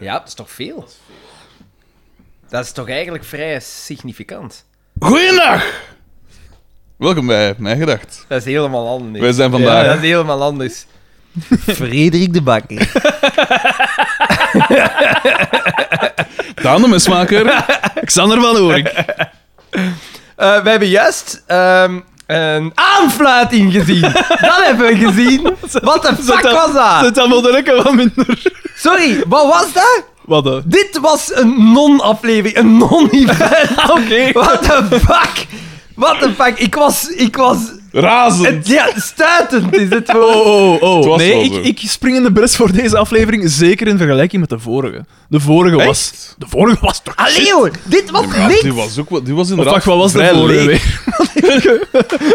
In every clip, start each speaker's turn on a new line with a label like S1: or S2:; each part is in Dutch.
S1: Ja, dat is toch veel? Dat is, toch eigenlijk vrij significant?
S2: Goedendag! Welkom bij Mijn Gedacht.
S1: Dat is helemaal anders.
S2: Wij zijn vandaag-
S1: Ja, dat is helemaal anders.
S3: Frederik de Bakker.
S2: Daan de Mesmaker.
S3: Xander van Oorik.
S1: Eh, we hebben juist ehm, een aanfluiting gezien. dat hebben we gezien. Wat de fuck was dat?
S3: Het allemaal lekker wat minder.
S1: Sorry, wat was dat?
S3: Wat dan?
S1: Dit was een non-aflevering, een non-event. Ah, Oké. What the fuck? What the fuck? Ik was... Ik was
S2: Razend.
S1: het, ja, stuitend is het woord.
S3: Oh, oh,
S2: Het
S3: oh.
S2: was
S3: Nee,
S2: wel zo.
S3: ik, ik spring in de bres voor deze aflevering, zeker in vergelijking met de vorige. De vorige was... De vorige was toch
S1: Allee
S3: shit?
S1: hoor, dit was
S2: Ja,
S1: niks.
S2: die was ook wel- die was
S3: Of
S2: inderdaad.
S3: wacht, wat was de
S2: vrij
S3: vorige
S2: leeg.
S3: weer?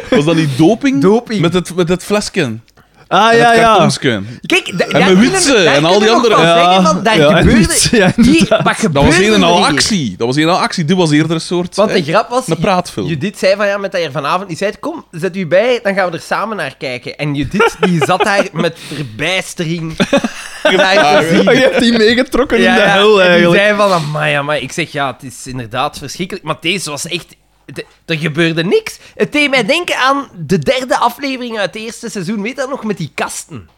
S2: Was dat die doping?
S1: Doping.
S2: Met het, met het flesken.
S3: Ah, ja,
S2: het
S3: ja.
S2: kartonsken.
S1: Kijk, da- daar
S2: met
S1: kunnen we-
S2: Witse
S1: daar
S2: en
S1: kunnen
S2: al die
S1: we nog
S2: anderen.
S1: wel zeggen van, daar
S3: Ja, en
S1: gebeurde...
S3: Witse, ja,
S1: die, wat gebeurde
S2: Dat was een en al
S1: er hier?
S2: actie. Dat was een en al actie. Dit was eerder een soort.
S1: Want de
S2: hè,
S1: grap was...
S2: Een praatfilm.
S1: Judith zei van, ja, met dat je er vanavond niet zei, kom, zet u bij, dan gaan we er samen naar kijken. En Judith, die zat daar met verbijstering naar te zien.
S3: Oh, Je hebt die meegetrokken in de
S1: en
S3: hel,
S1: die
S3: eigenlijk.
S1: zei van, amai, amai. Ik zeg, ja, het is inderdaad verschrikkelijk. Maar deze was echt... de- er gebeurde niks. Het deed mij denken aan de derde aflevering uit het eerste seizoen. Weet dat nog? Met die kasten.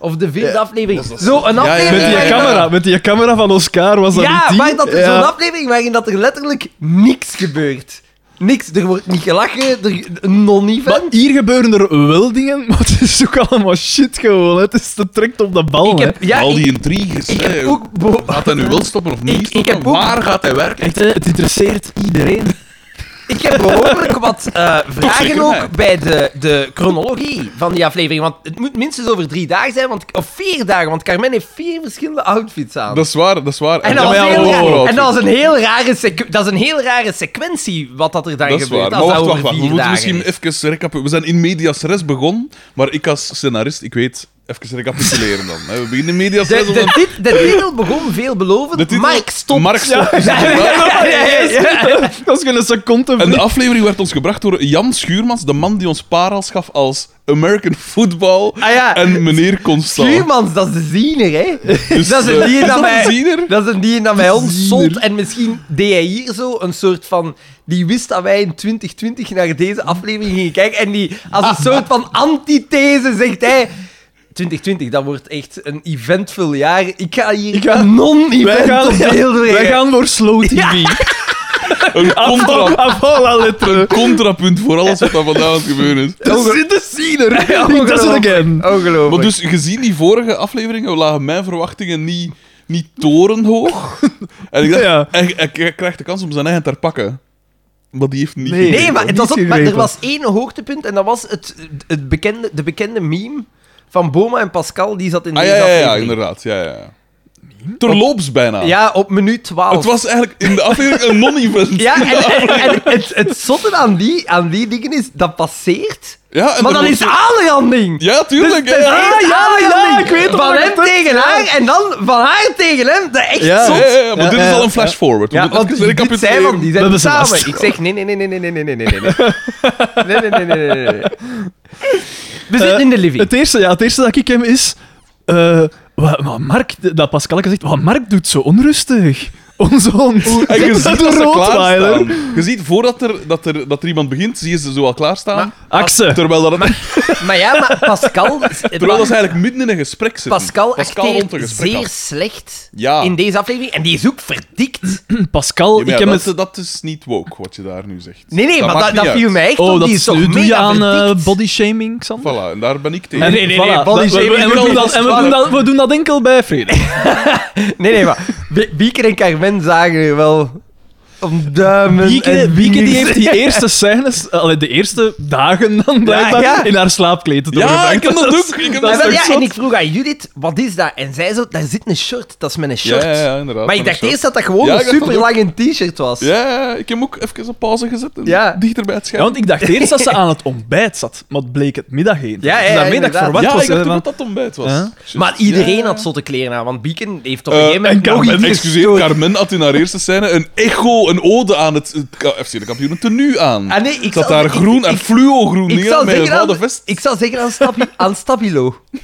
S1: Of de vierde aflevering. Zo, een
S2: ja,
S1: aflevering...
S3: Met
S2: Ja,
S3: die
S1: waarin-
S2: ja.
S3: camera, met die camera van Oscar was dat niet
S1: Ja,
S3: die?
S1: maar dat is
S3: Ja.
S1: zo'n aflevering waarin dat er letterlijk niks gebeurt. Niks. Er wordt niet gelachen. Er, een
S3: Maar
S1: non-event.
S3: hier gebeuren er wel dingen, maar het is ook allemaal shit gewoon. hè. Het is te trekt op de bal.
S1: Ik
S3: hè.
S1: heb... Ja,
S2: al die
S1: ik,
S2: intriges.
S1: ik
S2: hè.
S1: heb ook... bo-
S2: Gaat hij nu wel stoppen of niet?
S1: Ik- ik
S2: stoppen?
S1: heb ook-
S2: Waar gaat hij werken?
S3: Echt, hè, het interesseert iedereen.
S1: Ik heb behoorlijk wat eh, vragen
S2: zeker
S1: ook
S2: mij.
S1: bij de, de chronologie van die aflevering. Want het moet minstens over drie dagen zijn, want, of vier dagen, want Carmen heeft vier verschillende outfits aan.
S2: Dat is waar, dat is waar.
S1: en
S2: Ja,
S1: dat, was
S2: maar ja,
S1: heel
S2: wow,
S1: raar-
S2: wow,
S1: en dat was een heel rare sequ- dat is een heel rare sequentie wat dat er dan
S2: Dat is
S1: gebeurt.
S2: waar. Maar
S1: Als
S2: wacht,
S1: dat
S2: wacht,
S1: over
S2: wacht. We
S1: vier
S2: moeten
S1: dagen
S2: misschien
S1: is.
S2: even recapituleren. We zijn in medias res begonnen, maar ik als scenarist, ik weet, even recapituleren dan. hè. We beginnen in medias res.
S1: De, de,
S2: omdat-
S1: tit- de titel begon veelbelovend.
S2: de titel-
S1: Mark stopt.
S2: Mark stopt. is
S1: Ja,
S2: inderdaad.
S3: Ah,
S1: ja, ja, ja, ja.
S3: Dat is geen seconde
S2: En de
S3: vlieg.
S2: aflevering werd ons gebracht door Jan Schuurmans, de man die ons parels gaf als American Football
S1: Ah ja.
S2: en meneer Constant.
S1: Schuurmans, dat is de ziener, hè?
S2: Dus,
S1: dat is
S2: eh,
S1: een die
S2: is
S1: dat
S2: dat
S1: mij,
S2: een ziener?
S1: dat is een die dat mij ons
S3: Ziener.
S1: zond. En misschien deed hij hier zo een soort van... Die wist dat wij in 2020 naar deze aflevering gingen kijken. En die, als een soort van antithese, zegt hij... 2020, dat wordt echt een eventvol jaar. Ik ga hier
S3: Ik ga-
S1: een
S3: Wij
S1: non-event
S3: gaan,
S1: op beeld
S3: wij
S1: brengen.
S3: gaan voor Slow TV.
S2: Een
S3: Afval,
S2: contra,
S3: afval aan letteren.
S2: contrapunt voor alles wat daar vandaag aan het gebeuren is.
S3: Dat zit de ziener.
S1: Ja,
S3: Ik does it again.
S1: Ongelooflijk.
S2: Maar dus, gezien die vorige afleveringen, lagen mijn verwachtingen niet, niet torenhoog. En ik dacht,
S3: Ja.
S2: hij, hij k- krijgt de kans om zijn eigen ter pakken. Maar die heeft niet.
S3: Nee.
S1: Nee, maar, het was
S3: Niet
S1: ook, maar er
S3: gegrepen.
S1: was één hoogtepunt en dat was het, het bekende, de bekende meme van Boma en Pascal. Die zat in
S2: Ah
S1: deze
S2: ja, ja, ja,
S1: aflevering.
S2: inderdaad. Ja, ja. Terloops bijna.
S1: Ja, op minuut 12.
S2: Het was eigenlijk in de aflevering een non-event.
S1: Ja, en, en, en het, het zotte aan die, aan die dingen is, dat passeert,
S2: Ja, en
S1: maar
S2: er
S1: dan
S2: wordt
S1: is
S2: zo-
S1: aanranding.
S2: Ja, tuurlijk.
S1: Dus het
S2: ja, ja.
S1: is
S3: ja, ja, ja,
S1: aanranding.
S3: ik weet
S1: Van
S3: wat
S1: hem
S3: het is,
S1: tegen
S3: ja.
S1: haar en dan van haar tegen hem. Dat is echt
S3: Ja.
S1: zot.
S2: Ja, ja, ja, maar
S3: Ja,
S2: dit is
S3: ja.
S2: al een flash forward.
S1: Ja, want dus dit zijn van, die
S3: We
S1: zijn
S3: hebben ze
S1: samen.
S3: vast.
S1: Ik zeg nee, nee, nee, nee, nee, nee, nee, nee, nee, nee, nee, nee, nee, nee, nee, nee. We zitten
S3: Eh,
S1: in de living.
S3: Het eerste, ja, het eerste dat ik hem is... eh, wat, wat Mark, dat Pascal zegt, wat Mark doet zo onrustig. Onze hond.
S2: En je
S3: Dat
S2: ziet
S3: is een
S2: dat ze
S3: Rottweiler.
S2: klaarstaan. Je ziet, voordat er, dat er, dat er iemand begint, zie je ze zo al klaarstaan.
S3: Akse.
S2: Terwijl dat,
S1: Maar ja, maar Pascal...
S2: terwijl dat ze eigenlijk midden in een gesprek zitten.
S1: Pascal
S2: rond een
S1: acteert
S2: gesprek
S1: zeer
S2: af.
S1: slecht
S2: Ja.
S1: in deze aflevering. En die is ook verdikt.
S3: Pascal,
S2: Ja, maar
S3: ik
S2: ja,
S3: heb
S2: dat,
S3: het...
S2: dat is niet woke, wat je daar nu zegt.
S1: Nee, nee, maar
S2: maakt
S1: dat,
S2: niet
S1: dat viel
S2: uit.
S1: mij echt op.
S3: Oh, dat
S1: Die is
S3: is,
S1: toch
S3: nu doe je
S1: mega
S3: aan
S1: verdikt?
S3: eh body shaming, Xander.
S2: Voilà, en daar ben ik tegen.
S1: En- Nee, nee, nee,
S3: Voilà,
S1: body
S3: dat- we-
S1: shaming
S3: en
S1: doe je
S3: we doen
S1: niet
S3: dat- en we doen dat- we doen dat enkel bij Frederik.
S1: Nee, nee, maar Bi- Bieker en Carmen zagen er wel om duimen
S3: Wieke,
S1: en
S3: Wieke die
S1: vingers.
S3: heeft die eerste scènes, allee, de eerste dagen dan blijkbaar,
S1: ja.
S3: in haar slaapkleed te
S2: Ja, ik heb dat
S3: is-
S2: ook. Ik heb
S3: dat
S1: Ja,
S2: dat
S3: is
S1: wel,
S3: toch
S1: ja,
S3: zot?
S1: en ik vroeg aan Judith, wat is dat? En zij zo, daar zit een shirt, dat is mijn
S2: Ja,
S1: shirt.
S2: ja, ja, inderdaad.
S1: maar ik dacht eerst dat dat gewoon
S2: Ja,
S1: een
S2: ik dacht dat
S1: super lang een t-shirt was.
S2: Ja, ja, ik heb hem ook even op pauze gezet. En
S1: Ja.
S2: Dichter bij het
S3: Ja,
S2: scherm.
S3: want ik dacht eerst dat ze aan het ontbijt zat, maar het bleek het middageten.
S1: Ja, ja,
S3: dus daarmee dat ik
S1: inderdaad.
S3: verwacht
S2: ja,
S3: was.
S2: ik dacht
S3: hè,
S2: ook
S3: want-
S2: dat dat ontbijt was.
S3: Huh?
S2: Shit.
S1: Maar iedereen
S2: Ja.
S1: had zotte kleren aan, want Bieken heeft op een
S2: Eh,
S1: gegeven moment
S3: en
S1: nog
S3: Carmen,
S1: iets
S2: Excuseer,
S1: gestoord.
S2: Carmen had in haar eerste scène een echo, een ode aan het, het ka- FC de kampioenen tenue aan.
S1: Ah, nee, ik
S2: Zat
S1: zal-
S2: daar
S1: ik-
S2: groen
S1: ik-
S2: en fluo groen
S1: Ik
S2: dingen
S1: zou
S2: met een
S1: zeggen
S2: gouden
S1: aan,
S2: vest.
S1: ik zou zeggen aan, Stabi- aan Stabilo.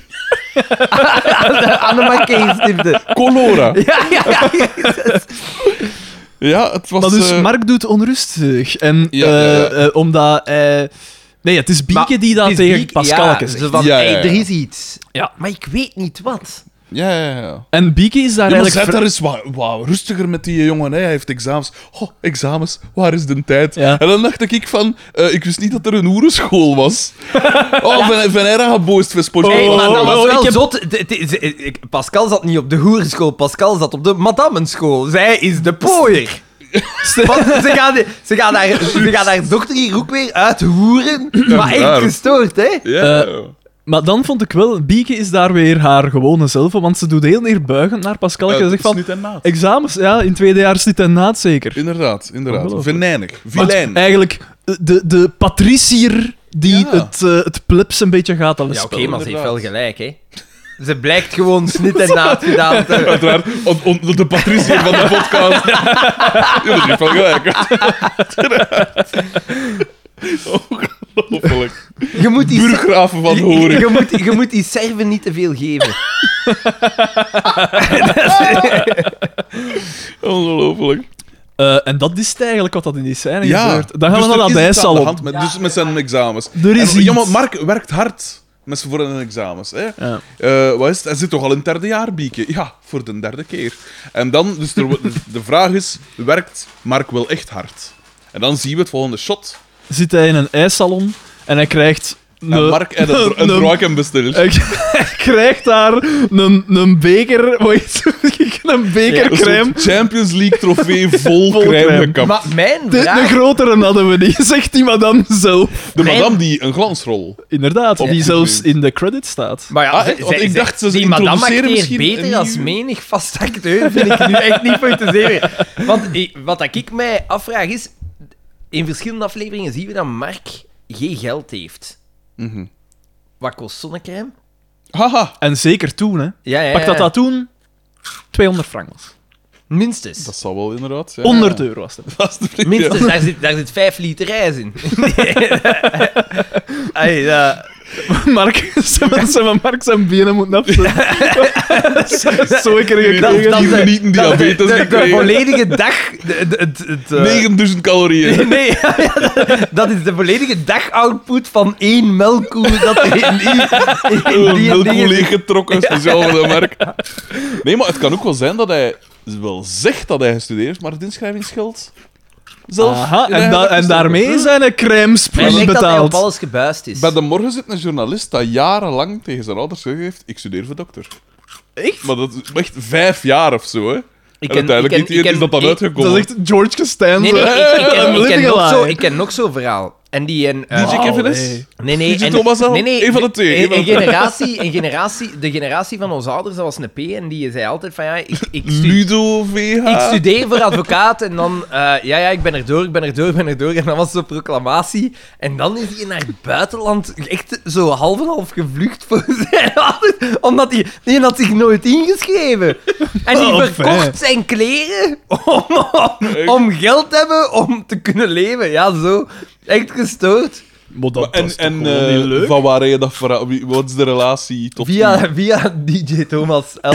S1: Aan de marketing stipte.
S2: Colora.
S1: Ja, ja, ja.
S2: Ja, het was...
S3: Maar dus
S2: eh,
S3: Mark doet onrustig. En
S2: Ja, ja, ja.
S3: eh, eh, omdat hij... Nee, het is Bieke
S1: Maar
S3: die dat
S1: het is
S3: tegen
S1: Bieke,
S3: Pascalke
S1: ja,
S3: zegt.
S1: Ze van,
S2: Ja, ja,
S1: "Hey,
S2: ja.
S1: er is iets.
S3: Ja.
S1: Maar ik weet niet wat.
S2: Ja, ja, ja.
S3: En Bieke is daar
S2: Ja, maar
S3: eigenlijk...
S2: zet daar eens wat, wat rustiger met die jongen. Hè. Hij heeft examens. Oh, examens. Waar is de tijd?
S3: Ja.
S2: En dan dacht ik van... eh, ik wist niet dat er een oerenschool was. Oh, Van, van Era geboist voor sportje.
S1: Hey, maar dat
S3: oh,
S1: was
S3: oh,
S1: wel
S3: ik heb-
S1: zot. De- het is- ik- Pascal zat niet op de hoerenschool, Pascal zat op de madamenschool. Zij is de pooier. Want ze gaan, ze gaan haar, ze gaan haar dochter hier ook weer uithoeren. Maar
S2: daar.
S1: echt gestoord, hè?
S2: Ja.
S3: Eh, Maar dan vond ik wel... Bieke is daar weer haar gewone zelf. Want ze doet heel neerbuigend naar Pascalke.
S2: Eh,
S3: Ze
S2: het
S3: zegt
S2: is
S3: van...
S2: niet en maat.
S3: Examens, ja, in het tweede jaar zit en naad zeker.
S2: Inderdaad, inderdaad.
S3: Ongelooflijk. Eh.
S2: Venijnig.
S3: Want
S2: Vilijn.
S3: eigenlijk de, de patricier die
S2: Ja.
S3: het, eh, het plebs een beetje gaat aan het
S1: Ja, oké,
S3: spel.
S1: maar ze heeft
S2: inderdaad.
S1: wel gelijk, hè? Ze blijkt gewoon snit en naad gedaan te hebben.
S2: Uiteraard, on- on- de patriciër van de podcast. Jullie hebben van gelijk. Uiteraard. Ongelooflijk.
S1: Je moet die, ser-
S2: Burggraven van
S1: je, je-
S2: Horen.
S1: je moet, je moet die serven niet te veel geven.
S2: Ongelooflijk.
S3: Eh, en dat is het eigenlijk wat dat in die scène
S2: Ja.
S3: gebeurt. Dan gaan
S2: dus
S3: we
S2: er
S3: naar
S2: is
S3: dat
S2: iets aan de
S3: ijssalon.
S2: hand Met, dus met zijn examens.
S3: Er is
S2: En- ja, maar
S3: iets.
S2: Mark werkt hard met zijn voor een examens. Hè?
S3: Ja.
S2: Eh, wat is het? Hij zit toch al in het derde jaar, Bieke? Ja, voor de derde keer. En dan, dus er wo- de vraag is, werkt Mark wel echt hard? En dan zien we het volgende shot.
S3: Zit hij in een ijssalon en hij krijgt...
S2: En Mark en een, dro- een draken bestelt.
S3: Hij krijgt daar een, een beker... Wat is het? Een
S2: Een
S3: bekercrème.
S2: soort Champions League trofee vol,
S3: Vol
S2: crème,
S3: crème.
S2: gekapt.
S1: Maar mijn
S3: de,
S1: vraag...
S3: de grotere hadden we niet, zegt die madame zelf.
S2: de
S1: mijn-
S2: madame die een glansrol.
S3: Inderdaad,
S2: Op
S3: die
S2: die
S3: zelfs
S2: manier.
S3: in de credit staat.
S1: Maar ja,
S2: Ah,
S1: ze-
S2: hè? Want
S1: ze-
S2: ik
S1: ze-
S2: dacht, ze
S1: die madame
S2: introduceren
S1: acteert
S2: misschien
S1: beter
S2: een
S1: als
S2: nieuw-
S1: menig vast acteur, vind ik nu echt niet voor te zeggen. Want ik- wat dat ik mij afvraag is, in verschillende afleveringen zien we dat Mark geen geld heeft.
S2: Mhm.
S1: Wat kost zonnecrème?
S2: Haha,
S3: En zeker toen, hè.
S1: Ja, ja,
S3: Pak
S1: ja.
S3: dat dat toen 200 frank was.
S1: Minstens.
S2: dat zal wel inderdaad. Ja.
S3: 100 euro was het.
S2: Dat is de vraag,
S1: Minstens,
S2: ja.
S1: daar, zit, daar zit vijf liter ijs in. eh, Ai, ja.
S3: Mark, ze ze van Mark zijn benen moeten afzetten. Zo ik er
S2: Dat-
S3: gekregen.
S2: dat-
S1: is de-
S2: niet een
S1: dat is de-
S2: diabetes
S1: de, de
S2: gekregen.
S1: volledige dag... de- de- het- het, eh,
S2: 9000 calorieën.
S1: Nee, ja, ja, dat- dat is de volledige dagoutput van één melkkoe dat er in die, in die
S2: Heel
S1: dingen
S2: leeg getrokken, speciaal voor dat merk. Nee, maar het kan ook wel zijn dat hij wel zegt dat hij gestudeerd heeft, maar het inschrijvingsgeld zelf...
S3: Aha,
S2: in
S3: en,
S2: eigen
S3: da-
S2: zak
S3: en
S2: gestoken.
S3: daarmee zijn de crèmes
S1: Hij denkt dat hij op
S3: betaald.
S1: alles gebuist is.
S2: Bij de morgen zit een journalist dat jarenlang tegen zijn ouders gezegd heeft ik studeer voor dokter.
S3: Echt?
S2: Maar dat is echt vijf jaar of zo, hè.
S1: Ik
S2: en uiteindelijk
S1: ik
S2: niet eerder
S1: ik
S2: is dus dat dan
S1: ik-
S2: uitgekomen.
S3: Dat is echt George Costanza.
S1: Nee, nee, ik, ik, ken-
S3: I'm
S1: ik, ken
S3: living a
S1: nog zo,
S3: lie.
S1: ik ken nog zo'n verhaal. En die een... eh,
S2: DJ Kevin is?
S3: nee.
S1: Nee, nee.
S2: DJ
S1: en-
S2: Thomas al?
S1: nee, nee,
S2: Eén van de twee, één
S1: Een,
S2: van
S1: een
S2: de twee.
S1: generatie, een generatie, de generatie van onze ouders, dat was een P. En die zei altijd van ja, ik, ik, stu-
S2: Ludo VH.
S3: Ah.
S1: ik studeer voor advocaat. En dan, eh, ja, ja, ik ben erdoor, ik ben erdoor, ik ben erdoor. En dan was zo'n proclamatie. En dan is hij naar het buitenland echt zo half en half gevlucht voor zijn ouders. Omdat hij, die had zich nooit ingeschreven. En die
S3: Oh, fijn.
S1: verkocht zijn kleren om, om, om geld te hebben om te kunnen leven. Ja, zo. Echt gestoord.
S3: Maar dat
S2: En,
S3: was toch
S2: en
S3: gewoon
S2: eh,
S3: niet leuk?
S2: van waar je dat verhaal... wie- Wat is de relatie tot nu?
S1: Via,
S3: Hmm.
S1: via DJ Thomas L.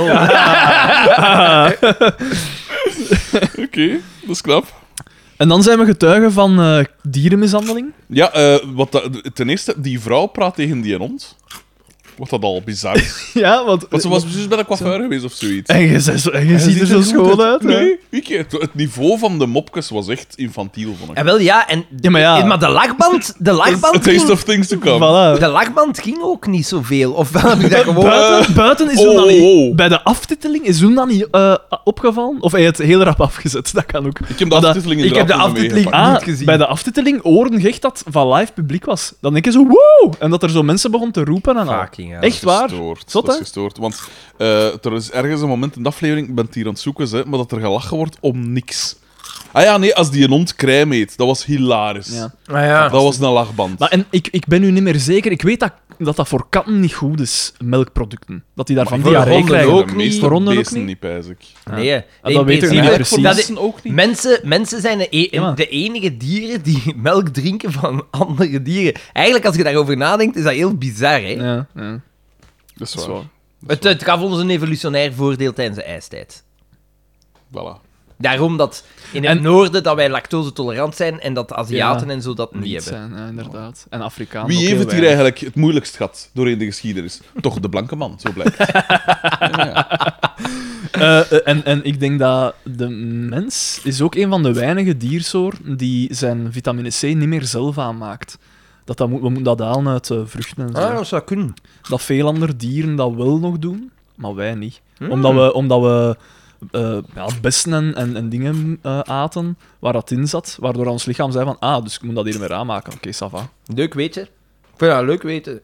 S2: Oké, dat is knap.
S3: En dan zijn we getuigen van eh, dierenmishandeling.
S2: Ja, eh, wat dat- ten eerste, die vrouw praat tegen die hond. Wat dat al bizar is.
S3: ja, want...
S2: Want ze was precies bij de coiffeur geweest of zoiets.
S3: En je, zei zo- en je
S2: Hij
S3: Eh, ziet er zo
S2: niet goed
S3: schoon uit. hè.
S2: Nee, ik, het, het niveau van de mopkes was echt infantiel, vond ik.
S1: En wel ja, en
S3: Ja, maar ja.
S1: eh, maar de lachband, de
S2: A
S1: lachband,
S2: taste
S1: ging,
S2: of things to come.
S3: Voilà.
S1: de lachband ging ook niet zoveel. Of wel heb ik dat gewoon.
S3: Ah. Buiten, buiten is
S2: oh,
S3: hem dan niet...
S2: oh, oh.
S3: Bij de aftiteling is hem dan niet eh, opgevallen. Of hij het heel rap afgezet, dat kan ook.
S2: Ik heb de
S3: Maar dat-
S2: aftiteling
S1: ik heb de aftiteling-
S2: meegepakt.
S3: Ah,
S1: niet gezien.
S3: bij de aftiteling hoorden gecht dat van live publiek was. Dan denk je zo, wow! En dat er zo mensen begonnen te roepen en al.
S1: Fucking hell.
S3: Echt waar?
S2: Gestoord.
S3: Zot,
S2: dat is
S3: hè?
S2: gestoord. Want eh, er is ergens een moment in de aflevering, ik ben het hier aan het zoeken, hè, maar dat er gelachen wordt om niks. Ah ja, nee, als die een hond crème eet. Dat was hilarisch.
S3: Ja.
S1: Ah, ja.
S2: Dat was een lachband.
S3: Maar eh, en ik, ik ben nu niet meer zeker. Ik weet dat, dat dat voor katten niet goed is, melkproducten. Dat die daarvan
S1: Maar voor
S3: diarree
S1: honden
S3: krijgen.
S1: ook niet.
S3: Voor honden ook
S2: beesten
S3: niet?
S2: niet, pijs ik.
S1: Nee, eh,
S3: Ah, dat
S1: in
S3: weten we niet
S1: principe-
S2: En
S3: precies.
S2: eigenlijk
S1: dat
S2: voor mensen ook niet.
S1: Mensen, mensen zijn de, e-
S3: Ja.
S1: de enige dieren die melk drinken van andere dieren. Eigenlijk, als je daarover nadenkt, is dat heel bizar, hè?
S3: Ja, ja.
S2: Dat is
S3: Dat is
S2: waar.
S3: waar.
S1: Het, het gaf ons een evolutionair voordeel tijdens de ijstijd.
S2: Voilà.
S1: Daarom dat in het
S3: En-
S1: noorden dat wij lactose-tolerant zijn en dat Aziaten
S3: Ja,
S1: en zo dat niet
S3: Niet
S1: hebben.
S3: zijn, ja, inderdaad. En Afrikaan.
S2: Wie
S3: ook
S2: heeft
S3: heel
S2: het hier
S3: weinig.
S2: eigenlijk het moeilijkst gehad doorheen de geschiedenis? Toch de blanke man, zo blijkt.
S3: Eh, eh, en, en ik denk dat de mens is ook een van de weinige diersoorten die zijn vitamine C niet meer zelf aanmaakt. Dat dat moet, we moeten dat halen uit eh, vruchten en zo.
S1: Ah, dat zou kunnen.
S3: Dat veel andere dieren dat wel nog doen, maar wij niet.
S1: Hmm.
S3: Omdat we, omdat we eh, ja, bessen en, en, en dingen eh, aten waar dat in zat, waardoor ons lichaam zei van ah, dus ik moet dat hier meer aanmaken. Oké, ça va.
S1: Leuk weten. Ik vind dat leuk weten.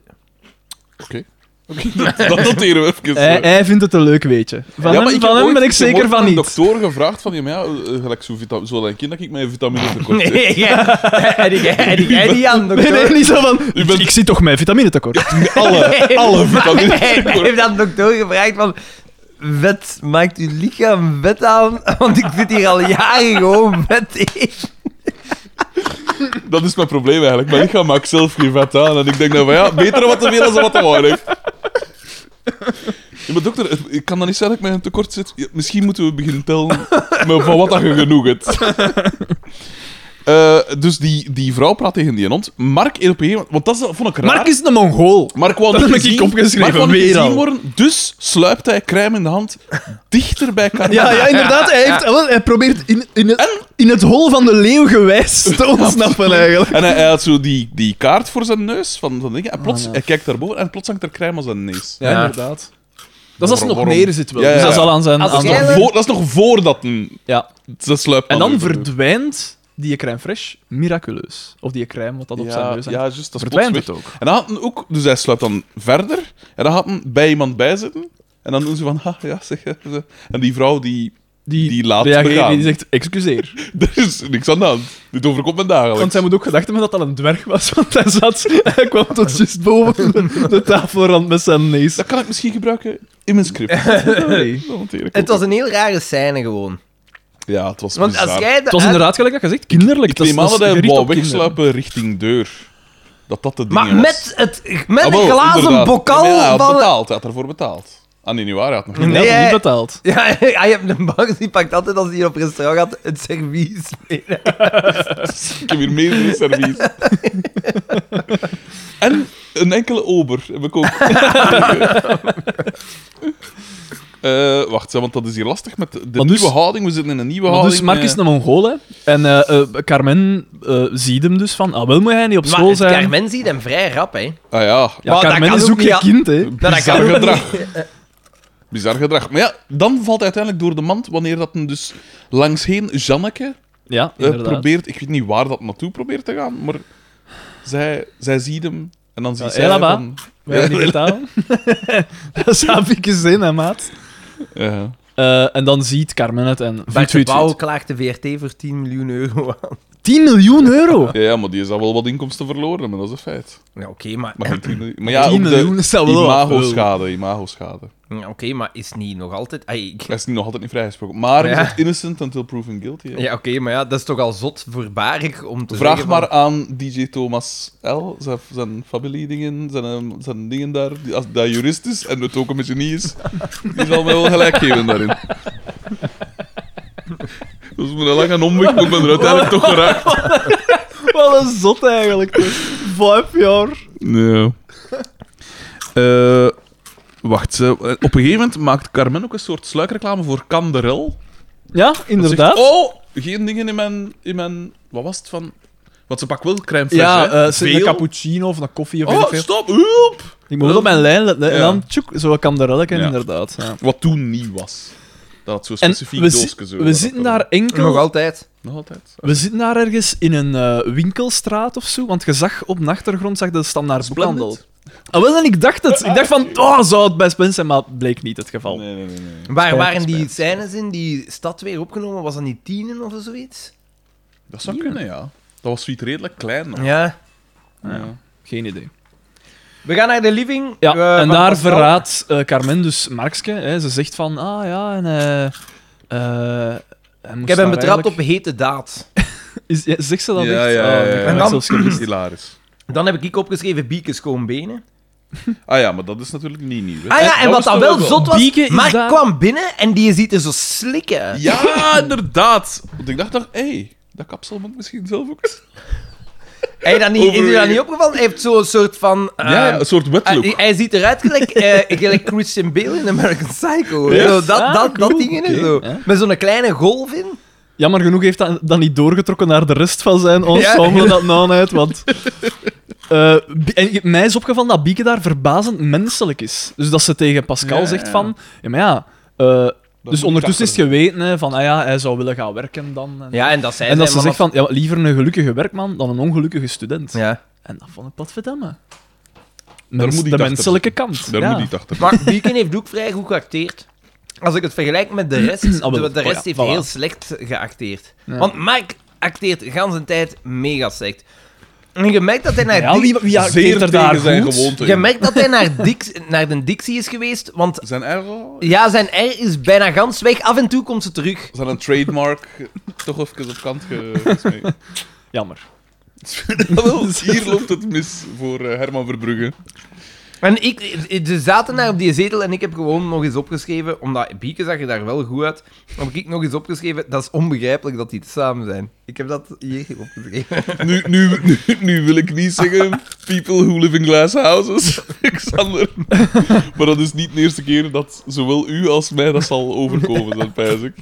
S2: Oké. Oké, dat- dat noteren Dus we even.
S3: Hij, hij vindt het een leuk weetje. Van
S2: Ja, maar
S3: Eh, hem,
S2: ik
S3: van
S2: heb
S3: hem
S2: ooit-
S3: ben ik
S2: heb
S3: zeker
S2: ooit
S3: van
S2: een
S3: niet.
S2: dokter gevraagd van, ja, maar ja, eh, gelijk zo, vita- zo een kind dat ik mijn vitamine tekort heb.
S1: Nee, jij- en ik- en ik- jij niet aan,
S3: Nee,
S1: dokter.
S3: nee, niet zo van.
S2: U bent-
S3: Ik zie toch mijn vitamine tekort.
S2: Alle,
S1: Nee,
S2: alle
S1: maar
S2: vitamine
S1: Hij hij
S2: tekort.
S1: heeft aan de dokter gevraagd van... Vet, maakt uw lichaam vet aan? Want ik zit hier al jaren gewoon vet in.
S2: Dat is mijn probleem eigenlijk. Mijn lichaam maakt zelf geen vet aan. En ik denk dan van, ja, beter wat te veel dan wat te weinig. Ja, maar dokter, het- ik kan dan niet zeggen dat ik met een tekort zit. Ja, misschien moeten we beginnen tellen met van wat dat je genoeg hebt. Eh, dus die, die vrouw praat tegen die hond. Mark LP, want dat is- vond ik raar.
S3: Mark is een Mongool.
S2: Mark wou
S3: Dat
S2: niet
S3: heb ik
S2: gezien-
S3: opgeschreven,
S2: Mark wou niet
S3: weer
S2: gezien
S3: al.
S2: worden, dus sluipt hij crème in de hand dichter bij Carmen.
S3: Ja, ja inderdaad. Hij, heeft, wel, hij probeert in, in, het, in het hol van de leeuw gewijs te ontsnappen, eigenlijk.
S2: En hij, hij had zo die, die kaart voor zijn neus van, van dingen. En plots,
S3: Ah, ja.
S2: hij kijkt daarboven en plots hangt er crème aan zijn neus.
S1: Ja.
S3: inderdaad. Dat is als er nog
S2: Waarom?
S3: meer zit wel.
S2: Ja, ja,
S3: Dus dat
S2: ja.
S3: zal aan zijn...
S1: Als
S3: aan
S2: Dat, is
S1: jij
S3: zijn-
S2: nog
S1: Jelle?
S2: voor, dat is nog voordat een,
S3: ja.
S2: ze sluipt.
S3: En dan
S2: verdwijnt
S3: verdwijnt die crème fraîche miraculeus. Of die crème, wat dat op zijn
S2: ja,
S3: neus hangt.
S2: ja, juist. Dat is plots
S3: verdwijnt
S2: weg.
S3: het ook.
S2: En dan had hij ook... Dus hij sluipt dan verder. En dan had hij bij iemand bij zitten. En dan doen ze van, ha, ja, zeg. ja, ze. En die vrouw, die... Die laat
S3: reageert
S2: begaan.
S3: en die zegt, excuseer.
S2: Er is niks aan de hand. Dit overkomt me dagelijks.
S3: Want zij moet ook gedacht hebben dat dat een dwerg was, want hij zat... Hij kwam tot juist boven de, de tafelrand met zijn neus.
S2: Dat kan ik misschien gebruiken in mijn script.
S3: Nee.
S2: Dat hanteer ik
S1: Het
S2: ook.
S1: was een heel rare scène gewoon.
S2: Ja, het was
S1: Want
S2: bizar.
S1: als jij... de
S3: Het was
S1: uit-
S3: inderdaad gelijk dat je zegt, kinderlijk.
S2: Ik
S3: dat is-
S2: neem aan dat
S3: is
S2: hij
S3: gericht
S2: wou
S3: op kinderen.
S2: wegsluipen richting deur. Dat dat de
S1: Maar
S2: ding was.
S1: met, het, met
S2: Ah,
S1: een
S2: wel,
S1: glazen
S2: inderdaad.
S1: bokal
S2: Ja, maar hij had
S1: van...
S2: betaald. Hij had ervoor betaald. Ah, nee, niet waar. Hij had nog niet
S1: Nee.
S3: Nee, hij had nog niet betaald.
S1: Ja, hij hebt een bank, die pakt altijd als hij op restaurant gaat het servies mee.
S2: Ik heb hier meerdere servies. en een enkele ober heb ik ook. Eh, wacht, hè, want dat is hier lastig met de
S3: dus-
S2: nieuwe houding. We zitten in een nieuwe
S3: Maar dus
S2: houding.
S3: Mark is
S2: eh.
S3: een Mongool, hè. En eh, eh, Carmen eh, ziet hem dus van, ah, wel moet hij niet op
S1: Maar
S3: school
S1: het
S3: zijn.
S1: Carmen ziet hem vrij rap, hè.
S2: Ah ja,
S3: Ja,
S1: Maar dat
S3: Carmen
S1: kan
S3: is
S1: ook
S3: ook
S1: niet
S3: geen
S1: aan-
S3: kind, hè.
S1: Dat
S2: bizar
S1: kan ook
S2: gedrag. Bizar gedrag. Maar ja, dan valt hij uiteindelijk door de mand wanneer dat hem dus langsheen Janneke
S3: Ja,
S2: eh,
S3: inderdaad.
S2: probeert... Ik weet niet waar dat naartoe probeert te gaan, maar zij, zij ziet hem en dan ziet
S3: Ja,
S2: zij
S3: Elaba.
S2: van...
S3: Wij hebben niet betalen. dat zou ik zin, hè, maat.
S2: Ja.
S3: Eh, en dan ziet Carmen het en...
S1: Bart
S3: Tweet,
S1: de
S3: tweet,
S1: Pauw
S3: tweet.
S1: klaagt de VRT voor 10 miljoen euro aan.
S3: 10 miljoen euro!
S2: Ja, ja, maar die is al wel wat inkomsten verloren, maar dat is een feit.
S1: Ja, oké, maar...
S2: Maar, goed, die- maar ja,
S3: 10
S2: ook
S3: miljoen
S2: de
S3: is dat wel wat.
S2: imago-schade, imago-schade.
S1: Ja, oké, maar is niet nog altijd... Ai, ik-
S2: Hij is nog altijd niet vrijgesproken. Maar
S1: Ja.
S2: hij is innocent until proven guilty. hè.
S1: Ja, oké, maar ja, dat is toch al zot voorbarig om te
S2: Vraag
S1: zeggen van-
S2: maar aan DJ Thomas L. Zijn, zijn familiedingen, zijn, ehm, zijn dingen daar. Die, als dat jurist is en het ook een beetje niet is, die zal mij wel gelijk geven daarin. Dus met een lange omweg moet men er uiteindelijk toch geraakt.
S3: Wat een zot, eigenlijk. Vijf jaar.
S2: Nee. Eh, wacht, ze- eh, op een gegeven moment maakt Carmen ook een soort sluikreclame voor Canderel.
S3: Ja,
S2: Dat ze
S3: inderdaad.
S2: zegt, oh, geen dingen in mijn, in mijn... Wat was het van... Want ze pakt wel crème fraîche,
S3: ja,
S2: hè?
S3: eh, ze- een
S2: Veel.
S3: cappuccino of een koffie of weet ik
S2: Oh,
S3: veel.
S2: stop, hulp!
S3: Ik moet wel op mijn lijn letten. hè. En
S2: Ja.
S3: dan, tjoek, zo kan de relken,
S2: Ja.
S3: inderdaad. Ja.
S2: Wat toen nieuw was. Dat had zo'n
S3: En
S2: specifiek
S3: we, zi-
S2: doosje zo.
S3: we
S2: dat
S3: zitten
S2: dat-
S3: daar enkel...
S1: Nog altijd.
S2: Nog altijd.
S3: We zitten daar ergens in een eh, winkelstraat of zo, want je zag op de achtergrond zag je de standaard boekhandel.
S2: Splendid.
S3: Ah, wel, en ik dacht het. Ik dacht van, oh, zou het bij Spence zijn, maar bleek niet het geval.
S2: Nee, nee, nee. nee.
S1: Waar waren die
S3: spijt.
S1: scènes in die stad weer opgenomen? Was dat niet tienen of zoiets?
S2: Dat zou kunnen, ja. Dat was zoiets redelijk klein nog.
S1: Ja.
S2: Ja.
S3: Geen idee.
S1: We gaan naar de living.
S3: Ja,
S1: eh,
S3: en
S1: van
S3: daar
S1: Pascal.
S3: verraadt eh, Carmen dus Markske. Hè, ze zegt van, ah ja, en... eh, eh, hij moest
S1: Ik heb hem
S3: daar
S1: betrapt
S3: eigenlijk-
S1: op hete daad.
S3: Is, ja, zegt ze dat
S2: Ja,
S3: echt?
S2: ja,
S3: Oh,
S2: ja,
S3: dat
S2: ja.
S3: heb ik
S1: En dan-
S3: zelfs gemist.
S2: Hilarisch.
S1: Dan heb ik opgeschreven bieken schoon benen.
S2: Ah ja, maar dat is natuurlijk niet nieuw.
S3: Eh,
S2: hè. Eh,
S1: Ah ja, en wat
S2: was
S1: dan
S2: toch
S1: wel zot was,
S3: Bieke is
S1: Mark
S3: daar-
S1: kwam binnen en die ziet er zo slik uit.
S2: Ja, inderdaad. Want ik dacht, nog, hé, hey, dat kapsel moet misschien zelf ook...
S1: Heb je dat niet, is je dat
S2: Overwegen.
S1: niet opgevallen? Hij heeft zo'n soort van... eh,
S2: ja, ja, een soort
S1: hij,
S2: wetlook.
S1: hij ziet eruit gelijk, eh, gelijk Christian Bale in American Psycho.
S2: Ja.
S1: Zo, dat,
S3: Ah,
S1: dat, dat
S3: cool.
S1: ding in
S3: Oké,
S1: zo.
S3: ja.
S1: Met zo'n kleine golf in.
S3: Jammer genoeg heeft dat dan niet doorgetrokken naar de rest van zijn ensemble, dat nou uit, want... eh, Bi- en mij is opgevallen dat Bieke daar verbazend menselijk is. Dus dat ze tegen Pascal
S2: Ja,
S3: zegt
S2: ja.
S3: van... Ja, maar ja... eh, dus
S2: moet
S3: ondertussen is
S2: ik
S3: het geweten hè, van, ah ja, hij zou willen gaan werken dan. En,
S1: Ja, en dat zei
S3: en dat
S1: zij,
S3: ze
S1: maar
S3: zegt van, ja, maar liever een gelukkige werkman dan een ongelukkige student.
S1: Ja.
S3: En dat vond ik potverdamme.
S2: moet
S3: Mens,
S2: iets
S3: de
S2: achter
S3: menselijke kant.
S2: Daar
S3: ja.
S2: moet niet achter.
S1: Maar Beacon heeft ook vrij goed geacteerd. Als ik het vergelijk met de rest,
S3: Ah, wel,
S1: de, de
S3: oh
S1: rest
S3: ja,
S1: heeft
S3: voilà.
S1: heel slecht geacteerd.
S3: Ja.
S1: Want Mark acteert gans een tijd mega slecht. En je merkt dat hij naar,
S3: Ja,
S1: Dick-
S3: wie, wie acteert
S2: Zeer
S3: er
S2: tegen
S3: daar
S2: zijn
S3: goed?
S2: gewoonte.
S1: je merkt dat hij naar, Dick, naar de Dixie is geweest, want
S2: Zijn error,
S1: ja, zijn R is bijna gans weg. Af en toe komt ze terug.
S2: zijn een trademark, toch even op kant ge- gesmeten.
S3: Jammer.
S2: Wel, Hier loopt het mis voor eh, Herman Verbrugge.
S1: En ik, ze zaten daar op die zetel en ik heb gewoon nog eens opgeschreven, omdat Bieke zag er daar wel goed uit, heb ik nog eens opgeschreven, dat is onbegrijpelijk dat die samen zijn. Ik heb dat hier opgeschreven.
S2: Nu, nu, nu, nu wil ik niet zeggen people who live in glass houses, Xander. Maar dat is niet de eerste keer dat zowel u als mij dat zal overkomen, dat pijs ik.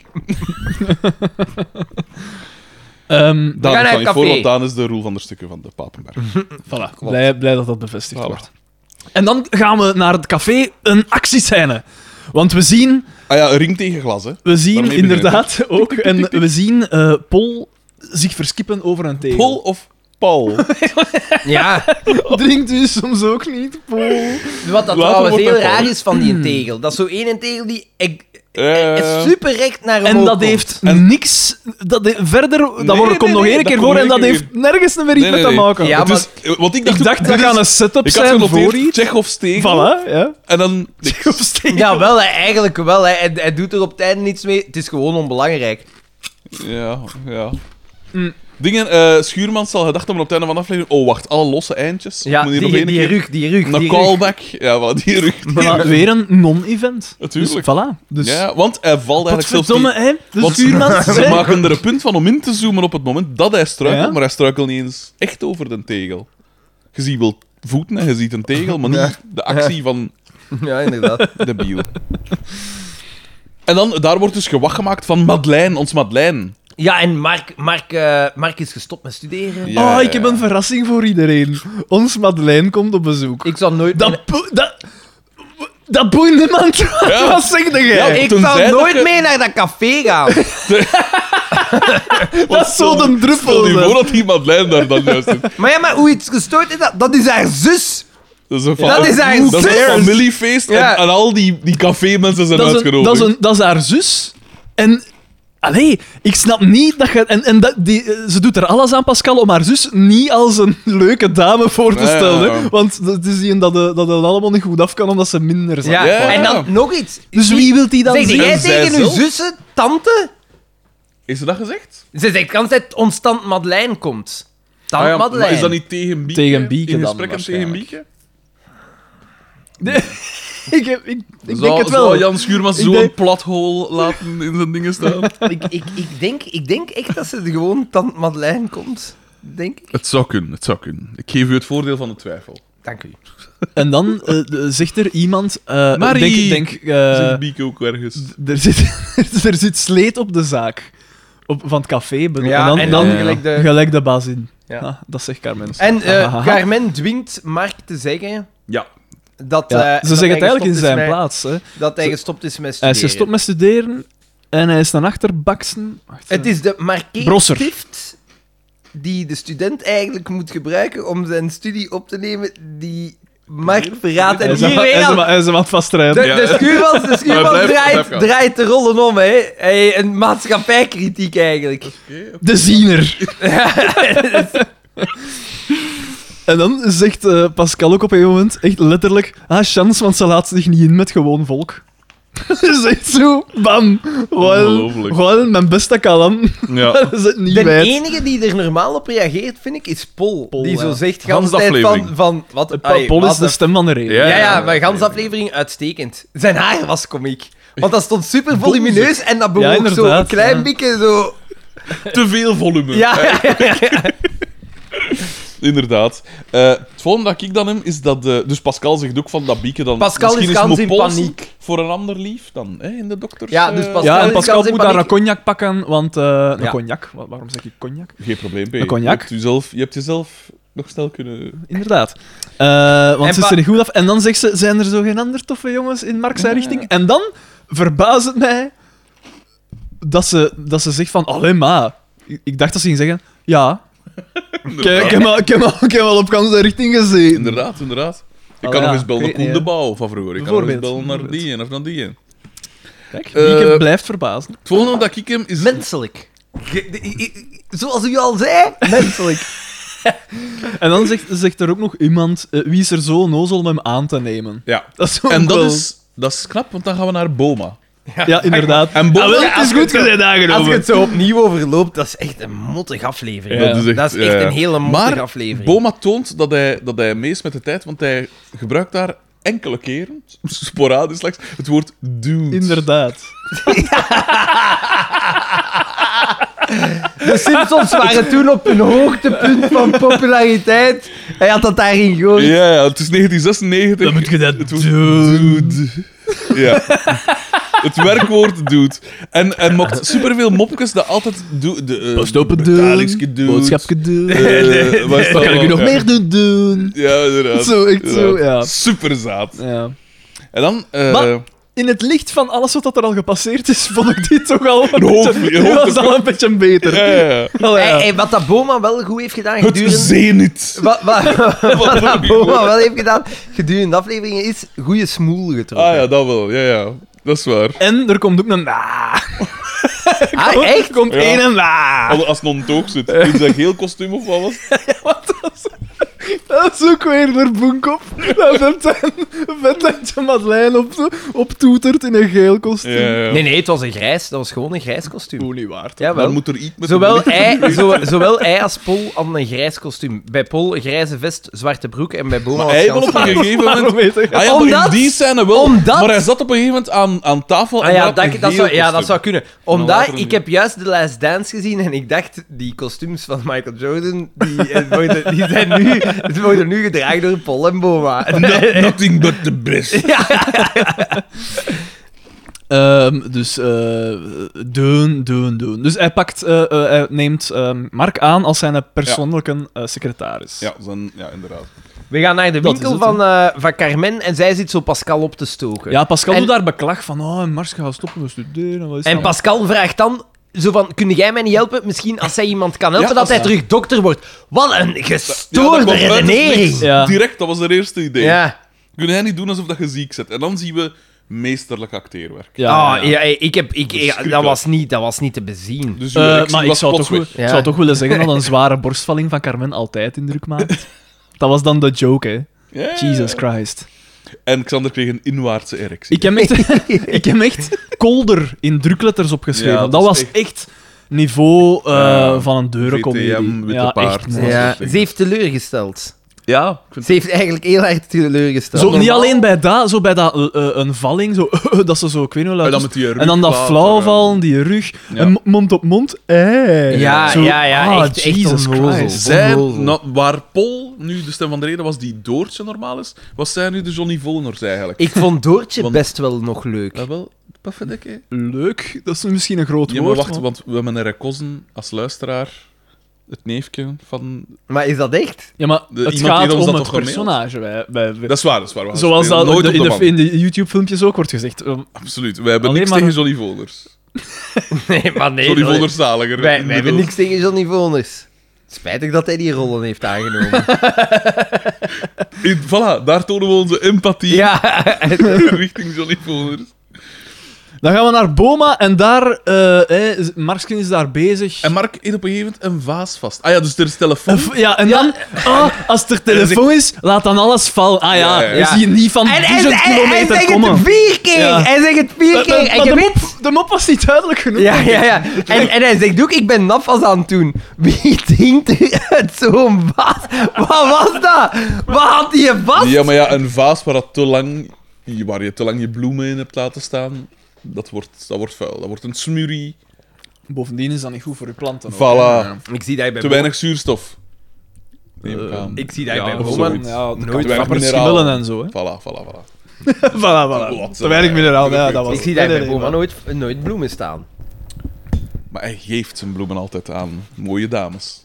S3: Ehm
S1: gaan
S2: Daan
S1: naar
S2: kan
S1: het
S2: niet voor,
S1: café. Hm,
S2: want Daan is de roel van de stukken van de Papenberg.
S3: voilà, blij, blij dat dat bevestigd
S2: Voilà.
S3: wordt. En dan gaan we naar het café, een actiescène. Want we zien,
S2: Ah ja, ring tegen glas, hè.
S3: we zien
S2: Daarmee
S3: inderdaad ook, en we zien eh Pol zich verskippen over een tegel.
S2: Pol of Paul?
S1: Ja,
S3: drinkt
S2: dus
S3: u soms ook niet, Pol.
S1: Wat dat
S2: Later
S1: trouwens
S2: wordt
S1: heel
S2: dat
S1: raar
S2: wel.
S1: is van die tegel. Dat is zo één tegel die ik,
S2: Eh.
S1: super recht naar hem
S3: En dat
S1: opkomt.
S3: heeft niks... Dat he- verder, dat
S2: Nee,
S3: wordt-
S2: nee,
S3: komt nog
S2: nee,
S3: één
S2: dat
S3: keer
S2: komt
S3: voor
S2: nog één
S3: en dat
S2: keer
S3: heeft nergens meer iets
S2: Nee,
S3: met
S2: nee,
S3: te
S2: nee.
S3: maken.
S1: Ja, dus-
S2: Het
S1: maar-
S2: is, eh, want ik dacht,
S3: ik dacht,
S2: ook,
S3: dat
S2: dit
S3: gaan
S2: is-
S3: een setup
S2: Ik had
S3: zijn voor
S2: genoteerd,
S3: iets.
S2: Tsjechofs tegel.
S3: Voilà, ja.
S2: En dan... niks.
S1: Ja, wel, hè, eigenlijk wel. Hè. Hij, hij doet er op het einde niets mee. Het is gewoon onbelangrijk.
S2: Ja, ja.
S3: Mm.
S2: Dingen, eh, Schuurman zal gedacht hebben op het einde van de aflevering... Oh, wacht, alle losse eindjes.
S1: Ja,
S2: Moet hier
S1: die,
S2: nog
S1: die,
S2: één keer-
S1: rug, die rug.
S2: Een
S1: Die rug.
S2: callback. Ja, wel, die rug. die
S3: Maar
S2: rug.
S3: weer een non-event.
S2: Natuurlijk.
S3: Dus voilà. Dus,
S2: Ja, want hij valt eigenlijk zelfs
S3: Potverdomme,
S2: niet...
S3: hè? De
S2: Want
S3: stuurman.
S2: ze maken er een punt van om in te zoomen op het moment dat hij struikelt,
S3: Ja?
S2: maar hij struikelt niet eens echt over de tegel. Je ziet wel voeten en je ziet een tegel, maar niet de actie van
S1: Ja, inderdaad.
S2: de biel. En dan, daar wordt dus gewacht gemaakt van Madeleine, ons Madeleine.
S1: Ja, en Mark, Mark, eh, Mark is gestopt met studeren.
S2: Ja,
S3: Oh, ik heb
S2: ja.
S3: een verrassing voor iedereen. Ons Madeleine komt op bezoek.
S1: Ik zou nooit... meer-
S3: Dat, boe- dat, dat boeit niemand.
S2: Ja.
S3: Wat zeg jij?
S2: Ja,
S1: ik
S2: tenzij
S1: zou
S2: dat
S1: nooit
S2: je-
S1: mee naar dat café gaan.
S3: dat is zo de druppel.
S2: Stel je
S3: zeg.
S2: voor dat die Madeleine daar dan juist is.
S1: Maar ja, maar hoe iets gestoord is, dat, dat is haar zus.
S2: Dat is een, fa-
S1: Dat is haar
S2: dat is een
S1: zus.
S2: familiefeest en-
S1: Ja.
S2: en, al die, die café-mensen zijn
S3: Dat is, een,
S2: uitgenodigd.
S3: dat, is een, dat is haar zus. En. Allee, ik snap niet dat je. En, en dat, die, eh, ze doet er alles aan, Pascal, om haar zus niet als een leuke dame voor te
S2: Ja, ja,
S3: stellen. hè.
S2: ja.
S3: Want het is die dat het dat het allemaal niet goed af kan, omdat ze minder zijn.
S1: Ja.
S2: Ja.
S1: En dan nog iets.
S3: Dus wie wil die dan
S1: Zeg
S3: zien?
S1: jij
S2: En zij
S1: tegen uw
S2: zelf?
S1: zussen, tante?
S2: Is er dat gezegd?
S1: Ze zegt kans dat ons tante Madeleine komt. Tante
S2: Ah ja, maar
S1: Madeleine.
S2: Is dat niet tegen Bieke?
S3: Tegen Bieke
S2: In
S3: dan
S2: gesprekken tegen
S3: waarschijnlijk.
S2: Bieke?
S3: Ik, heb- ik, ik
S2: zou,
S3: denk het
S2: zou
S3: wel.
S2: Jan Schuurman
S3: Ik
S2: zo'n
S3: denk-
S2: plathol laten in zijn dingen staan?
S1: ik, ik, ik, denk, ik denk echt dat ze er gewoon tante Madeleine komt. Denk ik.
S2: het zou kunnen, het zou kunnen. Ik geef u het voordeel van de twijfel.
S1: Dank u.
S3: En dan eh, de- zegt er iemand. eh
S2: Marie!
S3: Denk, denk, eh,
S2: Zegt Bieke ook ergens.
S3: d- er, zit, er zit sleet op de zaak. Op, van het café. bedoel-
S1: Ja,
S3: en dan,
S1: en
S3: dan
S1: dan
S2: ja.
S1: gelijk de...
S3: gelijk de baas in.
S1: Ja.
S3: Ah, dat zegt Carmen.
S1: En eh,
S3: Ahaha.
S1: Carmen dwingt Mark te zeggen
S2: Ja.
S1: dat...
S3: Ja,
S1: eh, dat hij
S3: ze zeggen het eigenlijk in
S1: gestopt is
S3: zijn
S1: met-
S3: plaats. Hè.
S1: Dat hij
S3: Ze-
S1: gestopt is met
S3: Hij
S1: studeren.
S3: is gestopt met studeren en hij is naar achterbaksen. Wacht,
S1: Het
S3: eh.
S1: is de
S3: Brosser.
S1: markeerstift die de student eigenlijk moet gebruiken om zijn studie op te nemen die Mark verraadt.
S3: hij
S1: En
S3: is, aan-
S1: hier
S3: hij, is,
S1: weer
S3: aan-
S1: al-
S3: hij is hem aan het vastrijden.
S1: de,
S2: Ja.
S1: de schuurmans, de schuurmans
S2: blijf- blijf
S1: draait,
S2: gaan.
S1: draait de rollen om, hè. Hey, een maatschappijkritiek eigenlijk.
S3: De ziener. En dan zegt eh, Pascal ook op een gegeven moment echt letterlijk: Ah, chance, want ze laat zich niet in met gewoon volk. Dat is echt zo, bam. Gewoon,
S2: Ongelooflijk.
S3: gewoon mijn beste kalan.
S2: Ja.
S3: Dat is het niet
S1: De
S3: wijd.
S1: enige die er normaal op reageert, vind ik, is Pol.
S3: Pol,
S1: die zo
S3: ja.
S1: zegt
S2: Gans
S1: gans
S2: de
S1: de tijd van,
S2: aflevering.
S1: van... Wat, allee,
S3: Paul
S1: wat
S3: is de
S1: een-
S3: stem van de reden.
S2: Ja,
S1: Ja,
S2: ja,
S1: ja,
S2: ja,
S1: maar gans
S2: ja.
S1: de aflevering uitstekend. Zijn haar was komiek. Want dat stond super volumineus en dat bewoog zo
S3: inderdaad,
S1: een klein
S3: ja.
S1: beetje zo...
S2: Te veel volume.
S1: Ja, ja, ja, ja.
S2: Inderdaad. Eh, het volgende dat ik dan hem is dat. eh, dus Pascal zegt ook van dat Bieke dan.
S1: Pascal is
S2: misschien
S1: gans
S2: mijn
S1: in
S2: pols
S1: paniek.
S2: Voor een ander lief dan hè, in de dokters.
S1: Ja, dus
S2: eh,
S1: Pascal-
S3: Ja, en
S1: is
S3: Pascal
S1: kans in
S3: moet daar een
S1: paniek.
S3: cognac pakken, want... eh, een
S1: Ja.
S3: cognac? Wa- Waarom zeg ik cognac?
S2: Geen probleem, P.
S3: Een cognac.
S2: Je hebt, jezelf, je hebt jezelf nog snel kunnen.
S3: Inderdaad. Eh, want
S1: En
S3: ze is
S1: pa-
S3: er niet goed af. En dan zegt ze, zijn er zo geen ander toffe jongens in Mark's haar richting? En dan verbaast het mij dat ze, dat ze zegt van, allee ma. Ik- Ik dacht dat ze ging zeggen, ja. Kijk, ik heb al- ik heb al- ik heb al op kans zijn richting gezien.
S2: Inderdaad, inderdaad. Ik
S3: Ah,
S2: kan
S3: ja,
S2: nog eens bellen
S3: ik
S2: naar
S3: weet
S2: Koen
S3: niet,
S2: de
S3: hè.
S2: Bouw van vroeger. Ik kan nog eens bellen
S3: Bijvoorbeeld,
S2: naar die en of naar die. en.
S3: Kijk,
S2: Eh,
S3: Mieke blijft verbazen.
S2: Het volgende dat ik hem is.
S1: Menselijk. Ge- de- i- i- Zoals u al zei, menselijk.
S3: En dan zegt, zegt er ook nog iemand, eh, wie is er zo nozel om hem aan te nemen?
S2: Ja.
S3: Dat is ook
S2: En dat
S3: wel-
S2: is, dat is knap, want dan gaan we naar Boma.
S3: Ja, inderdaad.
S2: En Boma.
S3: Ah, wel,
S1: Ja,
S3: het
S1: als
S3: is goed
S1: je het
S3: gezegd
S1: Als je
S3: aangenomen.
S1: het zo opnieuw overloopt, dat is echt een mottig aflevering.
S3: Ja.
S1: dat is echt,
S2: eh,
S1: een hele mottige
S2: maar
S1: aflevering.
S2: Boma toont dat hij, dat hij mee is met de tijd, want hij gebruikt daar enkele keren, sporadisch slechts, het woord dude.
S3: Inderdaad.
S1: De Simpsons waren toen op een hoogtepunt van populariteit. Hij had dat daarin gegooid.
S2: Ja, ja, het is 1996.
S3: Dan moet je dat
S2: Het woord
S3: doen.
S2: dude. Ja. Het werkwoord dude. En, en mocht superveel mopjes dat altijd... Do, de, eh,
S3: Post open
S2: betalingsje
S3: doen.
S2: dude.
S3: Boodschapje doen.
S2: Eh, wat is dat
S3: Wat kan ik u nog
S2: Ja.
S3: meer doen doen?
S2: Ja, inderdaad.
S3: Zo, echt zo,
S2: Inderdaad.
S3: ja.
S2: Superzaad.
S3: ja.
S2: En dan... eh,
S3: Maar- In het licht van alles wat er al gepasseerd is, vond ik dit toch al een
S2: hoofd-
S3: beetje,
S2: een
S3: dit was
S2: hoofd-
S3: al een beetje beter.
S2: ja, ja, ja.
S3: Allee, ja.
S1: Hey, hey, wat dat Boma wel goed heeft gedaan
S2: Het
S1: gedurende...
S2: zenit.
S1: Wat, wat, wat dat Boma wel heeft gedaan gedurende de afleveringen is goede smoel getrokken.
S2: Ah ja, dat wel. Ja, ja. Dat is waar.
S3: En er komt ook een na.
S1: Ah, echt?
S3: Er komt
S2: Ja.
S3: één en na.
S2: Als, als het non toog zit. In zijn geel kostuum of wat was het?
S3: Dat is ook weer door Boenkop. Dat Vententje Madeleine op, optoetert in een geel kostuum.
S2: Ja, ja.
S1: Nee, nee, het was een grijs. Dat was gewoon een grijs kostuum.
S3: Hoe niet waard.
S1: Ja,
S2: Dan
S1: wel.
S2: moet er iets met
S1: Zowel
S2: de-
S1: hij, zo, zowel hij als Pol hadden een grijs kostuum. Bij Pol een grijze vest, zwarte broek en bij Boma was
S2: Hij wil
S1: gans
S2: op een
S1: paars.
S2: gegeven moment...
S3: Waarom weet ik-
S2: Ah ja, maar
S1: Omdat-
S2: in die scène wel.
S1: omdat-
S2: Maar hij zat op een gegeven moment aan, aan tafel
S1: Ah
S2: en
S1: ja,
S2: had
S1: dat,
S2: een
S1: dat
S2: geel
S1: zou, ja, dat
S2: kostuum.
S1: zou kunnen.
S2: dan later
S1: Omdat
S2: een
S1: ik
S2: nieuw.
S1: heb juist The Last Dance gezien en ik dacht, die kostuums van Michael Jordan, die, eh, worden, die zijn nu, die worden nu gedragen door Paul en Boma.
S2: No- nothing but the best.
S3: Ehm, dus eh doen, doen, doen. Dus hij pakt, eh, eh, hij neemt ehm, Mark aan als zijn persoonlijke eh, secretaris.
S2: Ja, zijn, ja inderdaad.
S1: We gaan naar de
S3: Dat
S1: winkel
S3: is het,
S1: van, eh, van Carmen en zij zit zo Pascal op te stoken.
S3: Ja, Pascal
S1: En-
S3: doet daar beklag van, oh, en Mars gaat stoppen met studeren. Wat is
S1: En
S3: dat?
S1: Pascal vraagt dan zo van, kun jij mij niet helpen? Misschien als zij iemand kan helpen,
S2: Ja,
S1: dat hij
S2: ja.
S1: terug dokter wordt. Wat een
S2: Ja, dat
S1: gestoorde
S2: kwam uit het niks.
S1: redenering.
S3: Ja.
S2: Direct, dat was haar eerste idee.
S1: Ja.
S2: Kun jij niet doen alsof dat je ziek zit? En dan zien we meesterlijk acteerwerk.
S1: Ah, ja, ik heb, ik, ja,
S2: Verschrikkelijk.
S1: dat, was niet, dat was niet te bezien.
S2: Dus
S3: Eh,
S2: uw reactie
S3: maar ik
S2: was
S3: zou, toch,
S2: plots
S3: wel-
S2: weg.
S1: Ja.
S3: zou toch willen zeggen dat een zware borstvalling van Carmen altijd indruk maakt. dat was dan de joke, hè.
S2: Ja.
S3: Jesus Christ.
S2: En Xander kreeg een inwaartse erectie.
S3: Ik heb echt, ik heb echt kolder in drukletters opgeschreven.
S2: Ja,
S3: dat,
S2: dat is
S3: was
S2: echt-
S3: echt, niveau eh,
S2: Ja,
S3: van een deurencomedie.
S2: VTM, Witte Paard.
S3: echt, nee.
S1: Ja,
S2: Ja.
S1: ze heeft teleurgesteld.
S2: Ja.
S1: Ze heeft eigenlijk heel hard teleurgesteld.
S3: Zo, niet
S2: normaal-
S3: alleen bij dat, zo bij dat eh, eh, een valling, zo, dat ze zo, ik weet niet hoe
S2: En
S3: luid
S2: dan
S3: is.
S2: met die rug
S3: En dan dat
S2: later,
S3: flauw
S2: ja.
S3: vallen, die rug,
S2: Ja.
S3: en mo- mond op mond, eh.
S1: Ja,
S3: Zo,
S1: ja, ja,
S3: ah,
S1: echt- echt
S3: Jesus
S1: onnozel.
S3: Christ.
S2: Zij,
S1: Onnozel.
S2: nou, waar Paul nu de stem van de reden was, die Doortje normaal is, was zij nu de Johnny Volners eigenlijk.
S1: Ik vond Doortje
S2: Want-
S1: best wel nog leuk.
S2: Ja, wel, pafferdikke.
S3: Leuk, dat is misschien een groot
S2: Ja, maar
S3: woord.
S2: wacht,
S3: maar-
S2: want we hebben een Rekozen als luisteraar. Het neefje van...
S1: Maar is dat echt?
S3: Ja, maar
S2: De-
S3: het
S2: iemand
S3: gaat
S2: die ons
S3: om
S2: dat
S3: het
S2: toch gemaild?
S3: personage. Wij, wij, wij-
S2: Dat is waar, dat is waar. We gaan
S3: zoals
S2: spelen
S3: dat
S2: nooit
S3: de-
S2: op
S3: in,
S2: de
S3: de,
S2: man.
S3: in de YouTube-filmpjes ook wordt gezegd. ehm,
S2: Absoluut. Wij hebben
S3: Alleen
S2: niks
S3: maar-
S2: tegen Johnny Volners.
S1: Nee, maar nee.
S2: Johnny
S1: dat-
S2: Volners zaliger.
S1: Wij, wij hebben
S2: inmiddels.
S1: niks tegen Johnny Voners. Spijtig dat hij die rollen heeft aangenomen.
S2: In, voilà, daar tonen we onze empathie
S1: ja,
S2: richting Johnny Volners.
S3: Dan gaan we naar Boma en daar... eh eh, Marsken is daar bezig.
S2: En Mark eet op een gegeven moment een vaas vast. Ah ja, dus er is telefoon.
S3: Een f- Ja, en dan... ah, als er telefoon is, laat dan alles vallen. Ah ja,
S2: Ja, ja.
S3: we zien niet van
S1: En hij, hij,
S3: 1000
S1: hij, hij
S3: kilometer
S1: zegt
S3: komen.
S1: het vier keer!
S3: Ja.
S1: Hij zegt het vier
S3: Maar-
S1: keer!
S3: Eh, maar-
S1: En
S3: maar
S1: je
S3: de,
S1: weet...
S3: mop, de mop was niet duidelijk genoeg.
S1: Ja, ja, ja. En, en hij zegt ook, ik ben nafas aan het doen. Wie drinkt er uit zo'n vaas? Wat was dat? Wat had hij vast?
S2: Ja, maar ja, een vaas waar, dat te lang, waar je te lang je bloemen in hebt laten staan, dat wordt, dat wordt vuil. Dat wordt een smurrie.
S3: Bovendien is dat niet goed voor uw planten.
S2: Voilà.
S3: ook.
S1: Ik zie dat hij bij
S2: Te weinig zuurstof. Neem ik
S3: Eh,
S2: aan.
S1: Ik zie dat
S2: Ja,
S1: hij bij
S2: of
S1: Boma...
S2: zoiets.
S3: Ja,
S1: Nooit
S3: nooit
S2: weinig
S3: van
S2: mineralen.
S3: schillen en zo. Hè.
S2: Voilà, voilà, voilà.
S3: voilà, voilà.
S2: Wat,
S3: Te weinig
S2: eh,
S3: mineraal, ja, dat was
S1: Ik zie
S3: Nee,
S1: daar bij
S3: nee,
S1: Boma
S3: nee,
S1: nooit, nooit bloemen staan.
S2: Maar hij geeft zijn bloemen altijd aan mooie dames.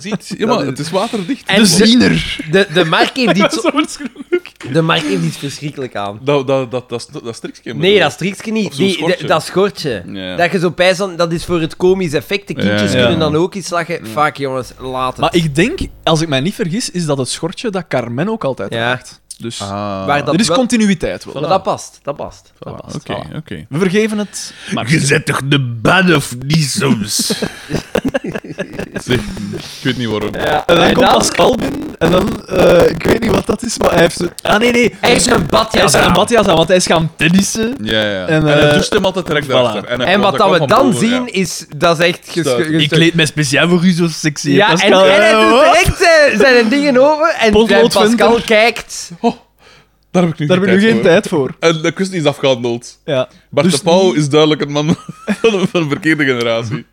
S2: Ziet? Ja, maar het is waterdicht.
S1: En-
S3: De ziener.
S1: De, de, Mark heeft iets,
S3: Zo waarschijnlijk.
S1: de Mark heeft iets verschrikkelijk aan.
S2: Dat, dat, dat, dat, dat strikje.
S1: Nee, dat strikje
S2: Of
S1: niet.
S2: zo'n
S1: Die,
S2: schortje.
S1: de- dat schortje.
S2: Ja.
S1: Dat je zo pijs aan- dat is voor het komisch effect. De kindjes
S2: Ja, ja.
S1: kunnen dan ook iets lachen. Fuck jongens, laat het.
S3: Maar ik denk, als ik mij niet vergis, is dat het schortje dat Carmen ook altijd
S1: Ja.
S3: draagt. Dus
S2: Ah,
S1: Waar dat-
S3: er is
S1: wel-
S3: continuïteit wel.
S1: Maar dat past, dat past. Dat
S2: voilà.
S1: past.
S2: Oké, oké.
S3: We vergeven het.
S2: Je zet toch de bad of niet soms? ik weet niet waarom.
S1: Ja.
S3: En Eh, dan
S1: En
S3: komt
S1: dan-
S3: Pascal binnen en dan, eh, ik weet niet wat dat is, maar hij heeft... zo- Ah nee, nee.
S1: Hij is een
S3: Hij
S1: badjas
S3: is aan
S1: aan.
S3: een badjas aan, want hij is gaan tennissen.
S2: Ja, ja.
S3: En,
S2: En,
S3: eh,
S2: het doucht hem altijd direct
S3: voilà.
S2: daarachter. hij
S1: En
S2: kwam-
S1: wat
S2: hij
S1: dat
S2: kwam
S1: we
S2: van
S1: dan
S2: boven,
S1: zien,
S2: ja.
S1: is... Dat is echt... ges-
S2: Stuit.
S1: ges-
S3: mij speciaal voor u zo sexy.
S1: Ja, en, en hij doet direct zijn, eh, zijn dingen over en
S3: Potlood
S1: Pascal
S3: vindt
S1: kijkt.
S2: Oh, daar heb ik nu
S3: Daar
S2: geen
S3: hebben we nu
S2: tijd
S3: geen
S2: voor.
S3: tijd voor.
S2: En de kwestie is afgehandeld.
S3: Ja.
S2: Bart
S3: Dus
S2: de Pauw
S3: niet-
S2: is duidelijk een man van de van de verkeerde generatie.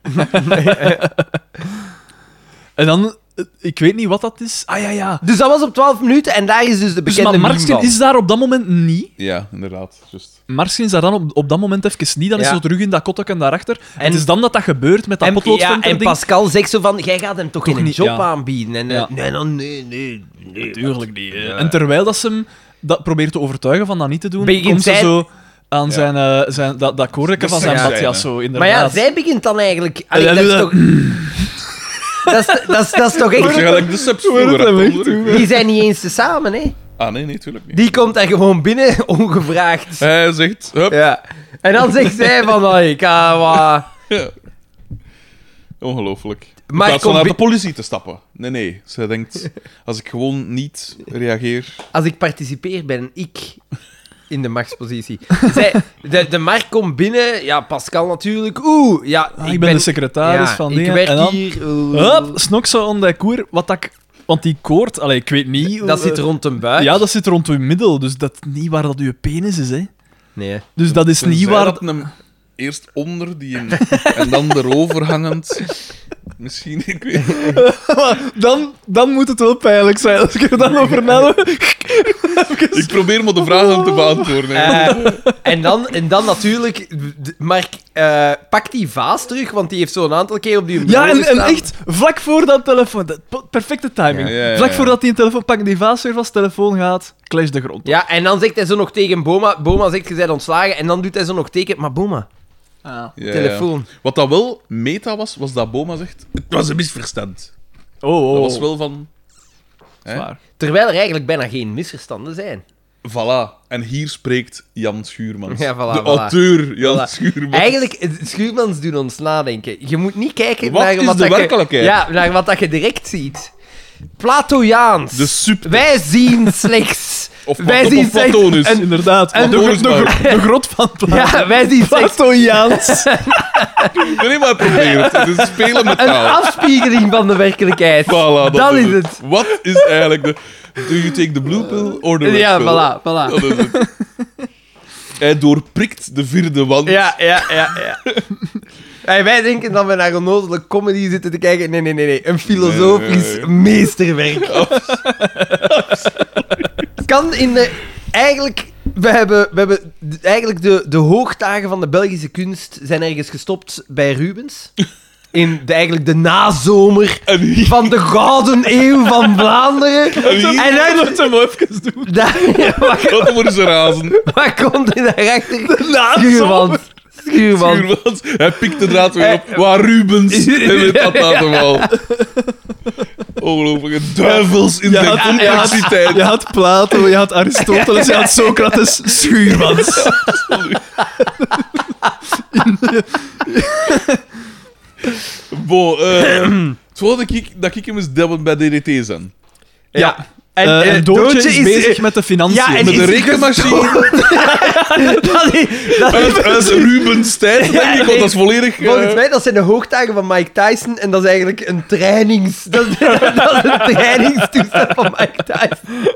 S3: En dan, eh, ik weet niet wat dat is. Ah ja, ja.
S1: Dus dat was op 12 minuten en daar is dus de
S3: Dus
S1: bekende
S3: maar
S1: meme
S3: Marsken
S1: van.
S3: is daar op dat moment niet.
S2: Ja, inderdaad. Just.
S3: Marsken is daar dan op, op dat moment even niet. Dan is
S1: Ja.
S3: ze terug in dat kotteken daarachter. En
S1: En-
S3: het is dan dat dat gebeurt met dat
S1: En, ja,
S3: potloodventer
S1: en
S3: ding.
S1: Pascal zegt zo van, jij gaat hem toch, geen
S3: niet,
S1: job
S3: ja.
S1: aanbieden? En, eh,
S3: Ja.
S1: Nee, dan nee, nee, nee.
S3: Tuurlijk niet. En terwijl dat ze hem dat probeert te overtuigen van dat niet te doen,
S1: Begint
S3: komt ze
S1: zij-
S3: zo aan zijn, eh, zijn, dat, dat koordje
S2: Dus
S3: van zijn
S2: zij-
S3: badjas. Zo,
S1: Maar
S3: inderdaad.
S1: ja, zij begint dan eigenlijk... Allee,
S3: Ja,
S1: dat, is
S3: dat-
S1: toch, dat, is, dat, is, dat is toch
S2: Ik zeg
S1: echt...
S2: eigenlijk de subs
S3: Hoe wordt dat
S2: vroeger.
S3: weg, toe?
S1: Die zijn niet eens te samen, hè?
S2: Ah, nee, nee, tuurlijk niet.
S1: Die komt daar gewoon binnen, ongevraagd.
S2: Hij zegt, hup,
S1: Ja. En dan zegt zij van, "Allee, ik ga wat...
S2: Ja. Ongelooflijk. In
S1: Maar
S2: plaats van
S1: kom
S2: naar de
S1: bi-
S2: politie te stappen. Nee, nee. Zij denkt, als ik gewoon niet reageer...
S1: Als ik participeer, ben ik in de machtspositie. Zij, de, de Mark komt binnen, ja, Pascal natuurlijk. Oeh, ja,
S3: Ah, ik ben de secretaris
S1: ja,
S3: van
S1: ik
S3: dingen.
S1: werk
S3: En dan-
S1: hier. oeh.
S3: Hup, snok ze om dat koer. Wat dat ik... Want die koord, allee, ik weet niet... hoe-
S1: Dat zit rond een buik.
S3: Ja, dat zit rond uw middel. Dus dat is niet waar dat uw penis is, hè.
S1: Nee.
S3: Dus dat is niet
S2: Tenzij
S3: waar...
S2: dat hem eerst onder die hem- en dan erover hangend... Misschien, ik weet het
S3: Maar dan, dan moet het wel pijnlijk zijn als ik er dan over nadenk.
S2: niet. Ik probeer maar de vragen te beantwoorden.
S1: Eh, en, dan, en dan natuurlijk, de- Mark eh pakt die vaas terug, want die heeft zo'n aantal keer op die
S3: Ja,
S1: bureau
S3: en, en
S1: gestaan.
S3: echt, vlak voor dat telefoon... dat- po- perfecte timing.
S2: Ja, ja, ja,
S3: vlak
S2: ja.
S3: voordat hij een telefoon pakt, die vaas weer vast, telefoon gaat, clash de grond.
S1: Ja, en dan zegt hij zo nog tegen Boma, Boma zegt, je bent ontslagen, en dan doet hij zo nog teken, maar Boma,
S3: Ah.
S2: Ja, ja.
S1: telefoon.
S2: Wat dat wel meta was, was dat Boma zegt... Het was een misverstand.
S3: Oh, oh.
S2: Dat was wel van... hè?
S3: Zwaar.
S1: Terwijl er eigenlijk bijna geen misverstanden zijn.
S2: Voilà. En hier spreekt Jan Schuurmans.
S1: Ja, voilà,
S2: de
S1: voilà.
S2: auteur Jan
S1: Voilà.
S2: Schuurmans.
S1: Eigenlijk, het- Schuurmans doen ons nadenken. Je moet niet kijken
S2: Wat
S1: naar
S2: is
S1: wat
S2: de
S1: dat
S2: werkelijkheid?
S1: Je, ja, naar wat dat je direct ziet. Platojaans.
S2: De sub...
S1: Wij zien slechts...
S2: Of
S1: wij
S2: Plato-
S1: zien
S2: of Platonus.
S1: slechts... een-
S3: Inderdaad.
S1: en-
S3: de, gro-
S2: Doris
S3: de,
S2: maar.
S3: gro- de grot van Plato.
S1: ja, wij zien slechts
S3: Platojaans.
S2: Nee, nee, maar probeer het. Het is spelen met
S1: een
S2: taal.
S1: afspiegeling van de werkelijkheid.
S2: Voilà, dat,
S1: dat
S2: is
S1: is
S2: het. Wat is eigenlijk de... Do you take the blue pill or the red
S1: Ja,
S2: pill?
S1: voilà, voilà.
S2: Dat is het. Hij doorprikt de vierde wand.
S1: Ja, ja, ja, ja. En wij denken dat we naar onnozele comedy zitten te kijken. Nee, nee, nee, nee. Een filosofisch
S2: Nee, nee,
S1: meesterwerk. kan in de... Eigenlijk... We hebben, we hebben d- eigenlijk de, de hoogdagen van de Belgische kunst zijn ergens gestopt bij Rubens. In de, eigenlijk de nazomer
S2: En hier...
S1: van de gouden eeuw van Vlaanderen.
S2: hier-
S1: En
S3: Laten
S1: dan,
S3: we het hem even doen.
S1: daar, wat,
S2: Dat worden ze razen.
S1: wat komt er daarachter?
S3: nazomer.
S1: Schuurmans. Schuurmans.
S2: Schuurmans.
S3: Eh,
S2: Hij pikt de draad weer op. Waar Rubens? Hij weet dat nou toch wel. Ongelooflijke duivels in de
S3: had- je, had,
S2: complexiteit.
S3: je had Plato, je had Aristoteles, je had Socrates, Schuurmans.
S2: Bo, eh, het volgende kiek dat ik hem eens dubbel bij DDT zijn.
S3: Ja.
S1: En,
S3: Eh,
S1: eh,
S3: en Doortje, is bezig met de financiën.
S1: Ja, en
S2: Met
S1: is
S2: de
S1: hij
S2: rekenmachine
S1: dat is- dat is-
S2: uit, uit Rubens tijd, denk ik, want dat is volledig... eh,
S1: Volgens mij, dat zijn de hoogdagen van Mike Tyson en dat is eigenlijk een trainings... Dat, is- dat is een trainingstoestel van Mike Tyson.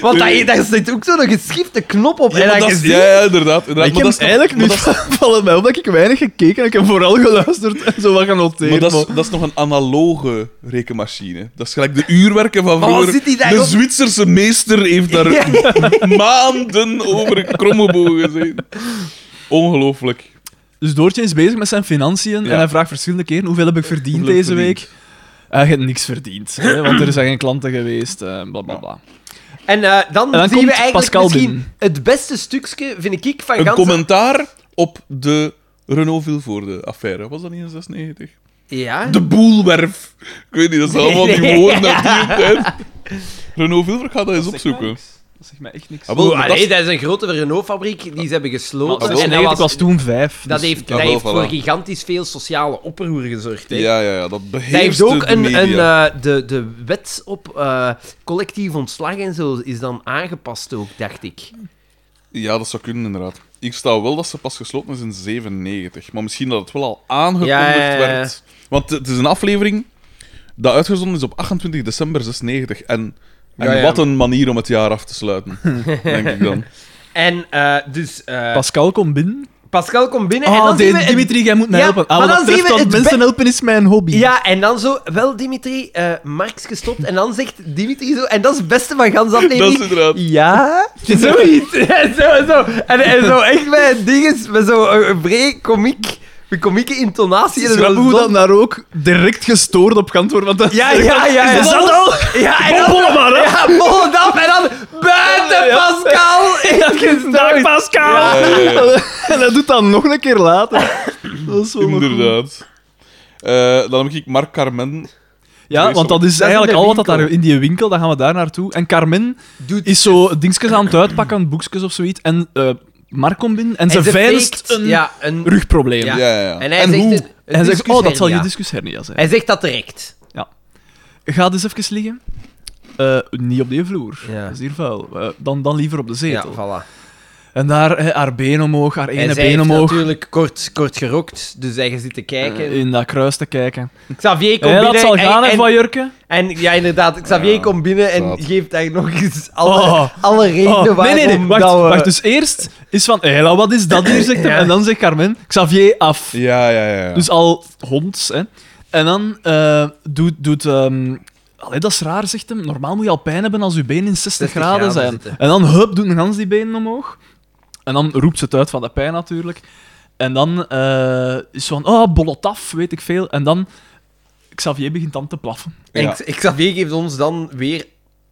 S1: Want daar, daar zit ook zo'n geschifte knop op.
S2: ja,
S1: en
S2: maar
S1: dan
S2: dat is-
S1: je
S2: ja, ja, inderdaad. inderdaad
S3: ik
S2: maar
S3: heb
S2: dat is nog-
S3: eigenlijk
S2: maar
S3: nu
S2: dat is-
S3: vallen mij op dat ik weinig gekeken heb. Ik heb vooral geluisterd en zo wat genoteerd.
S2: Maar dat is,
S3: maar-
S2: dat is nog een analoge rekenmachine. Dat is gelijk de uurwerken van
S1: Maar wat
S2: vroeger.
S1: zit die daar
S2: De
S1: op?
S2: Zwitserse meester heeft daar maanden over kromme bogen gezeten. Ongelooflijk.
S3: Dus Doortje is bezig met zijn financiën
S2: Ja.
S3: en hij vraagt verschillende keren hoeveel heb ik verdiend
S2: Hoeveel heb ik
S3: deze week. Hij heeft niks verdiend, hè, want er zijn geen klanten geweest, eh bla bla bla.
S1: En eh, dan,
S3: En dan
S1: zien
S3: komt
S1: we eigenlijk
S3: Pascal
S1: misschien
S3: binnen.
S1: het beste stukje, vind ik, van
S2: Een
S1: ganse-
S2: commentaar op de Renault Vilvoorde affaire. Was dat niet in 96?
S1: Ja.
S2: De boelwerf. Ik weet niet, dat zijn allemaal die
S1: Ah. Nee.
S2: woorden uit die tijd. Renault Vilvoorde, ga dat eens opzoeken.
S3: Dat zegt mij echt niks.
S2: Ah, wel,
S1: Oeh,
S2: maar dat
S1: allee,
S2: is-
S1: dat is een grote Renault-fabriek die ze hebben gesloten.
S2: Maar dat is
S1: en
S3: ik
S1: dat,
S3: was,
S1: was,
S3: toen vijf.
S1: dat
S3: dus-
S1: heeft,
S2: Ja,
S1: dat
S2: wel,
S1: heeft voor
S2: voilà.
S1: gigantisch veel sociale oproer gezorgd. hè.
S2: Ja, ja, ja, dat
S1: Dat
S2: beheerst
S1: heeft ook
S2: de
S1: een,
S2: media.
S1: een, eh, de, de wet op eh, collectief ontslag en zo is dan aangepast ook, dacht ik.
S2: Ja, dat zou kunnen, inderdaad. Ik sta wel dat ze pas gesloten is in 97. Maar misschien dat het wel al aangekondigd
S1: Ja, ja, ja, ja.
S2: werd. Want het is een aflevering dat uitgezonden is op 28 december 96. En, en
S1: Ja, ja.
S2: wat een manier om het jaar af te sluiten, denk ik dan.
S1: En eh, dus eh,
S3: Pascal komt binnen.
S1: Pascal komt binnen en
S3: Ah,
S1: dan zien
S3: de-
S1: we...
S3: Dimitri, jij moet mij
S1: Ja,
S3: helpen.
S1: maar
S3: Ah, wat
S1: dan
S3: dat
S1: zien we
S3: betreft,
S1: het
S3: want mensen
S1: be-
S3: helpen is mijn hobby.
S1: Ja, en dan zo, wel Dimitri, eh Marx gestopt. En dan zegt Dimitri zo, en dat is het beste van gans
S2: Dat is
S1: aflevering.
S2: inderdaad.
S1: Ja, zoiets. En zo, zo. En, en zo echt met een dinges, met zo'n brede komiek, met komieke intonatie.
S3: Het
S1: en
S3: is
S1: zo
S3: grappig hoe
S1: zot.
S3: dat daar ook direct gestoord op kan worden. Want dat
S1: Ja, ja, ja.
S3: Is dat al?
S1: Ah, Ja, en dan... Ja, Volendam. En dan buiten
S3: Ja.
S1: Pascal. Echt
S3: Dag
S1: gestoord.
S3: Pascal!
S2: Ja, ja, ja.
S3: en hij doet dat nog een keer later. Dat is wel nog goed.
S2: Inderdaad. Eh, dan heb ik Mark Carmen.
S3: Ja, want dat is
S1: Dat is
S3: eigenlijk
S1: in de
S3: al wat dat daar
S1: winkel.
S3: in die winkel, dan gaan we daar naartoe. En Carmen
S1: Doet-
S3: is zo dingetjes aan het uitpakken, boekjes of zoiets. En eh Mark komt binnen en, ze,
S1: ze
S3: veinst
S1: faked,
S3: een
S1: ja, een...
S3: rugprobleem.
S1: Ja.
S2: Ja, ja, ja.
S1: En hij
S3: En
S1: zegt...
S3: hoe?
S1: een- een
S3: En hij zegt, oh, dat zal je
S1: discushernia.
S3: discushernia zijn.
S1: Hij zegt dat direct.
S3: Ga dus even liggen. Eh, niet op die vloer.
S1: Ja.
S3: Dat is hier vuil. Eh, dan, dan liever op de
S1: Ja,
S3: zetel.
S1: voilà.
S3: En daar, eh, haar been omhoog, haar
S1: en zij
S3: ene been
S1: heeft
S3: omhoog.
S1: natuurlijk kort, kort gerokt, dus hij zit te kijken.
S3: eh, In dat kruis te kijken.
S1: Xavier komt
S3: Hé, dat
S1: binnen
S3: zal
S1: en-
S3: gaan, hè,
S1: en,
S3: van Jurken?
S1: en, ja, inderdaad, Xavier
S2: Ja,
S1: komt binnen en
S2: zaad.
S1: geeft daar nog eens alle,
S3: Oh.
S1: alle redenen
S3: Oh,
S1: waarom
S3: nee, nee, nee. Wacht,
S1: dat we...
S3: wacht, dus eerst is van, Hela, wat is dat hier, zegt hem.
S1: Ja.
S3: En dan zegt Carmen, Xavier, af.
S2: Ja, ja, ja. ja.
S3: Dus al honds, hè. En dan eh, doet... doet ehm, allee, dat is raar, zegt hem. Normaal moet je al pijn hebben als je benen in 60,
S1: 60
S3: graden,
S1: graden
S3: zijn.
S1: zitten.
S3: En dan, hup, doet een gans die benen omhoog. En dan roept ze het uit van de pijn, natuurlijk. En dan eh, is ze van, oh, bollot af, weet ik veel. En dan... Xavier begint dan te plaffen.
S1: En
S2: Ja.
S1: X- Xavier geeft ons dan weer...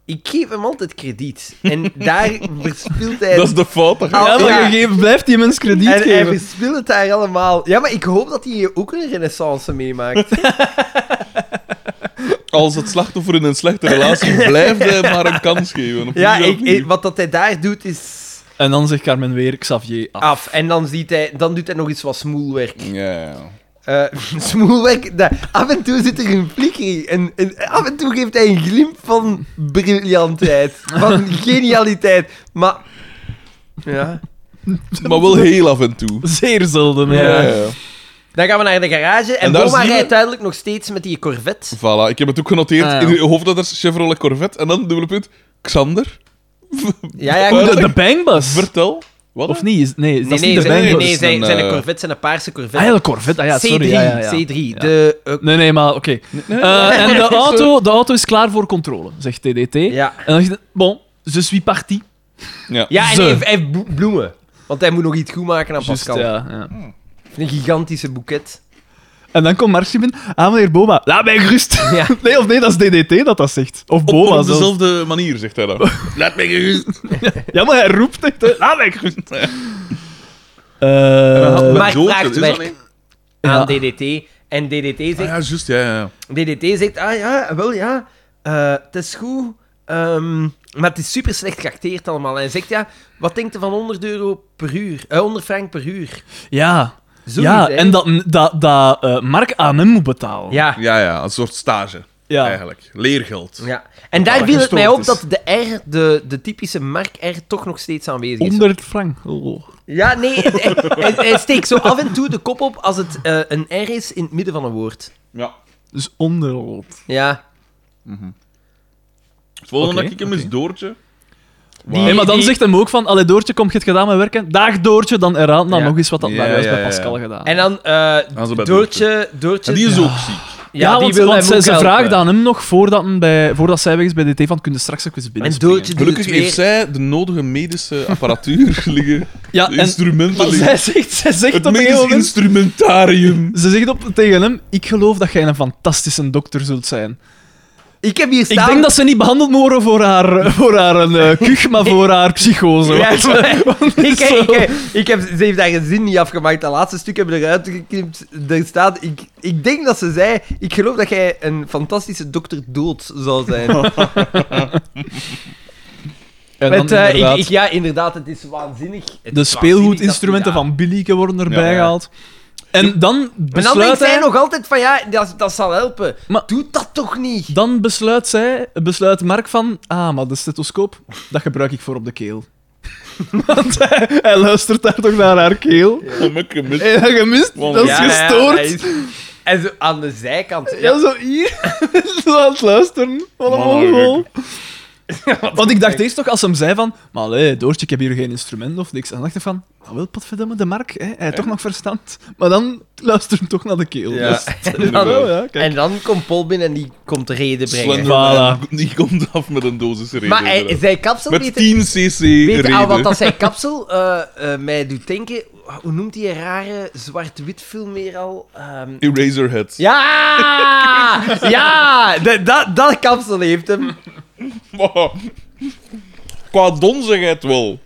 S1: Ik geef hem altijd krediet. En daar verspilt hij...
S2: dat is de fout. dat-
S1: Ah,
S3: ja, maar
S1: ja.
S3: je geeft- blijft die mens krediet
S1: en hij
S3: geven.
S1: verspilt het daar allemaal. Ja, maar ik hoop dat hij hier ook een renaissance meemaakt.
S2: Als het slachtoffer in een slechte relatie blijft, hij maar een kans geven. Op
S1: ja,
S2: die
S1: ik,
S2: manier.
S1: ik- wat dat hij daar doet is...
S3: En dan zegt Carmen weer, Xavier, ah,
S2: Ah.
S3: af.
S1: Af. En dan, ziet hij, dan doet hij nog iets wat smoelwerk.
S2: Ja, ja, ja.
S1: Eh, smoelwerk, dat, af en toe zit er een flikker in. En, en af en toe geeft hij een glimp van briljantheid. Van genialiteit. Maar... Ja.
S2: Maar wel heel af en toe.
S3: Zeer zelden, ja.
S2: Ja, ja, ja.
S1: Dan gaan we naar de garage. En,
S2: En daar
S1: Boma
S2: zien we-
S1: rijdt duidelijk nog steeds met die Corvette.
S2: Voilà, ik heb het ook genoteerd.
S3: Ah, ja.
S2: In de hoofdletters Chevrolet Corvette. En dan dubbele punt. Xander,
S1: Ja, ja,
S2: Hoe
S1: goed.
S3: De, de bangbus.
S2: vertel. Wat?
S3: Of niet? Is- Nee, is
S1: Nee,
S3: dat
S1: nee,
S3: niet de
S1: zijn, nee,
S3: bangbus.
S1: nee, zijn,
S2: Een,
S1: zijn een
S2: eh,
S1: Corvette, zijn een paarse
S3: Ah ja,
S1: Corvette.
S3: de Corvette. Ah ja, sorry.
S1: C3,
S3: ja, ja, ja.
S1: C3. De, eh,
S3: Nee, nee, maar oké. Eh, en de auto, de auto is klaar voor controle, zegt TDT.
S1: ja.
S3: En dan zegt hij, bon, je suis parti.
S2: Ja.
S1: ja, en
S3: Ze.
S1: hij heeft, hij heeft blo- bloemen. Want hij moet nog iets goed maken aan
S3: Juist,
S1: Pascal.
S3: ja, ja.
S1: Een gigantische boeket.
S3: En dan komt Marx binnen. Ah, meneer Boma, laat mij gerust.
S1: Ja.
S3: Nee, of nee, dat is DDT dat dat zegt. Of
S2: Op, maar
S3: Boma
S2: op
S3: zelfs.
S2: dezelfde manier, zegt hij dan. Laat mij gerust.
S3: Ja, maar hij roept echt. hè. Laat mij gerust. Eh,
S2: En dan had men
S1: Mark
S2: Doortje,
S1: vraagt
S2: is dat
S1: werk.
S2: niet?
S1: aan
S3: Ja.
S1: DDT. En DDT zegt...
S2: Ah, ja, juist, ja, ja.
S1: DDT zegt, ah ja, wel ja, eh, het is goed, ehm, maar het is super slecht geacteerd allemaal. En hij zegt, ja, wat denkt u van 100 euro per uur? Eh, 100 frank per uur.
S3: Ja,
S1: Zo
S3: ja en dat, dat, dat eh, Mark aan hem moet betalen.
S1: Ja,
S2: Ja, ja, een soort stage,
S3: ja.
S2: eigenlijk. Leergeld.
S1: ja. En daar
S3: dat
S1: viel het mij op
S3: gestoord
S1: dat de R, de, de typische Mark R, toch nog steeds aanwezig is.
S3: 100 frank. Oh.
S1: Ja, nee, het- hij, hij- hij steekt zo af en toe de kop op als het eh, een R is in het midden van een woord.
S2: Ja.
S3: Dus onderrood.
S1: Ja.
S2: Het volgende
S3: Oké,
S2: dat ik hem is Doortje.
S1: Die-
S3: Nee, maar dan zegt hem ook van, allee Doortje, kom je het gedaan met werken? Dag Doortje, dan herhaalt dan
S1: Ja.
S3: nog eens wat dat
S2: Ja,
S3: naar huis
S2: ja,
S3: bij
S2: ja.
S3: Pascal gedaan.
S1: En dan eh
S2: Gaan ze bij
S1: Doortje, Doortje...
S2: En die is
S1: ja,
S2: ook ziek.
S3: ja,
S1: die
S3: want,
S1: wil
S3: want
S1: hem
S3: ze,
S1: ook
S3: ze
S1: helpen.
S3: vraagt aan hem nog voordat, hem bij, voordat zij weg is bij DT van, kunnen straks ook eens binnen
S1: En Doortje doet
S2: Gelukkig
S1: het weer.
S2: heeft zij de nodige medische apparatuur liggen,
S3: Ja,
S2: de
S3: en
S2: instrumenten
S3: maar
S2: liggen.
S3: zij zegt, zij zegt
S2: Het
S3: op een
S2: medisch
S3: gegeven moment...
S2: instrumentarium.
S3: Ze zegt op, tegen hem, ik geloof dat jij een fantastische dokter zult zijn.
S1: Ik heb hier staan...
S3: Ik denk dat ze niet behandeld moet worden voor haar, voor haar een, eh, kuch, maar voor haar psychose.
S1: Ja,
S3: Want-
S1: ik-
S3: want
S1: ik,
S3: zo-
S1: ik, ik, ik heb, ze heeft daar een zin niet afgemaakt. Dat laatste stuk hebben we eruit geknipt. Er staat, ik, ik denk dat ze zei... Ik geloof dat jij een fantastische dokter dood zou zijn.
S3: En dan
S1: Met, eh, ik-
S3: inderdaad,
S1: ik, ja, inderdaad, het is waanzinnig. Het is
S3: de
S1: waanzinnig
S3: speelgoedinstrumenten
S1: dat hij
S3: van Billyke worden erbij
S2: Ja, ja.
S3: gehaald. En dan
S1: dat- Maar dan denkt
S3: besluit
S1: zij
S3: hij...
S1: nog altijd van, ja, dat, dat zal helpen.
S3: Maar-
S1: Doe dat toch niet?
S3: Dan besluit, zij, besluit Mark van... Ah, maar de stethoscoop, dat gebruik ik voor op de keel. Want hij, hij luistert daar toch naar haar keel.
S2: Om een gemist.
S3: En dat gemist,
S2: Want-
S3: dat is
S1: Ja, ja, ja,
S3: gestoord.
S1: hij is- en zo aan de zijkant.
S3: Ja, zo hier. zo aan het luisteren. Wat een
S2: Man,
S3: mongol. Want ik dacht eerst toch, als ze hem zei van... Maar allee, Doortje, ik heb hier geen instrument of niks. En dan dacht ik van... Nou wel, potverdomme, de Mark. Hè? Hij heeft toch nog verstand. Maar dan luistert hem toch naar de keel.
S1: Ja.
S3: Dus-
S1: En dan-
S3: Oh, ja, kijk.
S1: En dan komt Paul binnen en die komt reden brengen.
S2: Slenderman. Die komt af met een dosis reden.
S1: Maar hij, zijn kapsel
S2: Met
S1: weet-
S2: 10 cc
S1: Weet je aan wat
S2: reden.
S1: dat zijn kapsel eh, eh, mij doet denken? Hoe noemt die rare zwart-wit film weer al? Ehm,
S2: Eraserhead.
S1: Ja! Ja! Dat- dat- dat kapsel heeft hem.
S3: Oh,
S2: Maar, qua donzigheid wel.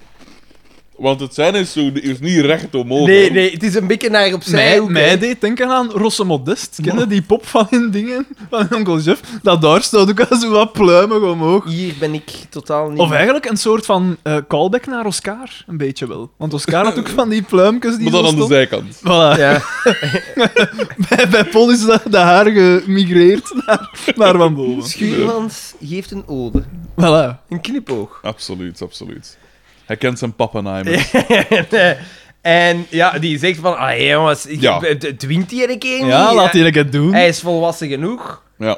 S2: Want het zijn is, zo, is niet recht omhoog.
S1: Nee, nee, het is een beetje naar opzij.
S3: Mij,
S1: hoek, hè.
S3: mij deed denken aan Rosse Modest. Ken je die pop van in dingen? Van Onkel Jeff. Dat daar staat ook al zo wat pluimig omhoog.
S1: Hier ben ik totaal niet.
S3: Of eigenlijk een soort van eh, callback naar Oscar. Een beetje wel. Want Oscar had ook van die pluimpjes die
S2: Maar dan
S3: zo
S2: aan de
S3: stonden.
S2: zijkant.
S3: Voilà.
S1: Ja.
S3: Bij, bij Paul is de, de haar gemigreerd naar, naar van boven.
S1: Schuurmans geeft een ode.
S3: Voilà.
S1: Een knipoog.
S2: Absoluut, absoluut. Hij kent zijn pappenheimer.
S1: en, eh, en ja, die zegt van... Ah, jongens, ik-
S2: Ja.
S1: d- dwingt hij een keer niet. eh,
S3: Ja, laat hij lekker doen.
S1: Hij is volwassen genoeg.
S2: Ja.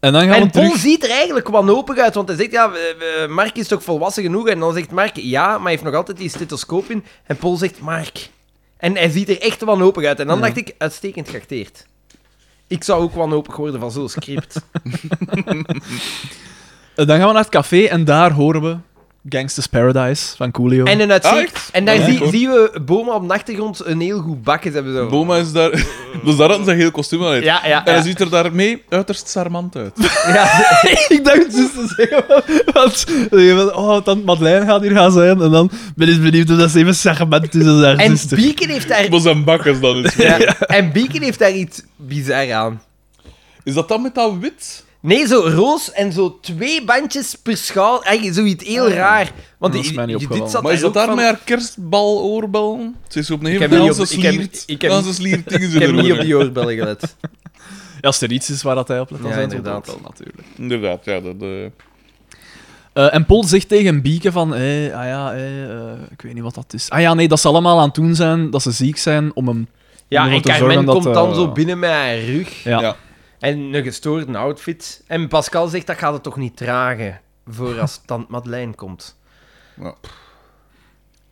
S3: En dan gaan
S1: En
S3: we
S1: Paul
S3: terug...
S1: ziet er eigenlijk wanhopig uit, want hij zegt, ja, eh, eh, Mark is toch volwassen genoeg? En dan zegt Mark, ja, maar hij heeft nog altijd die stethoscoop in. En Paul zegt, Mark. En hij ziet er echt wanhopig uit. En dan dacht ik, uitstekend geacteerd. Ik zou ook wanhopig worden van zo'n script.
S3: Dan gaan we naar het café en daar horen we Gangsters Paradise van Coolio.
S1: en, een uitzicht,
S2: echt?
S1: en daar
S2: Ja,
S1: zie-
S2: goed.
S1: zien we Boma op de achtergrond een heel goed bakken. Ze hebben zo...
S2: Boma is daar... Dus daar hadden ze een heel kostuum aan.
S1: Ja, ja,
S2: En hij
S1: ja.
S2: ziet er daarmee uiterst charmant uit.
S1: Ja,
S3: ik dacht dus te zeggen, want, want- oh, dan Madeleine gaat hier gaan zijn en dan ben ik benieuwd of dat ze even segment is als haar
S1: en
S3: zuster.
S1: Beacon heeft daar...
S2: Maar zijn bak is dan iets meer.
S1: Ja, en Beacon heeft daar iets bizar aan.
S2: Is dat dan met dat wit?
S1: Nee, zo roos en zo twee bandjes per schaal. Eigenlijk zoiets heel raar. Want
S3: Dat is
S1: je-
S3: mij niet
S1: je-
S3: opgevallen.
S1: dit zat
S2: maar is dat
S1: ook
S2: daar
S1: van-
S2: met haar kerstbal oorbel? Ze is op een gegeven
S1: heb niet
S2: moment aan
S1: op-
S2: zijn
S1: ik heb-
S2: sliert.
S1: ik heb-
S2: aan zijn sliert dingen
S1: Ik heb niet op
S2: erover.
S1: die oorbellen gelet.
S3: Ja, als er iets is waar dat hij op let, dan
S1: Ja,
S3: zijn ze
S1: inderdaad.
S3: wel natuurlijk.
S2: Inderdaad, ja. Dat, eh,
S3: Eh, en Paul zegt tegen Bieke van, eh, ah ja, eh, eh, ik weet niet wat dat is. Ah ja, nee, dat ze allemaal aan het doen zijn, dat ze ziek zijn om hem...
S1: Ja,
S3: Om
S1: en
S3: ervoor te zorgen
S1: Carmen
S3: dat,
S1: komt dan
S3: eh,
S1: zo binnen met haar rug.
S3: Ja.
S2: Ja.
S1: En een gestoorde outfit. En Pascal zegt, dat gaat het toch niet dragen voor als tante Madeleine komt.
S2: ja.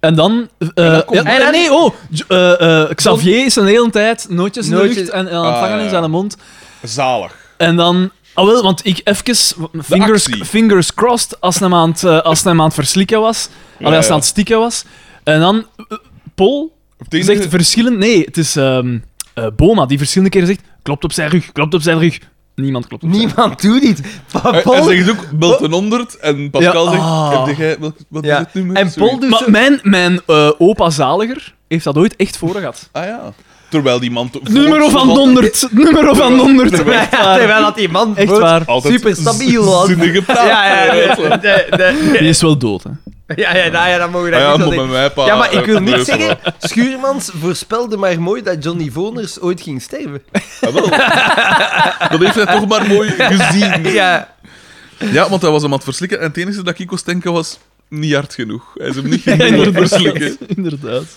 S3: En dan... eh,
S2: dan komt-
S3: ja, nee, nee, oh! J- eh, eh, Xavier is een hele tijd nootjes in de
S1: Nootjes-
S3: lucht en, en aan
S2: Ah,
S3: het vangen
S2: ja,
S3: in
S2: ja.
S3: zijn mond.
S2: Zalig.
S3: En dan... Ah wel, want ik even... Fingers,
S2: actie.
S3: fingers crossed als hij aan, het, eh, als hij aan het verslikken was. Allee, als hij
S2: ja.
S3: aan het stikken was. En dan... eh, Paul
S2: Op het
S3: zegt verschillend... Nee, het is ehm, eh, Boma die verschillende keren zegt... Klopt op zijn rug, klopt op zijn rug. Niemand klopt op zijn
S1: Niemand doet dit. Maar
S2: Hij-
S1: Paul...
S2: Hij zegt ook, belt een 100. En Pascal
S3: Ja,
S2: zegt,
S3: ah.
S2: heb jij... Wat, wat
S1: Ja.
S2: is het nummer?
S1: En
S3: dus
S2: Sorry.
S1: Paul doet
S3: Maar
S1: zo...
S3: mijn, mijn eh, opa Zaliger heeft dat ooit echt voor gehad.
S2: Ah ja. Terwijl die man... to-
S3: Nummer van
S2: volgens-
S3: 100. Nummer van 100.
S1: Ja, terwijl dat die man
S3: Echt
S1: wordt
S3: waar.
S2: Altijd
S1: superstabiel was.
S2: Zinnige
S1: Ja,
S2: taal.
S1: ja, ja. nee, nee, nee.
S3: Die is wel dood, hè.
S1: Ja, ja, nou ja, dan mogen we
S2: Ah
S1: dat
S2: ja,
S1: niet wel
S2: maar
S1: zeggen.
S2: bij mij, pa,
S1: Ja, maar ik wil
S2: eh,
S1: niet
S2: dus,
S1: zeggen, Schuurmans voorspelde maar mooi dat Johnny Voners ooit ging sterven.
S2: ah, wel. Dat heeft hij toch maar mooi gezien.
S1: Ja,
S2: Ja, want hij was hem aan het verslikken. En het enige dat ik kost denken was... Niet hard genoeg. Hij is hem niet genoeg aan het verslikken.
S3: Inderdaad.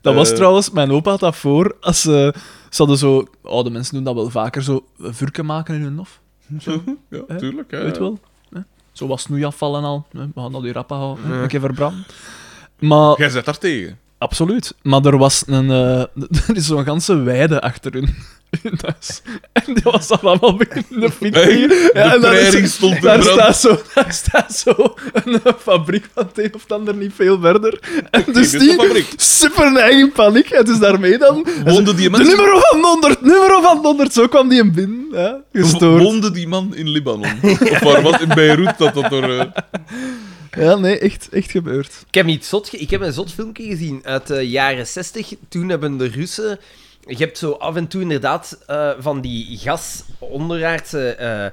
S3: Dat
S2: Eh.
S3: was trouwens, mijn opa had dat voor als ze. Ze hadden zo, oude mensen doen dat wel vaker, zo vurken maken in hun hof.
S2: Mhm. Ja, tuurlijk. hè.
S3: Weet wel? hè? Zo wat snoeiafval en al. hè. We gaan dat die rappen houden. hè. Een keer verbranden. Maar,
S2: Jij zet daar tegen.
S3: absoluut. Maar er was een. eh, er is zo'n ganse weide achter hun. hun huis. En die was al allemaal beginnen fietsen.
S2: Hey, de
S3: en dan is-
S2: prairie stond in
S3: daar
S2: brand.
S3: staat, zo, daar staat zo een eh, fabriek van het een of het ander niet veel verder. En dus
S2: dit is de
S3: die
S2: fabriek.
S3: super neig in paniek. En dus daarmee dan...
S2: Woonden die
S3: De
S2: mensen...
S3: nummer van 100, nummer van 100. Zo kwam die hem binnen. Ja, gestoord.
S2: Wonde die man in Libanon. Of waar was in Beirut dat dat er... eh,
S3: Ja, nee, echt, echt gebeurd.
S1: ik heb, iets zot ge- ik heb een zot filmpje gezien uit de jaren 60. Toen hebben de Russen... Je hebt zo af en toe inderdaad eh, van die gas, onderaardse eh,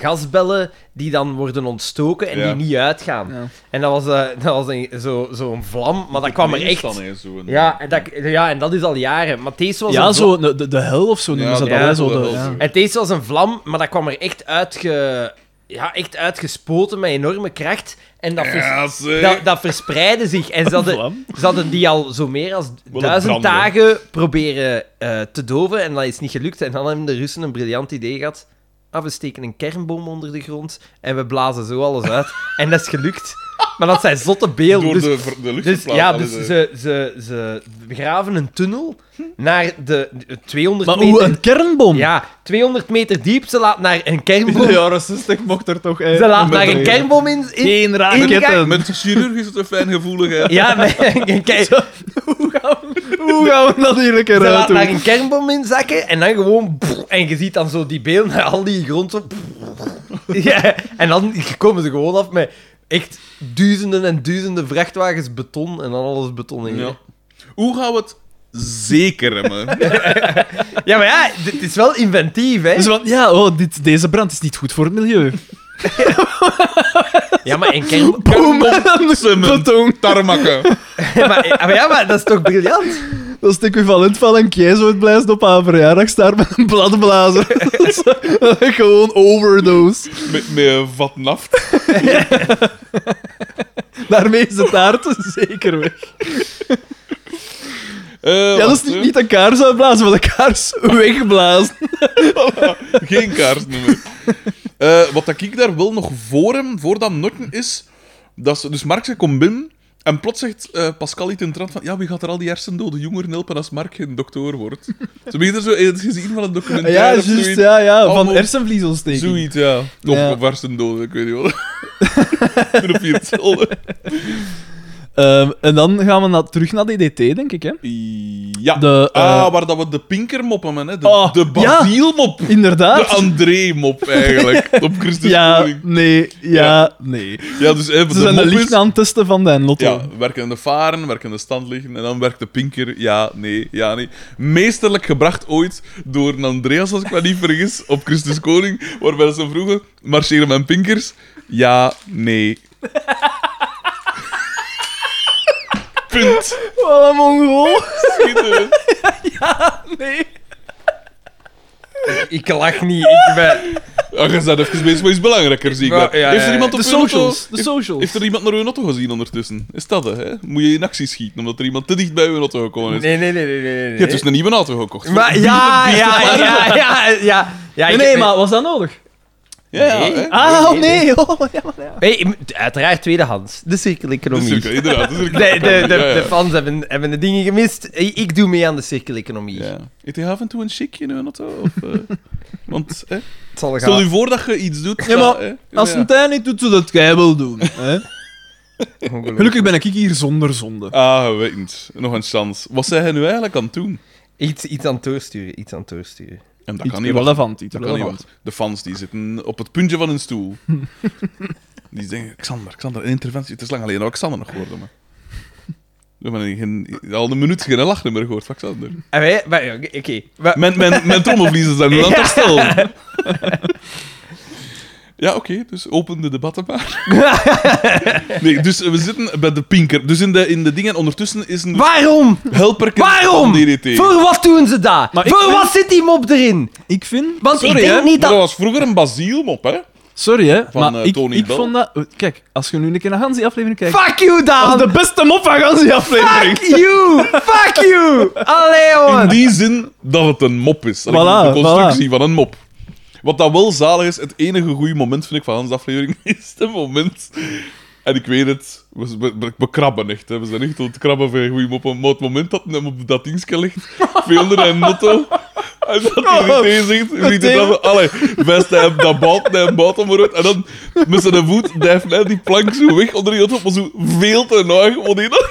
S1: gasbellen die dan worden ontstoken en
S2: Ja.
S1: die niet uitgaan.
S3: Ja.
S1: En dat was, eh, dat was een- zo- zo'n vlam, maar dat kwam er echt...
S2: Dan, eh, hè, zo een-
S1: Ja, en dat, ja, en dat is al jaren. Maar deze was
S3: Ja,
S1: een vlam-
S3: zo, de, de, de hel of zo noemen
S2: Ja,
S3: ze
S2: de
S3: dat.
S1: hel,
S3: hè, zo
S2: de
S3: de,
S2: hel.
S3: ja.
S1: Het deze was een vlam, maar dat kwam er echt, uitge... ja, echt uitgespoten met enorme kracht. En dat, vers-
S2: Ja, zeg.
S1: dat, dat verspreidde zich. En ze hadden,
S3: vlam?
S1: ze hadden die al zo meer als
S2: Wel
S1: duizend
S2: branden.
S1: dagen proberen eh, te doven. En dat is niet gelukt. En dan hebben de Russen een briljant idee gehad. Ah, we steken een kernboom onder de grond en we blazen zo alles uit. en dat is gelukt. Maar dat zijn zotte beelden.
S2: Door
S1: dus-
S2: de, ver- de lucht
S1: dus,
S2: geplaatst,
S1: ja,
S2: dat
S1: dus
S2: is, eh,
S1: ze, ze, ze graven een tunnel naar de de 200
S3: Maar hoe,
S1: meter...
S3: een kernbom?
S1: Ja, 200 meter diep. Ze laat naar een kernboom...
S3: jaren 60 Dus mocht er toch... eh,
S1: Ze laat naar een kernboom in... in-
S3: Geen
S1: raketten.
S3: raketten.
S2: Met chirurg is het een fijngevoeligheid.
S1: ja, maar een ker- ze
S3: Hoe gaan we dat hier een keer uit
S1: laat naar
S3: doen?
S1: een kernboom inzakken en dan gewoon... En je ziet dan zo die beelden, al die grond zo... Ja, en dan komen ze gewoon af met echt duizenden en duizenden vrachtwagens beton en dan alles beton in.
S2: Ja. Hoe gaan we het zeker remmen?
S1: Ja, maar ja, dit is wel inventief, hè?
S3: Dus van, ja, oh, dit, deze brand is niet goed voor het milieu.
S1: Ja, maar een kernboom...
S2: Boom!
S3: Dat,
S2: Tarmakken.
S1: Ja, maar, eh, maar ja, maar dat is toch briljant?
S3: dat is het equivalent van een kei zo het blijst op haar verjaardagstaart met een bladblazer. Dat is, eh, Gewoon overdose.
S2: Met, met een vat naft.
S3: Daarmee is de taart zeker weg.
S2: Eh,
S3: Ja, dat is
S2: wacht,
S3: niet,
S2: hè.
S3: niet een kaars uitblazen, maar de kaars wegblazen.
S2: Geen kaars meer. Eh, wat dat ik daar wel nog voor hem, voor dat noten is, dat ze, dus Mark ze komt binnen en plots zegt eh, Pascal iets in de trant van ja, wie gaat er al die hersendode jongeren helpen als Mark geen dokter wordt? Ze begint er zo in het gezien van een documentaire
S3: Ah Ja,
S2: of
S3: juist,
S2: zoiets.
S3: ja, ja. Van
S2: Allemaal-
S3: hersenvliesontsteking.
S2: Zoiets, ja. Of,
S3: Ja.
S2: of hersendode, ik weet niet wat. Toen op je hetzelfde.
S3: Ehm, en dan gaan we na- terug naar DDT, denk ik, hè?
S2: Ja.
S3: De, eh,
S2: ah, waar dat we de pinkermop hebben, hè. De,
S3: Oh,
S2: de
S3: ja.
S2: Basielmop.
S3: Inderdaad.
S2: De André-mop, eigenlijk. Op Christus
S3: ja,
S2: Koning.
S3: nee, ja, nee.
S2: Ja, dus even
S3: Ze
S2: de
S3: zijn de
S2: mop is-
S3: licht aan het testen van de Lotto.
S2: Ja, werken in de varen, werken in de stand liggen. En dan werkt de pinker, ja, nee, ja, nee. Meesterlijk gebracht ooit door een Andreas, als ik me niet vergis, op Christus Koning. Waarbij ze vroegen, marcheren mijn pinkers? Ja, nee. Punt.
S3: Wat een mongool.
S2: Schitterend.
S3: Nee.
S1: Ik lach niet. Ik ben...
S2: Ja, Ah, je bent even bezig met iets belangrijker, zie ik.
S1: Ja,
S2: wel.
S1: ja, ja,
S2: Heeft er iemand op
S3: De
S2: uw auto-
S3: socials, de
S2: Heeft-
S3: socials.
S2: Heeft er iemand naar uw auto gezien ondertussen? Is dat het, hè? Moet je in actie schieten omdat er iemand te dicht bij uw auto gekomen is?
S1: Nee, nee, nee, nee, nee. nee.
S2: Je hebt dus een nieuwe auto gekocht.
S1: Maar ja, ja, ja, ja, ja. ja
S3: Nee,
S1: ik-
S3: nee, maar was dat nodig?
S2: Ja, ja,
S1: Nee.
S2: hè?
S3: Ah,
S1: eh, nee, nee.
S3: nee. Oh, ja, maar ja.
S1: Nee, ik moet- uiteraard tweedehands. De
S2: Dat is
S1: cirkeleconomie.
S2: cirkel, inderdaad. dat is cirkel.
S1: De, de, de,
S2: Ja, ja.
S1: de fans hebben, hebben de dingen gemist. Ik ik doe mee aan de cirkeleconomie.
S2: Ja. Eet je af en toe een chicje in een auto? Of, eh, Want, hè,
S1: Het zal
S2: stel
S1: gaan.
S2: je voor dat je iets doet.
S3: Ja,
S2: dat,
S3: maar
S2: hè,
S3: Als
S2: ja.
S3: een tuin niet doet, zou dat jij wil doen. Hè? Gelukkig ben ik hier zonder zonde.
S2: Ah, weet niet. Nog een chance. Wat zijn jij nu eigenlijk aan het doen?
S1: Iets, iets aan het doorsturen, iets aan het doorsturen.
S2: En dat
S3: Iets
S2: kan niet wachten.
S3: relevant, iets
S2: Dat kan niet
S3: relevant.
S2: wachten. De fans die zitten op het puntje van hun stoel. die denken, Xander, Xander, een interventie. Het is lang alleen dat we Xander nog hoorden. Maar... We hebben geen, al een minuut geen lachnummer gehoord. Wat zou dat doen?
S1: En Ah, wij... maar ja, Oké. maar-
S2: Mijn, mijn, mijn trommelvliezen zijn nu aan het herstellen. Ja, oké, dus open de debatten maar. Nee, dus we zitten bij de pinker. Dus in de, in de dingen ondertussen is een
S1: Waarom?
S2: helper
S1: Waarom?
S2: van DDT.
S1: Voor wat doen ze dat?
S3: Maar ik
S1: Voor
S3: vind-
S1: wat zit die mop erin?
S3: Ik vind...
S1: Want
S2: Sorry,
S1: ik denk
S2: hè,
S1: niet
S2: maar
S1: dat...
S2: dat was vroeger een basielmop, hè?
S3: Sorry, hè.
S2: Van,
S3: maar
S2: eh,
S3: ik,
S2: Tony
S3: ik
S2: Bell.
S3: vond dat... Kijk, als je nu een keer naar Hans die aflevering kijkt...
S1: Fuck you,
S3: Dat
S1: Daan!
S3: is de beste mop van Hans die aflevering.
S1: Fuck you! Fuck you! Allee,
S2: In
S1: jongen!
S2: die zin dat het een mop is. Allee,
S3: Voilà,
S2: de constructie van een mop. Wat dat wel zalig is, het enige goede moment vind ik van Hans' aflevering is het moment. En ik weet het, we, we, we krabben echt. Hè. We zijn echt aan het krabben voor een goede mop. Maar het moment dat hem op dat dingetje ligt, veel er een motto. En dat hij meteen zegt, ziet het
S3: meteen.
S2: af, allee, vest hij hem dat bout, hij hem bout hem eruit. En dan met zijn voet dijft hij die plank zo weg onder die auto, maar zo veel te nauw. Want hij dan-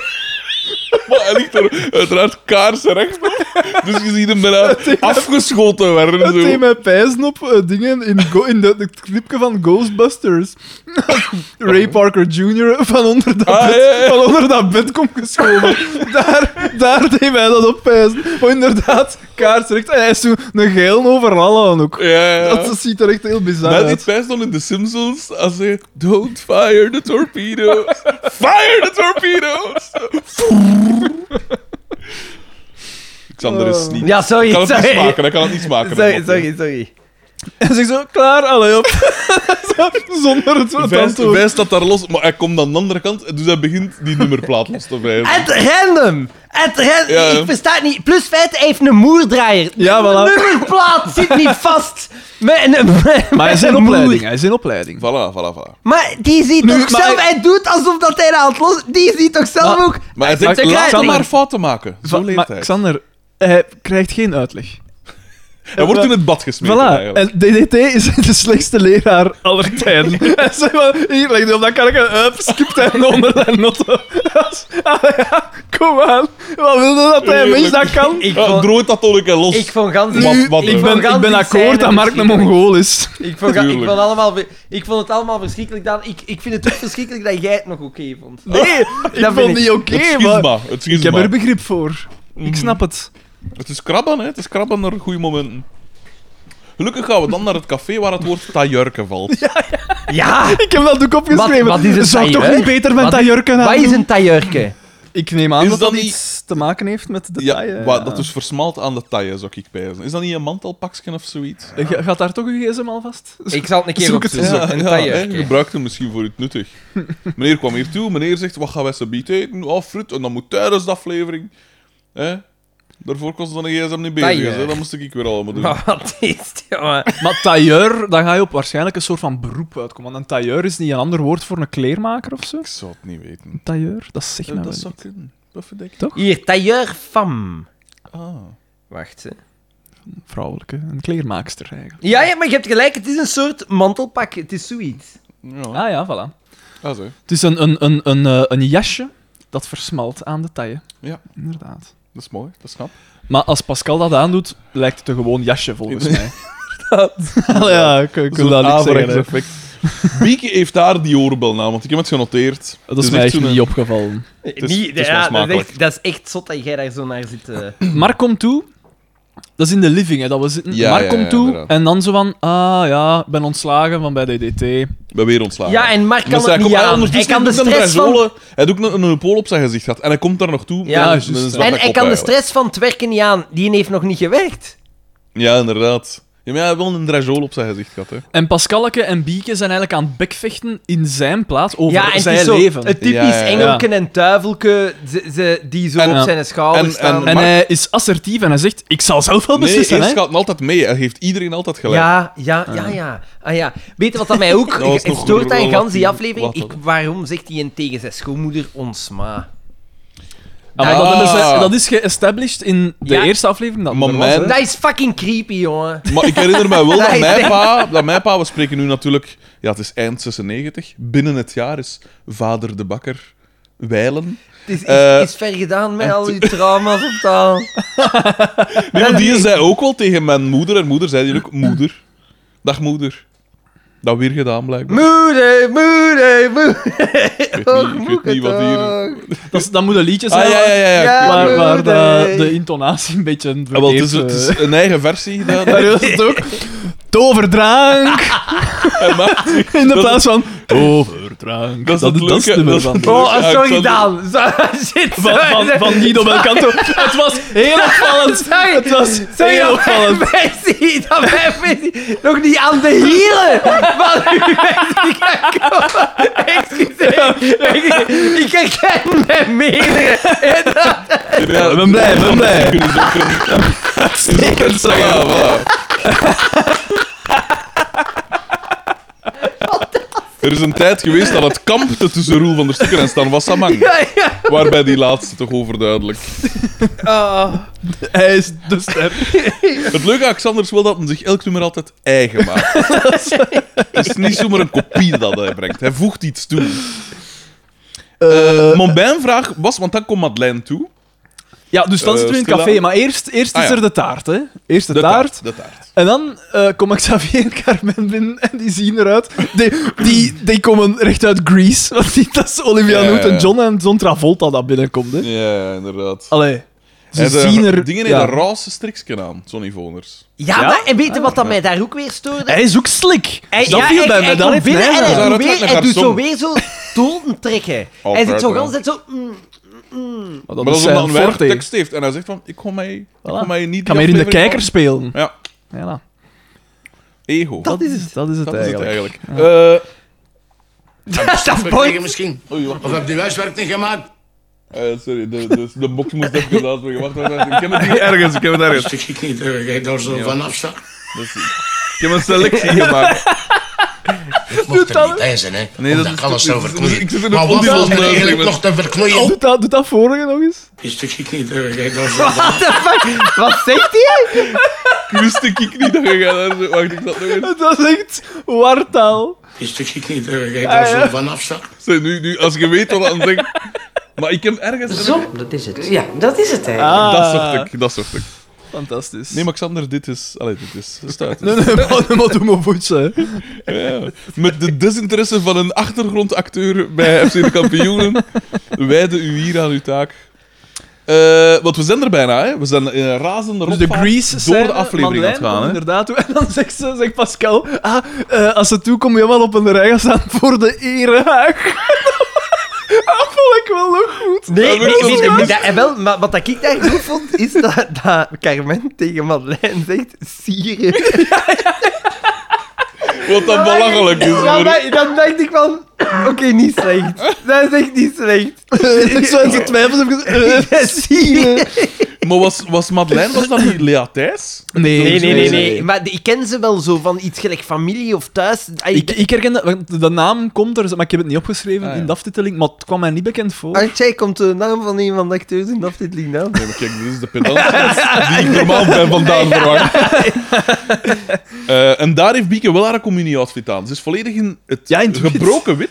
S2: maar hij ligt er uiteraard kaarsenrecht op. Dus je ziet hem daarna afgeschoten
S3: Dat
S2: werden.
S3: deed
S2: Zo.
S3: mij pijzen op eh, dingen in, go- in de, de clipje van Ghostbusters. Ray Parker Jr. van onder dat
S2: Ah,
S3: bed,
S2: ja, ja.
S3: Van onder dat bed komt geschoven. daar, daar deed mij dat op pijzen. Maar inderdaad, kaarsrecht. En hij is toen een geel overal aan ook.
S2: Ja, ja.
S3: Dat, dat ziet er echt heel bizar
S2: Dat is
S3: uit.
S2: best wel in The Simpsons als ze... Don't fire the torpedoes. Fire the torpedoes. Xander
S3: Oh.
S2: is niet...
S1: Ja, sorry,
S2: Ik kan het niet
S1: sorry.
S2: smaken, hij kan het niet smaken.
S1: Sorry,
S2: dat
S1: sorry, sorry.
S3: En zegt zo, klaar, allee op. Zo, Zonder het
S2: mopje.
S3: woord
S2: Wijst,
S3: antwoord.
S2: wijst dat daar los, maar hij komt aan de andere kant, dus hij begint die nummerplaat los te wijzen.
S1: At random! At random!
S2: Ja.
S1: Ik versta het niet. Plus feit, hij heeft een moerdraaier.
S3: Ja,
S1: De
S3: voilà.
S1: nummerplaat zit niet vast met een, met,
S3: Maar hij is
S1: met
S3: in
S1: een
S3: opleiding.
S1: moer.
S3: Hij is in opleiding.
S2: Voilà, voilà, voilà.
S1: Maar die ziet
S3: Nu,
S1: toch
S3: maar
S1: zelf...
S3: hij-
S1: Hij doet alsof dat hij dat aan het los... Die ziet toch zelf
S3: Maar-
S1: ook...
S2: Maar
S1: Hij
S2: hij zegt,
S1: zegt,
S2: laat
S1: "Krijg
S2: hem
S1: je."
S2: maar fouten maken. Zo
S3: Va-
S2: leert
S3: maar
S2: hij.
S3: Xander, hij krijgt geen uitleg.
S2: Hij wordt in het bad gesmeten
S3: Voilà,
S2: eigenlijk.
S3: en DDT is de slechtste leraar aller tijden. Hij zei van, hier, leg die op dat karretje, up, skipt hij hem onder de notto. Ah ja, kom aan. Wat wil je dat hij een mens dat kan?
S1: Ik
S2: Ja,
S1: vond-
S2: drood dat toch een keer los.
S1: Ik vond gans...
S2: Wat-
S1: Ik
S2: wat-
S1: ik
S3: ik,
S1: vond
S3: ben, ik
S1: gans
S3: ben
S1: die scène
S3: akkoord dat Mark een
S1: verschrikkelijk.
S3: Mongool is.
S1: Ik vond, ik,
S2: Tuurlijk.
S1: vond allemaal, ik vond het allemaal verschrikkelijk, Daan. Ik, ik vind het ook verschrikkelijk dat jij het nog oké vond.
S3: Nee, ik
S1: vind
S3: vond
S1: ik-
S3: niet oké,
S2: het
S3: maar...
S2: schisma. Het,
S3: Ik heb
S2: schisma.
S3: er begrip voor.
S1: Mm.
S3: Ik snap het.
S2: het is krabben, hè. Het is krabben naar goede momenten. Gelukkig gaan we dan naar het café waar het woord tajurken valt.
S1: Ja!
S3: Ik heb dat ook opgeschreven.
S1: wat is een
S3: Zou ik toch
S1: tailleur?
S3: niet beter met
S1: Wat-
S3: dat jurken
S1: Wat
S3: aan
S1: is
S3: doen?
S1: een tailleur?
S3: Ik neem aan
S2: Is
S3: dat
S2: dat
S3: dat
S2: niet-
S3: iets te maken heeft met de
S2: Ja,
S3: taille. eh.
S2: waar dat dus versmalt aan de taille, zou ik pijzen. Is dat niet een mantelpakje of zoiets?
S3: Ga- Gaat daar toch uw gsm alvast?
S1: Ik zal het een keer
S3: Zoek het
S1: opzoeken.
S3: eens
S1: een
S2: hè, je
S1: tailleur.
S2: gebruikt hem misschien voor iets nuttig. meneer kwam hier toe, meneer zegt, wat gaan wij zo bieten eten? Oh, fruit, en dan moet tijdens de aflevering... Hè? Daarvoor kost dan een gsm niet bezig,
S1: Tailleur.
S2: hè. dat moest ik weer allemaal doen.
S1: Maar wat is het, jongen?
S3: Maar tailleur, dan ga je op waarschijnlijk een soort van beroep uitkomen. Want een tailleur is niet een ander woord voor een kleermaker of zo.
S2: Ik zou het niet weten.
S3: Tailleur, dat zeg nou
S2: dat
S3: wel
S2: zou
S3: niet.
S2: kunnen. Dat vind ik.
S1: Hier, tailleur fam.
S2: Ah.
S1: Wacht, hè.
S3: Vrouwelijke, een kleermaakster eigenlijk.
S1: Ja, ja, maar je hebt gelijk. Het is een soort mantelpak. Het is zoiets.
S2: Ja,
S3: Ah ja, voilà.
S2: ah, zo.
S3: Het is een, een, een, een, eh, een jasje dat versmalt aan de taille.
S2: Ja.
S3: Inderdaad.
S2: Dat is mooi, dat is knap.
S3: Maar als Pascal dat aandoet, lijkt het een gewoon jasje volgens mij.
S2: Allee,
S3: ja, ik, ik wil
S2: Zo'n
S3: dat niet zeggen.
S2: averechts
S3: hè.
S2: effect. Bieke heeft daar die oorbel na, want ik heb het genoteerd. Dus
S3: Dat is
S2: Het
S3: mij
S2: echt
S3: echt
S2: zo'n-
S3: niet opgevallen.
S2: is-
S1: Niet-
S2: het is
S1: ja,
S2: wel
S1: dat, is
S2: smakelijk.
S1: echt, dat is echt zot dat jij daar zo naar zit. eh.
S3: Maar kom toe. Dat is in de living, hè, dat we zitten.
S2: Ja,
S3: maar
S2: ja,
S3: kom
S2: ja,
S3: toe.
S2: inderdaad.
S3: En dan zo van, ah ja, ik ben ontslagen van bij DDT.
S2: Ik ben weer ontslagen.
S1: Ja, en Mark kan
S2: Omdat
S1: het
S2: hij
S1: niet
S2: komt-
S1: aan. Hij
S2: ondertussen
S1: kan de
S2: doet
S1: stress
S2: een
S1: van...
S2: rajole. Hij doet ook een, een pool op zijn gezicht gehad. En hij komt daar nog toe. dus
S1: Ja,
S2: met een- met een
S3: juist.
S2: zwarte
S1: En hij
S2: kop
S1: kan de
S2: eigenlijk.
S1: stress van het werken niet aan. Die heeft nog niet gewerkt.
S2: Ja, inderdaad. Ja, maar hij heeft wel een drajol op zijn gezicht gehad. Hè.
S3: En Pascalke en Bieke zijn eigenlijk aan het bekvechten in zijn plaats over
S1: Ja, en het
S3: zijn
S1: is zo
S3: leven.
S1: het typisch
S2: Ja, ja, ja.
S1: engelken en tuivelke ze, ze- die zo
S2: En-
S1: op
S3: ja.
S1: zijn schouders
S2: En-
S1: staan.
S2: en-
S3: En
S2: Maar-
S3: hij is assertief en hij zegt, ik zal zelf wel
S2: Nee,
S3: beslissen.
S2: eerst
S3: hè.
S2: gaat hij altijd mee. Hij geeft iedereen altijd gelijk.
S1: ja, ja, ja, ja. Ah, ja. Weet je wat dat mij ook
S2: Dat was
S1: het
S2: nog
S1: stoort aan gans die
S2: relatief
S1: aflevering?
S2: wat
S1: Ik, waarom zegt hij een tegen zijn schoonmoeder ons ma?
S3: Ah, maar
S2: Ah.
S3: dat, hebben ze- dat is geestablished in de
S1: Ja.
S3: eerste aflevering. Dat
S2: Maar
S3: er
S2: mijn-
S3: was, hè.
S1: Dat is fucking creepy, jongen.
S2: Maar ik herinner mij wel dat
S1: Nee,
S2: mijn
S1: nee.
S2: pa, dat mijn pa, we spreken nu natuurlijk, ja, het is eind 96, binnen het jaar is vader de bakker wijlen.
S1: Het is, is,
S2: Eh,
S1: is ver gedaan met al uw trauma's op taal.
S2: Nee, maar die zei ook wel tegen mijn moeder, en moeder zei die ook, moeder, dag moeder. Dat weer gedaan, blijkbaar.
S1: Moeder, moeder, moeder.
S2: Ik weet
S1: Och,
S2: niet, ik weet
S1: moeke
S2: niet wat hier...
S1: toch.
S3: Dat, is- dat moet een liedje zijn
S2: Ah, ja, ja, ja. ja.
S1: Ja,
S2: klopt.
S3: waar, waar de,
S1: moeder.
S3: de intonatie een beetje een
S2: Ah, wel, het, is, het is een eigen versie. Dat, dat-
S3: het ook. Toverdrank!
S2: maar-
S3: In de
S2: Dat-
S3: plaats van toverdrank.
S2: dat is het
S3: dat is het
S2: leuke,
S3: nummer
S2: dat
S3: van.
S2: is-
S3: Van,
S1: Oh,
S2: Ja, ik
S1: sorry
S2: zal-
S1: Daan. Zo- Shit,
S3: van,
S1: sorry.
S3: van Guido Belcanto. Het was heel opvallend.
S1: Sorry.
S3: Het was
S1: Sorry,
S3: heel
S1: dat mijn
S3: opvallend.
S1: versie, dat mijn versie nog niet aan de hielen van uw versie kan komen. Excuseer, ik- ik herken mijn meerdere.
S2: ja,
S3: Ik ben blij, ik ben blij.
S2: kunnen ze ook kunnen-
S3: Ik kan het zeggen.
S2: Ja, voilà. Er is een tijd geweest dat het kampte tussen Roel van der Stikken en Stan Wassamang.
S1: Ja, ja.
S2: Waarbij die laatste toch overduidelijk.
S1: Oh.
S3: Hij is de ster.
S2: Het leuke aan Xander is wel dat hij zich elk nummer altijd eigen maakt. Het is niet zomaar een kopie dat hij brengt. Hij voegt iets toe.
S3: Eh,
S2: Mijn vraag was, want dan komt Madeleine toe.
S3: ja, dus dan
S2: eh,
S3: zitten we in het
S2: stilaan.
S3: café. Maar eerst, eerst
S2: Ah,
S3: is
S2: ja.
S3: er de taart, hè. Eerst de, taart.
S2: De taart.
S3: En dan eh komen Xavier en Carmen binnen en die zien eruit. Die, die, die komen recht uit Greece. Want die, dat is Olivia
S2: Ja,
S3: Newton
S2: ja, ja.
S3: John en John Travolta dat binnenkomt. Hè.
S2: Ja, inderdaad.
S3: Allee, ze
S2: Hij had een-
S3: zien er.
S2: Dingen in
S3: ja.
S2: een roze strikje aan, Johnny Voners.
S1: Ja,
S3: Ja?
S1: maar en weet je wat dat mij daar ook weer stoorde?
S3: Hij is ook slik.
S1: Hij,
S3: dat
S1: ja,
S3: viel
S1: hij-
S3: bij mij
S1: hij
S3: dan
S1: komt
S3: heeft
S1: binnen
S3: hij
S1: en hij,
S2: Hij zou
S3: gedaan.
S1: doet
S2: eruit
S1: weer-
S2: naar
S1: hij doet zo
S2: garçon.
S1: weer zo toten trekken.
S2: Altijd
S1: hij zit zo
S2: wel.
S1: gans tijd zo... mm,
S2: Maar dat
S3: Maar
S2: is omdat
S3: zijn
S2: hij een
S3: eh, forte.
S2: weinig tekst heeft. En hij zegt van, ik kom mij, ik
S3: Voilà.
S2: kom mij niet...
S3: Ik ga meer in de
S2: aflevering
S3: kijker spelen.
S2: van- Ja,
S3: Ja,
S2: ego. Dat,
S3: dat is het. Dat is het
S2: dat is het
S3: eigenlijk.
S2: eigenlijk. Eh,
S1: Dat
S4: We
S1: boeit
S4: krijgen misschien.
S2: oei, wacht.
S4: Of heb je huiswerk niet gemaakt?
S2: Eh, sorry, de, de, de box moest even gedaan worden. Wacht, wacht, wacht. Ik heb het hier ergens, ik heb het ergens.
S4: Dat weet ik niet, dat jij daar zo van afstaat.
S2: Dus, ik heb een selectie gemaakt.
S4: Ik mocht er niet bij zijn, hè.
S2: Nee, dat
S4: omdat
S2: is-
S4: ik alles zou verknoeien.
S2: ik zit in
S4: maar
S2: een
S4: wat valt er
S2: ondiepe
S4: eigenlijk nog
S2: aflevering.
S4: te verknoeien?
S2: Oh.
S3: Doe dat, doe dat vorige nog eens.
S4: Is dat ik niet, dat jij daar zo van...
S1: What the fuck? Wat zegt hij?
S2: Ik wist ik niet dat je gaat daar- Wacht, ik zat nog eens.
S3: Dat is echt wartaal.
S4: Is dat ik niet, dat jij daar zo van afstaat?
S2: Zo, nu, nu, als je weet wat dan denk Maar ik heb ergens...
S5: Zo, dat is het. Ja, dat is het eigenlijk.
S3: Ah,
S2: Dat zocht ik, dat zocht ik.
S3: Fantastisch.
S2: Nee, maar Xander, dit is... Allee, dit is... Stuit.
S3: Nee, nee, maar, maar doe maar Dus voetsen.
S2: Ja. Met de desinteresse van een achtergrondacteur bij FC de Kampioenen wijden u hier aan uw taak. Eh, want we zijn er bijna, hè? We zijn in een razende
S3: Dus de
S2: rondvaart
S3: Grease
S2: door
S3: scène,
S2: de aflevering aan het
S3: Madeleine
S2: gaan,
S3: komt
S2: hè?
S3: Inderdaad. toe. En dan zegt, ze, zegt Pascal, ah, eh, als ze toekomen, ja wel op een rij gaan staan voor de erehaag. dat vond ik wel nog goed.
S1: Nee,
S2: maar dat
S1: nee,
S2: is
S1: nee,
S2: wel-
S1: nee, dat- en wel, maar wat dat ik daar goed vond, is dat, dat Carmen tegen Madeleine zegt, sieren.
S2: Wat dat belachelijk is,
S1: Ja,
S2: hoor.
S1: maar dan dacht ik van, oké, niet slecht. Dat is echt niet slecht.
S3: ik zou het twijfels hebben
S2: eh,
S3: gezegd.
S1: Ja, sieren.
S2: Maar was, was Madeleine, was dat niet Lea Thijs?
S3: Nee,
S1: Nee, nee, nee, nee. Maar ik ken ze wel zo van iets gelijk familie of thuis. Ah,
S3: Ik, ik herken dat, want de naam komt er, maar ik heb het niet opgeschreven
S2: Ah, ja.
S3: in de aftiteling, maar het kwam mij niet bekend voor.
S1: Archie komt de naam van een van de acteurs in de afdeling naam.
S2: Nee, maar kijk, dit is de pedant die ik normaal ben vandaan verwacht. Eh, en daar heeft Bieke wel haar communie-outfit aan. Ze is volledig in het
S3: Ja, in het wit.
S2: gebroken wit.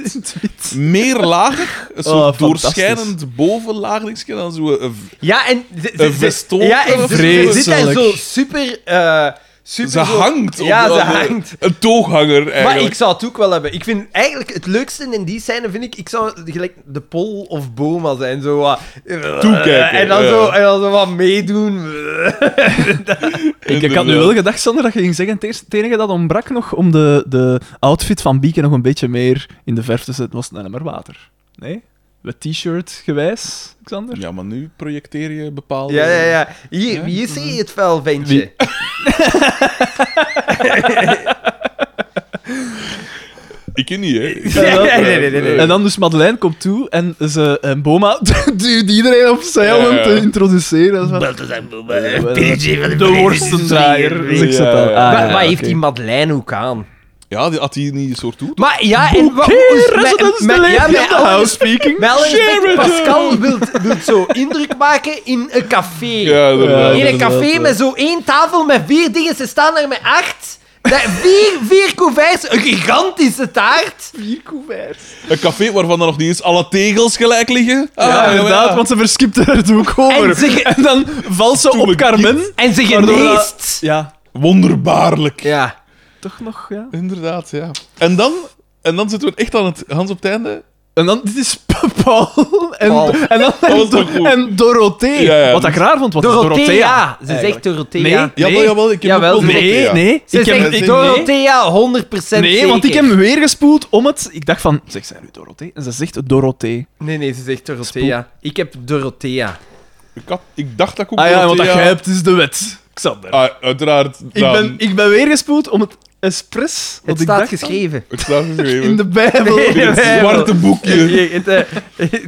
S2: Meer lager, een soort
S3: Oh, fantastisch.
S2: doorschijnend bovenlaagdingetje dan zo eh, een v-
S1: Ja, en... ze- ze-
S2: Een
S1: ze-
S2: veston.
S1: Ja, en ze- ze
S3: Vreselijk.
S1: zit daar zo super... eh, super
S2: Ze
S1: zo-
S2: hangt. op-
S1: Ja,
S2: op
S1: ze
S2: een-
S1: hangt.
S2: Een tooghanger,
S1: Maar
S2: eigenlijk.
S1: ik zou het ook wel hebben. Ik vind eigenlijk het leukste in die scène, vind ik, ik zou gelijk de Pol of Boma zijn. Zo wat... eh,
S2: Toekijken,
S1: En dan,
S2: ja.
S1: zo, en dan zo wat meedoen.
S3: Ik, ik had nu wel gedacht, Sander, dat je ging zeggen, het, eerste, het enige dat ontbrak nog om de, de outfit van Bieke nog een beetje meer in de verf te zetten, was een maar water. Nee? Met t-shirt gewijs, Xander?
S2: Ja, maar nu projecteer je bepaalde...
S1: Ja, ja, ja. Hier, wie is hier het vuil ventje?
S2: Ik ken niet, hè.
S1: Ja, nee, nee, nee, nee, nee.
S3: En dan dus Madeleine komt toe en, ze, en Boma duwt iedereen opzij
S2: Ja,
S3: om
S2: ja.
S3: hem te introduceren. Dat is wat-
S1: Balthazar Boma,
S3: wel-
S1: PJ van
S3: De
S1: Vlees-
S3: worstendraaier,
S1: Vlees-
S3: zegt ze
S2: Ja,
S3: dan.
S2: ja, ja.
S3: Ah,
S1: Maar,
S3: ja,
S1: maar heeft
S3: oké.
S1: die Madeleine ook aan?
S2: Ja, die had hij niet een soort toe.
S1: Maar ja, en wat
S3: Oké,
S1: met-
S3: residents,
S1: met-
S3: de
S1: ja,
S3: lady
S1: met
S3: of the
S1: alle
S3: house speaking.
S1: Wel respect,
S3: uh.
S2: Sheraton.
S1: Pascal wil zo indruk maken in een café.
S2: Ja, inderdaad.
S1: in een
S3: inderdaad,
S1: café
S3: ja.
S1: met zo één tafel met vier dingen. Ze staan er met acht. Dat- vier, vier couverts, een gigantische taart.
S3: Vier couverts.
S2: Een café waarvan er nog niet eens alle tegels gelijk liggen. Ah,
S3: Ja, inderdaad, want ze verskipt er het ook over.
S1: En ze ge-
S3: en dan valt ze
S2: Toen
S3: op
S2: het
S3: Carmen.
S2: kind-
S1: En ze
S3: waardoor dat-
S1: geneest.
S3: Ja,
S2: Wonderbaarlijk.
S1: Ja.
S3: toch nog, ja.
S2: Inderdaad, ja. En dan, en dan zitten we echt aan het, Hans op het einde.
S3: En dan, dit is Paul en,
S1: Paul.
S3: en, dan,
S2: Dat
S3: en,
S2: was toch goed.
S3: en Dorothee.
S2: Ja, ja.
S3: Wat ik raar vond, wat is
S1: Dorothea.
S3: Dorothea?
S1: Ze zegt Dorothea.
S3: Nee,
S2: Jawel,
S3: Nee.
S2: jawel, ik heb
S1: Jawel,
S2: ook wel
S1: nee,
S2: Dorothea.
S3: nee.
S1: Ze
S3: ik heb,
S1: zegt
S2: ik-
S1: Dorothea 100%
S3: nee,
S1: zeker.
S3: want ik heb hem weer gespoeld om het... Ik dacht van, zeg, zij nu Dorothee? En ze zegt Dorothee.
S1: Nee, nee, ze zegt Dorothea. Ik heb Dorothea.
S2: Ik, had- ik dacht dat ik ook
S3: Ah ja, en wat dat
S2: Dorothea-
S3: jij hebt is de wet, Xander.
S2: Ah, uiteraard.
S3: ik, ben, ik ben weer gespoeld om het expres... wat
S1: Het
S3: ik
S1: staat
S3: dacht
S1: geschreven.
S2: Ik sta
S3: dan,
S2: geschreven.
S3: In de Bijbel.
S1: Nee.
S2: In het
S1: Bijbel.
S2: zwarte boekje.
S1: Je- het, eh,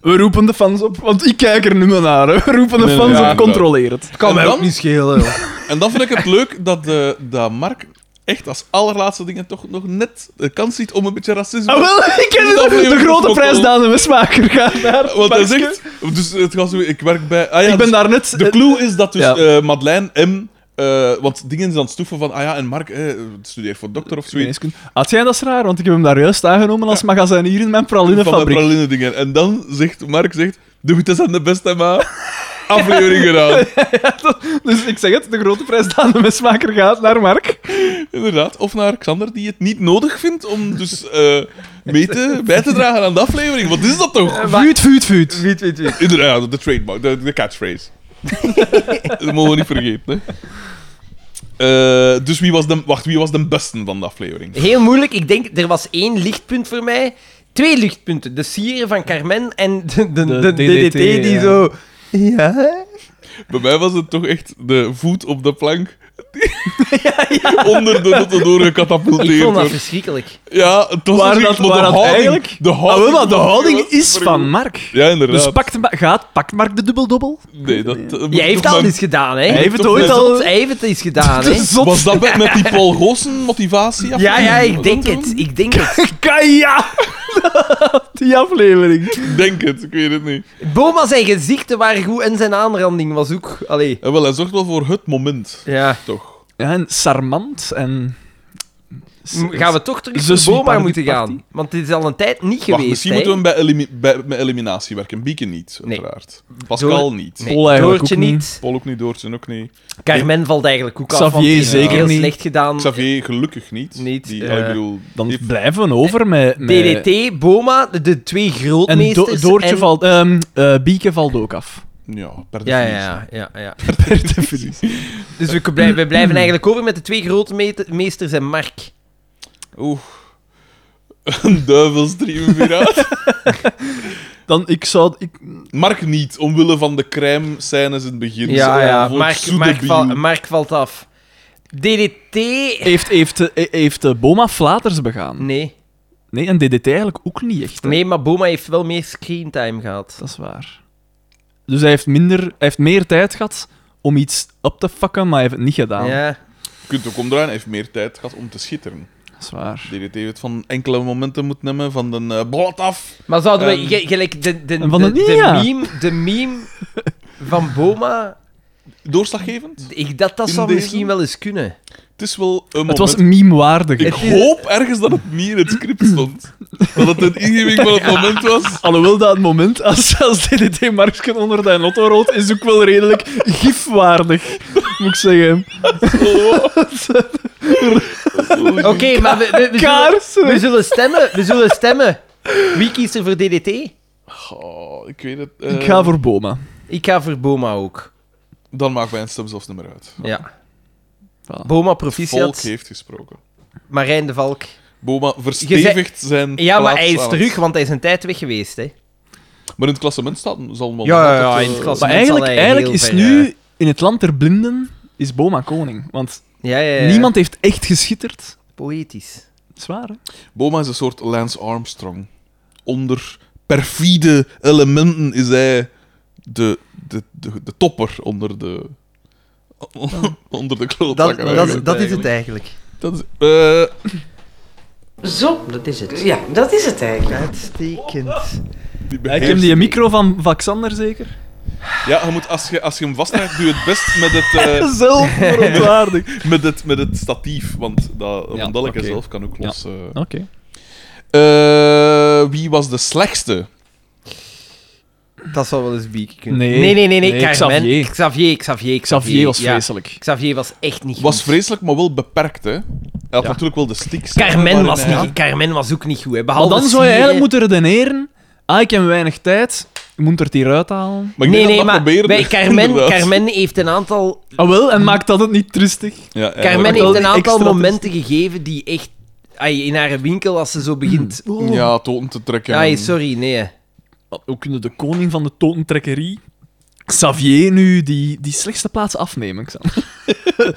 S3: We roepen de fans op, want ik kijk er nu maar naar. Hè. We roepen de
S2: Nee,
S3: fans
S2: ja,
S3: op, controleer het.
S1: kan
S2: En
S1: mij
S2: dan?
S1: ook niet schelen. joh.
S2: En dan vind ik het leuk dat, eh, dat Mark echt als allerlaatste dingen toch nog net de kans ziet om een beetje racisme...
S3: Ah, wel, ik ken
S2: Dat
S3: het. De
S2: levert het
S3: grote
S2: ook
S3: prijs
S2: op.
S3: Daan de Westmaker gaat naar
S2: Want hij
S3: Markske.
S2: zegt... Dus het gaat zo... Ik werk bij... Ah ja,
S3: Ik
S2: dus
S3: ben daar net...
S2: De clue is dat dus
S3: Ja.
S2: eh, Madeleine M... eh, want dingen is aan het stoeven van... Ah ja, en Mark eh, studeert voor dokter of zoiets.
S3: Had jij dat is raar? Want ik heb hem daar juist aangenomen als magazijnier in mijn
S2: Van de
S3: pralinefabriek.
S2: praline dingen. En dan zegt Mark... Zegt, Doe het eens aan de beste, maar... Aflevering gedaan.
S3: Dus ik zeg het, de grote prijs Daan de Westmaker gaat naar Mark.
S2: Inderdaad. Of naar Xander, die het niet nodig vindt om dus eh, mee te, bij te dragen aan de aflevering. Wat is dat toch?
S3: Vuut, vuut, vuut.
S1: Wiet, wiet, wiet.
S2: Inderdaad, de trademark, de, de catchphrase. dat mogen we niet vergeten. Hè. Eh, dus wie was, de, wacht, wie was de beste van de aflevering?
S1: Heel moeilijk. Ik denk, er was één lichtpunt voor mij. Twee lichtpunten. De sier van Carmen en de, de,
S3: De
S1: de DDT,
S3: DDT,
S1: die
S3: ja.
S1: zo... Ja?
S2: Bij mij was het toch echt de voet op de plank. Onder de noten
S1: Ik
S2: doorgecatapulteerd.
S1: vond dat
S2: wordt.
S1: verschrikkelijk.
S2: Ja, het was
S3: Waar
S2: dus
S3: dat-
S2: iets, maar
S3: waar
S2: de
S3: dat
S2: houding,
S3: eigenlijk-
S2: De
S3: Ah,
S2: houding,
S3: wel, maar de houding is
S2: vergoed.
S3: van Mark.
S2: Ja, inderdaad.
S3: Dus pakt, Ma- gaat, pakt Mark de dubbeldobbel?
S2: Nee, dat, eh, moet
S1: Jij heeft
S2: toch
S1: al
S2: maar-
S1: iets gedaan, hè?
S3: Hij heeft het
S2: toch
S3: ooit
S2: net
S3: al...
S1: Hij heeft het iets gedaan, hè?
S3: De zot.
S2: Was dat met, met die Paul Goossen motivatie?
S1: Ja, ja, ik
S2: Was
S1: denk
S2: dat
S1: het.
S2: toen?
S1: Ik denk het.
S3: Kaya! Die aflevering.
S2: Ik denk het, ik weet het niet.
S1: Boma zijn gezichten waren goed en zijn aanranding was ook... Allee.
S2: En wel, hij zorgt wel voor het moment,
S1: Ja.
S2: toch?
S3: Ja, en Sarmant en...
S1: M- Gaan we toch terug
S3: Ze
S1: naar
S3: zwiepen
S1: Boma
S3: die
S1: moeten
S3: party.
S1: gaan? Want het is al een tijd niet
S2: Wacht,
S1: geweest,
S2: misschien
S1: hè?
S2: moeten we hem bij, elimi- bij, met eliminatie werken. Bieke niet,
S1: Nee.
S2: uiteraard. Pascal niet.
S1: Nee,
S3: Pol eigenlijk
S1: Doortje
S3: ook niet.
S1: niet.
S2: Paul ook niet, Doortje ook niet.
S1: Carmen valt eigenlijk ook af,
S3: Xavier
S1: want die heeft
S3: zeker
S1: heel
S3: niet.
S1: slecht gedaan.
S2: Xavier gelukkig niet.
S1: Niet,
S2: Die,
S1: eh,
S2: ik bedoel,
S3: Dan
S2: die-
S3: blijven we over met... met...
S1: DDT, Boma, de, de twee
S3: En
S1: grootmeesters.
S3: Do- Doortje
S1: en-
S3: valt... ehm, eh, Bieke valt ook af.
S2: ja, per
S1: Ja,
S2: definitie.
S1: ja, ja, ja, ja.
S3: Per definitie.
S1: Dus we, blij- we blijven eigenlijk over met de twee grootmeesters en Mark.
S2: Oeh. Een duivelstream weer uit.
S3: Dan, ik zou... Ik,
S2: Mark niet, omwille van de crème scènes in het begin.
S1: Ja,
S2: Zo,
S1: ja,
S2: voor
S1: Dus, eh, Mark,
S2: zoete
S1: Mark, val-
S2: bio.
S1: Mark valt af. DDT...
S3: heeft, heeft, eh, heeft eh, Boma flaters begaan?
S1: Nee.
S3: Nee, en DDT eigenlijk ook niet echt. hè.
S1: nee, maar Boma heeft wel meer screentime gehad.
S3: Dat is waar. Dus hij heeft, minder, hij heeft meer tijd gehad om iets op te fucken, maar hij heeft het niet gedaan.
S1: Ja.
S2: Je kunt ook omdraaien, hij heeft meer tijd gehad om te schitteren.
S3: Dat is waar.
S2: DDT heeft van enkele momenten moeten nemen van de eh, blad af.
S1: Maar zouden we
S2: Ehm,
S1: ge- gelijk de, de,
S3: en van
S1: de,
S3: de-
S1: de
S3: ja.
S1: meme, de meme van Boma,
S2: Doorslaggevend?
S1: ik, dat, dat
S2: In
S1: zou
S2: deze?
S1: misschien wel eens kunnen.
S2: Het is wel een
S3: Het
S2: moment.
S3: was meme-waardig.
S2: Ik
S1: Het is-
S2: hoop ergens dat het niet in het script stond. Dat het een ingeving van het moment was.
S3: Alhoewel dat moment, als, als DDT Marksken onder de lotto rolt, is ook wel redelijk gifwaardig, moet ik zeggen.
S1: Oké, maar we, we, we zullen, we
S3: Kaarsen.
S1: zullen stemmen. We zullen stemmen. Wie kiest er voor DDT?
S2: Goh, ik weet het. eh,
S3: Ik ga voor
S1: Dus
S3: Boma.
S1: Ik ga voor Boma ook.
S2: Dan maakt mijn stem zelfs niet meer uit.
S1: Ja.
S3: Voilà.
S1: Boma
S2: Volk
S1: proficiat,
S2: heeft gesproken.
S1: Marijn de Valk.
S2: Boma verstevigt zijn.
S1: Ja, maar
S2: plaats
S1: hij is
S2: aan
S1: terug,
S2: het-
S1: want hij is een tijd weg geweest. Hè.
S2: Maar in het klassement staat zal wel.
S1: Ja, ja, ja,
S2: altijd,
S1: in het
S2: eh,
S1: klassement.
S3: Maar
S1: zal
S3: eigenlijk,
S1: hij
S3: eigenlijk
S1: heel
S3: is
S1: ver,
S3: nu,
S1: eh,
S3: in het land der blinden, is Boma koning. Want
S1: Ja, ja, ja.
S3: niemand heeft echt geschitterd.
S1: Poëtisch.
S3: Zwaar, hè?
S2: Boma is een soort Lance Armstrong. Onder perfide elementen is hij de, de, de, de topper onder de. onder de
S1: Dat,
S2: klootzakken.
S1: dat, is- dat is het eigenlijk.
S2: Dat is, eh,
S5: Ah, Zo, dat is het. Ja, dat is het eigenlijk.
S1: Uitstekend.
S2: die
S3: Ik heb die micro van Vaxander zeker.
S2: Ja, je moet, als, je, als je hem vasthoudt, doe je het best met het, eh,
S3: Zelf verontwaardig.
S2: met het, met het statief. Want dat
S3: Ja,
S2: rondelletje
S3: oké.
S2: zelf kan ook los. eh.
S3: Oké.
S2: Eh, wie was de slechtste?
S1: Dat zou wel eens Bieke kunnen.
S3: Nee.
S1: nee, nee, nee.
S3: Nee,
S1: Carmen.
S3: Xavier.
S1: Xavier. Xavier, Xavier,
S3: Xavier was
S1: ja.
S3: vreselijk.
S1: Xavier was echt niet goed.
S2: Was vreselijk, maar wel beperkt. Hè? had natuurlijk wel de sticks.
S1: Carmen
S2: maar-
S1: was,
S2: ja.
S1: niet, Carmen was ook niet goed, hè.
S3: Maar
S1: Behalve
S3: dan zou je
S1: Sire-
S3: eigenlijk moeten redeneren. Ah, ik heb weinig tijd. Je moet er het hier uithalen.
S2: Maar
S1: Nee,
S2: ik denk dat
S1: nee,
S2: dat
S1: maar
S2: proberen
S1: bij
S2: we,
S1: Carmen,
S2: inderdaad.
S1: Carmen heeft een aantal,
S3: Ah, wel, en maakt dat het niet trustig?
S2: Ja, eigenlijk
S1: Carmen
S2: wel.
S1: heeft een aantal
S3: extra
S1: momenten gegeven die echt... Ai, in haar winkel, als ze zo begint...
S2: Ja, toten te trekken.
S1: Ai, sorry, nee.
S3: Ook kunnen de koning van de totentrekkerie, Xavier, nu die, die slechtste plaats afnemen. Ik zal-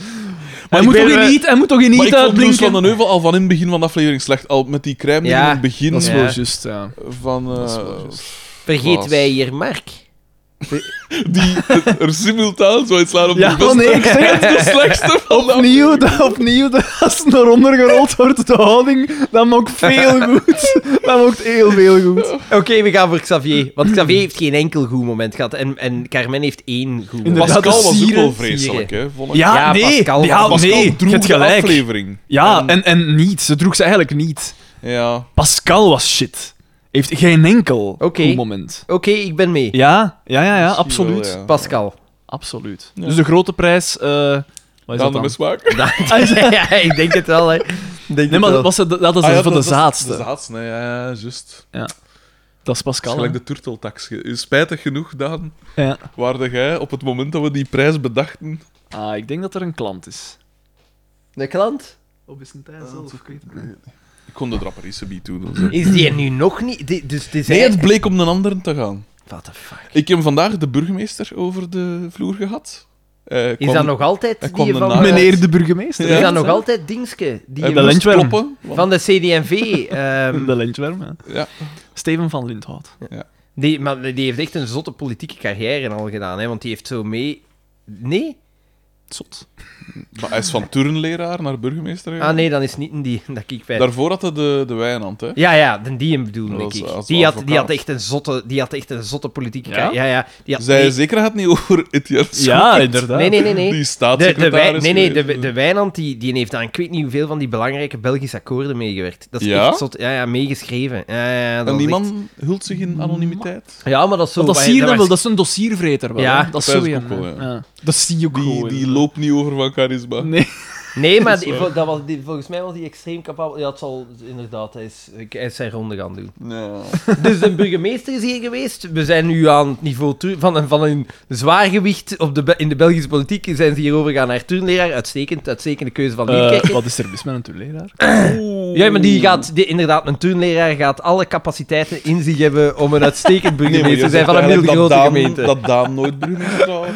S3: hij,
S2: ik
S3: moet
S2: ben,
S3: toch in
S2: eh,
S3: niet, hij moet toch in
S2: Maar
S3: niet
S2: ik vond Loes van
S3: uitblinken?
S2: den Heuvel al van in het begin van de aflevering slecht. Al met die crème die
S1: Ja,
S2: in het begin
S1: dat is wel Ja.
S3: juist, ja.
S2: van... eh,
S1: Vergeet
S2: Was.
S1: wij hier Mark.
S2: die er simultaan zo slaan op
S3: Ja,
S2: de beste.
S3: oh nee, ik zeg het.
S2: de slechtste van de
S3: Opnieuw, dat- opnieuw dat als het naar onder gerold wordt, de houding, dat maakt veel goed. Dat maakt heel veel goed.
S1: Oké, we gaan voor Xavier. Want Xavier heeft geen enkel goed moment gehad. En, en Carmen heeft één goed moment.
S3: Inderdaad.
S2: Pascal
S3: dat is
S2: was ook
S3: Sieren.
S2: wel vreselijk, hè, vond ik.
S3: Ja,
S1: Ja,
S3: nee.
S1: Pascal-
S3: ja,
S2: Pascal
S3: nee. Je
S2: droeg
S3: hebt
S2: de
S3: gelijk.
S2: aflevering.
S3: Ja, en, en niet. Ze droeg ze eigenlijk niet.
S2: Ja.
S3: Pascal was shit. Heeft geen enkel
S1: Oké.
S3: goed moment.
S1: Oké, ik ben mee.
S3: Ja, ja, ja, ja absoluut.
S2: Misschien wel, ja.
S1: Pascal.
S3: Absoluut.
S2: Ja.
S3: Dus de grote prijs. eh wat
S2: Dan
S3: is dat
S2: de
S3: dan?
S2: mismaak.
S1: Ah, ja, ik denk het wel, hè. Ik Denk
S3: Nee,
S1: het
S3: maar dat,
S1: wel.
S3: was, de- dat is
S2: Ah, ja,
S3: van de
S2: dat- dat is
S3: zaadste.
S2: De zaadste, nee, ja, ja, juist.
S3: Dat is
S2: Dat is
S3: Pascal.
S2: gelijk
S3: hè?
S2: de turteltax. Spijtig genoeg, Daan,
S3: Ja.
S2: waarde jij op het moment dat we die prijs bedachten...
S3: Ah, ik denk dat er een klant is.
S1: De klant?
S3: Of is het hij zelf? Ik weet het niet.
S2: Ik kon de draperisse bij doen.
S1: Is die er nu nog niet? Die- dus het is
S2: Nee, het
S1: eigenlijk-
S2: bleek om een ander te gaan.
S1: What the fuck?
S2: Ik heb vandaag de burgemeester over de vloer gehad. Hij
S1: Is
S2: kwam-
S1: dat nog altijd
S2: hij
S1: die
S2: kwam de
S1: van...
S2: naam-
S1: eh,
S3: Meneer de burgemeester.
S1: Is
S2: Ja.
S1: dat nog altijd Dingske? Die
S2: Hij
S3: de
S2: eh, moest
S3: lintworm.
S2: kloppen, want-
S1: van de CDMV. ehm,
S3: Mm. De lintworm, ja.
S2: Ja.
S3: Steven van Lindhout.
S1: die, maar die heeft echt een zotte politieke carrière al gedaan, hè. Want die heeft zo mee... Nee?
S3: Zot.
S2: Maar hij is van turnleraar naar burgemeester gegaan.
S1: Ah, nee, dan is het niet een die dat ik bij...
S2: Daarvoor had hij de, de wijnhand, hè?
S1: Ja, ja, dan die hem bedoelde
S2: Dat
S1: ik.
S2: was als
S1: Die had, die,
S2: advocaat.
S1: had echt een zotte, die had echt een zotte politieke...
S3: Ja?
S1: Ja, ja. ja die had,
S2: Zij
S1: nee,
S2: zeker gaat niet over Etienne
S3: Ja,
S2: Schokker,
S3: inderdaad.
S1: nee, nee, nee. nee. De,
S2: Die
S1: de, wij-
S2: staatssecretaris.
S1: nee, nee, de,
S2: geweest.
S1: de Wijnand die, die heeft aan ik weet niet hoeveel van die belangrijke Belgische akkoorden meegewerkt. Dat is
S2: Ja?
S1: echt zot, ja, ja, meegeschreven. Ja, ja, ja, dat
S2: En die
S1: was echt-
S2: man hult zich in anonimiteit.
S1: Ja, maar dat is zo...
S3: dat
S1: waar-
S3: zie je
S1: dat
S3: dan wel,
S1: was-
S3: dat is een dossiervreter. Wel,
S1: Ja,
S3: hè. dat is
S2: dat
S3: zo
S2: is
S3: een,
S2: ook wel,
S3: hè.
S2: ja.
S3: Ja. Dat zie je ook
S2: Die,
S3: gewoon.
S2: die loopt niet over van charisma.
S3: Nee.
S1: Nee, maar die- dat was, die, volgens mij was hij extreem capabel. Ja, het zal inderdaad, hij is, hij is zijn ronde gaan doen.
S2: Ja.
S1: Dus de burgemeester is hier geweest. We zijn nu aan het niveau tu- van een, van een zwaargewicht op de, Be- in de Belgische politiek. Zijn ze hier overgegaan naar turnleraar. Uitstekend, uitstekende keuze van Nierkerk.
S3: Eh, wat is er mis met een toeleraar?
S1: Ja, maar die gaat, die, inderdaad, een turnleraar gaat alle capaciteiten in zich hebben om een uitstekend
S2: Nee,
S1: burgemeester
S2: maar je
S1: te zijn
S2: zegt
S1: van een
S2: eigenlijk
S1: middelgrote
S2: dat Daan-
S1: gemeente.
S2: Dat Daan nooit burgemeester zou-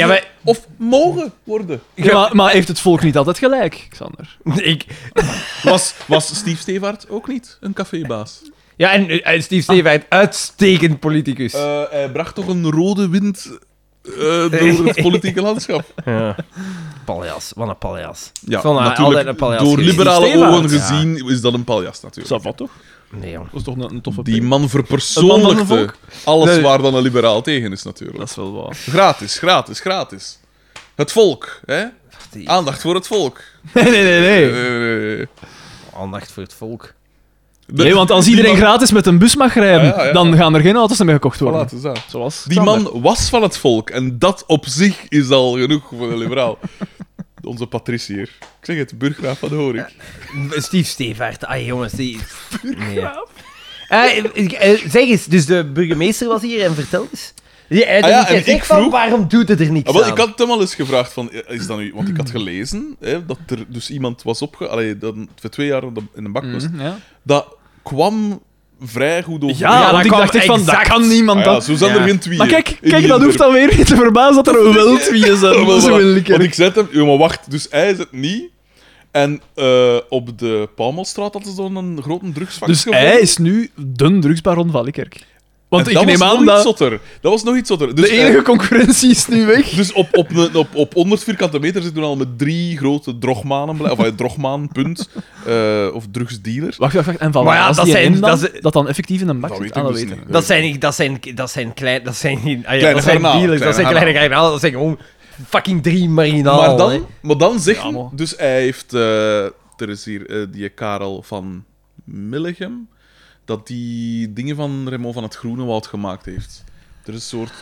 S1: Ja, maar
S2: Of mogen worden.
S3: Ja, maar, maar heeft het volk niet altijd gelijk, Xander?
S1: ik...
S2: Was, was Steve Stevaart ook niet een cafébaas?
S1: Ja, en, eh, en Steve Steven, uitstekend politicus.
S2: Eh, hij bracht toch een rode wind eh, door het politieke landschap.
S1: Ja. Paljas, wat een paljas.
S2: Ja,
S1: Ik vond haar altijd een paljas
S2: door
S1: geweest.
S2: liberale
S3: Stevaart,
S2: ogen
S1: ja.
S2: gezien is dat een paljas natuurlijk.
S3: wat toch?
S1: Nee, jong.
S3: Dat is toch een, een toffe
S2: Die
S3: pil.
S2: man
S3: Een man van het
S2: verpersoonlijkte alles
S1: Nee.
S2: waar dan een liberaal tegen is
S3: Dat
S2: natuurlijk.
S3: is wel waar.
S2: Gratis, gratis, gratis. Het volk, hè?
S1: Die-
S2: Aandacht voor het volk.
S3: Nee, nee, nee, nee.
S2: Eh,
S1: Aandacht voor het volk.
S2: de-
S3: nee, want als iedereen
S2: die man-
S3: gratis met een bus mag rijden,
S2: Ja, ja, ja.
S3: dan gaan er geen auto's meer gekocht
S2: Voilà,
S3: worden.
S2: het is dat.
S3: Zoals
S2: Die man was van het volk en dat op zich is al genoeg voor een liberaal. Onze Patrice hier. Ik zeg het, burggraaf van de Horik.
S1: Steve Stevaert, ah jongens, die... Nee. Eh, ik- eh, zeg eens, dus de burgemeester was hier en vertel eens. Ja, eh,
S2: Ah ja,
S1: dus jij
S2: en
S1: zegt
S2: ik
S1: van,
S2: vroeg-
S1: waarom doet het er niks
S2: Ah, wel,
S1: aan?
S2: ik had het hem al eens gevraagd van, eh, is dat nu... Want ik had gelezen hè, dat er dus iemand was opge... Allee, dat voor twee jaar op de- in de bak was.
S3: Hm, Ja,
S2: Dat kwam vrij goed over.
S3: ja,
S1: Ja, dat
S3: want ik
S1: kwam
S3: dacht echt van, dat
S1: exact.
S3: kan
S2: Ah
S3: niemand.
S2: ja,
S3: dat...
S2: zo zijn
S1: ja.
S2: er geen tweeën.
S3: Maar kijk,
S2: in
S3: kijk dat
S2: Limburg.
S3: hoeft dan weer niet te verbazen dat er wel tweeën zijn.
S2: Ah, wel,
S3: Dat is wel
S2: voilà.
S3: lekker.
S2: Want ik zei hem, "Ja, maar wacht, dus hij is het niet. En eh, op de Palmelstraat hadden ze dan een grote drugsvak
S3: Dus hij is nu de drugsbaron van Likkerk. Want
S2: En
S3: ik
S2: dat
S3: neem
S2: was
S3: aan
S2: nog iets
S3: dat
S2: zotter. Dat was nog iets zotter. Dus,
S3: de enige concurrentie is nu weg.
S2: eh, dus op, op, een- op, op 100 vierkante meter zitten we al met drie grote drogmanen. blij- Of eh, drogmaan, punt. eh, of drugsdealers.
S3: Wacht, wacht, wacht. En van
S1: Maar
S3: waar
S1: ja,
S3: als
S1: dat
S3: die
S1: zijn-
S3: in dan,
S1: dat
S3: dat,
S1: zijn-
S3: dan effectief in een bak
S2: Dat
S3: zit?
S2: weet
S3: Ah,
S2: ik
S3: dat
S2: dus
S3: weet ik.
S2: niet.
S1: Dat zijn, dat zijn, dat zijn klein, dat zijn, geen- ah ja,
S2: Kleine
S1: dat zijn
S2: garnalen,
S1: dealers, dat zijn
S2: kleine
S1: kleine garnalen, dat zijn gewoon fucking drie marginalen.
S2: maar,
S1: hè.
S2: dan, maar dan zegt
S3: Ja, man.
S2: Dus hij heeft... eh, er is hier eh, die Karel van Milligem. Dat die dingen van Remo van het Groene Woud gemaakt heeft. Er is een soort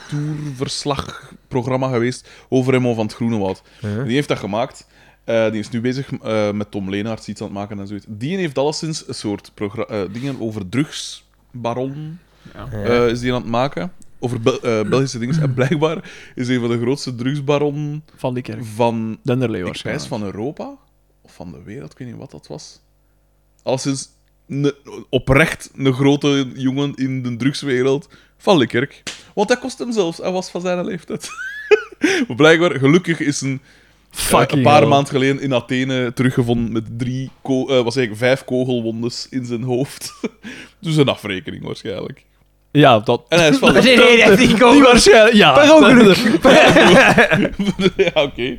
S2: tourverslagprogramma geweest over Remo van het Groene Woud. Die heeft dat gemaakt. Eh, die is nu bezig eh, met Tom Leenaerts iets aan het maken en zoiets. Die heeft alleszins een soort progra- eh, dingen over drugsbaron. eh, is die aan het maken. Over Bel- eh, Belgische dingen. En blijkbaar is een van de grootste drugsbaronnen
S3: Van die kerk.
S2: van
S3: Denderlee
S2: ik wijs
S3: waarschijnlijk.
S2: van Europa of van de wereld, ik weet niet wat dat was. Alleszins ne, oprecht een grote jongen in de drugswereld van Likkerk. Want dat kost hem zelfs, hij was van zijn leeftijd. Maar Blijkbaar, gelukkig is een, eh,
S3: Fucking
S2: een paar
S3: hell.
S2: maanden geleden in Athene teruggevonden met drie ko- eh, wat zeg ik, vijf kogelwondes in zijn hoofd. dus een afrekening waarschijnlijk.
S3: Ja, dat...
S2: En hij is van.
S1: Nee, nee, nee, die komen.
S3: Die waarschijnlijk... Ja.
S1: Per ongeluk.
S2: ja, oké.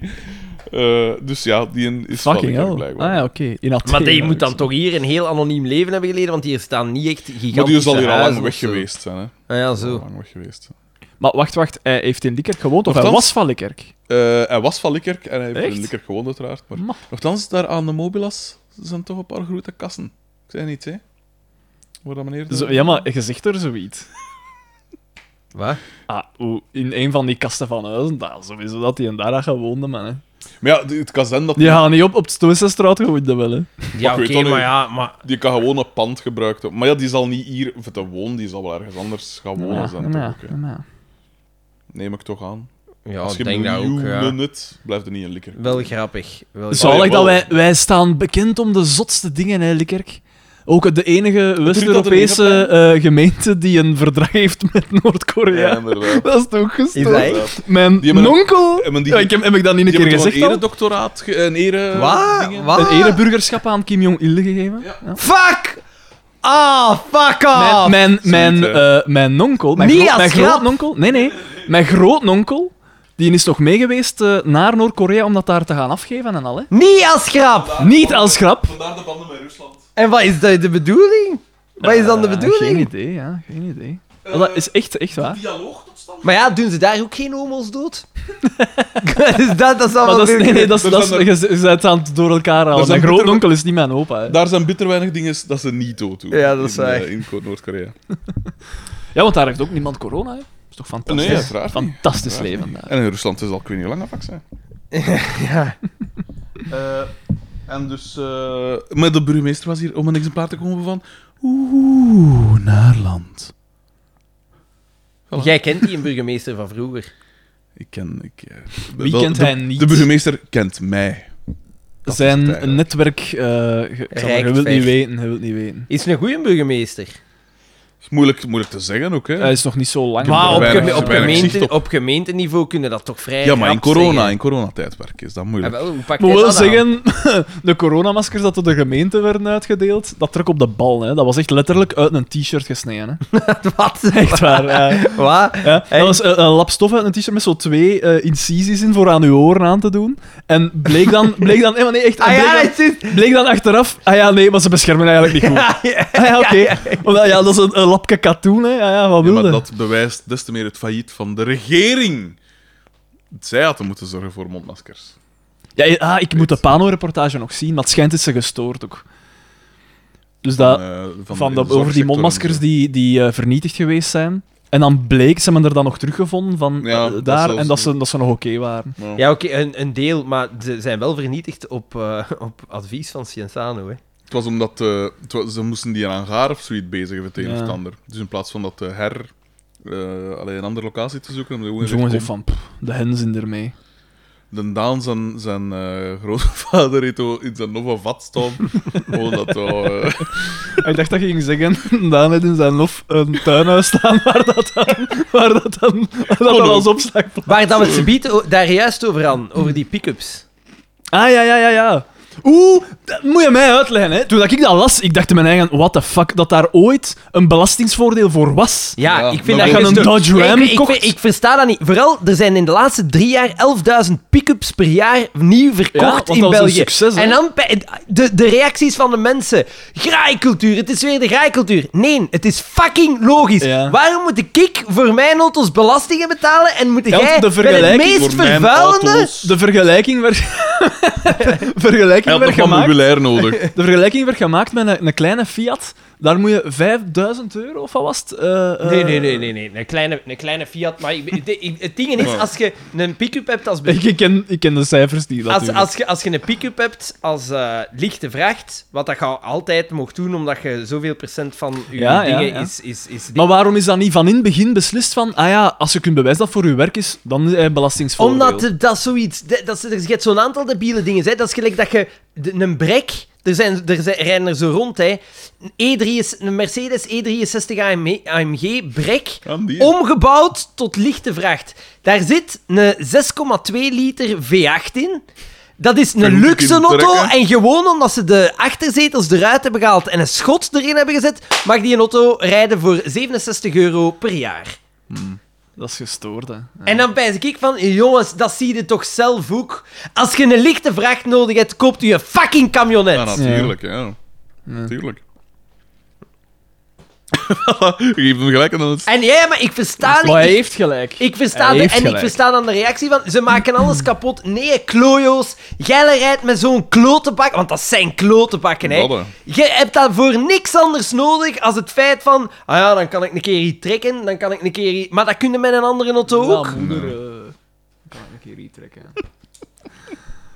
S2: Eh, dus ja, die een is van
S3: Fucking
S2: Likkerk
S3: hell. Ah
S2: blijkbaar.
S3: ja, oké. In Athene.
S1: Maar die moet dan toch hier een heel anoniem leven hebben geleden, want hier staan niet echt gigantische
S2: Maar die is al hier al lang
S1: huizen
S2: weg
S1: of zo.
S2: geweest zijn, hè?
S1: Ah, ja,
S2: Al
S1: zo.
S2: Lang weg geweest.
S3: Maar wacht, wacht. Hij heeft in Likkerk gewoond, of hij
S2: Nochtans-
S3: was van Likkerk?
S2: Eh, hij was van Likkerk en hij heeft
S3: Echt?
S2: in Likkerk gewoond, uiteraard. Maar
S3: Ma.
S2: nochtans, daar aan de Mobilas zijn toch een paar grote kassen. Ik zei niet, hè? Waar dat meneer...
S3: Zo, ja, maar je zegt er zoiets.
S1: Wat?
S3: Ah, oeh, in een van die kasten van huizen, dat sowieso dat hij een daar had gewoond, man. Hè.
S2: Maar ja, die- het kan zijn dat...
S3: Die gaan niet op op de Stoïcijnstraat gewoond hebben, hè.
S1: Ja,
S2: ik
S1: oké,
S2: weet dat
S1: maar
S2: niet.
S1: ja, maar...
S2: Die kan gewoon een pand gebruikt hebben. Maar ja, die zal niet hier of te wonen, die zal wel ergens anders gaan
S3: Oh,
S2: wonen. zijn, toch ook, hè. Neem ik toch aan.
S1: Ja,
S2: Als je
S1: Oh, ik denk dat ook,
S2: miljoenen
S1: ja.
S2: het, blijft er niet in Likkerk.
S1: Wel grappig. Wel grappig.
S3: Zalig
S2: Allee,
S3: dat
S2: wel.
S3: wij, wij staan bekend om de zotste dingen, hè, Likkerk. Ook de enige West-Europese eh, gemeente die een verdrag heeft met
S2: Ja,
S3: Noord-Korea.
S2: inderdaad.
S3: dat is toch
S1: Is dat echt?
S3: gestoord. Mijn
S2: Die hebben-
S3: nonkel...
S2: hebben die-
S3: Ja, ik heb, heb ik dat niet een
S2: Die
S3: keer
S2: hebben toch Ah.
S3: gezegd
S2: een
S3: al?
S2: eredoctoraat, ge- een ere...
S1: Wat?
S2: dingen?
S1: Wat?
S3: Een ereburgerschap aan Kim Jong-il gegeven.
S1: Fuck! Ah, fuck off!
S3: Mijn, mijn, mijn,
S2: Zoiets,
S3: eh, mijn nonkel... Mijn,
S1: Niet
S3: gro-
S1: als
S3: mijn
S1: grap.
S3: grootnonkel... Nee, nee. Mijn grootnonkel... Die is nog mee geweest eh, naar Noord-Korea om dat daar te gaan afgeven en al, hè.
S1: Niet als grap!
S3: Niet als grap.
S2: Vandaar de banden met Rusland.
S1: En wat is de, de bedoeling? Wat is dan de
S3: Eh,
S1: bedoeling?
S3: geen idee, ja. Geen idee. Oh,
S2: Eh,
S3: dat is echt, echt waar.
S2: Dialoog tot stand?
S1: Maar ja, doen ze daar ook geen homo's dood? dus dat, dat is
S3: Maar
S1: allemaal
S3: dat is, nee, nee, dat is,
S2: Er
S3: dat is,
S2: zijn
S3: je je bent aan het door elkaar halen.
S2: zijn
S3: Mijn
S2: bitter-
S3: grootnonkel is niet mijn opa. hè.
S2: Daar zijn bitter weinig dingen dat ze niet dood doen.
S1: Ja, dat is
S2: in, eh,
S1: waar.
S2: in Ko- Noord-Korea.
S3: Ja, want daar heeft ook niemand corona, hè. Dat is toch fantastisch?
S2: Nee, uiteraard niet.
S3: Fantastisch
S2: Uiteraard
S3: leven daar.
S2: En in Rusland is al ik weet niet hoe lang dat vaccin.
S1: Ja.
S2: Eh, en dus... maar de burgemeester was hier om een exemplaar te komen van... Oeh, Naarland.
S1: Jij kent die een burgemeester van vroeger.
S2: Ik ken... Ik, eh,
S3: Wie
S2: wel-
S3: kent
S2: de,
S3: hij niet?
S2: De burgemeester kent mij. Dat is het, eh,
S3: Zijn netwerk... eh, ge- Xander, je wilt
S1: ver.
S3: niet weten, je wilt niet weten.
S1: Is een goede burgemeester.
S2: is moeilijk, moeilijk te zeggen ook, hè.
S3: Hij is nog niet zo lang.
S1: Maar op,
S2: weinig-
S1: geme- op,
S2: weinig
S1: gemeente,
S2: zicht
S1: op.
S2: op.
S1: gemeenteniveau kunnen dat toch vrij
S2: ja, maar in
S1: rap
S2: corona,
S1: zeggen.
S2: in coronatijdperk is dat
S1: Ja,
S2: moeilijk.
S1: wel, hoe pakt
S3: Ik moet
S1: hij
S3: wel
S1: dat aan?
S3: zeggen, de coronamaskers dat door de gemeente werden uitgedeeld, dat trok op de bal. Hè. Dat was echt letterlijk uit een t-shirt gesneden. Hè.
S1: Wat?
S3: Echt waar. ja.
S1: Wat?
S3: Ja, dat was eh, een lap stof uit een t-shirt met zo twee eh, incisies in voor aan uw oren aan te doen. En bleek dan... Bleek dan, eh, maar nee, echt,
S1: Ah
S3: bleek,
S1: ja,
S3: dan
S1: dat is...
S3: bleek dan achteraf... Ah ja, nee, maar ze beschermen eigenlijk niet goed.
S1: Ah, ja.
S3: Ah ja, oké. Omdat, ja, dat is een, een lapje katoen, hè. Ah ja, wat
S2: Ja,
S3: wilde?
S2: maar dat bewijst des te meer het failliet van de regering. Zij hadden moeten zorgen voor mondmaskers.
S3: Ja, ja, ah, ik moet de Pano-reportage nog zien, maar het schijnt is ze gestoord ook. Dus dat...
S2: Eh,
S3: van,
S2: in de
S3: dat- over die
S2: zorgsector
S3: mondmaskers
S2: en
S3: die, die eh, vernietigd geweest zijn. En dan bleek, ze hebben er dan nog teruggevonden van
S2: Ja,
S3: eh,
S2: dat
S3: daar
S2: zelfs-
S3: en dat ze, dat ze nog oké waren.
S2: zo.
S1: Ja, oké, een, een deel, maar ze zijn wel vernietigd op, eh, op advies van Cienzano, hè.
S2: Het was omdat eh, het was- ze moesten die een hangaar of zoiets bezigen met het een of
S3: Ja.
S2: het ander. Dus in plaats van dat eh, her eh alleen een andere locatie te zoeken, hebben ze
S3: Dus
S2: gewoon
S3: jongens, ik
S2: gezegd,
S3: van, pff, de hen zijn
S2: kom,
S3: ermee.
S2: de Daan zijn, zijn eh, grootvader heeft al in zijn nova vat staan. Gewoon dat al, eh,
S3: ik dacht dat je ging zeggen, Daan heeft in zijn lof een tuinhuis staan waar dat dan, waar dat dan, waar dat dan
S2: ook.
S3: als opslag...
S1: Waar dat we het gebied o- daar juist over aan, over die pick-ups.
S3: Ah, ja, ja, ja, ja. Oeh, dat moet je mij uitleggen, hè. Toen dat ik dat las, ik dacht in mijn eigen, what the fuck, dat daar ooit een belastingsvoordeel voor was.
S1: Ja,
S2: Ja,
S1: ik vind
S2: maar
S1: dat...
S3: dat je
S1: je
S3: een
S1: stuk-
S3: Dodge Ram
S1: ik, ik,
S3: kocht.
S1: ik, ik versta dat niet. Vooral, er zijn in de laatste drie jaar 11.000 pick-ups per jaar nieuw verkocht
S3: want dat
S1: in
S3: was een
S1: België.
S3: succes, hè?
S1: en dan bij- de, de reacties van de mensen. Graaikultuur, het is weer de graaikultuur. Nee, het is fucking logisch.
S3: Ja.
S1: Waarom moet ik, ik voor mijn auto's belastingen betalen en moet
S3: Ja, want
S1: jij
S3: de
S1: bij het
S3: vergelijking
S1: meest
S2: voor mijn
S1: vervuilende...
S2: auto's.
S3: De vergelijking werd... vergelijking
S2: Hij had
S3: werd
S2: nog wat
S3: gemaakt...
S2: meubilair nodig.
S3: De vergelijking werd gemaakt met een, een kleine Fiat Daar moet je 5000 euro of wat was het? eh, eh,
S1: Nee, nee, nee, nee, nee. Een, kleine, een kleine Fiat. Maar ik- ik- ik- het ding is, als je een pick-up hebt als, be-
S3: Ik ken, ik ken de cijfers die dat
S1: als,
S3: doen.
S1: als, je, als je een pick-up hebt als eh, lichte vracht, wat dat je altijd mocht doen, omdat je zoveel procent van je
S3: Ja, ja,
S1: dingen
S3: ja.
S1: is... is, is
S3: Maar waarom is dat niet van in het begin beslist van, ah ja, als je kunt bewijzen dat voor je werk is, dan is hij belastingsvoordeel.
S1: Omdat eh, dat zoiets. Dat, dat, er zit zo'n aantal debiele dingen. Hè. Dat is gelijk dat je de- een brek. Er, zijn, er zijn, rijden er zo rond, hè. Een, E3, is- een Mercedes E E63 AMG, AMG brek.
S2: Aan die-
S1: Omgebouwd tot lichte vracht. Daar zit een 6,2 liter V8 in. Dat is
S2: Veel
S1: een
S2: moet ik
S1: luxe
S2: in
S1: auto.
S2: trekken.
S1: En gewoon omdat ze de achterzetels eruit hebben gehaald en een schot erin hebben gezet, mag die een auto rijden voor 67 euro per jaar.
S3: Dat is gestoord, hè.
S1: En dan pijs ik van, jongens, dat zie je toch zelf ook. Als je een lichte vracht nodig hebt, koopt u een fucking camionet.
S2: Ja, natuurlijk, ja. Natuurlijk. Je geeft hem gelijk en dan het...
S1: En ja, maar ik versta
S3: Maar hij
S1: niet.
S3: heeft gelijk.
S1: Ik versta
S3: Hij
S1: de,
S3: heeft
S1: en ik
S3: gelijk.
S1: versta dan de reactie van, ze maken alles kapot. Nee, klojo's. Jij rijdt met zo'n klotenbak, want dat zijn klotenbakken, hè.
S2: Ladden.
S1: Je hebt daarvoor niks anders nodig als het feit van, ah ja, dan kan ik een keer hier trekken, dan kan ik een keer hier... Maar dat kun je met een andere auto ook.
S3: Ja, moeder, eh, kan ik een keer retrekken.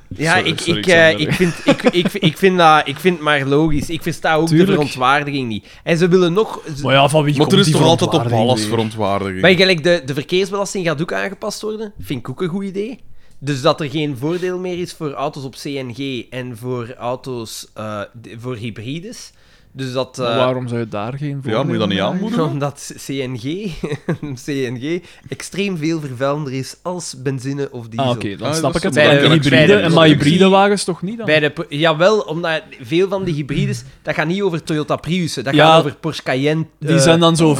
S1: Ja,
S2: Sorry,
S1: ik,
S2: sorry,
S1: ik, eh,
S2: Xander.
S1: ik, vind, ik, ik, ik, vind dat, ik vind het maar logisch. Ik versta ook
S3: Tuurlijk.
S1: de verontwaardiging niet. En ze willen nog... ze-
S3: Maar ja, van wie
S2: Maar
S3: komt
S2: er is
S3: die
S2: toch altijd op
S3: verontwaardiging
S2: alles
S3: weer?
S2: verontwaardiging.
S1: Maar gelijk, de, de verkeersbelasting gaat ook aangepast worden. Vind ik ook een goed idee. Dus dat er geen voordeel meer is voor auto's op CNG en voor auto's eh, d- voor hybrides. Dus dat... eh,
S3: Maar waarom zou je daar geen voor?
S2: Ja, moet je dat niet aanmoedigen?
S1: omdat CNG, CNG extreem veel vervuilender is als benzine of diesel.
S3: Ah, oké, dan
S2: Ah,
S3: snap
S2: dat
S3: ik het.
S2: snap
S3: Bij
S1: ik.
S3: de
S1: Dan kan ik
S3: hybride,
S1: zeggen,
S3: en
S1: dat
S3: maar
S1: ik-
S3: hybride wagens toch niet dan?
S1: Bij de, po- jawel, omdat veel van die hybrides, dat gaat niet over Toyota Priussen, dat
S3: Ja,
S1: gaat over Porsche Cayenne.
S3: Die zijn dan zo 5%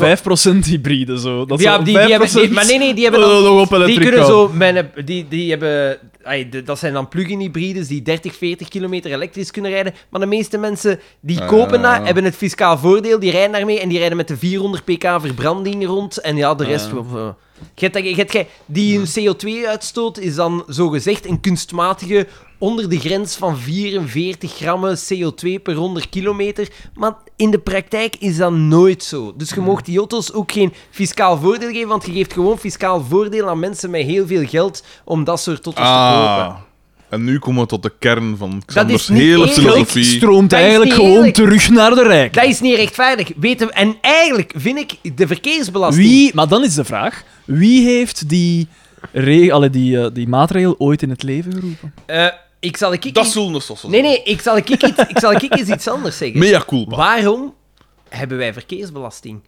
S3: hybride, zo. Dat
S1: ja,
S3: zo
S1: die, die hebben,
S3: 5%
S1: nee, maar nee, nee, die hebben dan-
S3: eh, nog op
S1: die
S3: elektrica.
S1: kunnen zo, mijn, die, die hebben, ai, de- dat zijn dan plug-in hybrides die 30, 40 kilometer elektrisch kunnen rijden, maar de meeste mensen die
S2: Ah,
S1: kopen
S2: ja,
S1: dat,
S2: ja.
S1: hebben het fiscaal voordeel, die rijden daarmee en die rijden met de 400 pk verbranding rond en ja, de rest... wel. wel. Je hebt dat- je hebt gij- die hun CO2-uitstoot is dan zogezegd een kunstmatige onder de grens van 44 grammen CO2 per 100 kilometer. Maar in de praktijk is dat nooit zo. Dus je mag die auto's ook geen fiscaal voordeel geven, want je geeft gewoon fiscaal voordeel aan mensen met heel veel geld om dat soort auto's te kopen.
S2: Ah. En nu komen we tot de kern van Xanders
S1: is niet
S2: hele
S1: eerlijk.
S2: filosofie.
S3: stroomt
S1: Dat is
S3: eigenlijk
S1: niet
S3: gewoon
S1: eerlijk.
S3: terug naar de rijk.
S1: Dat is niet rechtvaardig. Weten we- en eigenlijk vind ik de verkeersbelasting...
S3: Wie, maar dan is de vraag, wie heeft die, re, allee, die, eh, die maatregel ooit in het leven geroepen?
S1: Eh, ik zal ik ik-
S2: Dat zullen we sossen.
S1: Nee, nee, ik zal ik ik iets, ik zal ik ik eens iets anders zeggen.
S2: Mea culpa.
S1: Waarom hebben wij verkeersbelasting?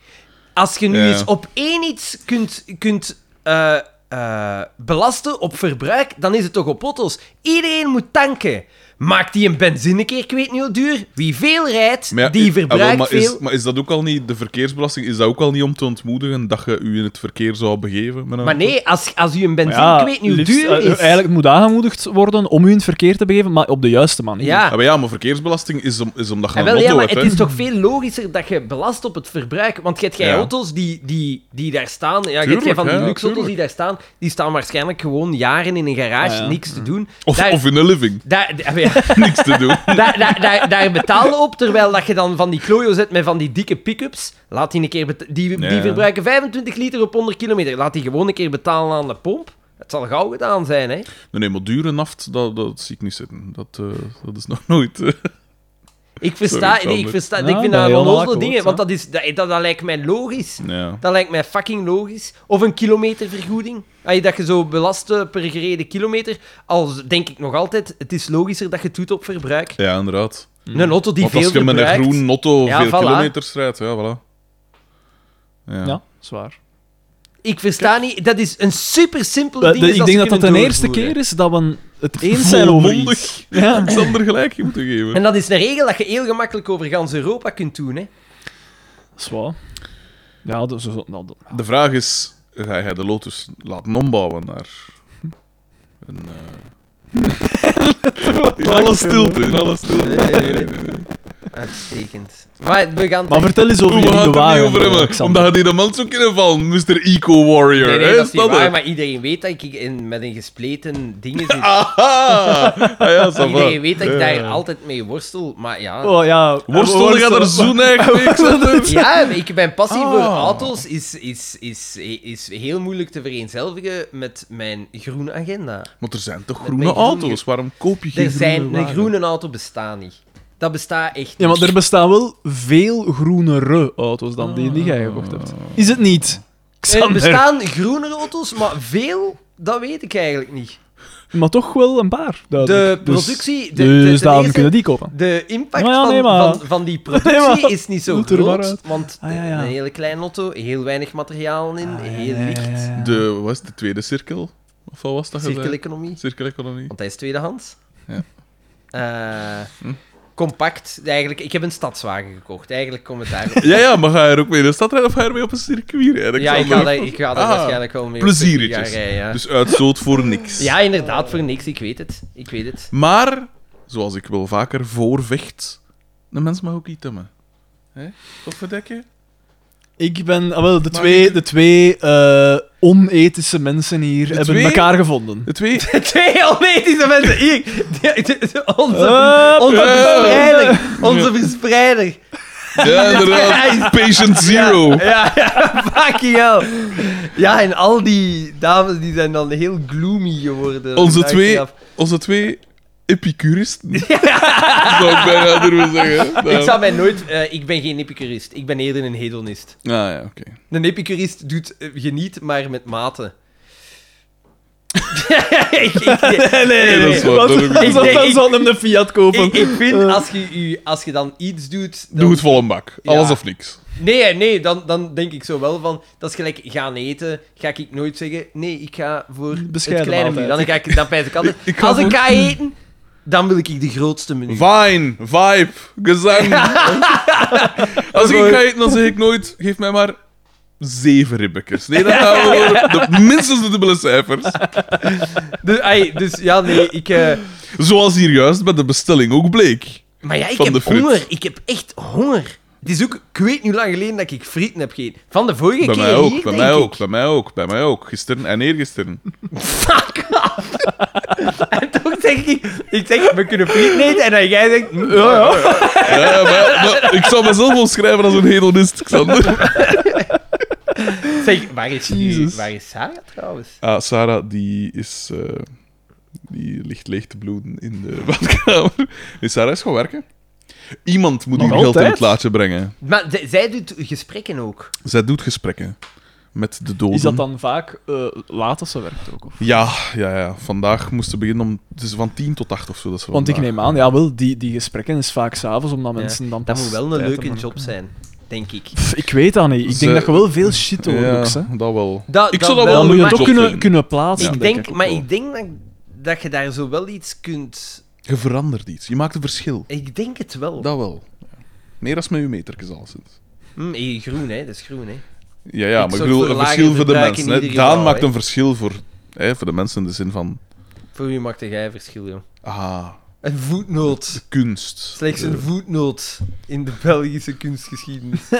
S1: Als je nu
S2: Ja.
S1: eens op één iets kunt, kunt eh, eh, belasten op verbruik, dan is het toch op auto's. Iedereen moet tanken. Maakt die een benzine keer, ik weet niet hoe duur. Wie veel rijdt,
S2: Maar ja,
S1: die
S2: ik- ah, wel,
S1: verbruikt
S2: maar
S1: veel.
S2: Is, maar is dat ook al niet, de verkeersbelasting, is dat ook al niet om te ontmoedigen dat je u in het verkeer zou begeven? Met een
S1: Maar
S2: auto?
S1: nee, als, als u een benzine, ik weet niet hoe
S3: liefst,
S1: duur
S3: eh,
S1: is.
S3: Eigenlijk moet aangemoedigd worden om u in het verkeer te begeven, maar op de juiste manier.
S2: Ja,
S1: ja.
S2: maar, Ah, ja, maar verkeersbelasting is, om, is omdat je
S1: Ah,
S2: een
S1: wel,
S2: auto
S1: ja, maar
S2: hebt.
S1: het
S2: hè.
S1: is toch veel logischer dat je belast op het verbruik. Want je hebt jij
S2: Ja.
S1: auto's die, die, die daar staan. Ja, je hebt jij
S2: Tuurlijk,
S1: van
S2: ja,
S1: die
S2: ja,
S1: luxe auto's die
S2: tuurlijk.
S1: daar staan. Die staan waarschijnlijk gewoon jaren in een garage,
S3: Ah, ja.
S1: niks te doen.
S2: Of,
S1: daar,
S2: of in een living.
S1: daar, daar, ja,
S2: Niks te doen.
S1: daar, daar, daar, daar betaal je op, terwijl dat je dan van die klojo zet met van die dikke pick-ups. Laat die een keer beta- die, die
S2: Ja.
S1: verbruiken 25 liter op 100 kilometer. Laat die gewoon een keer betalen aan de pomp. Het zal gauw gedaan zijn, hè.
S2: Nee, nee, maar dure naft, dat, dat zie ik niet zitten. Dat, eh, dat is nog nooit... eh.
S1: Ik versta,
S2: Sorry,
S1: ik,
S2: Sander.
S1: versta
S3: Ja,
S1: ik vind
S3: ben
S1: dat
S3: je
S1: wel
S3: wel
S1: onnozele
S3: akkoord,
S1: dingen,
S3: hè?
S1: want dat, is, dat, dat, dat lijkt mij logisch.
S2: ja.
S1: Dat lijkt mij fucking logisch. Of een kilometervergoeding. Ay, dat je zo belast eh, per gereden kilometer. Als denk ik nog altijd, het is logischer dat je het doet op verbruik.
S2: ja, inderdaad.
S1: Een auto die
S2: Want
S1: veel
S2: als je met een
S1: verbruikt.
S2: groen notto
S1: Ja,
S2: veel
S1: voilà.
S2: kilometers rijdt, ja, voilà. Ja.
S3: Ja, zwaar.
S1: Ik versta niet, dat is een super simpel ding. dus
S3: ik denk dat dat Eh, de eerste keer is dat we het eens zijn over
S2: Volmondig
S3: iets. Ja.
S2: Xander gelijk moeten geven.
S1: En dat is een regel dat je heel gemakkelijk over gans Europa kunt doen. Hè.
S3: Zwaar. Ja, dat, zo, zo- nou, dat-
S2: De vraag is, ga jij de Lotus laten ombouwen naar... Een, eh, in alle stilte, in alle stilte.
S1: Uitstekend. Maar we gaan...
S3: Maar vertel eens over
S2: Hoe
S3: je
S2: gaat het
S3: nieuwe
S2: niet
S3: wagen.
S2: over hebben?
S3: Alexander.
S2: Omdat je die de man zou kunnen vallen, Mr. Eco Warrior.
S1: Nee, nee,
S2: hè?
S1: dat is niet
S2: het?
S1: waar, maar iedereen weet dat ik in, met een gespleten ding zit.
S2: Aha! Ah, ja, ça va.
S1: iedereen weet dat ik daar altijd mee worstel, maar ja...
S3: Oh ja.
S2: Worstel gaat er zo eigenlijk.
S1: Ja, maar ik, mijn passie voor
S2: Ah.
S1: auto's is, is, is, is heel moeilijk te vereenzelvigen met mijn groene agenda.
S2: Maar er zijn toch
S1: mijn
S2: groene
S1: groene-
S2: auto's? Waarom koop je geen
S1: Er zijn,
S2: groene
S1: een
S2: wagen?
S1: groene auto bestaat niet. Dat bestaat echt
S3: Ja,
S1: niet.
S3: maar er bestaan wel veel groenere auto's dan die die jij gekocht hebt. Is het niet?
S1: Er
S3: Xander.
S1: bestaan groene auto's, maar veel, dat weet ik eigenlijk niet.
S3: Maar toch wel een paar.
S1: De
S3: duidelijk. Dus-
S1: productie... De,
S3: Dus,
S1: de, ten
S3: daarom
S1: eerste,
S3: kunnen die kopen.
S1: de impact
S3: Maar Ah, ja,
S1: van,
S3: nee, maar-
S1: van, van die productie
S3: Nee, maar-
S1: is niet zo
S3: Doet er maar
S1: groot,
S3: uit.
S1: want
S3: Ah, ja, Ah, ja.
S1: een hele kleine auto, heel weinig materialen in, heel licht,
S2: De, wat is het, de tweede cirkel? Of wat was dat? gezegd?
S1: cirkeleconomie.
S2: Cirkeleconomie.
S1: Want hij is tweedehands.
S2: Ja.
S1: Eh,
S2: Hm.
S1: Compact, eigenlijk. Ik heb een stadswagen gekocht. Eigenlijk komt het daarop.
S2: Ja, ja, maar ga je er ook mee in de stad rijden of ga je er mee op een circuit rijden?
S1: ja, ik ga
S2: Xander?
S1: daar, ik ga daar
S2: Ah,
S1: waarschijnlijk wel mee. op
S2: plezieretjes.
S1: circuit gaan rijden, ja.
S2: Dus uitstoot voor niks.
S1: ja, inderdaad, voor niks. Ik weet het. Ik weet het.
S2: Maar, zoals ik wel vaker voorvecht, de mens mag ook iets temmen. Hè? Wat verdekken?
S3: Ik ben... ah, wel, de twee, de twee eh, onethische mensen hier hebben
S2: twee?
S3: elkaar gevonden.
S2: De twee...
S1: Twee onethische mensen. Hier. De- de- de- Onze,
S3: Hup,
S1: onze
S2: eh,
S1: verspreider. Onze verspreider.
S2: Ja, inderdaad. Patient Zero.
S1: Ja, ja, fucking hell. Ja, en al die dames die zijn dan heel gloomy geworden.
S2: Onze twee,
S1: achteraf.
S2: onze twee epicuristen. Zou ik bijna durven zeggen.
S1: Ik zou mij nooit... eh, ik ben geen epicurist. Ik ben eerder een hedonist.
S2: Ah ja, oké.
S1: Een epicurist doet eh, geniet, maar met mate. ik, ik-
S2: nee, nee, dat is waar,
S3: Want-
S2: dat heb ik
S3: want
S1: gezien.
S3: dan zal hem de Fiat kopen.
S1: ik- ik vind, als je, u, als je dan iets doet... dan-
S2: Doe het vol een bak. Alles
S1: Ja.
S2: of niks.
S1: Nee, nee, dan, dan denk ik zo wel van... Dat is gelijk gaan eten, ga ik nooit zeggen... Nee, ik ga voor
S3: Bescheiden
S1: het kleine menu. Dan, ga ik, dan pijs ik altijd...
S2: Ik ga
S1: als ik
S2: voor-
S1: ga eten, dan wil ik de grootste menu.
S2: Vine, vibe, gezang. Als ik ga eten, dan zeg ik nooit... Geef mij maar zeven ribbekjes. Nee, dan gaan we voor de, minstens de dubbele cijfers.
S1: Dus, ai, dus ja, nee, ik... eh,
S2: Zoals hier juist bij de bestelling ook bleek.
S1: Maar ja, ik
S2: Van de
S1: heb
S2: friet.
S1: honger. Ik heb echt honger. Het is ook... Ik weet niet hoe lang geleden dat ik frieten heb gegeten. Van de vorige
S2: Bij
S1: keer
S2: mij ook,
S1: hier,
S2: bij
S1: denk
S2: mij
S1: ik.
S2: ook, bij mij ook, bij mij ook. Gisteren en eergisteren.
S1: Fuck off. en toch zeg ik... Ik zeg, we kunnen frieten eten. En dan jij zegt... mm, ja, ja.
S2: Ja, maar, maar ik zou mezelf omschrijven als een hedonist, Xander.
S1: Zeg, waar is, u,
S3: Jezus.
S1: waar is Sarah trouwens?
S2: Ah, Sarah, die is... eh, die ligt leeg te bloeden in de badkamer. Nee, Sarah is gaan werken. Iemand moet
S3: Nog
S2: hier geld in het
S3: altijd?
S2: laadje brengen.
S1: Maar z- zij doet gesprekken ook.
S2: Zij doet gesprekken met de doden.
S3: Is dat dan vaak eh, laat als ze werkt ook? Of?
S2: Ja, ja, ja. Vandaag moest ze beginnen om... Het is van 10 tot 8 of zo. Dat ze
S3: Want ik
S2: vandaag-
S3: neem aan, ja, wel, die, die gesprekken is vaak s'avonds, omdat mensen
S1: Ja,
S3: dan
S1: Dat
S3: pas...
S1: moet wel een
S3: tijd
S1: leuke
S3: hebben.
S1: job zijn, denk ik.
S3: Pff, Ik weet dat niet. Ik
S2: Ze-
S3: denk dat je wel veel shit hoort,
S2: Ja,
S3: Lux, hè.
S2: dat wel.
S1: Dat-
S2: ik
S1: dat
S2: zou dat
S1: wel,
S2: wel
S3: Dan moet je
S2: een
S3: het ook
S2: job
S3: kunnen,
S2: vinden.
S3: kunnen plaatsen,
S1: ik
S3: denk
S1: denk,
S3: ik
S1: maar
S3: wel.
S1: ik denk dat, dat je daar zo wel iets kunt...
S2: Je verandert iets. Je maakt een verschil.
S1: Ik denk het wel.
S2: Dat wel. Ja. Meer als met uw metertjes al sinds.
S1: Mm, eh, groen, hè. Dat is groen, hè.
S2: Ja, ja,
S1: Ik
S2: maar ik
S1: zorg
S2: bedoel,
S1: voor
S2: een
S1: lager
S2: verschil voor de
S1: verbruik
S2: mensen.
S1: in
S2: Hè.
S1: ieder
S2: Daan
S1: geval,
S2: maakt
S1: hè.
S2: een verschil voor, hè, voor de mensen in de zin van...
S1: Voor wie maakt jij verschil, joh?
S2: Ah,
S1: Een voetnoot.
S2: kunst.
S1: Slechts een voetnoot in de Belgische kunstgeschiedenis.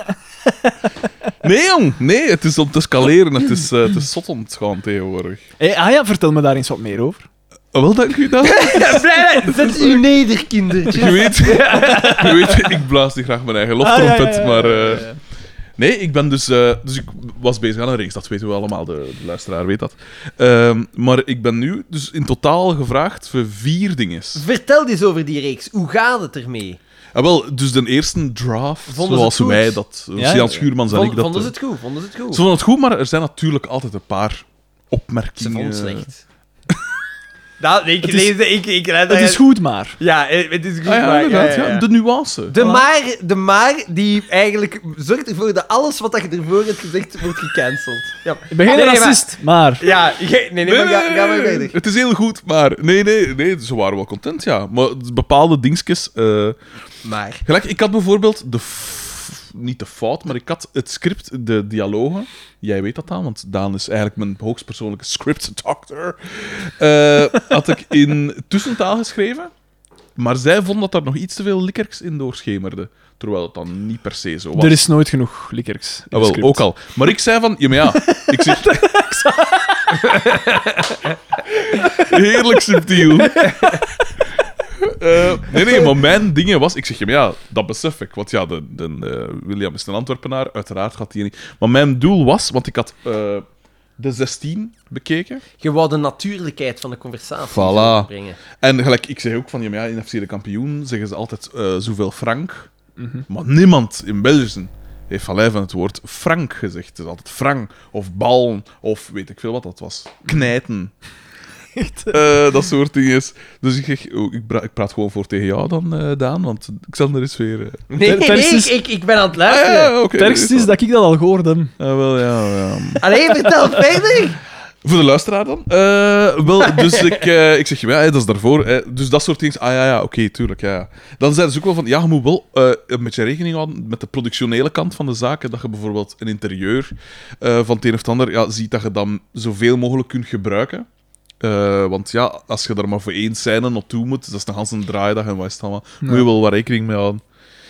S2: Nee, jong. Nee, het is om te scaleren. Het is, eh, het is zot om te gaan tegenwoordig.
S3: Hey, ah ja, vertel me daar eens wat meer over.
S2: Ah, wel, dank u, Daan.
S1: Blij dat- Zet u neder,
S2: Je
S1: kindertje.
S2: weet, je weet, ik blaas niet graag mijn eigen loftrompet,
S3: Ah, ja, ja, ja,
S2: maar...
S3: ja, ja,
S2: eh, Nee, ik ben dus... eh, dus ik was bezig aan een reeks, dat weten we allemaal, de, de luisteraar weet dat. Ehm, maar ik ben nu dus in totaal gevraagd voor vier dingen.
S1: Vertel eens over die reeks. Hoe gaat het ermee?
S2: Ah, wel, dus de eerste draft,
S1: Vonden ze
S2: zoals
S1: het goed?
S2: wij dat... eh,
S3: Ja, ja,
S2: Sian
S3: ja.
S2: Schuurmans en
S1: Vond-
S2: ik dat...
S1: vonden ze
S2: eh,
S1: het goed? Vonden ze het goed?
S2: Ze vonden het goed, maar er zijn natuurlijk altijd een paar
S1: Ze
S2: opmerkingen.
S1: vonden het slecht. Nou, nee, eh, ik
S3: is-
S1: lees ik, ik
S3: Het is goed, maar...
S1: Ja, eh, het is goed.
S2: Ah, ja,
S1: maar-
S2: inderdaad,
S1: ja, ja,
S2: ja,
S1: ja.
S2: de nuance.
S3: Ah.
S1: De maar, de maar die eigenlijk zorgt ervoor dat alles wat dat je ervoor hebt gezegd wordt gecanceld. Ja.
S3: Ik ben geen
S1: Nee, nee,
S3: racist, maar...
S1: maar- Ja, ge- nee, nee, maar ga, ga maar verder.
S2: Het is heel goed, maar... Nee, nee, nee, ze waren wel content, ja. Maar bepaalde dingetjes... eh,
S1: Maar.
S2: Gelijk, ik had bijvoorbeeld de. f- Niet de fout, maar ik had het script, de dialogen. Jij weet dat dan, want Daan is eigenlijk mijn hoogstpersoonlijke script doctor. Eh, had ik in tussentaal geschreven. Maar zij vond dat er nog iets te veel likkerks in doorschemerde. Terwijl het dan niet per se zo was.
S3: Er is nooit genoeg likkerks. in
S2: Ah,
S3: het
S2: wel,
S3: script.
S2: ook al. Maar ik zei van... Ja, maar ja. Ik zeg... Heerlijk subtiel. Eh, nee, nee, maar mijn dingen was... Ik zeg, ja, maar ja, dat besef ik. Want ja, de, de, eh, William is een Antwerpenaar. Uiteraard gaat hij niet... Maar mijn doel was... Want ik had eh, de 16 bekeken.
S1: Je wou de natuurlijkheid van de conversatie
S2: Voilà.
S1: brengen.
S2: En gelijk, ik zeg ook van, ja, maar ja, in FC de kampioen zeggen ze altijd eh, zoveel frank.
S3: Mhm.
S2: Maar niemand in België heeft van lijf van het woord frank gezegd. Het is altijd frank of bal of weet ik veel wat dat was. Knijten. Eh, dat soort dingen. is. Dus ik, zeg, oh, ik, pra- ik praat gewoon voor tegen jou dan, eh, Daan, want Xander is weer... eh,
S1: Nee,
S3: Ter-
S1: nee,
S3: terst is-
S1: ik, ik ben aan het
S2: ah,
S1: luisteren.
S2: ja, oké,
S3: Het ergste is dat ik dat al gehoord heb.
S2: Ah, wel, ja, ja.
S3: Eh.
S1: Allee, vertel verder.
S2: Voor de luisteraar dan? Eh, wel, dus ik, eh, ik zeg, ja, hè, dat is daarvoor. hè. dus dat soort dingen. Ah ja, ja oké, tuurlijk. Ja. ja. Dan zijn ze ook wel van, ja, je moet wel eh, een beetje rekening houden met de productionele kant van de zaken. Dat je bijvoorbeeld een interieur eh, van het een of het ander ja, ziet dat je dan zoveel mogelijk kunt gebruiken. Eh, want ja, als je er maar voor één scène naartoe moet, dat is een ganse draaidag en wat is het allemaal, moet je wel wat rekening mee houden.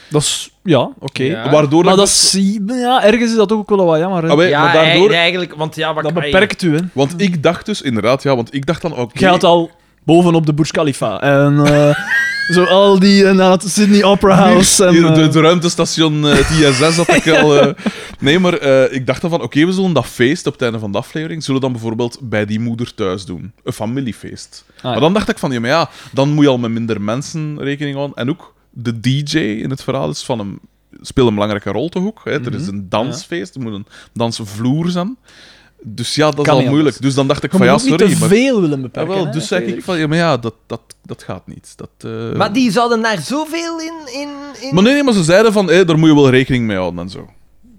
S3: Dat is... Ja, oké.
S1: Ja.
S2: Waardoor
S3: Maar
S2: ik
S3: dat is... Ja, ergens is dat ook wel wat jammer. hè.
S2: Ah, wel,
S1: Ja,
S2: maar daardoor...
S1: ei- eigenlijk, want Ah, ja, wat
S3: dat
S1: ai,
S3: beperkt u, hè.
S2: Want ik dacht dus, inderdaad, ja, want ik dacht dan... oké.
S3: Jij had al bovenop de Burj Khalifa. En eh, zo al die... En dan had Sydney Opera House. En,
S2: Hier, de,
S3: eh,
S2: het ruimtestation eh, het ISS had ik al. eh. Nee, maar eh, ik dacht dan van, oké, we zullen dat feest op het einde van de aflevering, zullen we dan bijvoorbeeld bij die moeder thuis doen. Een familiefeest.
S3: Ah, ja.
S2: Maar dan dacht ik van, ja, maar ja, dan moet je al met minder mensen rekening houden. En ook de DJ in het verhaal is van hem, speelt een belangrijke rol toch ook. Hè? Er is
S3: Mhm.
S2: een dansfeest, er moet een dansvloer zijn. Dus ja, dat
S3: Kan
S2: is al
S3: niet
S2: moeilijk. Dus dan dacht ik
S3: je
S2: van, ja,
S3: moet ook
S2: sorry,
S3: niet te
S2: maar...
S3: veel willen
S2: Ja,
S3: beperken.
S2: wel,
S3: hè,
S2: dus zei ik
S3: natuurlijk.
S2: van, ja, maar ja, dat, dat, dat gaat niet. Dat, eh,
S1: Maar die zouden daar zoveel in... in, in...
S2: maar nee, nee, maar ze zeiden van, hé, daar moet je wel rekening mee houden en zo.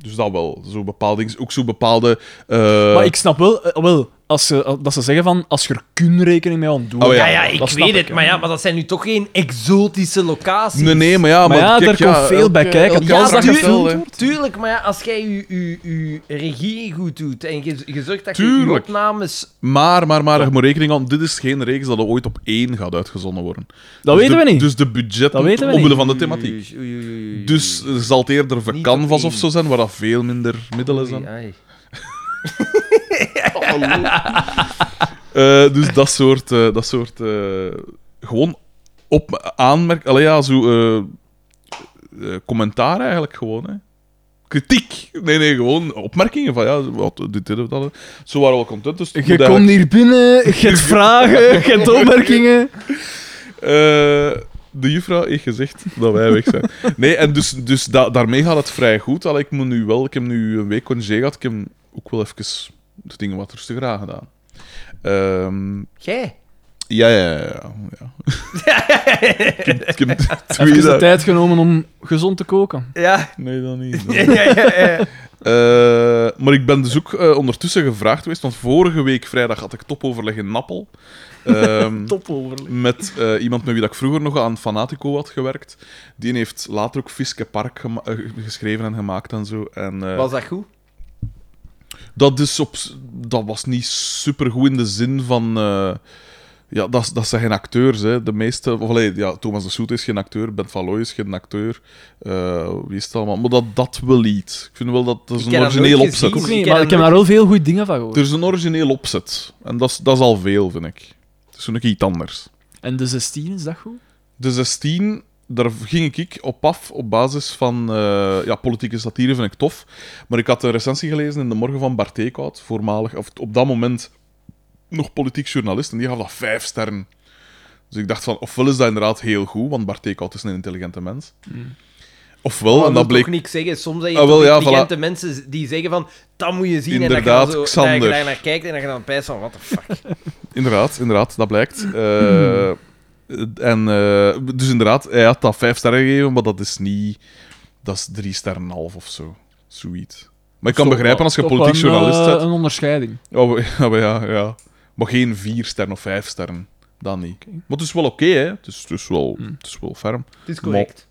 S2: Dus dat wel. Zo bepaalde, dingen- ook zo bepaalde... eh,
S3: Maar ik snap wel... eh, wel als ze, dat ze zeggen van... Als je er kun rekening mee aan doet.
S2: Oh,
S1: ja, ja,
S3: dat
S1: ik
S3: snap
S1: weet het.
S3: hè.
S1: Maar ja, maar dat zijn nu toch geen exotische locaties.
S2: Nee, nee, maar ja... eh,
S3: Maar ja,
S2: kijk,
S3: daar komt veel bij
S2: elke-
S3: kijken.
S2: elke
S1: Ja,
S2: afspraak
S1: natuurlijk.
S2: heeft wel, hè.
S1: Tuurlijk, maar ja, als jij je, je, je regie goed doet en je, je zorgt dat je je
S2: Tuurlijk.
S1: opnames...
S2: Maar, maar, maar, je moet rekening houden. Dit is geen reeks dat er ooit op één gaat uitgezonden worden.
S3: Dat
S2: Dus
S3: weten
S2: de-
S3: we niet.
S2: Dus de budget
S3: Dat weten we
S2: omwille
S3: niet.
S2: van de thematiek.
S1: Oei, oei, oei, oei, oei.
S2: Dus er zal het eerder voor
S1: Niet
S2: canvas
S1: op
S2: of zo zijn, waar dat veel minder middelen zijn.
S1: Oei, ai.
S2: Eh, dus dat soort... eh, dat soort eh, gewoon op aanmerk... Allee, ja, zo... eh, eh, commentaar eigenlijk gewoon, hè. Kritiek. Nee, nee, gewoon opmerkingen van ja, wat, dit, dit of dat. Zo waren we wel content. Dus het
S3: Je
S2: moet
S3: komt hier binnen, je hebt vragen, je hebt opmerkingen.
S2: Eh, de juffrouw heeft gezegd dat wij weg zijn. Nee, en dus, dus da- daarmee gaat het vrij goed. Al ik moet nu wel, ik heb nu een week congé gehad, ik heb ook wel even de dingen wat rustiger aan gedaan. Ehm,
S1: Jij?
S2: ja, ja, ja, ja. ja. ik heb, ik heb twee
S3: Even de
S2: dagen-
S3: tijd genomen om gezond te koken.
S1: Ja.
S2: Nee, dan niet.
S1: ja, ja, ja.
S2: Eh, maar ik ben dus ook eh, ondertussen gevraagd geweest, want vorige week vrijdag had ik topoverleg in Nappel. Ehm,
S3: Topoverleg.
S2: Met eh, iemand met wie dat ik vroeger nog aan Fanatico had gewerkt. Die heeft later ook Fiske Park gema- eh, geschreven en gemaakt en zo. En, eh,
S1: Was dat goed?
S2: dat, is op, s- dat was niet supergoed in de zin van... eh, ja, dat, is- dat zijn geen acteurs, hè. De meeste... Of, allee, ja, Thomas de Soet is geen acteur, Ben Van Looy is geen acteur. eh, wie is het allemaal? Maar dat, dat wel iets. Ik vind wel dat dat is
S1: Ik
S2: een
S1: heb dat
S2: origineel
S1: nooit
S2: opzet.
S1: gezien.
S3: Ook niet, maar ik heb daar wel veel goede dingen van gehoord.
S2: Er is een origineel opzet. En dat is, dat is al veel, vind ik. Het is nog iets anders.
S3: En de 16, is dat goed?
S2: De 16, daar ging ik op af op basis van... eh, ja, politieke satire vind ik tof. Maar ik had een recensie gelezen in de morgen van Bart Eekhout, voormalig... Of op dat moment nog politiek journalist. En die gaf dat vijf sterren. Dus ik dacht van, ofwel is dat inderdaad heel goed, want Bart Eekhout is een intelligente mens. Ofwel, Oh, en dat
S1: wil
S2: bleek...
S1: toch niks zeggen. Soms zijn je
S2: Ah, wel,
S1: toch
S2: ja,
S1: intelligente mensen die zeggen van... Dat moet je zien.
S2: Inderdaad,
S1: en dan zo,
S2: Xander.
S1: dat je daar naar kijkt en dan je dan pijst van... What the fuck?
S2: Inderdaad, inderdaad, dat blijkt. Eh, en, eh, dus inderdaad, hij had dat vijf sterren gegeven, maar dat is niet... Dat is drie sterren en een half of zo. Zoiets. Maar ik kan
S3: Zo,
S2: begrijpen als je
S3: toch
S2: politiek
S3: een,
S2: journalist
S3: eh,
S2: bent.
S3: Een onderscheiding.
S2: Oh, we- ja, maar ja, ja. Maar geen vier sterren of vijf sterren. Dat niet. Maar het is wel oké, hè. Het is, het is wel,
S3: Hmm.
S2: het is wel ferm.
S1: Het is correct.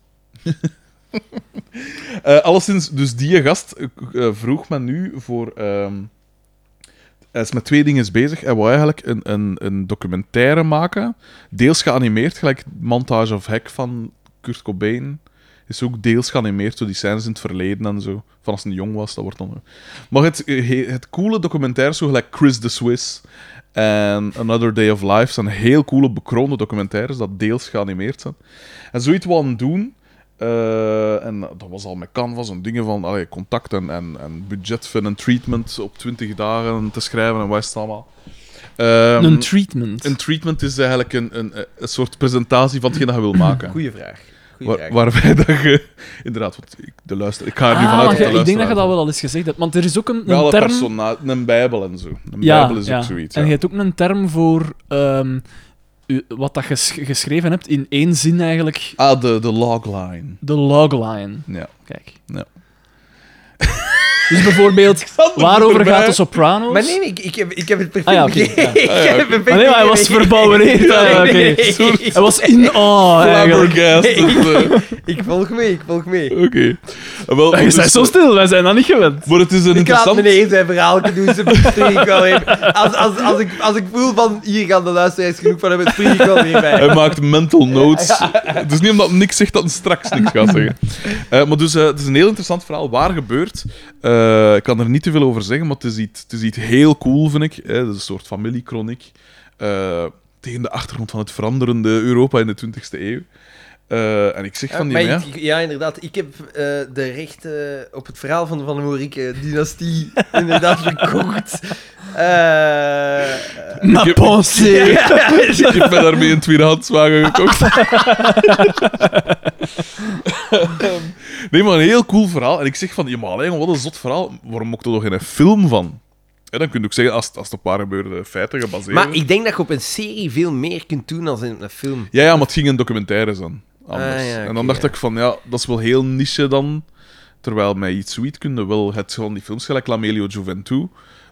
S2: Eh, alleszins, dus die gast eh, eh, vroeg me nu voor ehm, Hij is met twee dingen bezig. Hij wil eigenlijk een, een, een documentaire maken. Deels geanimeerd, gelijk Montage of Hack van Kurt Cobain. Is ook deels geanimeerd door die scènes in het verleden en zo. Van als hij jong was, dat wordt dan... Maar het, eh, het coole documentaire is zo gelijk Chris the Swiss en Another Day of Life zijn heel coole, bekroonde documentaires dat deels geanimeerd zijn. En zoiets wil hij doen... Eh, en dat was al met canvas en dingen van allee, contact en, en, en budget voor een treatment op 20 dagen te schrijven en wat is het allemaal. Ehm,
S3: een treatment.
S2: een treatment is eigenlijk een, een, een soort presentatie van hetgeen dat je wil maken.
S1: Goeie vraag. Goeie
S2: Waar,
S1: vraag.
S2: waarbij dat je... Inderdaad, want ik, de luister, ik ga er nu
S3: Ah,
S2: vanuit
S3: maar
S2: dat de
S3: jij- ik denk dat je
S2: luisteraar-
S3: dat wel al eens gezegd hebt, want er is ook een,
S2: Met
S3: een
S2: alle
S3: term...
S2: persona- een bijbel en zo. Een bijbel is ook zoiets.
S3: En
S2: ja.
S3: je hebt ook een term voor ehm, u- wat dat je ges- geschreven hebt in één zin eigenlijk,
S2: Ah, de, de logline.
S3: de logline.
S2: Ja.
S3: Kijk.
S2: Ja.
S3: Dus bijvoorbeeld, waarover
S2: erbij.
S3: gaat de Sopranos?
S1: Maar nee, ik, ik, heb, ik heb het perfect
S3: Ah ja, oké.
S1: begrepen.
S3: Ja.
S1: Ik heb het perfect
S3: Maar nee, maar hij was
S1: begrepen.
S3: verbouwereerd. Ah, oké.
S1: Nee.
S3: Hij was in awe eigenlijk.
S2: Flabbergasted. eh.
S1: Ik volg mee, ik volg mee.
S2: Oké. Ah, wel,
S3: Wij
S2: dus-
S3: zijn zo stil, wij zijn dat niet gewend.
S2: Maar het is
S1: Ik
S2: een
S1: laat
S2: interessant...
S1: meneer zijn verhaal doen, ze spring ik wel even. Als, als, als, ik, als ik voel van, hier gaan de luisteraars genoeg van hebben, spring ik wel weer bij.
S2: Hij maakt mental notes. Het is niet omdat niks zegt dat hij straks niks gaat zeggen. Eh, maar dus, eh, het is een heel interessant verhaal. Waar gebeurt? Eh, ik kan er niet te veel over zeggen, maar het is iets, het is iets heel cool, vind ik. Eh, het is een soort familiekroniek. eh, tegen de achtergrond van het veranderende Europa in de 20e eeuw. Eh, en ik zeg van die...
S1: Maar
S2: ja,
S1: ik- ik- ja, inderdaad. Ik heb eh, de rechten op het verhaal van de Van de Moerike-dynastie inderdaad verkocht. Eh,
S3: Ma
S2: heb-
S3: pensée.
S2: Ik heb mij daarmee een tweedehandswagen gekocht. nee, maar een heel cool verhaal. En ik zeg van, ja, maar alleen, wat een zot verhaal. Waarom maak je er toch geen film van? Ja, dan kun je ook zeggen, als, als het op waar gebeurde feiten gebaseerd
S1: maar ik denk dat je op een serie veel meer kunt doen dan in een film.
S2: Ja, ja, maar het ging een documentaire zijn. Anders.
S1: Ah, ja,
S2: en
S1: oké,
S2: dan dacht
S1: ja.
S2: ik van, ja, dat is wel heel niche dan. Terwijl mij iets zoiets kunnen wel het van die films, gelijk Lamelio Juventus.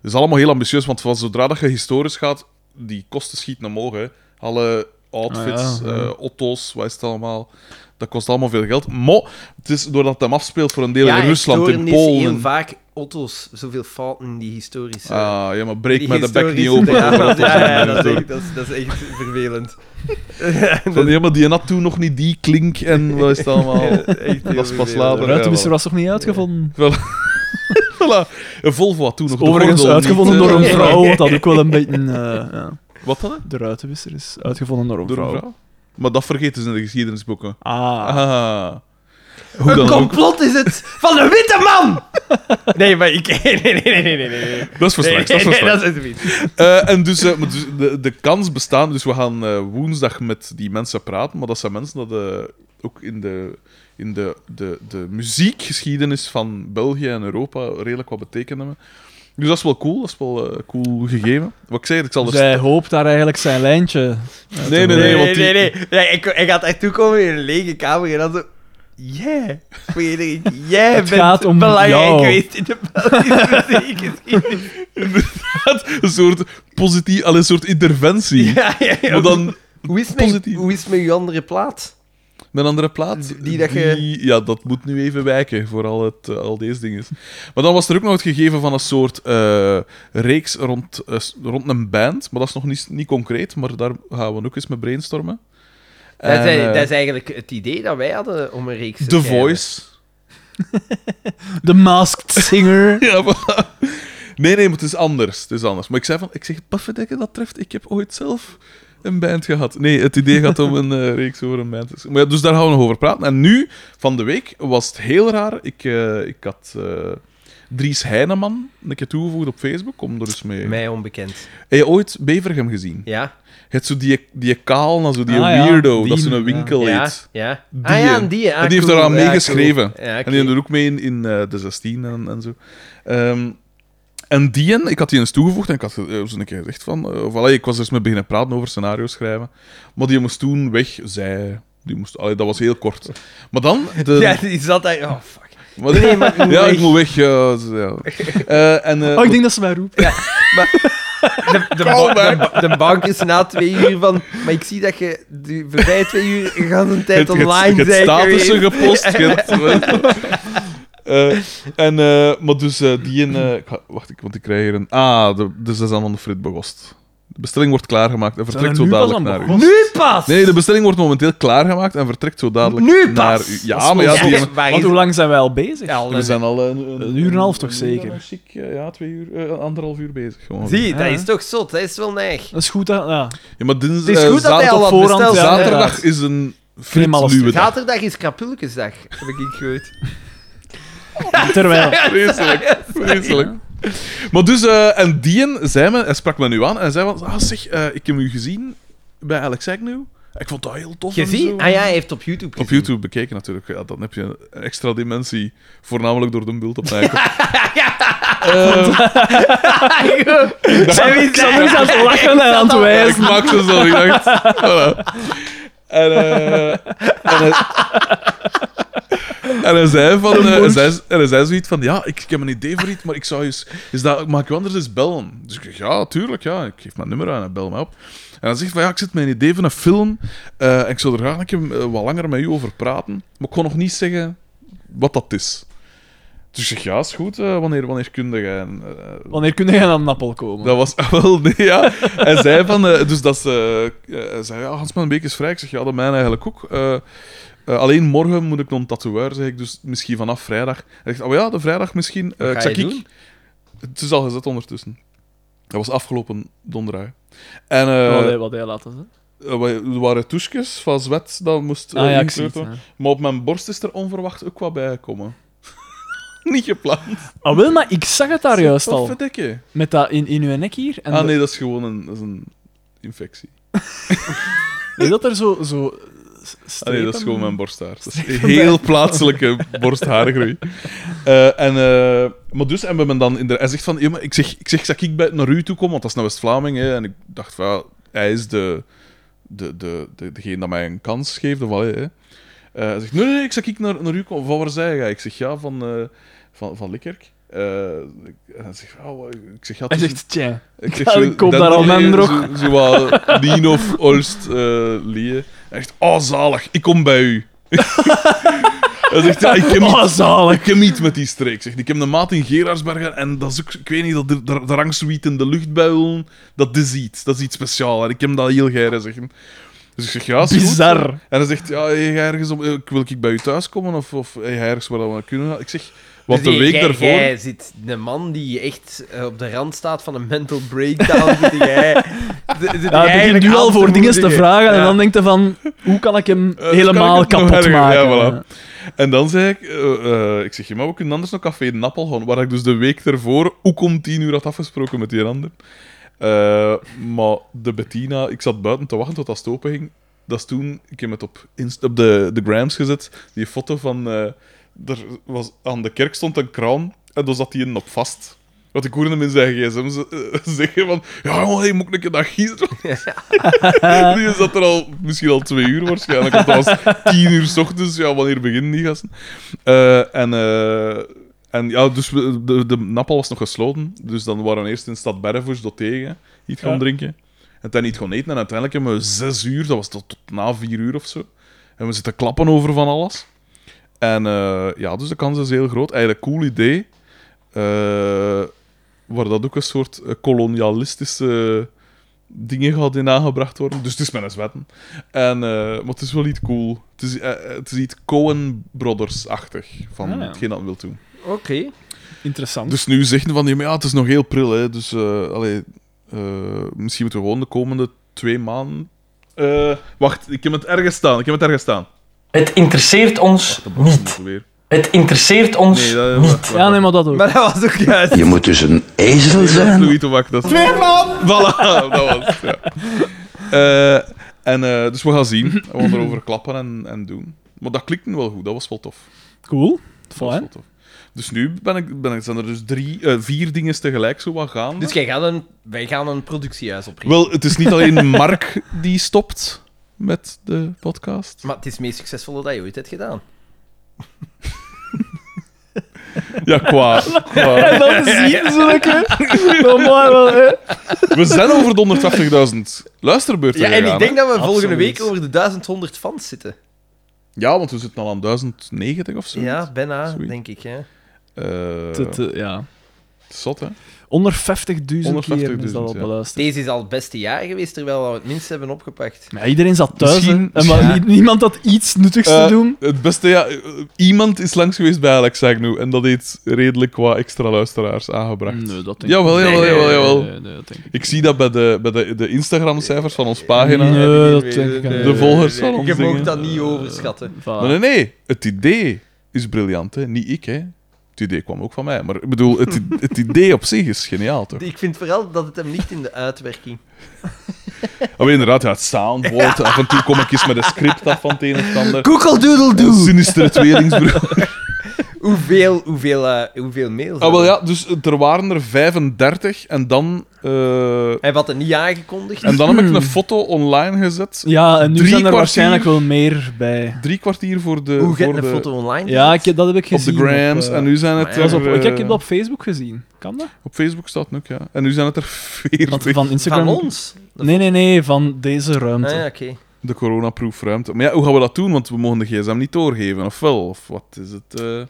S2: Dat is allemaal heel ambitieus, want van zodra dat je historisch gaat, die kosten schieten omhoog. Hè. Alle outfits,
S3: Ah,
S2: eh
S3: ja, ja.
S2: otto's, wat is het allemaal. Dat kost allemaal veel geld. Maar het is doordat het hem afspeelt voor een deel
S1: ja,
S2: in Rusland, in
S1: historisch
S2: Polen.
S1: heel vaak Otto's zoveel fouten in die historische...
S2: Ah, ja, maar breek
S1: die
S2: mij de bek niet
S1: historische
S2: open.
S1: drama's.
S2: over dat
S1: Ja, ja,
S2: dat
S1: dat, is
S2: soort
S1: echt, dat, is, dat is echt vervelend.
S2: Van, ja, maar die had toen nog niet die klink en wat is het allemaal.
S1: Echt heel
S2: Dat is pas
S1: vervelend.
S2: later.
S3: De ruitenwisser
S2: Ja,
S3: was nog niet uitgevonden.
S2: Voilà. Een Volvo had toen nog de
S3: Overigens
S2: gordel
S3: uitgevonden
S2: niet,
S3: door
S2: eh,
S3: een vrouw, wat dat ook wel een beetje... eh, ja.
S2: Wat dan? hè?
S3: De ruitenwisser is uitgevonden door een
S2: Door een
S3: vrouw.
S2: vrouw? Maar dat vergeten ze in de geschiedenisboeken.
S3: Ah.
S2: Ah. Hoe
S1: Een
S2: dan ook.
S1: complot is het van een witte man! Nee, maar ik... Nee, nee, nee, nee, nee. nee.
S2: Dat is voor straks. dat is voor
S1: Nee,
S2: straks.
S1: dat is het niet.
S2: Eh, en dus, eh, maar dus de, de kans bestaat. Dus we gaan eh, woensdag met die mensen praten. Maar dat zijn mensen dat eh, ook in, de, in de, de, de muziekgeschiedenis van België en Europa redelijk wat betekenen hebben. Dus dat is wel cool. Dat is wel eh, cool gegeven. Wat ik zei, ik zal er...
S3: Zij hoopt daar eigenlijk zijn lijntje.
S2: nee, nee, nee.
S1: Nee,
S2: want
S1: nee,
S2: die-
S1: nee. Ja, ik, ik gaat echt toekomen in een lege kamer en dan zo... Yeah, Frederik, jij
S3: Het
S1: bent
S3: gaat om
S1: belangrijk
S3: jou.
S1: geweest in de Belgische muziekgeschiedenis.
S2: een soort positief... al een soort interventie.
S1: Ja, ja, ja.
S2: Maar dan
S1: hoe, is mijn,
S2: positief.
S1: hoe is mijn uw andere plaat?
S2: Mijn andere plaat?
S1: Die- die dat je-
S2: Ja, dat moet nu even wijken voor al, het, eh, al deze dingen. Maar dan was er ook nog het gegeven van een soort eh, reeks rond, eh, s- rond een band. Maar dat is nog niet, niet concreet, maar daar gaan we ook eens mee brainstormen.
S1: Dat
S2: En,
S1: is,
S2: eh,
S1: dat is eigenlijk het idee dat wij hadden om een reeks te
S2: The
S1: schrijven.
S2: Voice.
S3: The Masked Singer.
S2: Ja, voilà. Nee, nee, maar het is anders. Het is anders. Maar ik zei van, ik zeg, pafferdekke, dat treft. Ik heb ooit zelf een band gehad. Nee, het idee gaat om een eh, reeks over een band. Maar ja, dus daar gaan we nog over praten. En nu, van de week, was het heel raar. Ik, eh, ik had eh, Dries Heineman een keer toegevoegd op Facebook. Kom er eens mee.
S1: Mij onbekend.
S2: Heb je ooit Bevergem gezien?
S1: Ja,
S2: Het zo die, die kaal, nou, zo die
S3: Ah, ja.
S2: weirdo,
S3: Die
S2: dat ze een
S3: man, ja.
S2: winkel
S1: ja,
S2: heet.
S1: ja.
S2: Die,
S1: ah ja,
S2: hè.
S1: en die, ah,
S2: en die heeft
S1: cool,
S2: daar aan
S1: ja, cool.
S2: meegeschreven.
S1: Ja,
S2: En die
S1: oké.
S2: doet er ook mee in, in eh, de 16 en, en zo. Ehm, en die, en- ik had die eens toegevoegd en ik had eh, zo een keer gezegd van... eh, of, allee, ik was er eens mee beginnen praten over scenario schrijven. Maar die moest toen weg, zij... Die moest, allee, dat was heel kort. Maar dan... De,
S1: Ja, die zat daar... Oh, fuck.
S2: maar-
S1: Nee, maar ik moet
S2: ja,
S1: weg.
S2: ik moet weg. ja, zo, ja. Eh, en, eh,
S3: Oh, ik denk dat ze mij roept.
S1: De, de, ba- de, ba- de bank is na twee uur van... Maar ik zie dat je de voorbij twee uur de hele tijd
S2: Het- het-
S1: online
S2: het
S1: bent
S2: statussen
S1: geweest.
S2: gepost. het- Eh, en, eh, maar dus eh, die in... eh, ik ga- wacht, ik, want ik krijg hier een... Ah, de, dus dat is aan de Frit Begost. De bestelling wordt klaargemaakt en vertrekt zo dadelijk naar u.
S1: Nu pas!
S2: Nee, de bestelling wordt momenteel klaargemaakt en vertrekt zo dadelijk
S1: Nu pas!
S2: naar u. Ja, maar ja,
S1: Ja,
S2: die
S1: maar waar
S3: Want
S1: is-
S3: hoe lang zijn wij al bezig?
S1: Ja, al
S2: we zijn al eh, een,
S3: Een uur en een half toch
S2: een
S3: zeker?
S2: uur en een chic, eh, ja, twee uur, eh, anderhalf uur bezig. Gewoon.
S1: Zie, dat
S3: Ja.
S1: is toch zot, dat is wel neig.
S3: Dat is goed. Dat, ja.
S2: Ja, maar dinsdag,
S1: Het is goed dat hij al wat
S3: voorhand,
S1: besteld
S3: ja,
S1: had, hè.
S3: inderdaad.
S2: zaterdag is een
S3: alles
S2: flitsluwe dag.
S1: Zaterdag is krapulkesdag, heb ik gehoord.
S3: Terwijl.
S2: Vreselijk. Vreselijk. Maar dus, eh, en die zei me, hij sprak me nu aan en zei van, ah zeg, eh, ik heb u gezien bij Alex Agnew. Ik vond dat heel tof.
S1: Je
S2: en
S1: ziet?
S2: zo.
S1: Ah ja, hij heeft op YouTube
S2: Op
S1: gezien.
S2: YouTube bekeken natuurlijk, ja, dan heb je een extra dimensie. Voornamelijk door de bult op mij.
S3: Ik zat dus aan het lachen en aan het
S2: ik
S3: wijzen.
S2: maak ze zo, ik dacht. Voilà. En, eh, en, hij, en hij zei van, eh, hij zei, en hij zei zoiets van, ja, ik, ik heb een idee voor iets, maar ik zou eens, is dat, mag ik u anders eens bellen? Dus ik dacht, ja, tuurlijk, ja, ik geef mijn nummer aan en bel mij op. En hij zegt van, ja, ik zit met een idee van een film eh, en ik zou er graag een keer eh, wat langer met u over praten, maar ik kon nog niet zeggen wat dat is. Dus ik zeg, ja, is goed, eh, wanneer, wanneer kun je? En, eh,
S3: Wanneer kun jij aan Nappel komen?
S2: Oh. dat was wel, nee, ja. Hij zei van, eh, dus dat ze, eh, hij zei, ja, Hans mijn beek is vrij. Ik zeg, ja, dat mijn eigenlijk ook. Eh, eh, alleen morgen moet ik nog een tatoeëer, zeg ik, dus misschien vanaf vrijdag. Hij zegt, oh ja, de vrijdag misschien. Eh,
S1: Wat
S2: ik
S1: ga
S2: zeg,
S1: je
S2: ik-
S1: doen?
S2: Het is al gezet ondertussen. Dat was afgelopen donderdag. En eh,
S3: wat, hij, wat hij laat doen.
S2: eh, wij- er waren toesjes van zwet, dat moest eh,
S3: Ah ja, ik
S2: ingekleurd
S3: zie het.
S2: worden.
S3: ja.
S2: Maar op mijn borst is er onverwacht ook wat bijgekomen. Niet gepland.
S3: Ah, wel, maar ik zag het daar juist
S2: Wat
S3: al.
S2: verdikke.
S3: Met dat in, in uw nek hier. En
S2: Ah
S3: de-
S2: nee, dat is gewoon een, dat is een infectie.
S3: weet dat er zo... zo eh, s-
S2: Ah, nee, dat is
S3: strepen-
S2: gewoon mijn borsthaar. Dat is een heel plaatselijke borsthaargroei. Eh, en, eh, maar dus, en we hebben dan in de... Hij zegt van, ja, maar ik zeg, ik zeg, zal ik bij, naar u toe komen? Want dat is naar West-Vlaming, hè. En ik dacht van, ja, hij is de, de, de, de, degene dat mij een kans geeft, of wat, hè. Eh, hij zegt, nee, nee, nee, ik zeg ik naar, naar u komen. Van waar zei jij? Ik zeg, ja, van, eh, van, van Likkerk. Eh, en hij zegt, ja, wat- ik zeg, ja,
S3: Hij
S2: tussen-
S3: zegt, tja.
S2: ik
S3: Ja,
S2: zo,
S3: ik koop daar
S2: dat
S3: al
S2: leer,
S3: mijn drog.
S2: Zo, zo wat Nino of Olst eh Lee. Echt, oh zalig, ik kom bij u. Hij zegt, ja, ik heb,
S3: Oh,
S2: niet,
S3: zalig.
S2: ik heb niet met die streek. Zegt, ik heb een maat in Gerardsbergen en dat is ook, ik weet niet, dat er- er hangt zoiets in de luchtbuilen. Dat is iets, dat is iets speciaals. En ik heb dat heel geir zeggen. Dus ik zeg, ja, is goed.
S3: Bizar.
S2: En hij zegt, ja, heb jij ergens om, eh, wil ik bij u thuis komen? Of, of heb jij ergens waar we kunnen? Ik zeg, want
S1: Dus
S2: de
S1: jij-
S2: week
S1: jij-
S2: daarvoor...
S1: Jij zit een man die echt eh, op de rand staat van een mental breakdown. zit jij, zit jij
S3: Ja, hij begint
S1: eigenlijk
S3: nu al
S1: aan
S3: voor dingen te
S1: moedigen.
S3: vragen en
S1: Ja.
S3: dan denkt hij van, hoe kan ik hem
S2: Eh, kan
S3: helemaal
S2: ik het nog
S3: kapot
S2: erger?
S3: maken?
S2: Ja, voilà. En dan zei ik, eh, eh, ik zeg, ja, maar we kunnen anders nog Café Nappel gaan, waar ik dus de week ervoor ook om tien uur had afgesproken met die ander. Eh, maar de Bettina, ik zat buiten te wachten tot dat het open ging. Dat is toen, ik heb het op, Inst- op de, de grams gezet, die foto van, eh, er was, aan de kerk stond een kraan en daar zat die een op vast. Want ik hoorde hem in zijn gsm z- eh, zeggen van, ja jongen, je moet een keer dat gisteren die zat er al misschien al twee uur waarschijnlijk. Want dat was tien uur 's ochtends. Ja, wanneer beginnen die gasten? Eh, en, eh, en ja, dus we- de, de nappel was nog gesloten. Dus dan waren we eerst in Stad Bervoors tot tegen. Iets gaan
S3: Ja.
S2: drinken. En dan niet gaan eten. En uiteindelijk hebben we zes uur, dat was tot, tot na vier uur of zo. En we zitten klappen over van alles. En eh, ja, dus de kans is heel groot. Eigenlijk cool idee. Eh, waar dat ook een soort eh, kolonialistische dingen gaat in aangebracht worden. Dus het is mijn zwetten. En, eh, maar het is wel iets cool. Het is, eh, eh, het is iets Coen Brothers-achtig van
S3: Ah, ja.
S2: hetgeen dat wil doen.
S1: Oké.
S3: Interessant.
S2: Dus nu zeggen van, ja, maar ja, het is nog heel pril, hè. Dus, eh, allee, eh, misschien moeten we gewoon de komende twee maanden... Eh, wacht, ik heb het ergens staan. Ik heb het ergens staan.
S6: Het interesseert ons niet.
S2: Weer.
S6: Het interesseert ons
S2: Nee, dat...
S6: niet.
S2: wacht, wacht,
S3: ja, nee, maar dat ook.
S1: Maar dat was ook juist.
S7: Je moet dus een ezel
S2: Dat is
S7: zijn.
S2: Louis Tobac, dat is... Twee man! Voilà, dat was het, ja. Eh, en, eh, dus we gaan zien. We gaan erover klappen en, en doen. Maar dat klinkt wel goed, dat was wel tof.
S3: Cool.
S2: Dat was
S3: Fijn.
S2: wel tof. Dus nu ben ik, ben ik, zijn er dus drie, eh, vier dingen tegelijk zo wat gaan.
S1: Dus jij gaat een, wij gaan een productiehuis oprichten.
S2: Wel, het is niet alleen Mark die stopt met de podcast.
S1: Maar het is het meest succesvolle dat je ooit hebt gedaan.
S2: Ja, qua. qua-
S3: En dan zien ze dat hè. Dat maar wel, hè.
S2: We zijn over de 180.000 luisterbeurten.
S1: Ja, en
S2: gegaan,
S1: ik denk
S2: hè.
S1: dat we volgende
S3: Absoluut.
S1: week over de 1100 fans zitten.
S2: ja, want we zitten al aan 1090 of zo.
S1: Ja, bijna,
S2: Zoiets.
S1: denk ik. Hè.
S2: Eh,
S3: Te- te- ja.
S2: zot, hè?
S3: 150.000 keer is dat
S2: 150.000,
S3: al
S2: ja.
S3: beluisterd.
S1: Deze is al het beste jaar geweest, terwijl we het minst hebben opgepakt.
S3: Maar iedereen zat thuis, hè.
S2: Misschien-
S3: en maar
S1: Ja.
S3: nie- niemand had iets nuttigs
S2: Eh,
S3: te doen.
S2: Het beste, ja. eh, Iemand is langs geweest bij Alex Agnew en dat heeft redelijk qua extra luisteraars aangebracht.
S3: dat
S2: denk ik Jawel, niet. jawel,
S3: Nee,
S2: jawel, jawel.
S3: Nee, nee, dat denk ik.
S2: Ik zie dat bij de, bij de, de Instagram-cijfers van ons pagina.
S3: Nee,
S2: Nee,
S3: dat denk ik niet.
S2: De volgers van ons
S1: Je
S2: dingen.
S1: mag dat niet overschatten.
S3: Voilà.
S2: nee, nee. Het idee is briljant, hè. Niet ik, hè. Het idee kwam ook van mij. Maar ik bedoel, het, i- het idee op zich is geniaal, toch?
S1: Ik vind vooral dat het hem ligt in de uitwerking.
S2: Maar inderdaad, ja, het soundboard. Af en toe kom ik eens met een script af van het een of het ander. Een
S1: Koekeldoedeldoe!
S2: sinistere tweelingsbroer.
S1: Hoeveel, hoeveel, eh, hoeveel mails?
S2: Ah, wel
S1: hebben
S2: ja, dus er waren er 35 en dan, eh,
S1: we? Hij had het niet aangekondigd.
S2: en dan heb ik een foto online gezet.
S3: Ja, en nu
S2: Drie
S3: zijn er
S2: kwartier-
S3: waarschijnlijk wel meer bij.
S2: Drie kwartier voor de.
S1: Hoe
S2: voor
S1: gaat een
S2: de,
S1: foto online?
S3: eh, Ja, ik, heb- dat heb ik
S2: Op de
S3: gezien.
S2: grams.
S3: op, eh,
S2: en nu zijn het.
S1: maar ja,
S2: er,
S3: dat was op, ik heb
S2: eh,
S3: dat op Facebook gezien. Kan dat?
S2: op Facebook staat het ook, ja. En nu zijn het er 40.
S3: Want van Instagram.
S1: Van ons?
S3: Nee, nee, nee, van deze
S1: Ah,
S3: ruimte.
S1: ja, oké.
S2: De coronaproof ruimte. Maar ja, hoe gaan we dat doen? Want we mogen de gsm niet doorgeven, of wel? Of wat is het? eh?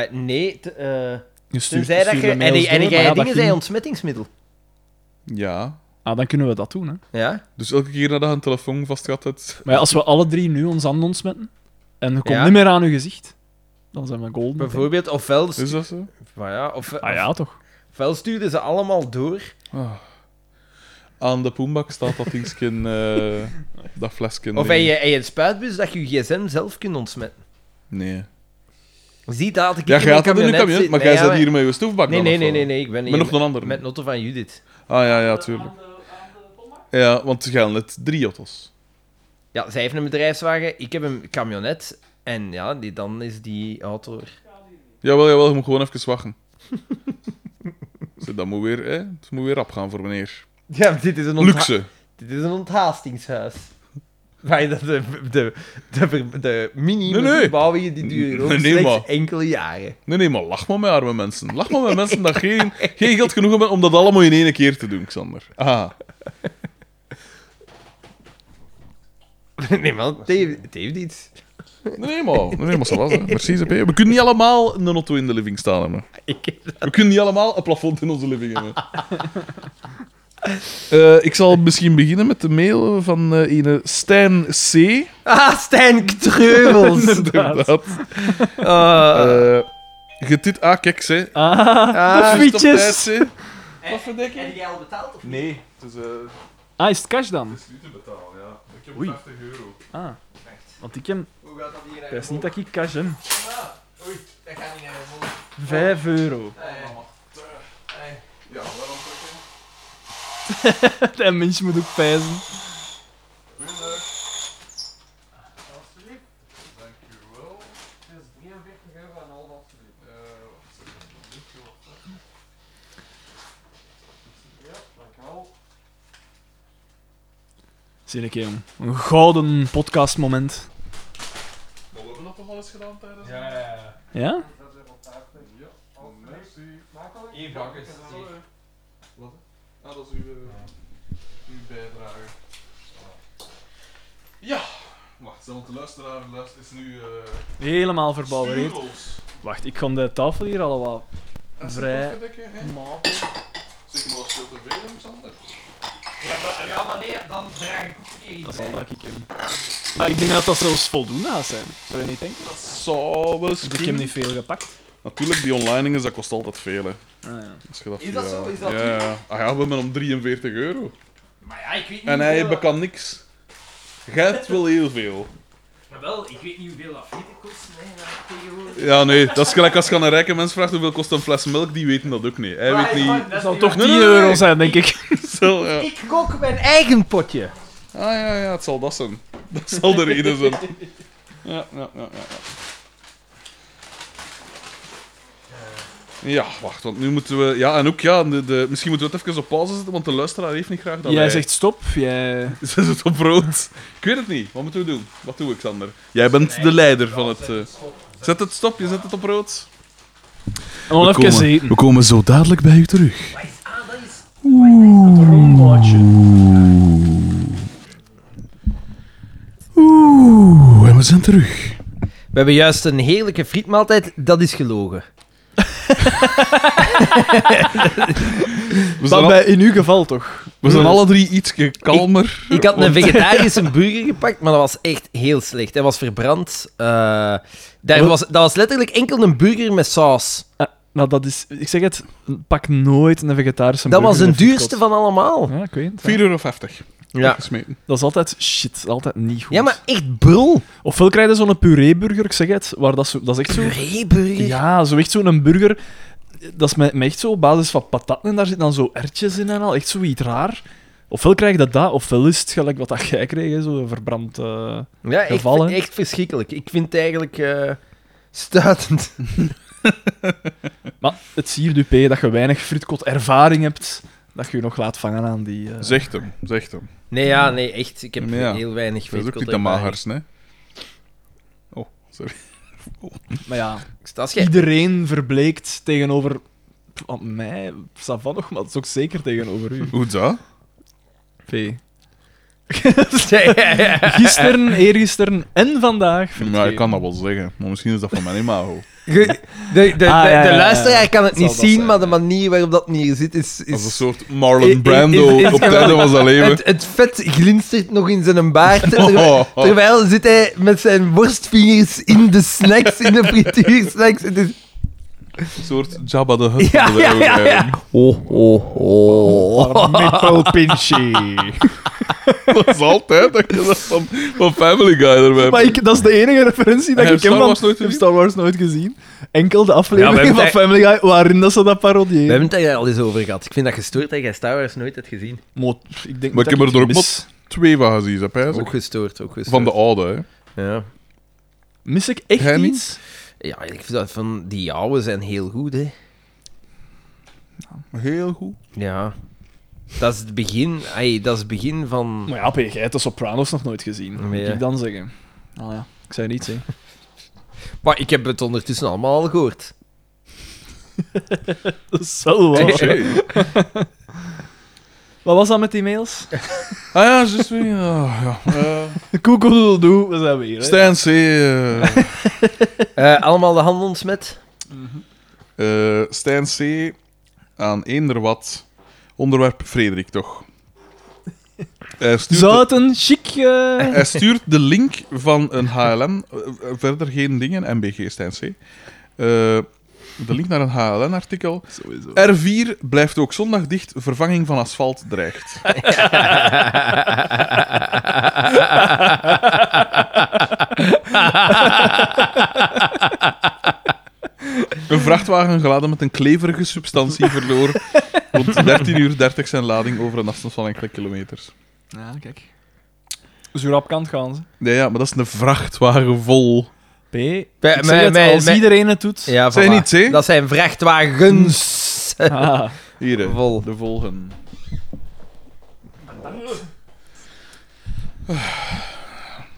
S1: Eh, nee, t- eh,
S3: Je stuurt,
S1: tenzij dat
S3: stuurt
S1: je...
S3: de
S1: En,
S3: mails
S1: die- en
S3: door, maar
S1: jij
S3: ja, dat
S1: dingen
S3: ging-
S1: zijn ontsmettingsmiddel.
S2: Ja.
S3: Ah, dan kunnen we dat doen, hè.
S1: Ja?
S2: Dus elke keer nadat je een telefoon vast gaat, het...
S3: Maar ja, als we alle drie nu ons handen ontsmetten, en je komt
S1: Ja.
S3: niet meer aan uw gezicht, dan zijn we golden.
S1: Bijvoorbeeld, ofwel...
S2: Is dat zo?
S1: Maar ja, of,
S3: Dus- Ah ja, toch.
S1: ofwel stuurden ze allemaal door.
S2: Ah. Aan de poembak staat dat dingetje, eh, dat flesje.
S1: Of eh,
S2: ding.
S1: heb je, heb je een spuitbus dat je je gsm zelf kunt ontsmetten?
S2: Nee.
S1: Zie dat had ik
S2: Ja,
S1: in
S2: jij
S1: een
S2: had het in een
S1: kamionet
S2: camion,
S1: zitten.
S2: maar jij
S1: Nee, ja,
S2: zat hier met je stoefbak
S1: Nee,
S2: dan,
S1: nee,
S2: of
S1: nee,
S2: wat?
S1: nee, nee, ik ben
S2: Met nog een ander.
S1: Met Notto van Judith.
S2: Ah, ja, ja, tuurlijk. Ja, want jij had net drie auto's.
S1: Ja, zij heeft een bedrijfswagen, ik heb een camionet. En ja, die, dan is die auto er.
S2: Jawel, jawel, je moet gewoon even wachten. Zo, dat moet weer, hè? Het moet weer rap gaan voor meneer.
S1: Ja, maar dit is een, ontha-
S2: Luxe.
S1: dit is een onthaastingshuis. Waar je dat de, de, de, ver- de minimum
S2: Nee, nee.
S1: verbouwingen die duren ook
S2: Nee, nee,
S1: slechts
S2: maar.
S1: enkele jaren.
S2: Nee, nee, maar lach maar met arme mensen. Lach maar met mensen dat geen, geen geld genoeg hebben om dat allemaal in één keer te doen, Xander. Ah,
S1: Nee, man, het heeft, het heeft iets.
S2: nee, nee, maar, nee, nee, maar zo was het. Precies, hè. We kunnen niet allemaal een auto in de living staan hebben.
S1: Ik
S2: We kunnen niet allemaal een plafond in onze living hebben. Eh, ik zal misschien beginnen met de mail van eh, ene Stijn C.
S1: Ah, Stijn Treubels.
S2: Inderdaad.
S1: Ah,
S2: Eh, getit... Ah, kijk, ze.
S3: Ah,
S1: ah,
S2: Juist op
S3: fietjes.
S2: tijd, ze.
S1: heb jij al betaald? Of?
S2: Nee, het is, eh,
S3: ah, is het cash dan?
S2: het is nu te betalen, ja. Ik heb
S3: Oei.
S2: 50 euro.
S3: Ah. Want ik heb...
S1: Hoe gaat dat hier Ah,
S3: Ik wist niet dat ik cash heb.
S1: Oei, dat gaat niet naar de Ah,
S3: Vijf euro.
S2: Oh, Ja, waarom trekken?
S3: Dat mens moet ook pijzen.
S2: Dankjewel. Het is 43 euro en al dat soort dingen.
S3: Zie ik, jong. Een gouden podcastmoment.
S2: Maar we hebben dat toch al eens gedaan tijdens... Ja,
S3: Ja?
S2: merci. Eén bak is Wat? Ah, dat is uw, eh, uw bijdrage. Ja! Wacht, want de luisteraar luistert is nu... eh
S3: Helemaal verbouwereerd.
S2: stuurloos.
S3: Wacht, ik kan de tafel hier al wat
S2: Dat is
S3: Vrij-
S2: een dikke, hè? Zeg maar, dat is veel te veel, Alexander.
S1: Ja, maar nee, dan draag ik ook één.
S3: Dat zal Oh, dat ik hem. Maar Ah, ik denk dat dat zelfs voldoende gaat zijn. Zou je niet denken?
S2: Dat zou wel eens
S3: Dus ik heb niet veel gepakt.
S2: Natuurlijk, die online is, dat kost altijd veel, hè.
S3: Ah, ja.
S2: Als je dat
S1: Is dat
S2: via-
S1: zo? Is dat
S2: ja,
S1: duur?
S2: ja. Ah ja, we hebben hem 43 euro.
S1: Maar ja, ik weet niet eh,
S2: En hij
S1: hoeveel-
S2: bekan niks. Jij hebt wel heel veel.
S1: Jawel, ik weet niet hoeveel dat frieten kost. Nee, dat heb ik tegenwoordig.
S2: Ja, nee, dat is gelijk als je aan een rijke mens vraagt hoeveel kost een fles melk, die weten dat ook niet. Hij weet niet.
S1: Dat
S3: zal toch
S2: Nee,
S3: 10
S2: nee, nee.
S3: euro zijn, denk ik.
S2: Zo, ja.
S1: Ik kook mijn eigen potje.
S2: Ah ja, ja, het zal dat zijn. Dat zal de reden zijn. Ja, ja, ja, ja. ja. Ja, wacht, want nu moeten we. Ja, en ook, ja, de, de- misschien moeten we het even op pauze zetten, want de luisteraar heeft niet graag dat
S3: Jij
S2: wij-
S3: zegt stop, jij...
S2: Zet het op rood. Ik weet het niet. Wat moeten we doen? Wat doe ik, Sander? Jij bent de leider van het... eh, Zet het stop, je zet het op rood.
S3: En dan even eten.
S2: we komen zo dadelijk bij u terug. Oeh, en we zijn terug.
S1: We hebben juist een heerlijke frietmaaltijd. Dat is gelogen.
S2: We zijn,
S3: Dat
S2: al-
S3: bij in uw geval toch?
S2: we zijn alle drie iets kalmer.
S1: Ik had een vegetarische burger gepakt, maar dat was echt heel slecht. Hij was verbrand. Eh, daar was, dat was letterlijk enkel een burger met saus.
S3: Ah, nou, dat is... Ik zeg het, pak nooit een vegetarische
S1: Dat was
S3: burger
S1: de
S3: in een
S1: duurste
S3: foodcourt.
S1: van allemaal.
S3: Ja, ik weet het.
S2: 4,50 euro.
S1: Ja,
S2: Gesmeten.
S3: Dat is altijd shit, altijd niet goed.
S1: ja maar echt brul.
S3: Ofwel krijg je zo'n pureeburger, ik zeg het, waar dat, zo, dat is echt zo...
S1: Pureeburger.
S3: Ja, zo echt zo'n burger... Dat is met, met echt zo op basis van patat en daar zitten dan zo ertjes in en al, echt zoiets raar. Ofwel krijg je dat, dat ofwel is het gelijk wat dat jij kreeg, hè, zo'n verbrand... eh.
S1: Ja, echt,
S3: Geval, hè?
S1: echt verschrikkelijk. Ik vind het eigenlijk eh stuitend.
S3: Maar het siert u P dat je weinig fritkot ervaring hebt, dat je je nog laat vangen aan die... eh,
S2: Zegt hem, zegt hem.
S1: Nee, ja, nee, echt. Ik heb
S2: Nee, ja.
S1: heel weinig
S2: Dat is ook
S1: weet
S2: niet
S1: ik
S2: de
S1: wat erbij.
S2: magers, hè? Oh, sorry.
S3: Maar ja,
S1: Ik sta scherp.
S3: iedereen verbleekt tegenover... Aan mij, Savan nog, maar dat is ook zeker tegenover u.
S2: Hoe dat?
S3: P.
S1: Ja, ja, ja.
S3: Gisteren, eergisteren en vandaag.
S2: Ja, ik kan dat wel zeggen, maar misschien is dat van mijn imago.
S1: Ge- De, de, de,
S3: Ah, ja, ja,
S1: de
S3: ja.
S1: luisteraar kan het
S3: Zal
S1: niet
S3: dat
S1: zien,
S3: zijn,
S1: maar
S3: ja.
S1: de manier waarop dat neer zit is... is...
S2: Dat is een soort
S1: I- i-
S2: Marlon
S1: is-
S2: Brando
S1: is-
S2: op het einde van zijn leven.
S1: Het, het vet glinstert nog in zijn baard. terwijl-
S2: Oh, oh.
S1: Terwijl zit hij met zijn worstvingers in de snacks, in de frituursnacks. Het is-
S2: Een soort Jabba de Hutt.
S1: Ja,
S2: van de
S1: ja, ja,
S2: eeuw,
S1: ja. Oh, oh, oh.
S2: Dat is altijd dat je dat van, van Family Guy erbij
S3: Maar ik, dat is de enige referentie dat
S2: Heb
S3: ik
S2: je
S3: heb
S2: Eh, Star Wars nooit
S3: van ik heb
S2: gezien?
S3: Star Wars nooit gezien. Enkel de
S1: Ja, we
S3: aflevering
S1: hebben
S3: van Family Guy waarin dat ze dat
S1: We
S3: parodiëren.
S1: hebben het daar al eens over gehad. Ik vind dat gestoord dat jij Star Wars nooit hebt gezien.
S3: Maar, pff, ik denk
S2: Maar ik heb er ook
S3: mis,
S2: Twee van gezien, heb jij
S1: Ook
S2: ze?
S1: gestoord, ook gestoord.
S2: Van de oude, hè?
S1: Ja.
S3: mis ik echt
S2: Jij niet?
S3: iets?
S1: ja, ik vind dat van... Die oude zijn heel goed, hè.
S2: Heel goed.
S1: Ja. Dat is het begin... ai, dat is het begin van...
S3: Maar ja, P, jij hebt de Sopranos nog nooit gezien.
S1: Nee.
S3: Moet ik dan zeggen? Nou ja, ik zei niet, hè.
S1: Maar ik heb het ondertussen allemaal al gehoord.
S3: Dat is wel
S1: Oh, Eh,
S3: waar. Wat was dat met die mails?
S2: Ah ja, juist weer. ja, ja. Eh,
S3: Koekoedoe, doe, we zijn weer, hè.
S2: Stijn C. eh,
S1: Eh, allemaal de hand ontsmet.
S2: eh, Stijn C. aan eender wat. Onderwerp Frederik, toch? Hij stuurt, de,
S3: Zouten, chic... eh,
S2: hij stuurt de link van een HLN. eh, eh, verder geen dingen, MBG Stijn C. Eh, de link naar een HLN-artikel. R4 blijft ook zondag dicht, vervanging van asfalt dreigt. Een vrachtwagen geladen met een kleverige substantie verloor rond 13 uur 30 zijn lading over een afstand van enkele kilometers.
S3: Ja, kijk. Zo rap kant gaan ze.
S2: Nee, ja, maar dat is een vrachtwagen vol.
S3: P. Ik
S1: Bij-
S3: zeg
S1: Eh, mij-
S3: het,
S1: mij-
S3: als
S1: mij-
S3: iedereen het doet.
S1: Ja,
S2: Zijn
S1: voilà.
S2: niet, hè?
S1: Dat zijn vrachtwagens.
S3: Ah,
S2: Hier, hè,
S1: Vol.
S2: de volgen.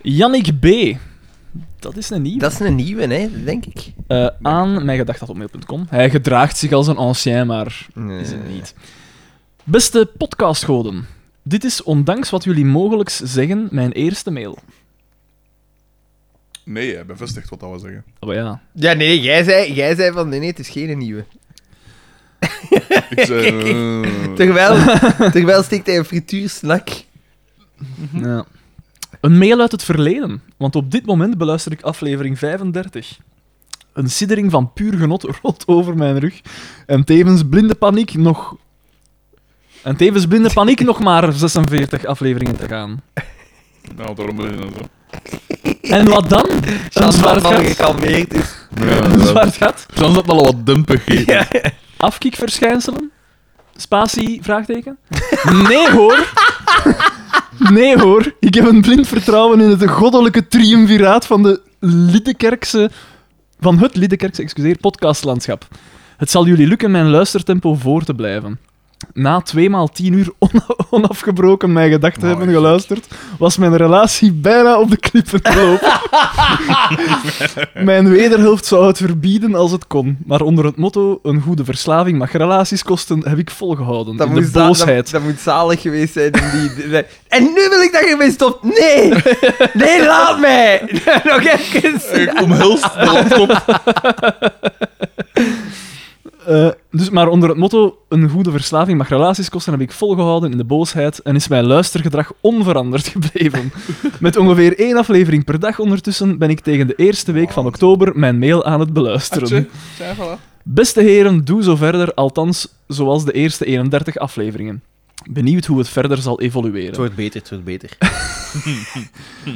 S3: Yannick B. Dat is een nieuw.
S1: Dat is een nieuwe, hè, denk ik.
S3: Eh, aan mijngedacht.mail.com. Hij gedraagt zich als een ancien, maar is het niet. Beste podcastgoden. Dit is, ondanks wat jullie mogelijk zeggen, mijn eerste mail.
S2: Nee, hij bevestigt wat dat we zeggen.
S3: Oh ja.
S1: Ja, nee, jij zei, jij zei van nee, nee, het is geen nieuwe.
S2: Ik zei... eh,
S1: Terwijl, terwijl steekt hij een frituursnak.
S3: ja. Een mail uit het verleden, want op dit moment beluister ik aflevering 35. Een siddering van puur genot rolt over mijn rug. En tevens blinde paniek nog. En tevens blinde paniek nog maar 46 afleveringen te gaan.
S2: nou, daarom ben je dan zo.
S3: En wat dan? Een zwart
S1: man
S3: gat.
S1: gekalmeerd is.
S3: Een
S2: Ja, dat-
S3: zwart gat.
S2: Soms dat wel wat dumpig geeft.
S3: Afkikverschijnselen? Spatie? Vraagteken? Nee hoor. Nee hoor. Ik heb een blind vertrouwen in het goddelijke triumviraat van de Liddekerkse... Van het Liddekerkse, excuseer, podcastlandschap. Het zal jullie lukken mijn luistertempo voor te blijven. Na twee maal tien uur on- onafgebroken mijn gedachten
S2: Mooi,
S3: hebben
S2: zeg.
S3: geluisterd, was mijn relatie bijna op de klippen gelopen. Mijn wederhelft zou het verbieden als het kon. Maar onder het motto: een goede verslaving mag relaties kosten, heb ik volgehouden.
S1: Dat
S3: in de
S1: moet, za-
S3: boosheid.
S1: dat, dat moet zalig geweest zijn. in Die, die- die- en nu wil ik dat je ermee stopt. Nee! Nee, laat mij! Nog even.
S2: Ik omhelst de laptop.
S3: Eh, dus, maar onder het motto een goede verslaving mag relaties kosten heb ik volgehouden in de boosheid en is mijn luistergedrag onveranderd gebleven. Met ongeveer één aflevering per dag ondertussen ben ik tegen de eerste week van oktober mijn mail aan het beluisteren.
S2: Tje, tja, voilà.
S3: Beste heren, doe zo verder, althans zoals de eerste 31 afleveringen. Benieuwd hoe het verder zal
S1: Het
S3: evolueren.
S1: wordt beter, het wordt beter.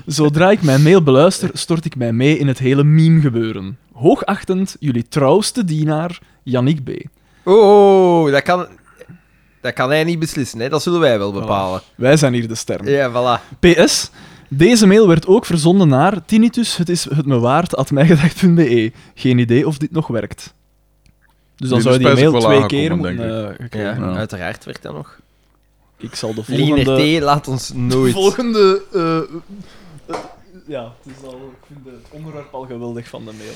S3: Zodra ik mijn mail beluister, stort ik mij mee in het hele meme-gebeuren. Hoogachtend, jullie trouwste dienaar, Yannick B.
S1: Oh, dat kan, dat kan hij niet beslissen, hè. dat zullen wij wel bepalen.
S3: Wij zijn hier de sterren.
S1: Ja, voilà.
S3: PS. Deze mail werd ook verzonden naar tinnitus, het is het me waard, at mijgedacht.be. E. Geen idee of dit nog werkt. Dus dan
S2: Dit
S3: zou
S2: is
S3: die
S2: best
S3: mail
S2: wel
S3: twee
S2: aangekomen,
S3: keer
S2: denk
S3: moeten... eh,
S1: Ja,
S3: gekregen.
S1: Uiteraard werkt dat nog.
S3: Ik zal de volgende...
S1: Liner T laat ons
S3: De
S1: nooit.
S3: volgende eh, eh, ja, het is al, ik vind het onderwerp al geweldig van de mail.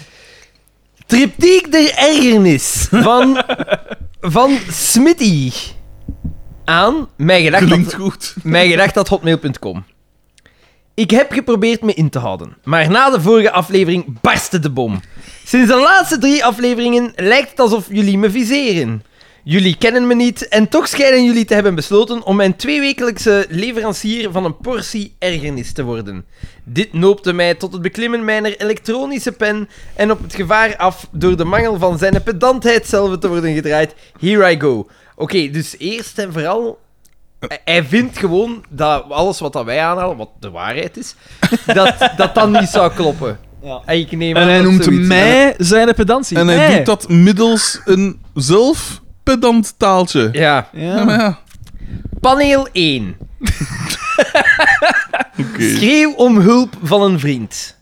S1: Triptiek der ergernis van, van Smitty aan mijn gedacht
S2: Klinkt
S1: dat,
S2: goed.
S1: mijn gedacht dat hotmail.com. Ik heb geprobeerd me in te houden, maar na de vorige aflevering barstte de bom. Sinds de laatste drie afleveringen lijkt het alsof jullie me viseren. Jullie kennen me niet en toch schijnen jullie te hebben besloten om mijn tweewekelijkse leverancier van een portie ergernis te worden. Dit noopte mij tot het beklimmen mijner elektronische pen en op het gevaar af door de mangel van zijn pedantheid zelf te worden gedraaid. Here I go. Oké, dus eerst en vooral... hij- Hij vindt gewoon dat alles wat dat wij aanhalen, wat de waarheid is, dat dat, dan niet zou kloppen.
S3: Ja.
S1: En, ik neem
S3: En
S1: aan
S3: hij
S1: dat
S3: noemt
S1: zoiets-
S3: mij zijn pedantie.
S2: En hij
S3: Mij.
S2: doet dat middels een zelf pedant taaltje. Ja.
S1: Ja.
S3: Ja.
S2: maar ja.
S1: Paneel 1.
S2: Oké.
S1: Schreeuw om hulp van een vriend.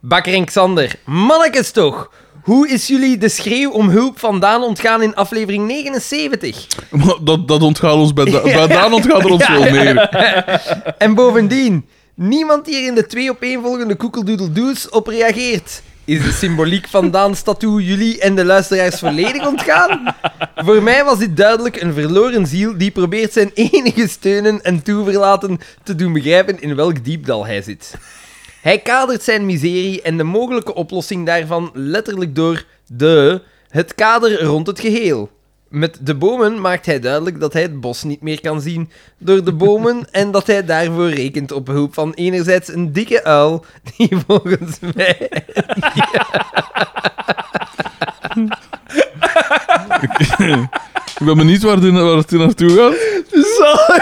S1: Bakker en Xander, mannekes toch. Hoe is jullie de schreeuw om hulp vandaan ontgaan in aflevering 79?
S2: Maar Dat, dat ontgaat ons bij, da bij Daan ontgaat er ons wel meer.
S1: En bovendien, niemand die er in de twee op één volgende koekeldoedeldoes op reageert. Is de symboliek van Daans tattoo jullie en de luisteraars volledig ontgaan? Voor mij was dit duidelijk een verloren ziel die probeert zijn enige steunen en toeverlaten te doen begrijpen in welk diepdal hij zit. Hij kadert zijn miserie en de mogelijke oplossing daarvan letterlijk door de het kader rond het geheel. Met de bomen maakt hij duidelijk dat hij het bos niet meer kan zien door de bomen en dat hij daarvoor rekent op hulp van enerzijds een dikke uil die volgens mij
S2: Ik ben benieuwd waar, die- waar het hier naartoe gaat.
S3: Zo,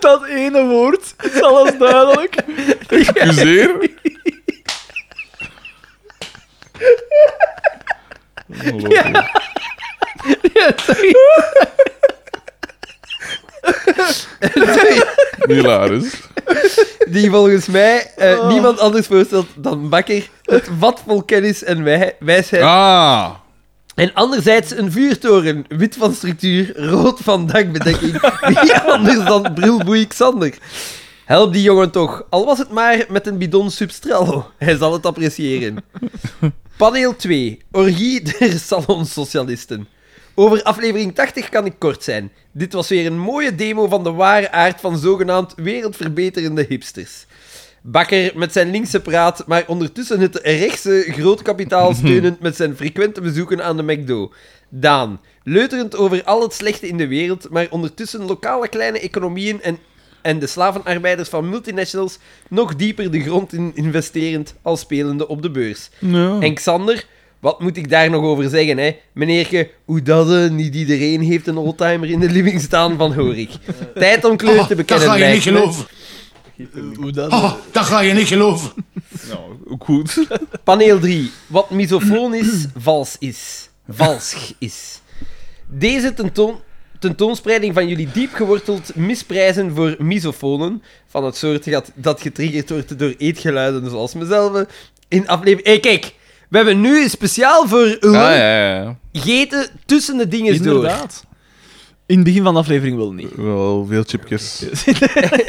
S3: dat ene woord is alles duidelijk.
S2: Excuseer. Ongelooflijk. Hilarisch.
S1: die volgens mij eh, niemand anders voorstelt dan Bakker, het vat vol kennis en wij- wijsheid
S2: Ah.
S1: En anderzijds een vuurtoren, wit van structuur, rood van dakbedekking. Wie anders dan brilboei Xander? Help die jongen toch, al was het maar met een bidon substrello. Hij zal het appreciëren. Paneel 2. Orgie der salonsocialisten. Over aflevering 80 kan ik kort zijn. Dit was weer een mooie demo van de ware aard van zogenaamd wereldverbeterende hipsters. Bakker met zijn linkse praat, maar ondertussen het rechtse grootkapitaal
S4: Mhm.
S1: steunend met zijn frequente bezoeken aan de McDo. Daan, leuterend over al het slechte in de wereld, maar ondertussen lokale kleine economieën en, en de slavenarbeiders van multinationals nog dieper de grond in investerend als spelende op de beurs. En Xander, wat moet ik daar nog over zeggen, hè? Meneerke, hoe dat eh, niet iedereen heeft een oldtimer in de living staan van Horik. Tijd om kleur te
S4: Oh, dat
S1: bekennen.
S4: ga je niet
S1: lijkt me.
S4: geloven.
S3: Hoe dat?
S4: Oh, dat ga je niet geloven.
S2: Ook goed.
S1: Paneel 3. Wat misofoon is, vals is. Valsch is. Deze tentoon, tentoonspreiding van jullie diep geworteld misprijzen voor misofonen, van het soort dat, dat getriggerd wordt door eetgeluiden zoals mezelf, in aflevering... Hé, kijk! We hebben nu speciaal voor u
S2: Ah, ja, ja, ja.
S1: gegeten tussen de dingen door.
S3: Inderdaad. In het begin van de aflevering wel niet.
S2: Wel veel chipjes.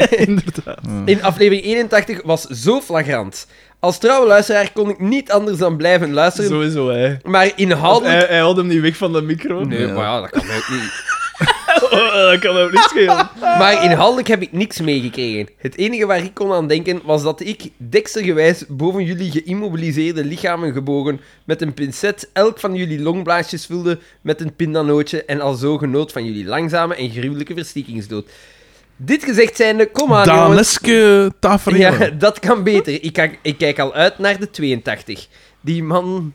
S3: Inderdaad.
S1: In aflevering 81 was zo flagrant. Als trouwe luisteraar kon ik niet anders dan blijven luisteren,
S3: Sowieso, hè.
S1: maar inhoudelijk...
S3: Hij, hij houdt hem niet weg van de micro.
S1: Nee,
S2: Ja.
S1: maar ja, dat kan ook niet.
S3: Oh, dat kan me niet
S1: Ah,
S3: schelen.
S1: Maar inhoudelijk heb ik niks meegekregen. Het enige waar ik kon aan denken was dat ik, dekstergewijs, boven jullie geïmmobiliseerde lichamen gebogen, met een pincet elk van jullie longblaasjes vulde met een pindanootje en al zo genoot van jullie langzame en gruwelijke verstiekingsdood. Dit gezegd zijnde, kom aan jongens.
S2: Daneske tafereel.
S1: Ja, dat kan beter. Ik, kijk- ik kijk al uit naar de 82. Die man...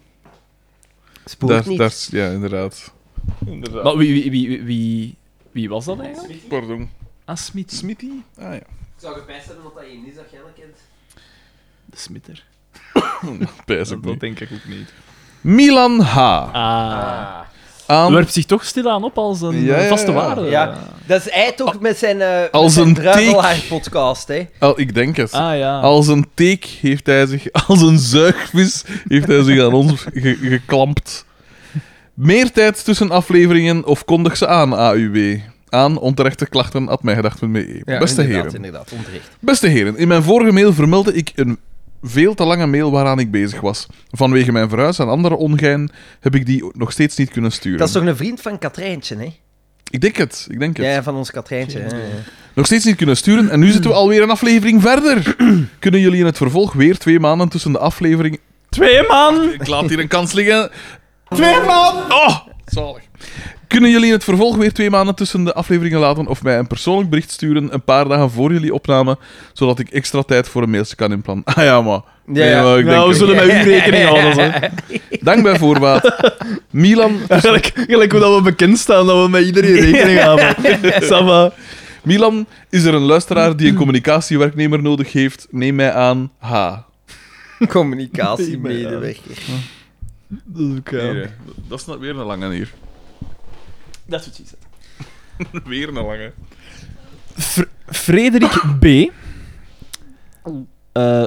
S1: Spoort
S2: Daar,
S1: niet.
S2: daar, ja, inderdaad. Inderdaad.
S3: Maar wie, wie, wie, wie, wie was dat eigenlijk?
S2: Pardon.
S3: Ah, Smit.
S2: Smitty? Ah ja.
S1: Ik zou het bijstellen dat dat één is dat jij dat kent.
S3: De Smitter.
S2: Pijs
S3: Dat,
S2: ook
S3: dat
S2: niet.
S3: denk ik ook niet.
S2: Milan H.
S3: Ah.
S2: Aan
S3: Werpt zich toch stilaan op als een
S2: Ja, ja, ja.
S3: vaste waarde.
S1: Ja, dat is hij toch met zijn, eh
S2: Als
S1: met zijn
S2: een
S1: druivelaar-podcast, hè.
S2: Al, ik denk het.
S3: Ah ja.
S2: Als een teek heeft hij zich, als een zuigvis, heeft hij zich aan ons ge- geklampt. Meer tijd tussen afleveringen of kondig ze aan, AUB. Aan onterechte klachten at mijngedacht.be. Beste
S1: inderdaad,
S2: heren.
S1: inderdaad, onterecht.
S2: Beste heren, in mijn vorige mail vermeldde ik een veel te lange mail waaraan ik bezig was. Vanwege mijn verhuis en andere ongein heb ik die nog steeds niet kunnen sturen.
S1: Dat is toch een vriend van Katrijntje, hè?
S2: Ik denk het, ik denk het.
S1: Ja, van ons Katrijntje. hè.
S2: Nog steeds niet kunnen sturen en nu zitten we alweer een aflevering verder. Kunnen jullie in het vervolg weer twee maanden tussen de aflevering...
S3: Twee man!
S2: Ik laat hier een kans liggen. Twee maanden! Oh, zalig. Kunnen jullie in het vervolg weer twee maanden tussen de afleveringen laten of mij een persoonlijk bericht sturen een paar dagen voor jullie opname, zodat ik extra tijd voor een mailtje kan inplannen? Ah ja, maar... Nee,
S1: ja.
S2: maar ik denk
S3: Nou, we
S2: het.
S3: zullen met u rekening houden. Zo.
S2: Dank bij voorbaat. Milan,
S3: Gelijk, gelijk hoe dat we bekend staan, dat we met iedereen rekening houden. Sava.
S2: Milan, is er een luisteraar die een communicatiewerknemer nodig heeft? Neem mij aan. H.
S1: Communicatiemedewerker.
S3: Dat is ook, ja.
S2: Hier, hè. Dat is nog weer een lange hier.
S3: Dat is precies
S2: Weer een lange.
S3: Fr- Frederik B. eh,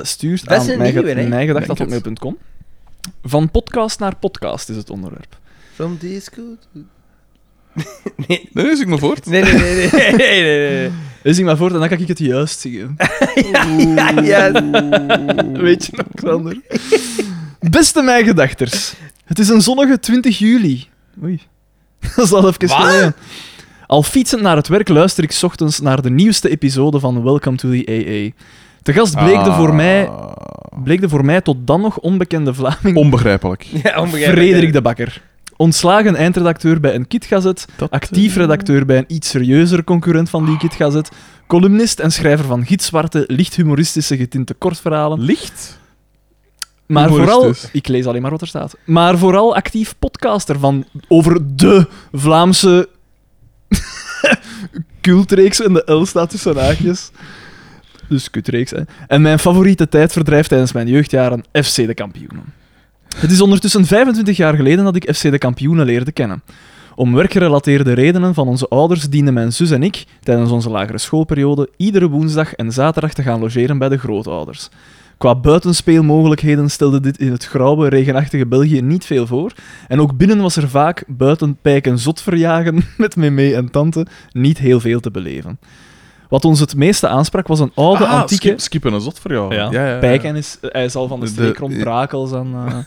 S1: Ah.
S3: stuurt
S1: Dat is
S3: aan
S1: een
S3: mij,
S1: nieuwe, hè?
S3: mijgedacht.mail.com. Van podcast naar podcast is het onderwerp.
S1: From disco to-
S2: Nee, nee, zing maar voort.
S1: Nee, nee, nee. nee, nee, nee, nee.
S3: Dus ik maar voort en dan kan ik het juist zingen.
S1: Ja, ja.
S3: Weet je nog, Xander? Beste mijgedachters. Het is een zonnige 20 juli. Oei. Dat is al even geleden. Al fietsend naar het werk luister ik 's ochtends naar de nieuwste episode van Welcome to the AA. Te gast bleek de
S2: Ah.
S3: voor mij, bleek de voor mij tot dan nog onbekende Vlaming
S2: Onbegrijpelijk.
S1: ja onbegrijpelijk.
S3: Frederik de Bakker. Ontslagen eindredacteur bij een kitgazet, actief redacteur bij een iets serieuzer concurrent van die kitgazet, columnist en schrijver van gitzwarte, licht humoristische getinte kortverhalen.
S2: Licht?
S3: Maar vooral,
S2: humoristisch.
S3: ik lees alleen maar wat er staat, maar vooral actief podcaster van over de Vlaamse cultreeks en de L staat tussen haakjes. Dus kutreeks, hè. En mijn favoriete tijdverdrijf tijdens mijn jeugdjaren, FC de Kampioenen. Het is ondertussen 25 jaar geleden dat ik FC de Kampioenen leerde kennen. Om werkgerelateerde redenen van onze ouders dienden mijn zus en ik tijdens onze lagere schoolperiode iedere woensdag en zaterdag te gaan logeren bij de grootouders. Qua buitenspeelmogelijkheden stelde dit in het grauwe, regenachtige België niet veel voor. En ook binnen was er vaak, buiten pijken zot verjagen met meme en tante, niet heel veel te beleven. Wat ons het meeste aansprak was een oude,
S2: Ah,
S3: antieke...
S2: skip, skip en een zot voor jou.
S3: Ja, Pijken is... Hij is al van de
S2: De-
S3: streek rond
S2: de-
S3: Brakels en... eh,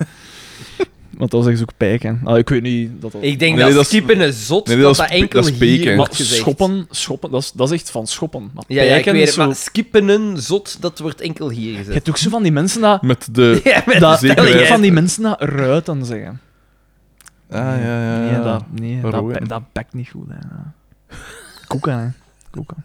S3: want dat is ook pijken. Ah, ik weet niet... Dat dat...
S1: Ik denk
S2: Nee,
S1: dat,
S2: dat is-
S1: skippen een zot,
S2: Nee,
S1: dat,
S2: dat
S1: dat
S2: is pi-
S1: enkel
S2: dat is
S1: hier
S2: pieken.
S1: wordt
S3: maar
S1: gezegd.
S3: schoppen, schoppen dat, is, dat is echt van schoppen. Maar
S1: Ja, ja, ik
S3: pijken
S1: weet
S3: is
S1: het,
S3: zo...
S1: maar skippen een zot, dat wordt enkel hier
S3: Je
S1: gezegd.
S3: hebt ook zo van die mensen dat...
S2: Met de...
S1: Ja, maar
S3: dat
S2: zeker
S3: ik
S2: weten.
S3: van die mensen dat ruiten zeggen.
S2: Ah, ja, ja, ja.
S3: Nee, dat, nee, dat,
S2: Roeien.
S3: pe- dat pakt niet goed. Hè. Koeken, hè. Koeken.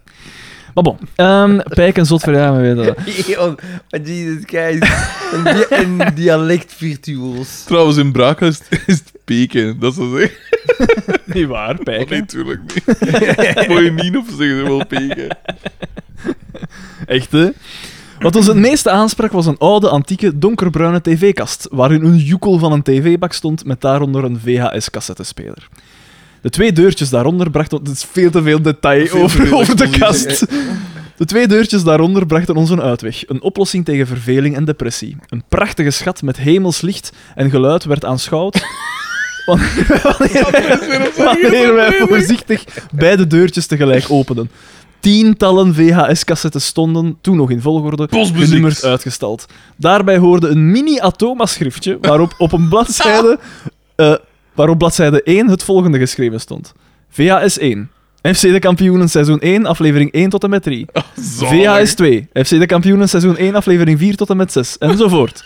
S3: Maar bon, Ehm pijken zot verjaardag, we weten dat.
S1: Yo, Jesus Christ. Een, dia een dialectvirtuoos.
S2: Trouwens, in Brakel is, het- is het peken. Dat is echt...
S3: Niet waar,
S2: Oh, nee,
S3: pijken.
S2: tuurlijk niet. Moet je niet op zeggen, wel peken.
S3: Echt, hè? Wat ons het meeste aansprak was een oude, antieke, donkerbruine tv-kast, waarin een joekel van een tv-bak stond met daaronder een VHS-cassettespeler. De twee deurtjes daaronder brachten... Het is veel te veel detail
S2: Veel te
S3: over,
S2: veel
S3: over de
S2: expositie,
S3: kast. De twee deurtjes daaronder brachten ons een uitweg. Een oplossing tegen verveling en depressie. Een prachtige schat met hemelslicht en geluid werd aanschouwd... wanneer- wanneer, wanneer wij voorzichtig beide deurtjes tegelijk openden. Tientallen VHS-cassettes stonden, toen nog in volgorde,
S2: Postbeziekt.
S3: genummerd uitgestald. Daarbij hoorde een mini-atoma-schriftje waarop op een bladzijde, eh, waarop bladzijde 1 het volgende geschreven stond. VHS 1, FC de Kampioenen seizoen 1, aflevering 1 tot en met 3. VHS 2, FC de Kampioenen seizoen 1, aflevering 4 tot en met 6, enzovoort.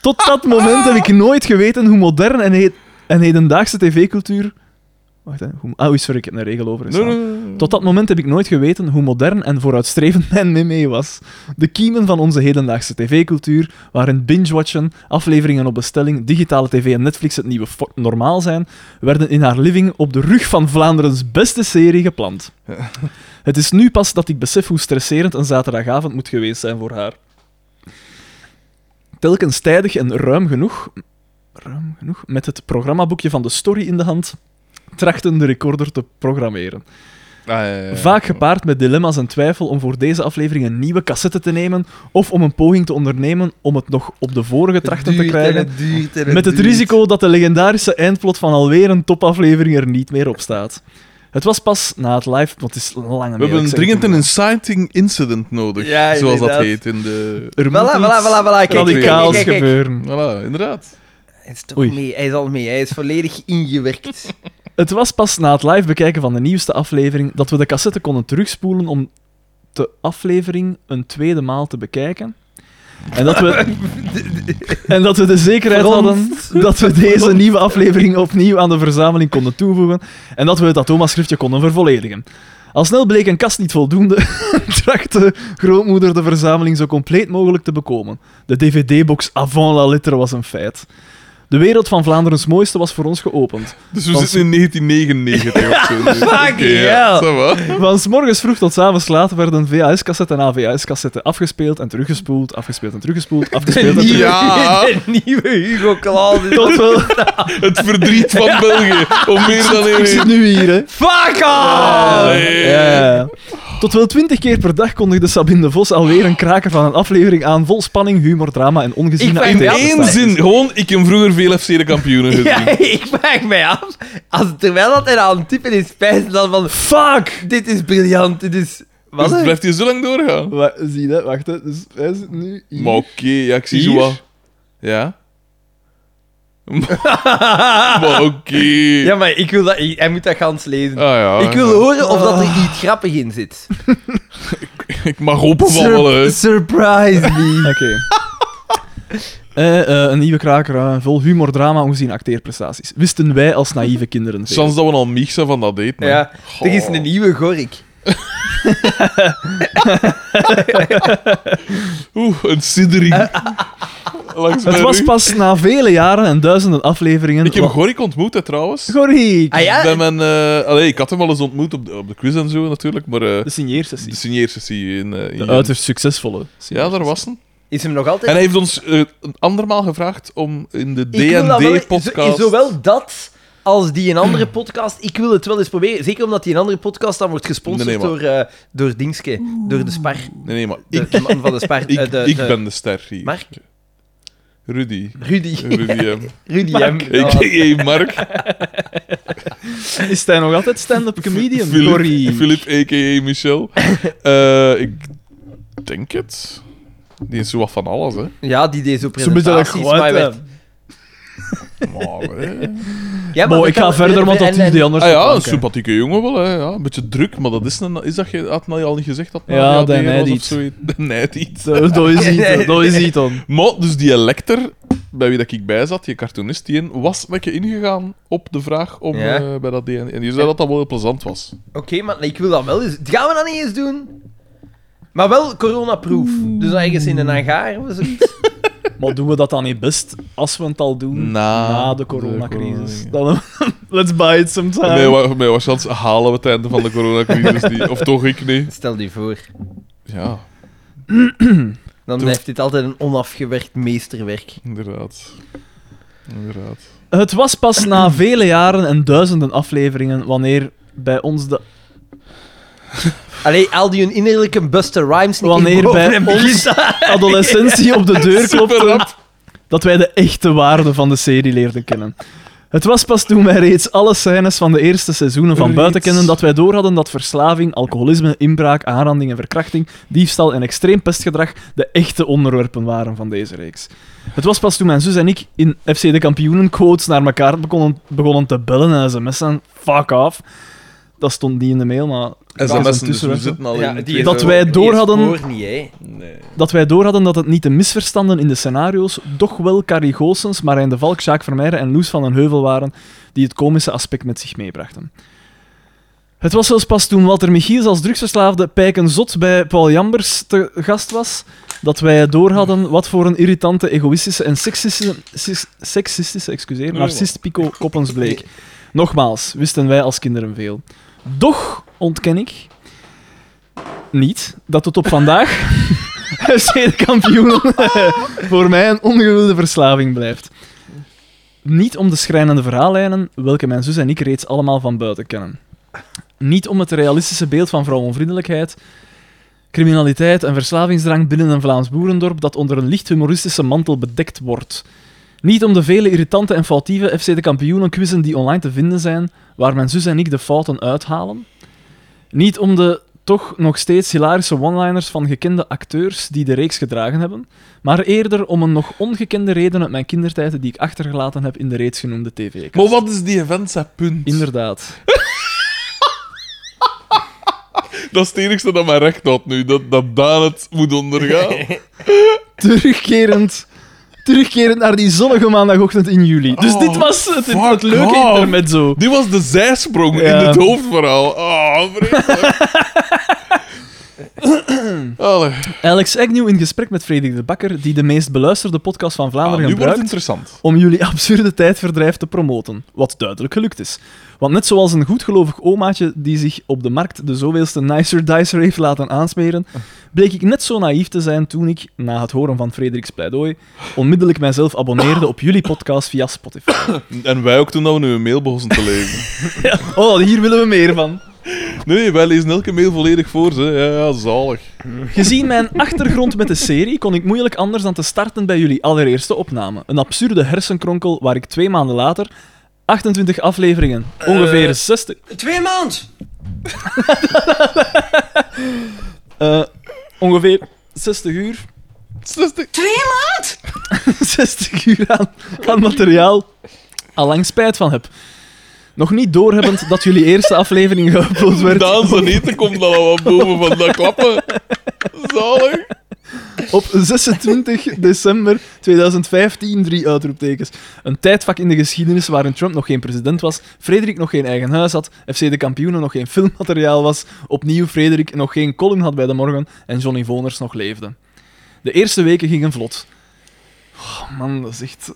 S3: Tot dat moment heb ik nooit geweten hoe modern en, he- en hedendaagse tv-cultuur... Wacht, hè. Hoe... Ah, oei, sorry, ik heb een regel over.
S2: Nee, nee, nee.
S3: Tot dat moment heb ik nooit geweten hoe modern en vooruitstrevend mijn meme was. De kiemen van onze hedendaagse tv-cultuur, waarin binge-watchen, afleveringen op bestelling, digitale tv en Netflix het nieuwe fo- normaal zijn, werden in haar living op de rug van Vlaanderens beste serie geplant. Het is nu pas dat ik besef hoe stresserend een zaterdagavond moet geweest zijn voor haar. Telkens tijdig en ruim genoeg, ruim genoeg met het programmaboekje van de story in de hand, trachten de recorder te programmeren.
S2: Ah, ja, ja, ja.
S3: Vaak gepaard met dilemma's en twijfel om voor deze aflevering een nieuwe cassette te nemen of om een poging te ondernemen om het nog op de vorige trachten te krijgen. Met het risico dat de legendarische eindplot van alweer een topaflevering er niet meer op staat. Het was pas na het live, want het is lang
S2: We hebben dringend een inciting incident nodig,
S1: Ja,
S2: zoals dat
S1: inderdaad.
S2: heet in de...
S3: Er moet
S1: Voilà, voilà,
S3: iets
S1: voilà, voilà. Kijk, kijk,
S3: radicaals
S1: kijk, kijk, kijk.
S3: gebeuren.
S2: Voilà, inderdaad.
S1: Hij is toch
S3: Oei.
S1: mee, hij is al mee. Hij is volledig ingewerkt.
S3: Het was pas na het live bekijken van de nieuwste aflevering dat we de cassette konden terugspoelen om de aflevering een tweede maal te bekijken. En dat we, en dat we de zekerheid hadden dat we deze nieuwe aflevering opnieuw aan de verzameling konden toevoegen en dat we het atooma-schriftje konden vervolledigen. Al snel bleek een kast niet voldoende en trachtte grootmoeder de verzameling zo compleet mogelijk te bekomen. De dvd-box avant la lettre was een feit. De wereld van Vlaanderens mooiste was voor ons geopend.
S2: Dus we
S3: Want-
S2: zitten in 1999 of zo.
S1: fucking
S2: Oké, ja,
S1: hell.
S2: ça va.
S3: Van 's morgens vroeg tot 's avonds laat werden VHS-cassetten en AVHS-cassetten afgespeeld en teruggespoeld, afgespeeld en teruggespoeld, afgespeeld en
S1: nieuwe,
S3: teruggespoeld.
S2: Ja.
S1: de nieuwe Hugo Klaas. is-
S3: Tot wel,
S2: Het verdriet van België. Om meer dan één
S3: ik zit nu hier, hè.
S1: Fuck off!
S2: Nee.
S3: Ja. Tot wel twintig keer per dag kondigde Sabine de Vos alweer een kraker van een aflevering aan, vol spanning, humor, drama en
S1: Ik
S3: ongeziene
S1: vraag
S2: In
S1: Ja,
S2: één
S1: dat is-
S2: zin, gewoon, ik heb vroeger veel FC de kampioenen
S3: Eh,
S2: gezien.
S1: Ja, ik vraag mij af, als terwijl dat hij aan het typen is, spijt dan van... Fuck! Dit is briljant, dit is...
S2: Dus
S1: Wat?
S2: het
S1: hè?
S2: blijft je zo lang doorgaan.
S3: Wa- Zie dat, wacht, hè. Dus hij zit nu hier.
S2: Maar oké, ja, ik zie zo
S3: Hier?
S2: wat. Ja? maar maar oké.
S1: Ja, maar ik wil dat... Hij moet dat gans lezen.
S2: Ah, ja.
S1: Ik wil horen of dat
S3: Ah.
S1: er iets grappig in zit.
S2: Ik mag opvallen. hè.
S1: Sur- surprise me.
S3: Oké. Eh, eh, een nieuwe kraker, eh, vol humor, drama, ongeziene acteerprestaties. Wisten wij als naïeve kinderen. veel.
S2: Chance dat we al miek zijn van dat date, man.
S1: Ja, er is een nieuwe Gorik.
S2: Oeh, een siddering. Langs
S3: Het
S2: mijn
S3: was
S2: rug.
S3: pas na vele jaren en duizenden afleveringen.
S2: Ik heb
S3: wa-
S2: Gorik ontmoet, hè, trouwens.
S3: Gorie!
S1: Ah ja?
S2: Bij mijn, eh, allee, ik had hem al eens ontmoet op de, op de quiz en zo, natuurlijk. Maar eh,
S3: De
S2: de
S3: signeersessie.
S2: signeersessie in... eh, in
S3: De uiterst succesvolle.
S2: Ja, daar was hem.
S1: Is hem nog altijd...
S2: En hij heeft ons eh, een andermaal gevraagd om in de
S1: Ik wil dat wel-
S2: D&D-podcast...
S1: zo- Zowel dat als die een andere podcast. Ik wil het wel eens proberen. Zeker omdat die een andere podcast dan wordt gesponsord
S2: Nee, nee, maar-
S1: door, eh, door Dingske. Door de Spar.
S2: Nee, nee, maar
S1: De,
S2: ik,
S1: de man van de Spar.
S2: ik,
S1: eh, de,
S2: ik
S1: de-
S2: ben de ster hier.
S1: Mark?
S2: Rudy.
S1: Rudy.
S2: Rudy eh, M.
S1: Rudy M.
S2: A.k.a. Mark.
S3: Is hij nog altijd stand-up comedian?
S2: Philip, Philip a.k.a. Michel. Eh, ik denk het. Die is zo wat van alles, hè.
S1: Ja, die deed zo
S3: Zo'n beetje dat
S1: presentaties.
S3: geluid,
S1: maar hij
S3: hè.
S1: werd-
S2: Maar, eh, hè.
S1: Ja,
S3: Maar ik
S1: vertel-
S3: ga verder, want dat
S1: en-
S3: doet die anders.
S2: Ah
S3: wel
S2: ja, een
S3: ook, hè.
S2: sympathieke jongen wel, hè. Ja, een beetje druk, maar dat is... Een, is dat, je- had hij al niet gezegd dat hij
S3: Ja,
S2: ADHD
S3: dat
S2: was
S3: hij
S2: of
S3: niet.
S2: zoiets? Nee, niet.
S3: Zo, Dat is hij dan, dat is hij dan.
S2: Maar, dus die lector, bij wie dat ik bij zat, die cartoonist, die in, was met je ingegaan op de vraag om
S1: Ja.
S2: eh, bij dat DNA. En die zei dat dat wel heel plezant was.
S1: Oké, maar ik wil dat wel eens... Dat gaan we dat niet eens doen. Maar wel coronaproof. Dus ergens in een hangar of zoiets.
S3: Maar doen we dat dan niet best als we het al doen?
S2: Na
S3: de
S2: de
S3: coronacrisis.
S2: corona-
S3: Dan, let's buy it sometime.
S2: Mij, wa- mij was chance halen we het einde van de coronacrisis niet. Of toch ik niet.
S1: Stel je voor.
S2: Ja,
S1: Dan blijft dit altijd een onafgewerkt meesterwerk.
S2: inderdaad. Inderdaad.
S3: Het was pas na vele jaren en duizenden afleveringen wanneer bij ons de
S1: Allee, al die hun innerlijke Buster Rhymes niet
S3: Wanneer
S1: inboven
S3: bij
S1: en
S3: ons-
S1: begint-
S3: adolescentie op de deur klopte.
S2: Superrap.
S3: dat wij de echte waarde van de serie leerden kennen. Het was pas toen wij reeds alle scènes van de eerste seizoenen van buiten kennen dat wij doorhadden dat verslaving, alcoholisme, inbraak, aanranding en verkrachting, diefstal en extreem pestgedrag de echte onderwerpen waren van deze reeks. Het was pas toen mijn zus en ik in FC de Kampioenen quotes naar elkaar begonnen, begonnen te bellen en sms'en, fuck off, dat stond niet in de mail, maar dat is
S2: SMS'en, dus
S3: intussen
S2: we
S3: weg,
S2: zitten al
S1: Ja,
S2: in...
S1: die is
S3: dat
S1: ook-
S3: wij
S1: die
S3: door
S1: is
S3: hadden-
S1: voor niet, hè.
S2: Nee.
S3: dat wij doorhadden dat het niet de misverstanden in de scenario's, toch wel Carrie Goossens, Marijn de Valk, Jacques Vermeijden en Loes van den Heuvel waren die het komische aspect met zich meebrachten. Het was zelfs pas toen Walter Michiels als drugsverslaafde pijkenzot bij Paul Jambers te gast was, dat wij doorhadden wat voor een irritante, egoïstische en seksistische, sis- seksistische excuseer, narcist Pico Koppens bleek. Nogmaals, wisten wij als kinderen veel. Doch ontken ik niet dat tot op vandaag FC de kampioen voor mij een ongewilde verslaving blijft. Niet om de schrijnende verhaallijnen, welke mijn zus en ik reeds allemaal van buiten kennen. Niet om het realistische beeld van vrouwonvriendelijkheid, criminaliteit en verslavingsdrang binnen een Vlaams boerendorp dat onder een licht humoristische mantel bedekt wordt. Niet om de vele irritante en foutieve FC de kampioenen-quizzen die online te vinden zijn, waar mijn zus en ik de fouten uithalen. Niet om de toch nog steeds hilarische one-liners van gekende acteurs die de reeks gedragen hebben, maar eerder om een nog ongekende reden uit mijn kindertijd die ik achtergelaten heb in de reeds genoemde tv
S2: Maar wat is die event zijn punt?
S3: Inderdaad.
S2: Dat is het enigste dat mij recht had nu, dat, dat daar het moet ondergaan.
S3: Terugkerend, terugkerend naar die zonnige maandagochtend in juli. Dus
S2: Oh,
S3: dit was het, het,
S2: fuck off.
S3: leuke intermezzo.
S2: Dit was de zijsprong
S3: Ja.
S2: in het hoofdverhaal. Ah, vreselijk. Allee.
S3: Alex Agnew in gesprek met Frederik de Bakker, die de meest beluisterde podcast van
S2: Ah,
S3: Vlaanderen
S2: nu wordt het
S3: gebruikt
S2: interessant.
S3: om jullie absurde tijdverdrijf te promoten. Wat duidelijk gelukt is. Want net zoals een goedgelovig omaatje die zich op de markt de zoveelste Nicer Dicer heeft laten aansmeren, bleek ik net zo naïef te zijn toen ik, na het horen van Frederik's pleidooi, onmiddellijk mijzelf abonneerde op jullie podcast via Spotify.
S2: En wij ook toen dat we nu een mail begonnen te lezen.
S3: Oh, hier willen we meer van.
S2: Nee, wij lezen elke mail volledig voor ze. Ja, ja, zalig.
S3: Gezien mijn achtergrond met de serie kon ik moeilijk anders dan te starten bij jullie allereerste opname. Een absurde hersenkronkel waar ik twee maanden later 28 afleveringen, ongeveer 60...
S5: Twee maand.
S3: eh, ongeveer 60 uur... 60...
S5: Twee maand?
S3: 60 uur aan, aan materiaal allang spijt van heb. Nog niet doorhebbend dat jullie eerste aflevering geüpload werd...
S2: Daan zijn eten komt dan al wat boven van dat klappen. Zalig.
S3: Op 26 december 2015, drie uitroeptekens. Een tijdvak in de geschiedenis waarin Trump nog geen president was, Frederik nog geen eigen huis had, FC de kampioenen nog geen filmmateriaal was, opnieuw Frederik nog geen column had bij De Morgen en Johnny Voners nog leefde. De eerste weken gingen vlot. Oh man, dat is echt...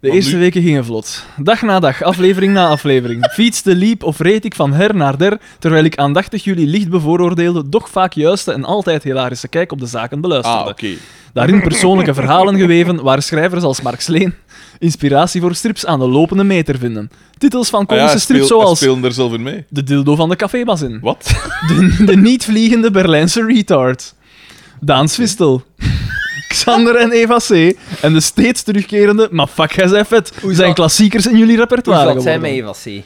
S3: De
S2: Want
S3: eerste
S2: nu-
S3: weken gingen vlot. Dag na dag, aflevering na aflevering. Fietste, liep of reed ik van her naar der, terwijl ik aandachtig jullie licht bevooroordeelde, doch vaak juiste en altijd hilarische kijk op de zaken beluisterde.
S2: Ah, oké.
S3: Daarin persoonlijke verhalen geweven waar schrijvers als Mark Sleen inspiratie voor strips aan de lopende meter vinden. Titels van
S2: Ah,
S3: komische
S2: hij
S3: strips
S2: speel- hij
S3: zoals
S2: speelde er zelf in mee.
S3: De dildo van de cafébazin,
S2: Wat?
S3: de, de niet vliegende Berlijnse retard, Daans Vistel, Xander en Eva C. en de steeds terugkerende Maar fuck, jij zij vet, zijn klassiekers in jullie
S1: Hoe
S3: repertoire
S1: zat zij
S3: geworden.
S1: met Eva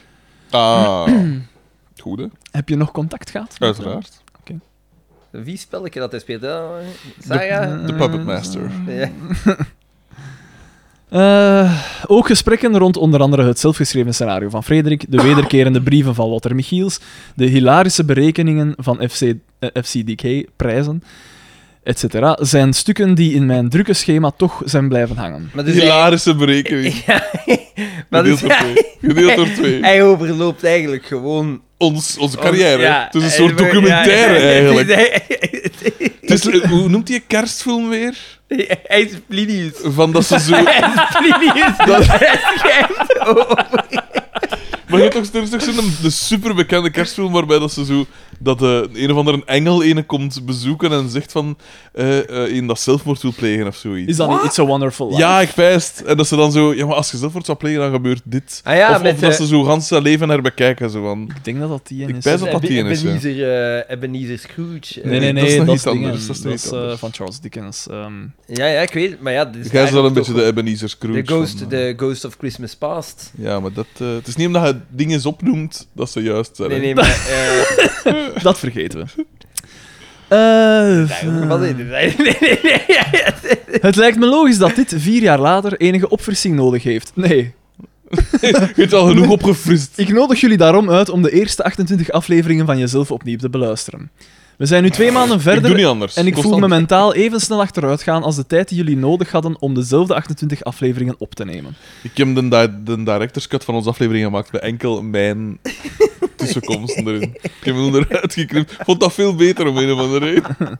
S1: C?
S2: Ah. Goed, hè?
S3: Heb je nog contact gehad?
S2: Uiteraard.
S1: Een vies spelletje dat hij speelt. hè? Sarah?
S2: De Puppet Master.
S1: Ja.
S3: Eh, ook gesprekken rond onder andere het zelfgeschreven scenario van Frederik, de wederkerende brieven van Walter Michiels, de hilarische berekeningen van FC, eh, FCDK-prijzen, etc. zijn stukken die in mijn drukke schema toch zijn blijven hangen.
S1: Maar dus hij,
S2: Hilarische berekening.
S1: maar dus
S2: Gedeeld door
S1: hij,
S2: twee. Gedeeld door twee.
S1: hij overloopt eigenlijk gewoon...
S2: Ons, onze carrière. hè?
S1: Ja,
S2: het is een
S1: hij-
S2: soort documentaire,
S1: ja, ja.
S2: eigenlijk.
S1: Hij-
S2: Het is, eh, hoe noemt die kerstfilm weer?
S1: hij- Hij is Plinius.
S2: Van dat ze zo...
S1: Plinius. Hij schrijft over-
S2: Maar je hebt toch, er is toch zo'n de superbekende kerstfilm waarbij dat ze zo dat eh, een of andere engel ene komt bezoeken en zegt van eh eh een dat zelfmoord wil plegen of zoiets.
S3: Is dat niet It's a Wonderful Life?
S2: Ja, ik wijst. En dat ze dan zo, ja, maar als je zelfmoord zou plegen, dan gebeurt dit.
S1: Ah ja,
S2: of of
S1: met,
S2: dat
S1: eh,
S2: ze zo gans zijn leven herbekijken. Zo van.
S3: Ik denk dat dat die
S2: Ik
S3: is.
S2: wijs op dat die is. hè.
S1: Ebenezer, eh, Ebenezer Scrooge. eh.
S3: Nee,
S2: Nee,
S3: nee,
S2: dat is
S3: nee,
S2: nog
S3: dat is,
S2: iets
S3: dingen.
S2: anders, dat is nog
S3: Dat
S2: iets
S3: is, eh,
S2: anders.
S3: van Charles Dickens. ehm.
S1: Eh, Ja, ja, ik weet het, Maar ja, dit is
S2: Jij is wel
S1: eigenlijk
S2: een beetje
S1: toch
S2: de Ebenezer Scrooge.
S1: de ghost,
S2: van,
S1: de ghost of Christmas Past.
S2: eh, Ja, maar dat, eh, het is niet omdat je dingen opnoemt dat ze juist zijn.
S1: Nee,
S2: hè.
S1: nee, maar... eh,
S3: dat vergeten we. Eh,
S1: ja, wat is dit? Nee, nee, nee, nee, ja, ja.
S3: Het lijkt me logisch dat dit vier jaar later enige opfrissing nodig heeft. Nee.
S2: Je hebt al genoeg opgefrist.
S3: Ik nodig jullie daarom uit om de eerste 28 afleveringen van jezelf opnieuw te beluisteren. We zijn nu twee maanden
S2: Ik doe niet
S3: verder
S2: anders.
S3: en ik voel
S2: Constant.
S3: me mentaal even snel achteruit gaan als de tijd die jullie nodig hadden om dezelfde 28 afleveringen op te nemen.
S2: Ik heb de, di- de director's cut van onze aflevering gemaakt met enkel mijn tussenkomsten erin. Ik heb hem eruit geknipt. Vond dat veel beter om een of andere reden.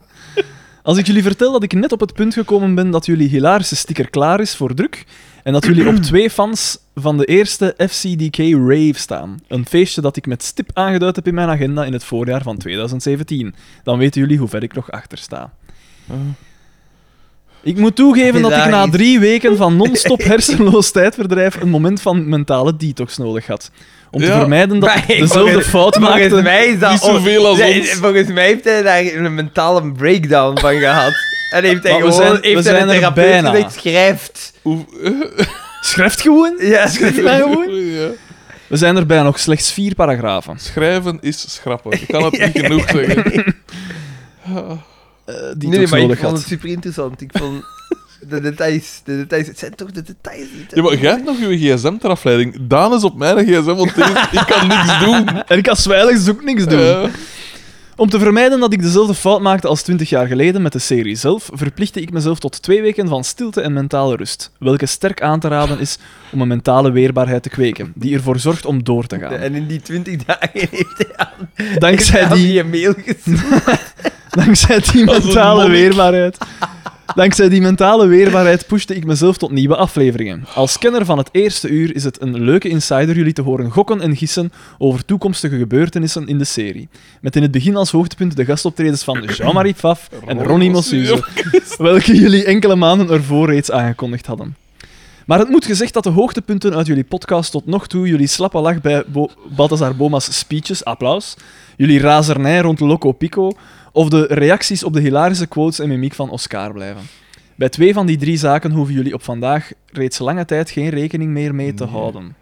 S3: Als ik jullie vertel dat ik net op het punt gekomen ben dat jullie hilarische sticker klaar is voor druk en dat jullie op twee fans van de eerste FCDK Rave staan. Een feestje dat ik met stip aangeduid heb in mijn agenda in het voorjaar van 2017. Dan weten jullie hoe ver ik nog achter sta. Ik moet toegeven dat ik na
S1: Hilarisch.
S3: drie weken van non-stop hersenloos tijdverdrijf een moment van mentale detox nodig had. Om te
S2: Ja.
S3: vermijden dat ik
S1: Maar ik-
S3: dezelfde
S1: volgens-
S3: fout
S1: Volgens
S3: maakte.
S1: mij is dat...
S2: Niet zoveel als
S1: Nee,
S2: ons.
S1: Volgens mij heeft hij daar een mentale breakdown van gehad. En heeft hij
S3: Maar we
S1: gewoon...
S3: zijn- we
S1: heeft hij
S3: zijn
S1: een
S3: er
S1: therapeut
S3: bijna.
S1: gezegd, schrijft.
S2: Hoe-
S3: Schrijft gewoon?
S1: Ja,
S3: Schrijft mij gewoon?
S2: Ja.
S3: We zijn er bij nog slechts vier paragrafen.
S2: Schrijven is schrappen. Ik kan het niet genoeg zeggen.
S3: eh,
S1: Nee, nee,
S3: detox
S1: maar ik
S3: nodig
S1: vond
S3: had.
S1: het super interessant. Ik vond... De details, de details. Het zijn toch de details niet? hè?
S2: Ja, maar jij hebt nog je gsm ter afleiding. Daan is op mijn gsm, want deze- ik kan niks doen.
S3: En ik kan zwijligs ook niks doen.
S2: Eh,
S3: Om te vermijden dat ik dezelfde fout maakte als 20 jaar geleden met de serie zelf, verplichtte ik mezelf tot twee weken van stilte en mentale rust. Welke sterk aan te raden is om een mentale weerbaarheid te kweken, die ervoor zorgt om door te gaan.
S1: En in die 20 dagen heeft hij
S3: Dankzij
S1: aan
S3: die,
S1: die mail gestuurd.
S3: dankzij die
S2: Als een
S3: mentale
S2: monnik.
S3: weerbaarheid. Dankzij die mentale weerbaarheid pushte ik mezelf tot nieuwe afleveringen. Als kenner van het eerste uur is het een leuke insider jullie te horen gokken en gissen over toekomstige gebeurtenissen in de serie. Met in het begin als hoogtepunt de gastoptredens van Jean-Marie Pfaff en Ronnie Mossuze, welke jullie enkele maanden ervoor reeds aangekondigd hadden. Maar het moet gezegd dat de hoogtepunten uit jullie podcast tot nog toe jullie slappe lach bij Bo Balthazar Boma's speeches, applaus, jullie razernij rond Loco Pico of de reacties op de hilarische quotes en mimiek van Oscar blijven. Bij twee van die drie zaken hoeven jullie op vandaag reeds lange tijd geen rekening meer mee te houden.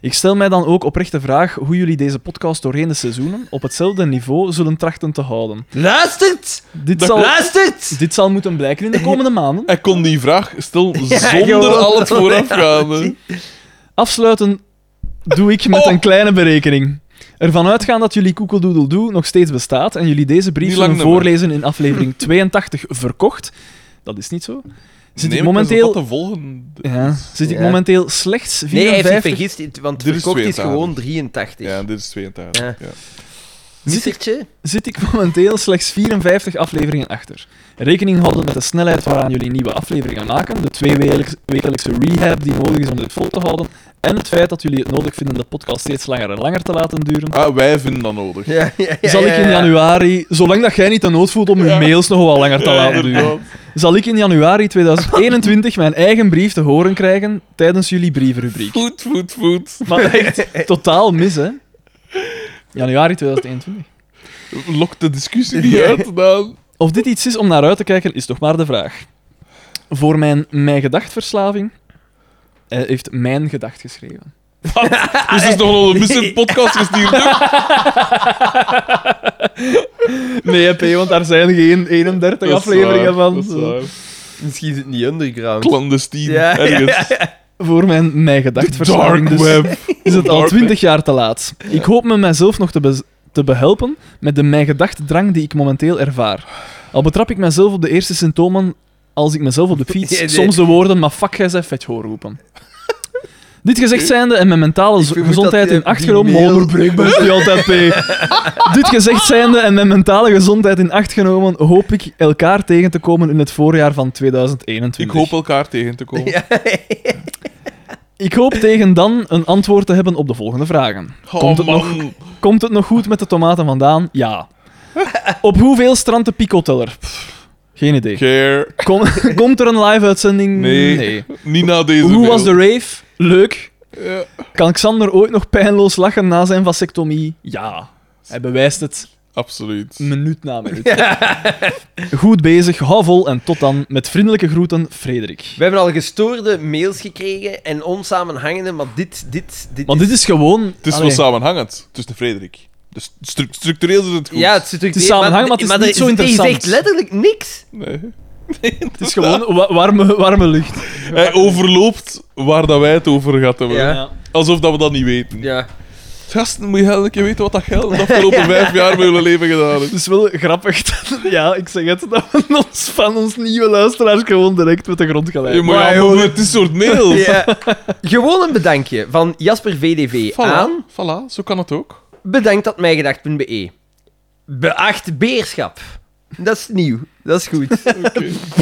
S3: Ik stel mij dan ook oprecht de vraag hoe jullie deze podcast doorheen de seizoenen op hetzelfde niveau zullen trachten te houden.
S1: Luistert!
S3: Dit zal,
S1: Luistert!
S3: dit zal moeten blijken in de komende maanden.
S2: Hij kon die vraag stellen
S1: gewoon
S2: zonder al
S1: zonder
S2: het voorafgaande.
S3: Afsluiten doe ik
S2: Oh.
S3: met een kleine berekening. Ervan uitgaan dat jullie Koekeldoedeldoe nog steeds bestaat en jullie deze brief
S2: Niet lang
S3: zullen
S2: nummer.
S3: voorlezen in aflevering 82 verkocht. Dat is niet zo. Zit
S2: Nee,
S3: ik
S2: maar dat is
S3: momenteel...
S2: Wat de volgende...
S3: Ja, zit ik
S1: Ja.
S3: momenteel slechts
S1: Nee, hij heeft zich
S3: 54...
S1: vergist, in- want
S2: Er is
S1: verkocht is
S2: 82.
S1: gewoon 83.
S2: Ja, dit is 82.
S1: Ja.
S2: ja.
S1: Missertje?
S3: zit ik momenteel slechts 54 afleveringen achter. Rekening houden met de snelheid waaraan jullie nieuwe afleveringen maken, de twee wekelijks- wekelijkse rehab die nodig is om dit vol te houden, en het feit dat jullie het nodig vinden de podcast steeds langer en langer te laten duren.
S2: Ah, wij vinden dat nodig.
S1: Ja, ja, ja,
S3: zal ik
S1: ja,
S3: in
S1: ja.
S3: januari, zolang dat jij niet de nood voelt om je mails nog wel langer te laten duren,
S2: inderdaad.
S3: zal ik in januari 2021 mijn eigen brief te horen krijgen tijdens jullie brievenrubriek.
S2: Voet, voet, voet.
S3: Maar echt totaal mis, hè? Januari 2021.
S2: Lok de discussie niet uit, Daan.
S3: Of dit iets is om naar uit te kijken, is toch maar de vraag. Voor mijn, mijn gedachtverslaving eh, heeft mijn gedacht geschreven. Ah,
S2: Is dus nog wel een missend podcast gestuurd? hè?
S3: Nee, P, want daar zijn geen 31
S2: Dat is
S3: afleveringen
S2: waar,
S3: van.
S2: dat is waar.
S1: Misschien is het niet underground. Ja,
S2: Clandestien,
S1: ja,
S2: ergens.
S3: Voor mijn, mijn gedachtverslaving
S2: Dark
S3: dus,
S2: web.
S3: is het al
S2: Dark
S3: 20 jaar te laat. Ik hoop me mijzelf nog te, bez- te behelpen met de mijn gedachtdrang die ik momenteel ervaar. Al betrap ik mezelf op de eerste symptomen als ik mezelf op de
S1: Ja, nee.
S3: fiets soms de woorden, maar fuck, jij zei vet hoor roepen. Dit gezegd zijnde en mijn mentale z-
S1: vermoed
S3: gezondheid
S1: dat die-
S3: in acht
S1: die
S3: genomen...
S1: mail-
S3: Onderbreekbaar is die altijd, P. Dit gezegd zijnde en mijn mentale gezondheid in acht genomen, hoop ik elkaar tegen te komen in het voorjaar van 2021.
S2: Ik hoop elkaar tegen te komen.
S3: Ik hoop tegen dan een antwoord te hebben op de volgende vragen.
S2: Oh,
S3: Komt het,
S2: man.
S3: nog, komt het nog goed met de tomaten vandaan? Ja. Op hoeveel strandt de picoteller? Pff, Geen idee.
S2: Care.
S3: Kom- komt er een live-uitzending?
S2: Nee. Niet na deze
S3: Hoe
S2: mail.
S3: was de rave? Leuk.
S2: Ja.
S3: Kan Xander ooit nog pijnloos lachen na zijn vasectomie? Ja. Hij bewijst het
S2: Absoluut.
S3: minuut na minuut. Goed bezig, hou vol en tot dan. Met vriendelijke groeten, Frederik.
S1: We hebben al gestoorde mails gekregen en onsamenhangende, maar dit, dit, dit
S3: Want dit is gewoon...
S2: Het is wel
S3: Allee.
S2: samenhangend tussen Frederik. Dus stru- structureel is het goed.
S1: Ja, het zit
S3: Het is samenhang, maar het is niet zo
S1: er-
S3: interessant.
S1: Je zegt letterlijk niks.
S2: Nee.
S3: Het is gewoon wa- warme, warme lucht.
S2: Hij overloopt waar dat wij het over gaat hebben.
S1: Ja.
S2: Alsof dat we dat niet weten.
S1: Ja.
S2: Gasten, moet je elke keer weten wat dat geld de afgelopen vijf jaar met jullie leven gedaan heeft.
S3: Het is wel grappig. dat- ja, ik zeg het, dat we ons van ons nieuwe luisteraars gewoon direct met de grond
S2: Je
S3: geleid.
S2: moet
S1: Maar,
S2: allemaal
S1: joh,
S2: met dit soort mails.
S1: Ja. Gewoon een bedankje van Jasper VDV aan.
S2: Voilà, voilà, zo kan het ook.
S1: Bedankt dat mijgedacht.be. E. Beacht beerschap. Dat is nieuw. Dat is goed.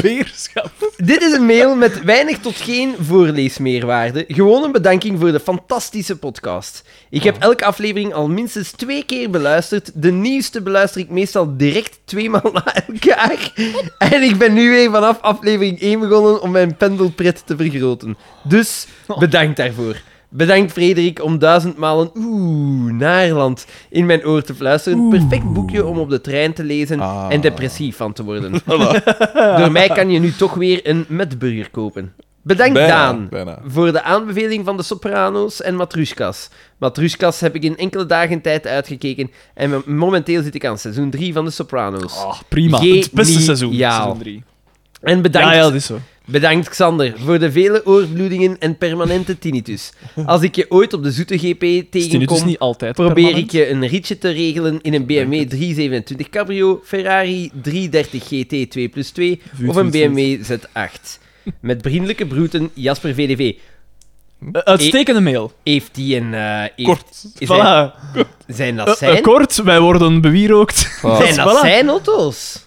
S3: Beerschap.
S1: Dit is een mail met weinig tot geen voorleesmeerwaarde. Gewoon een bedanking voor de fantastische podcast. Ik heb elke aflevering al minstens twee keer beluisterd. De nieuwste beluister ik meestal direct tweemaal na elkaar. En ik ben nu weer vanaf aflevering 1 begonnen om mijn pendelpret te vergroten. Dus bedankt daarvoor. Bedankt Frederik om duizend malen oeh, Naarland in mijn oor te fluisteren. Perfect boekje om op de trein te lezen
S2: Ah.
S1: en depressief van te worden. Door mij kan je nu toch weer een metburger kopen. Bedankt
S2: Bijna,
S1: Daan
S2: bijna.
S1: voor de aanbeveling van de Soprano's en Matruskas. Matruskas heb ik in enkele dagen tijd uitgekeken en mo- momenteel zit ik aan seizoen 3 van de Soprano's.
S3: Oh. Ah, prima. Het beste seizoen.
S1: Geniaal.
S3: Seizoen 3.
S1: En bedankt
S3: Ja, ja, dat is zo.
S1: Bedankt Xander voor de vele oorbloedingen en permanente tinnitus. Als ik je ooit op de zoete GP
S3: Tinnitus is
S1: tegenkom,
S3: niet altijd
S1: probeer
S3: permanent.
S1: ik je een ritje te regelen in een BMW 327 Cabrio, Ferrari 330 GT 2 plus 2 of een BMW Z8. Met vriendelijke broeten Jasper VDV.
S3: Eh, Uitstekende mail.
S1: Heeft die een... eh, heeft-
S2: Kort.
S1: Zijn,
S3: Voilà.
S1: zijn
S3: Eh,
S1: dat
S3: eh,
S1: zijn?
S3: kort, wij worden bewierookt.
S1: Zijn dat
S3: Voilà.
S1: zijn auto's?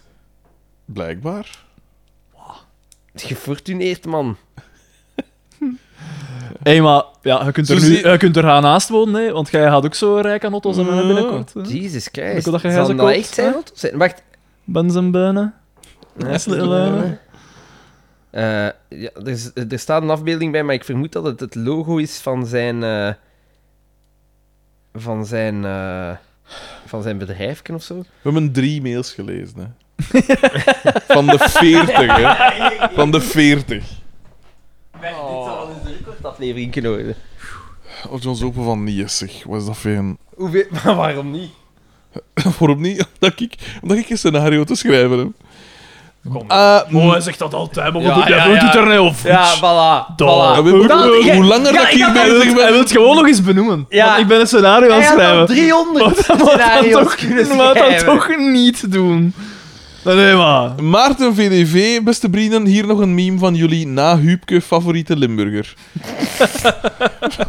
S2: Blijkbaar.
S1: Gefortuneerd, man.
S3: Hé, maar ja, je kunt er,
S2: Zo
S3: nu,
S2: zie-
S3: je kunt er gaan naast wonen, hè, want jij gaat ook zo rijk aan auto's en mij binnenkort. hè.
S1: Jesus
S3: Ik
S1: Christ.
S3: wil dat jij
S1: Zal
S3: ze
S1: dat
S3: koopt,
S1: echt zijn
S3: hè?
S1: auto's zijn? Wacht.
S3: Ben zijn bijna. Sleutellijnen.
S1: Eh, ja, er, is- er staat een afbeelding bij, maar ik vermoed dat het het logo is van zijn. eh, van zijn. eh, van zijn bedrijfken of zo.
S2: We hebben drie mails gelezen. Hè. Van de veertig, hè. Van de veertig.
S1: Dit zal wel eens de recordaflevering kunnen worden.
S2: Of John Open van Nies, zeg. Wat is dat voor een...
S1: Hoeveel, maar waarom niet?
S2: Waarom niet? Omdat ik, omdat ik een scenario te schrijven heb. Ah,
S3: Oh, hij zegt dat altijd, maar
S1: Ja,
S3: wat doet-
S1: ja,
S3: hij
S1: ja.
S3: doet er niet over.
S1: Ja, voilà.
S3: Daar.
S1: voilà.
S2: Ja, weet-
S1: Dat-
S2: hoe,
S1: jij-
S2: hoe langer dat
S1: jij
S2: ik
S1: gaat
S3: Hij
S2: bezig
S3: wil, hij
S2: ben...
S3: wil het gewoon nog eens benoemen.
S1: Ja.
S3: Want ik ben een scenario aan
S1: Hij
S3: het
S1: had al
S3: schrijven.
S1: 300
S3: Maar
S1: scenario's
S3: dat
S1: kunnen
S3: toch, maar dat
S1: schrijven.
S3: toch niet doen. Nee, maar.
S2: Maarten VDV, beste vrienden, hier nog een meme van jullie na Huubke favoriete Limburger.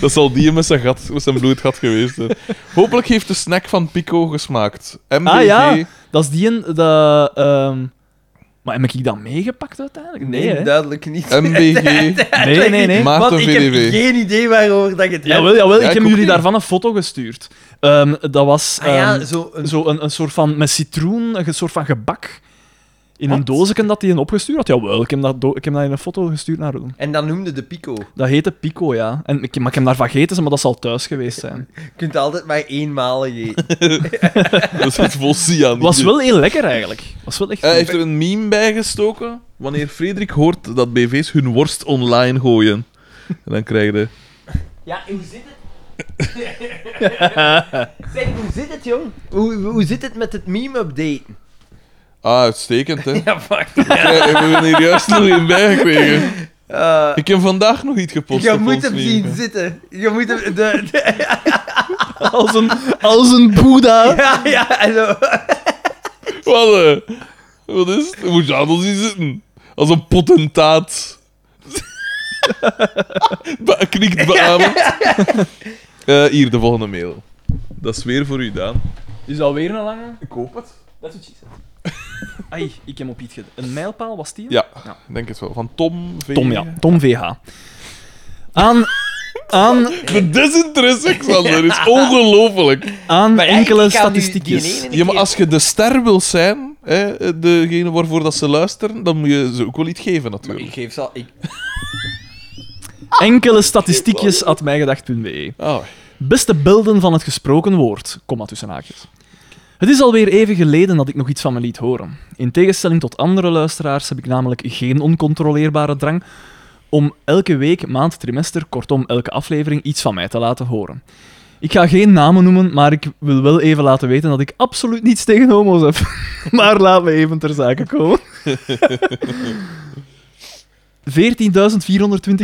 S2: Dat zal die met zijn, gat, met zijn bloedgat geweest zijn. Hopelijk heeft de snack van Pico gesmaakt. MBV,
S3: Ah ja, dat is die een. Dat, ehm, Maar heb ik dat meegepakt uiteindelijk? Nee,
S1: Nee,
S3: hè?
S1: duidelijk niet.
S2: MBG,
S3: nee, nee, nee.
S2: Maarten
S1: Want ik heb
S2: VDV.
S1: geen idee waarover dat je het hebt.
S3: Jawel, jawel,
S2: Ja, ik
S3: ik heb
S2: ook
S3: jullie
S2: niet.
S3: daarvan een foto gestuurd. Ehm, dat was
S1: Ah ja,
S3: ehm,
S1: zo een-
S3: zo een, een soort van met citroen, een soort van gebak. In een doosje dat hij een opgestuurd had. Jawel, ik heb dat, do- ik heb dat in een foto gestuurd naar Roem.
S1: En dan noemde de Pico.
S3: Dat heette Pico, ja. En ik, maar ik heb daarvan gegeten, maar dat zal thuis geweest zijn.
S1: Je kunt altijd maar eenmalig eten.
S2: dat is het vol cyanide.
S3: Was wel heel lekker eigenlijk. Was wel echt.
S2: Hij heeft er een meme bij gestoken wanneer Frederik hoort dat BV's hun worst online gooien. En dan krijg je...
S1: Ja, en hoe zit het? zeg, hoe zit het, jong? Hoe, hoe zit het met het meme-updaten?
S2: Ah, uitstekend, hè.
S1: Ja, fuck.
S2: Ja, ik heb er hier juist nog in bijgekregen. ik heb vandaag nog iets gepost.
S1: Eh, Je
S2: op
S1: moet
S2: ons
S1: hem
S2: meme.
S1: zien zitten. Je moet hem... De, de-
S3: Als een, als een Boeddha.
S1: ja, ja, en zo.
S2: Wat, eh, wat is het? Je Moet je aan ons zien zitten? Als een potentaat. Ba- Knikt beamend. Eh, hier, de volgende mail. Dat is weer voor u, Daan.
S3: Is dat weer een lange?
S2: Ik hoop het.
S3: Dat is wat je zegt. Ai, ik heb op iets gedaan. Een mijlpaal was die?
S2: Ja,
S3: Ja.
S2: ik denk het wel. Van Tom V.
S3: Tom, ja. Tom VH. Aan, aan,
S2: De desinteresse, Xander, is ongelooflijk.
S3: aan
S1: Ja, ik-
S3: enkele
S1: ik ga nu die
S3: statistiekjes.
S1: ene
S2: Ja, maar
S1: keer-
S2: als je de ster wil zijn, hè, degene waarvoor dat ze luisteren, dan moet je ze ook wel iets geven, natuurlijk.
S1: Ik geef ze al... Ik...
S3: Enkele statistiekjes at mijgedacht.be.
S2: Ah,
S3: Beste beelden van het gesproken woord, komma tussen haakjes. Het is alweer even geleden dat ik nog iets van me liet horen. In tegenstelling tot andere luisteraars heb ik namelijk geen oncontroleerbare drang om elke week, maand, trimester, kortom elke aflevering iets van mij te laten horen. Ik ga geen namen noemen, maar ik wil wel even laten weten dat ik absoluut niets tegen homo's heb. Maar laat me even ter zake komen. 14.420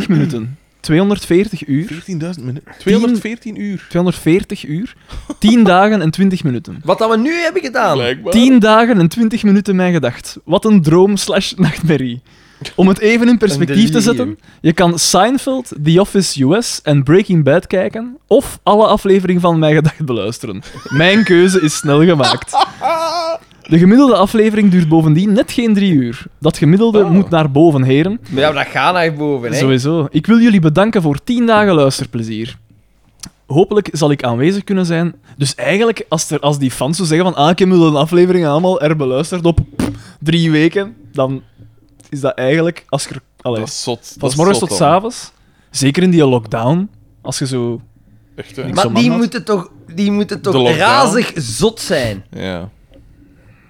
S3: minuten. 240 uur.
S2: 14.000 minuten. 214 uur.
S3: 240 uur. 10 dagen en 20 minuten.
S1: Wat dat we nu hebben gedaan.
S2: Blijkbaar.
S3: 10 dagen en 20 minuten mijn gedacht. Wat een droom slash nachtmerrie. Om het even in perspectief te
S1: delirium.
S3: zetten, je kan Seinfeld, The Office US en Breaking Bad kijken, of alle afleveringen van Mijn Gedacht beluisteren. Mijn keuze is snel gemaakt. De gemiddelde aflevering duurt bovendien net geen drie uur. Dat gemiddelde moet naar boven, heren.
S1: Maar ja, maar dat gaat naar boven, hè.
S3: Sowieso. Ik wil jullie bedanken voor 10 dagen luisterplezier. Hopelijk zal ik aanwezig kunnen zijn. Dus eigenlijk, als, er, als die fans zo zeggen van ah, ik heb een aflevering allemaal er beluisterd op pff, drie weken, dan is dat eigenlijk, als je... Allee,
S2: Dat is zot.
S3: van
S2: Dat
S3: s
S2: is
S3: morgens
S2: zot
S3: tot
S2: allemaal.
S3: s'avonds, zeker in die lockdown, als je zo...
S2: Echt, hè?
S3: Niks.
S1: Maar
S3: Zo'n
S1: die
S3: man had.
S1: moeten toch, die moeten
S2: De
S1: toch
S2: lockdown.
S1: razig zot zijn.
S2: Ja.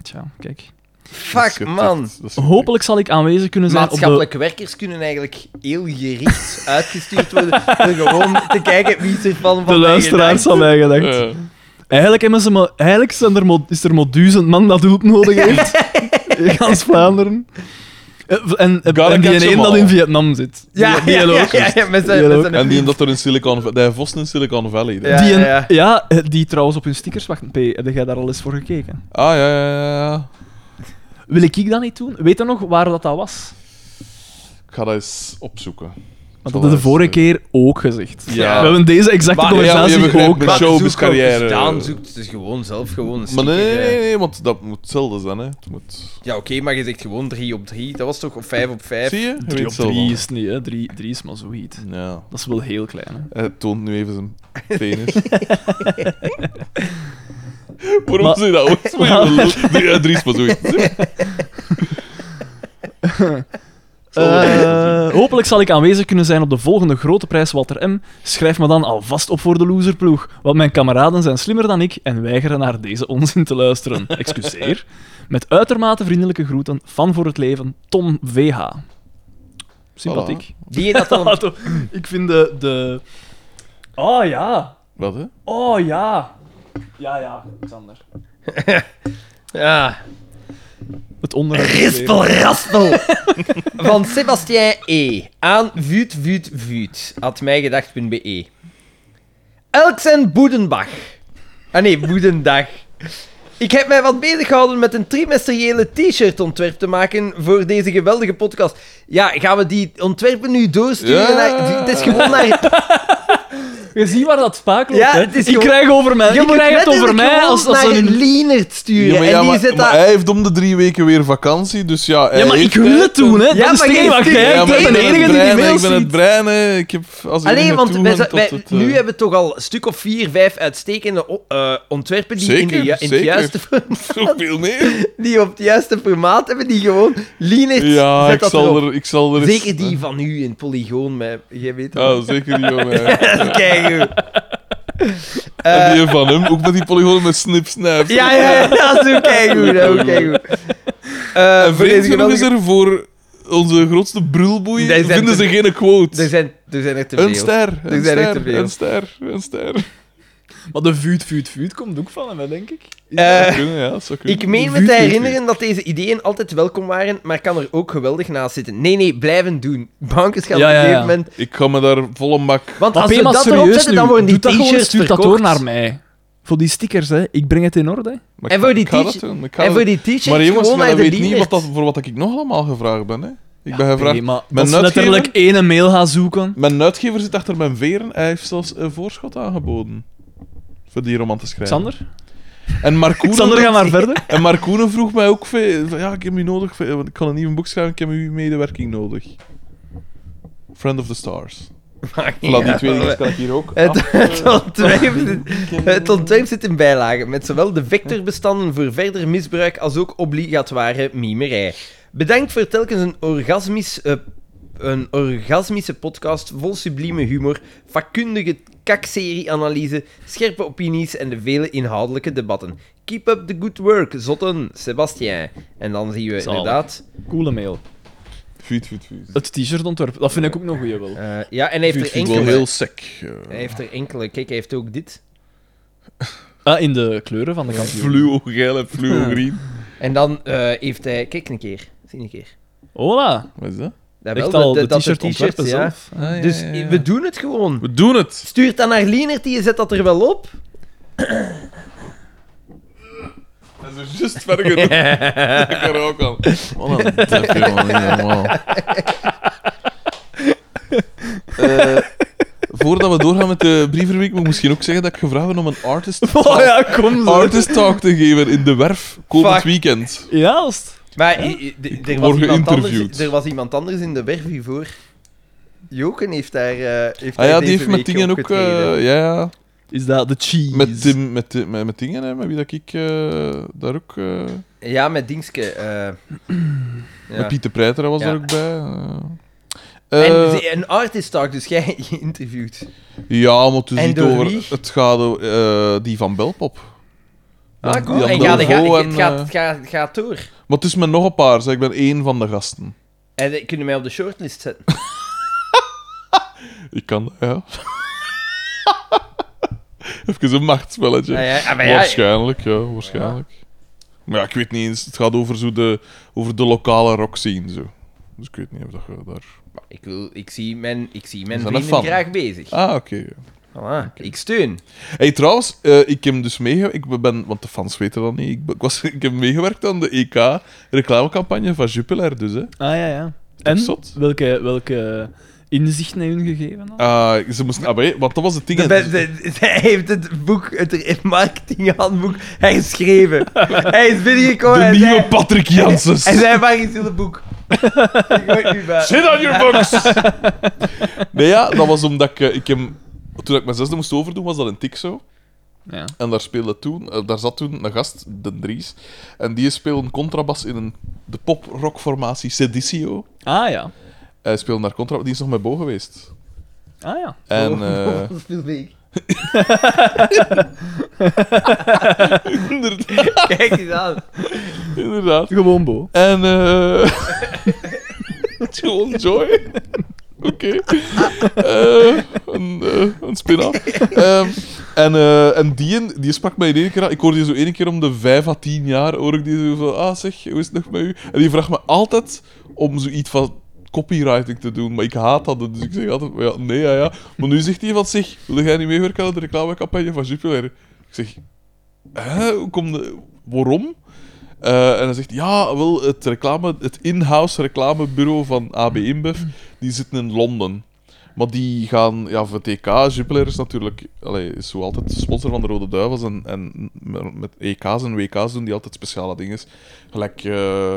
S3: Tja, kijk.
S2: Dat is
S1: Fuck,
S2: goed,
S1: man.
S2: dat- dat is goed.
S3: Hopelijk zal ik aanwezig kunnen zijn op de...
S1: Maatschappelijke werkers kunnen eigenlijk heel gericht uitgestuurd worden om gewoon te kijken wie ze van van
S3: De
S1: mij
S3: luisteraars
S1: gedacht.
S3: van mijn gedacht.
S2: Eh,
S3: Eigenlijk, hebben ze maar, eigenlijk zijn er maar, is er maar duizend man dat hulp nodig heeft. In gans Vlaanderen. Eh, v- En, en,
S2: Gotta
S3: en die
S2: catch 'em
S3: ene dat
S2: all.
S3: in Vietnam zit.
S1: Ja,
S3: die,
S1: ja,
S3: die
S1: ja,
S3: ook.
S1: ja, ja, met zijn-
S3: Die
S1: met
S3: ook.
S1: zijn
S2: En die dat er in Silicon Valley... Die vossen in Silicon Valley. hè?
S1: Ja,
S3: Die, een-
S1: ja,
S3: ja,
S1: ja.
S3: eh, die trouwens op hun stickers wacht. P, heb jij daar al eens voor gekeken?
S2: Ah, ja, ja, ja, ja.
S3: Wil ik ik dat niet doen? Weet je nog waar dat, dat was?
S2: Ik ga dat eens opzoeken.
S3: Want dat is de
S2: eh,
S3: vorige keer ook gezegd.
S2: Ja.
S3: We hebben deze exacte
S1: Maar-
S2: Ja, je
S3: conversatie
S2: begrijpt
S3: ook.
S2: me. Mijn
S1: Maar
S2: showbiz
S1: zoek ook
S2: carrière.
S1: eens Daan zoekt dus gewoon zelf gewoon een
S2: Maar nee, nee,
S1: sticker,
S2: nee,
S1: eh.
S2: nee, want dat moet hetzelfde zijn, hè. Het moet...
S1: Ja, oké, maar je zegt gewoon 3 op 3. Dat was toch op 5 op 5?
S2: Zie je? Je weet
S3: Drie op
S2: het zelf
S3: drie
S2: al.
S3: is niet, hè. Drie, drie is maar zoiets.
S2: Ja.
S3: Dat is wel heel klein, hè.
S2: Hij toont nu even zijn penis. Waarom
S3: Maar-
S2: zie je dat ooit? Maar je wil- Drie- ja, Dries maar zoiets.
S3: Eh, hopelijk zal ik aanwezig kunnen zijn op de volgende grote prijs Walter M. Schrijf me dan alvast op voor de loserploeg, want mijn kameraden zijn slimmer dan ik en weigeren naar deze onzin te luisteren. Excuseer. Met uitermate vriendelijke groeten, fan voor het leven, Tom VH. Sympathiek.
S1: Die dat dan...
S3: Ah, Tom, ik vind de, de... Oh ja.
S2: Wat, hè?
S3: Oh ja. Ja, ja, Xander.
S1: Ja.
S3: Het onderwerp... is weer-
S1: Rispel, raspel. Van Sebastien E. Aan vuut, vuut, vuut. At mijgedacht.be. E. Elk zijn boedenbach. Ah nee, boedendag. Ik heb mij wat bezig gehouden met een trimestriële t-shirt ontwerp te maken voor deze geweldige podcast. Ja, gaan we die ontwerpen nu doorsturen?
S2: Ja.
S1: Naar, het is gewoon naar...
S3: Je ziet waar dat vaak loopt,
S1: Ja,
S3: hè.
S1: het is
S3: ik
S1: gewoon-
S3: krijg over mij...
S1: Je
S3: Ik
S1: moet
S3: krijg het over
S1: letterlijk
S3: mij
S1: gewoon
S3: als, als
S1: naar
S3: een...
S1: Lienert sturen.
S2: Ja, maar, ja,
S1: en die
S2: maar,
S1: zit
S2: maar
S1: daar...
S2: hij heeft om de drie weken weer vakantie, dus ja... hij
S3: Ja, maar
S2: heeft
S3: ik wil
S2: tijd
S3: Eh, het doen, hè.
S1: Ja,
S3: dat is
S1: maar
S3: het enige
S1: jij
S3: wat
S1: stuurt-
S3: jij
S2: Ja, maar ik
S3: hebt. Ik ben
S2: ben
S3: de enige
S2: het brein,
S3: die die mail
S2: ik ben het
S3: ziet.
S2: brein, hè. Ik heb... Als ik
S1: Alleen,
S2: er
S1: want
S2: naartoe
S1: wij,
S2: ga
S1: zijn-
S2: tot
S1: wij-
S2: het, eh,
S1: nu hebben we toch al een stuk of vier, vijf uitstekende o- eh, ontwerpen die in, de,
S2: Zeker,
S1: ju- in het
S2: zeker.
S1: juiste formaat,
S2: Zo veel meer.
S1: die op het juiste formaat hebben, die gewoon Linux
S2: Ja,
S1: zet
S2: ik
S1: dat
S2: zal,
S1: erop.
S2: er, ik zal er eens- eh,
S1: Zeker die van u in Polygoon, maar jij weet het.
S2: Ah, zeker die van mij.
S1: Kijk
S2: En die van hem, ook met die polygonen met snip snap.
S1: Ja, ja, ja, dat is ook keigoed. Dat is ook keigoed. Eh,
S2: en
S1: voor deze
S2: vreemd genoeg is
S1: geweldige-
S2: er voor onze grootste brulboei
S1: Nee, zijn
S2: vinden
S1: te-
S2: ze geen quote.
S1: er zijn, er zijn er te
S2: Een
S1: veel.
S2: ster,
S1: Er
S2: een
S1: zijn er
S2: ster,
S1: te veel.
S2: een ster, een ster.
S1: Eh,
S3: Maar de vuut, vuut, vuut komt ook van hem, denk ik.
S1: Eh,
S2: Zou kunnen, ja, zou kunnen.
S1: Ik meen me
S2: Vuut,
S1: te
S2: vuut,
S1: herinneren dat deze ideeën altijd welkom waren, maar kan er ook geweldig naast zitten. Nee, nee, blijven doen. Bankers gaan
S3: Ja,
S1: op een
S3: ja,
S1: gegeven
S3: ja.
S1: moment
S2: vuut. Ik ga me daar vol een bak...
S1: Want
S3: Maar
S1: als we
S3: Pema,
S1: dat erop
S3: serieus
S1: zetten,
S3: nu.
S1: dan worden die
S3: Doe dat gewoon,
S1: t-shirts
S3: Stuur
S1: verkocht.
S3: dat door naar mij. Voor die stickers, hè. Ik breng het in orde.
S2: Maar
S1: En
S2: ik-
S1: voor die
S2: ik ga dat
S1: t-shirt-
S2: doen, ik ga
S1: En
S2: dat-
S1: voor die t-shirts
S2: Maar jongens,
S1: gewoon
S2: maar
S1: naar
S2: dat
S1: de Ah,
S2: weet niet
S1: Lienert.
S2: wat dat, voor wat ik nog allemaal gevraagd ben. Hè. Ik ben gevraagd...
S3: Nee, maar
S2: mijn,
S3: als je letterlijk
S2: uitgever,
S3: één mail gaat zoeken...
S2: mijn uitgever zit achter mijn veren. Hij heeft zelfs een voorschot aangeboden. Voor die roman te schrijven.
S3: Xander?
S2: En Marcoen...
S3: Xander, ga maar verder.
S2: En Marcoene vroeg mij ook veel, van, ja, ik heb u nodig, veel, want ik kan een nieuw boek schrijven, ik heb uw medewerking nodig. Friend of the Stars. Voilà, die twee dingen kan ik hier ook.
S1: Het,
S2: af.
S1: het, ontwerp, zit- het ontwerp zit in bijlagen, met zowel de vectorbestanden voor verder misbruik als ook obligatoire mimerij. Bedankt voor telkens een, orgasmisch, eh, een orgasmische podcast vol sublieme humor, vakkundige kakserie-analyse, scherpe opinies en de vele inhoudelijke debatten. Keep up the good work, zotten, Sebastien. En dan zien we
S3: Zalig.
S1: inderdaad...
S3: Coole mail.
S2: Vuut, vuut, vuut.
S3: Het t-shirt ontwerp, dat vind ik ook nog goeie wel.
S1: eh, ja, en hij
S2: Vuut,
S1: heeft er
S2: vuut, wel
S1: enkele...
S2: heel sec. eh,
S1: Hij heeft er enkele... Kijk, hij heeft ook dit.
S3: Ah, in de kleuren van de kampioen.
S2: Fluo geel en fluo green.
S1: En dan eh, heeft hij... Kijk een keer. Zie een keer.
S3: Hola.
S2: Wat is dat?
S1: Dat
S3: Echt
S1: dat-
S3: al, de
S1: dat- dat
S3: t-shirt ontwerpen
S1: ja.
S3: zelf.
S1: Dus we doen het gewoon.
S2: We doen het.
S1: Stuurt dat naar Lienert, die zet dat er wel op.
S2: Dat is juist verder genoeg. Dat kan ook al. Wat een dikke man, niet normaal. Eh, voordat we doorgaan met de brievenweek, moet ik misschien ook zeggen dat ik gevraagd ben om een artist,
S3: Oh ja, kom zo.
S2: artist talk te geven in de werf komend
S1: Mm. Fuck.
S2: weekend.
S3: Ja, als het-
S1: Maar i- i- d- er, was
S2: word
S1: iemand anders,
S2: geïnterviewd.
S1: er was iemand anders in de werf hiervoor. Joken heeft daar... eh, heeft
S2: Ah
S1: daar
S2: ja,
S1: deze
S2: die heeft met
S1: week
S2: dingen ook.
S1: opgetreden.
S2: eh, ja, ja.
S3: is dat de cheese.
S2: Met, Tim, met, Tim- met, met dingen, hè, met wie dat ik eh, daar ook. eh,
S1: Ja, met Dingske. eh, ja.
S2: Met Pieter Preiter was
S1: Ja.
S2: daar ook bij. eh.
S1: En
S2: Eh,
S1: ze- een artist talk, dus jij geïnterviewd.
S2: Ja, maar het is
S1: En
S2: niet
S1: door
S2: over...
S1: wie?
S2: Het gaat over eh, die van Belpop.
S1: Ah,
S2: Ja,
S1: cool.
S2: die
S1: En
S2: hadden
S1: ga, ga,
S2: Volvo
S1: het,
S2: en,
S1: gaat,
S2: eh,
S1: het gaat, het gaat door.
S2: Maar het is met nog een paar, zeg. ik ben één van de gasten.
S1: En eh, kunnen mij op de shortlist zetten.
S2: Ik kan dat, ja. Even een machtspelletje.
S1: Ah, ja, ah, maar ja,
S2: waarschijnlijk, ja, waarschijnlijk. Maar ja, ik weet niet eens. Het gaat over, zo de, over de lokale rockscene, zo. Dus ik weet niet of dat je daar...
S1: Maar Ik, wil, ik zie mijn, ik zie mijn
S2: We zijn een
S1: vrienden
S2: fan.
S1: graag bezig.
S2: Ah, oké. ja.
S1: Voilà, Ik steun.
S2: Hey, trouwens, eh, ik heb dus meegewerkt. Ik ben, want de fans weten dat niet. Ik, ben- ik was, ik heb meegewerkt aan de EK-reclamecampagne van Jupiler, dus. Hè.
S3: Ah ja, ja.
S2: toch
S3: En
S2: zot?
S3: welke, welke inzichten hebben hun gegeven? dan?
S2: Ah, ze moesten, ah, maar, hey, want dat was het ding.
S1: De
S2: hè.
S1: be- de- hij heeft het boek, het marketinghandboek, herschreven. hij is binnengekomen
S2: de
S1: en
S2: nieuwe
S1: zei,
S2: Patrick Janssens.
S1: hij zei, waar is het boek? ik weet niet waar.
S2: Sit on your box! nee, ja, dat was omdat ik, eh, ik hem, toen ik mijn zesde moest overdoen, was dat een tik zo.
S3: Ja.
S2: En daar speelde toen, eh, daar zat toen een gast, Den Dries, en die speelde contrabas in een, de pop-rockformatie Sedicio.
S3: Ah ja.
S2: Hij speelde daar contrabas, die is nog met Bo geweest.
S3: Ah ja.
S2: En, eh,
S1: Dat viel mee.
S2: inderdaad,
S1: Kijk eens aan.
S2: inderdaad.
S3: Gewoon Bo.
S2: En eh. John Joy. Oké. Eh, een, eh, een spin-off. Ehm, en eh, en die, een- die sprak mij in één keer aan. Ik hoorde die zo één keer om de vijf à tien jaar. Hoor ik die zo van. Ah, zeg, hoe is het nog met u? En die vraagt me altijd om zoiets van copywriting te doen. Maar ik haat dat. Dus ik zeg altijd. Ja, nee, ja, ja. Maar nu zegt hij van zich. Wil jij niet meewerken aan de reclamecampagne van Jupiler? Ik zeg. Hè, hoe komt de- Waarom? Eh, en dan zegt hij, ja, wel, het, reclame, het in-house reclamebureau van AB InBev, die zitten in Londen. Maar die gaan, ja, voor TK, Jupiler is natuurlijk, allee, is zo altijd sponsor van de Rode Duivels. En, en met EK's en WK's doen die altijd speciale dingen. Gelijk eh,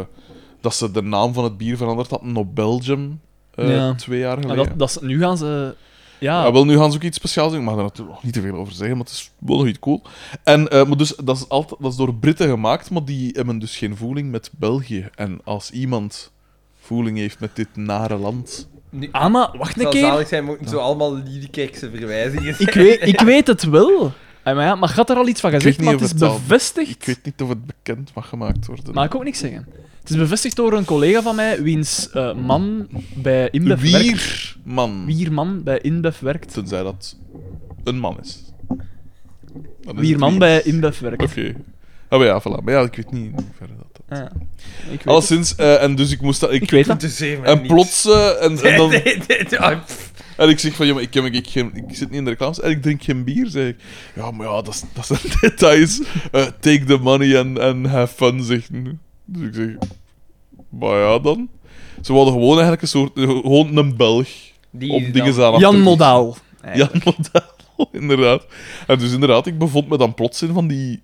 S2: dat ze de naam van het bier veranderd hadden op Belgium eh,
S3: Ja.
S2: twee jaar
S3: Maar
S2: geleden.
S3: dat, dat, is- nu gaan ze... Ja.
S2: Ja, wel, nu gaan ze ook iets speciaals doen. Ik mag daar natuurlijk nog niet te veel over zeggen, maar het is wel nog iets cool. En, eh, maar dus, dat, is altijd, dat is door Britten gemaakt, maar die hebben dus geen voeling met België. En als iemand voeling heeft met dit nare land...
S3: Ah, maar wacht
S1: Het
S3: een
S1: zal
S3: keer.
S1: zalig zijn, moeten zo allemaal Liedekerkse verwijzingen
S3: Ik weet, ik weet het wel. Ah, maar, ja, maar gaat er al iets van
S2: weet
S3: gezegd,
S2: niet
S3: maar het
S2: of
S3: is
S2: het al- Ik
S3: bevestigd.
S2: weet niet of het bekend mag gemaakt worden.
S3: Mag ik ook niks zeggen. Het is bevestigd door een collega van mij, wiens eh, man bij InBev werkt.
S2: Wier, man.
S3: Wier man bij InBev werkt.
S2: Tenzij dat een man is. Dan is
S3: Wier
S2: het
S3: man bij InBev werkt.
S2: Oké. Ah, maar ja, voilà. Maar ja, ik weet niet in hoeverre dat... dat...
S3: Ja. Ik, weet het.
S2: Alleszins, eh, en dus ik moest dat... Ik,
S3: ik weet dat.
S2: en plots... eh, en, en dan...
S1: dan...
S2: En ik zeg van, ja, maar ik, heb, ik, geen, ik zit niet in de reclames en ik drink geen bier, zeg ik. Ja, maar ja, dat, is- dat zijn details. Eh, take the money and, and have fun, zegt hij. Dus ik zeg, maar ja, dan. Ze wilden gewoon eigenlijk een soort, eh, gewoon een Belg
S1: Die
S2: om
S1: dan-
S2: dingen aan af te
S3: Jan
S2: doen.
S3: Modaal.
S2: Jan Modaal, inderdaad. En dus inderdaad, ik bevond me dan plots in van die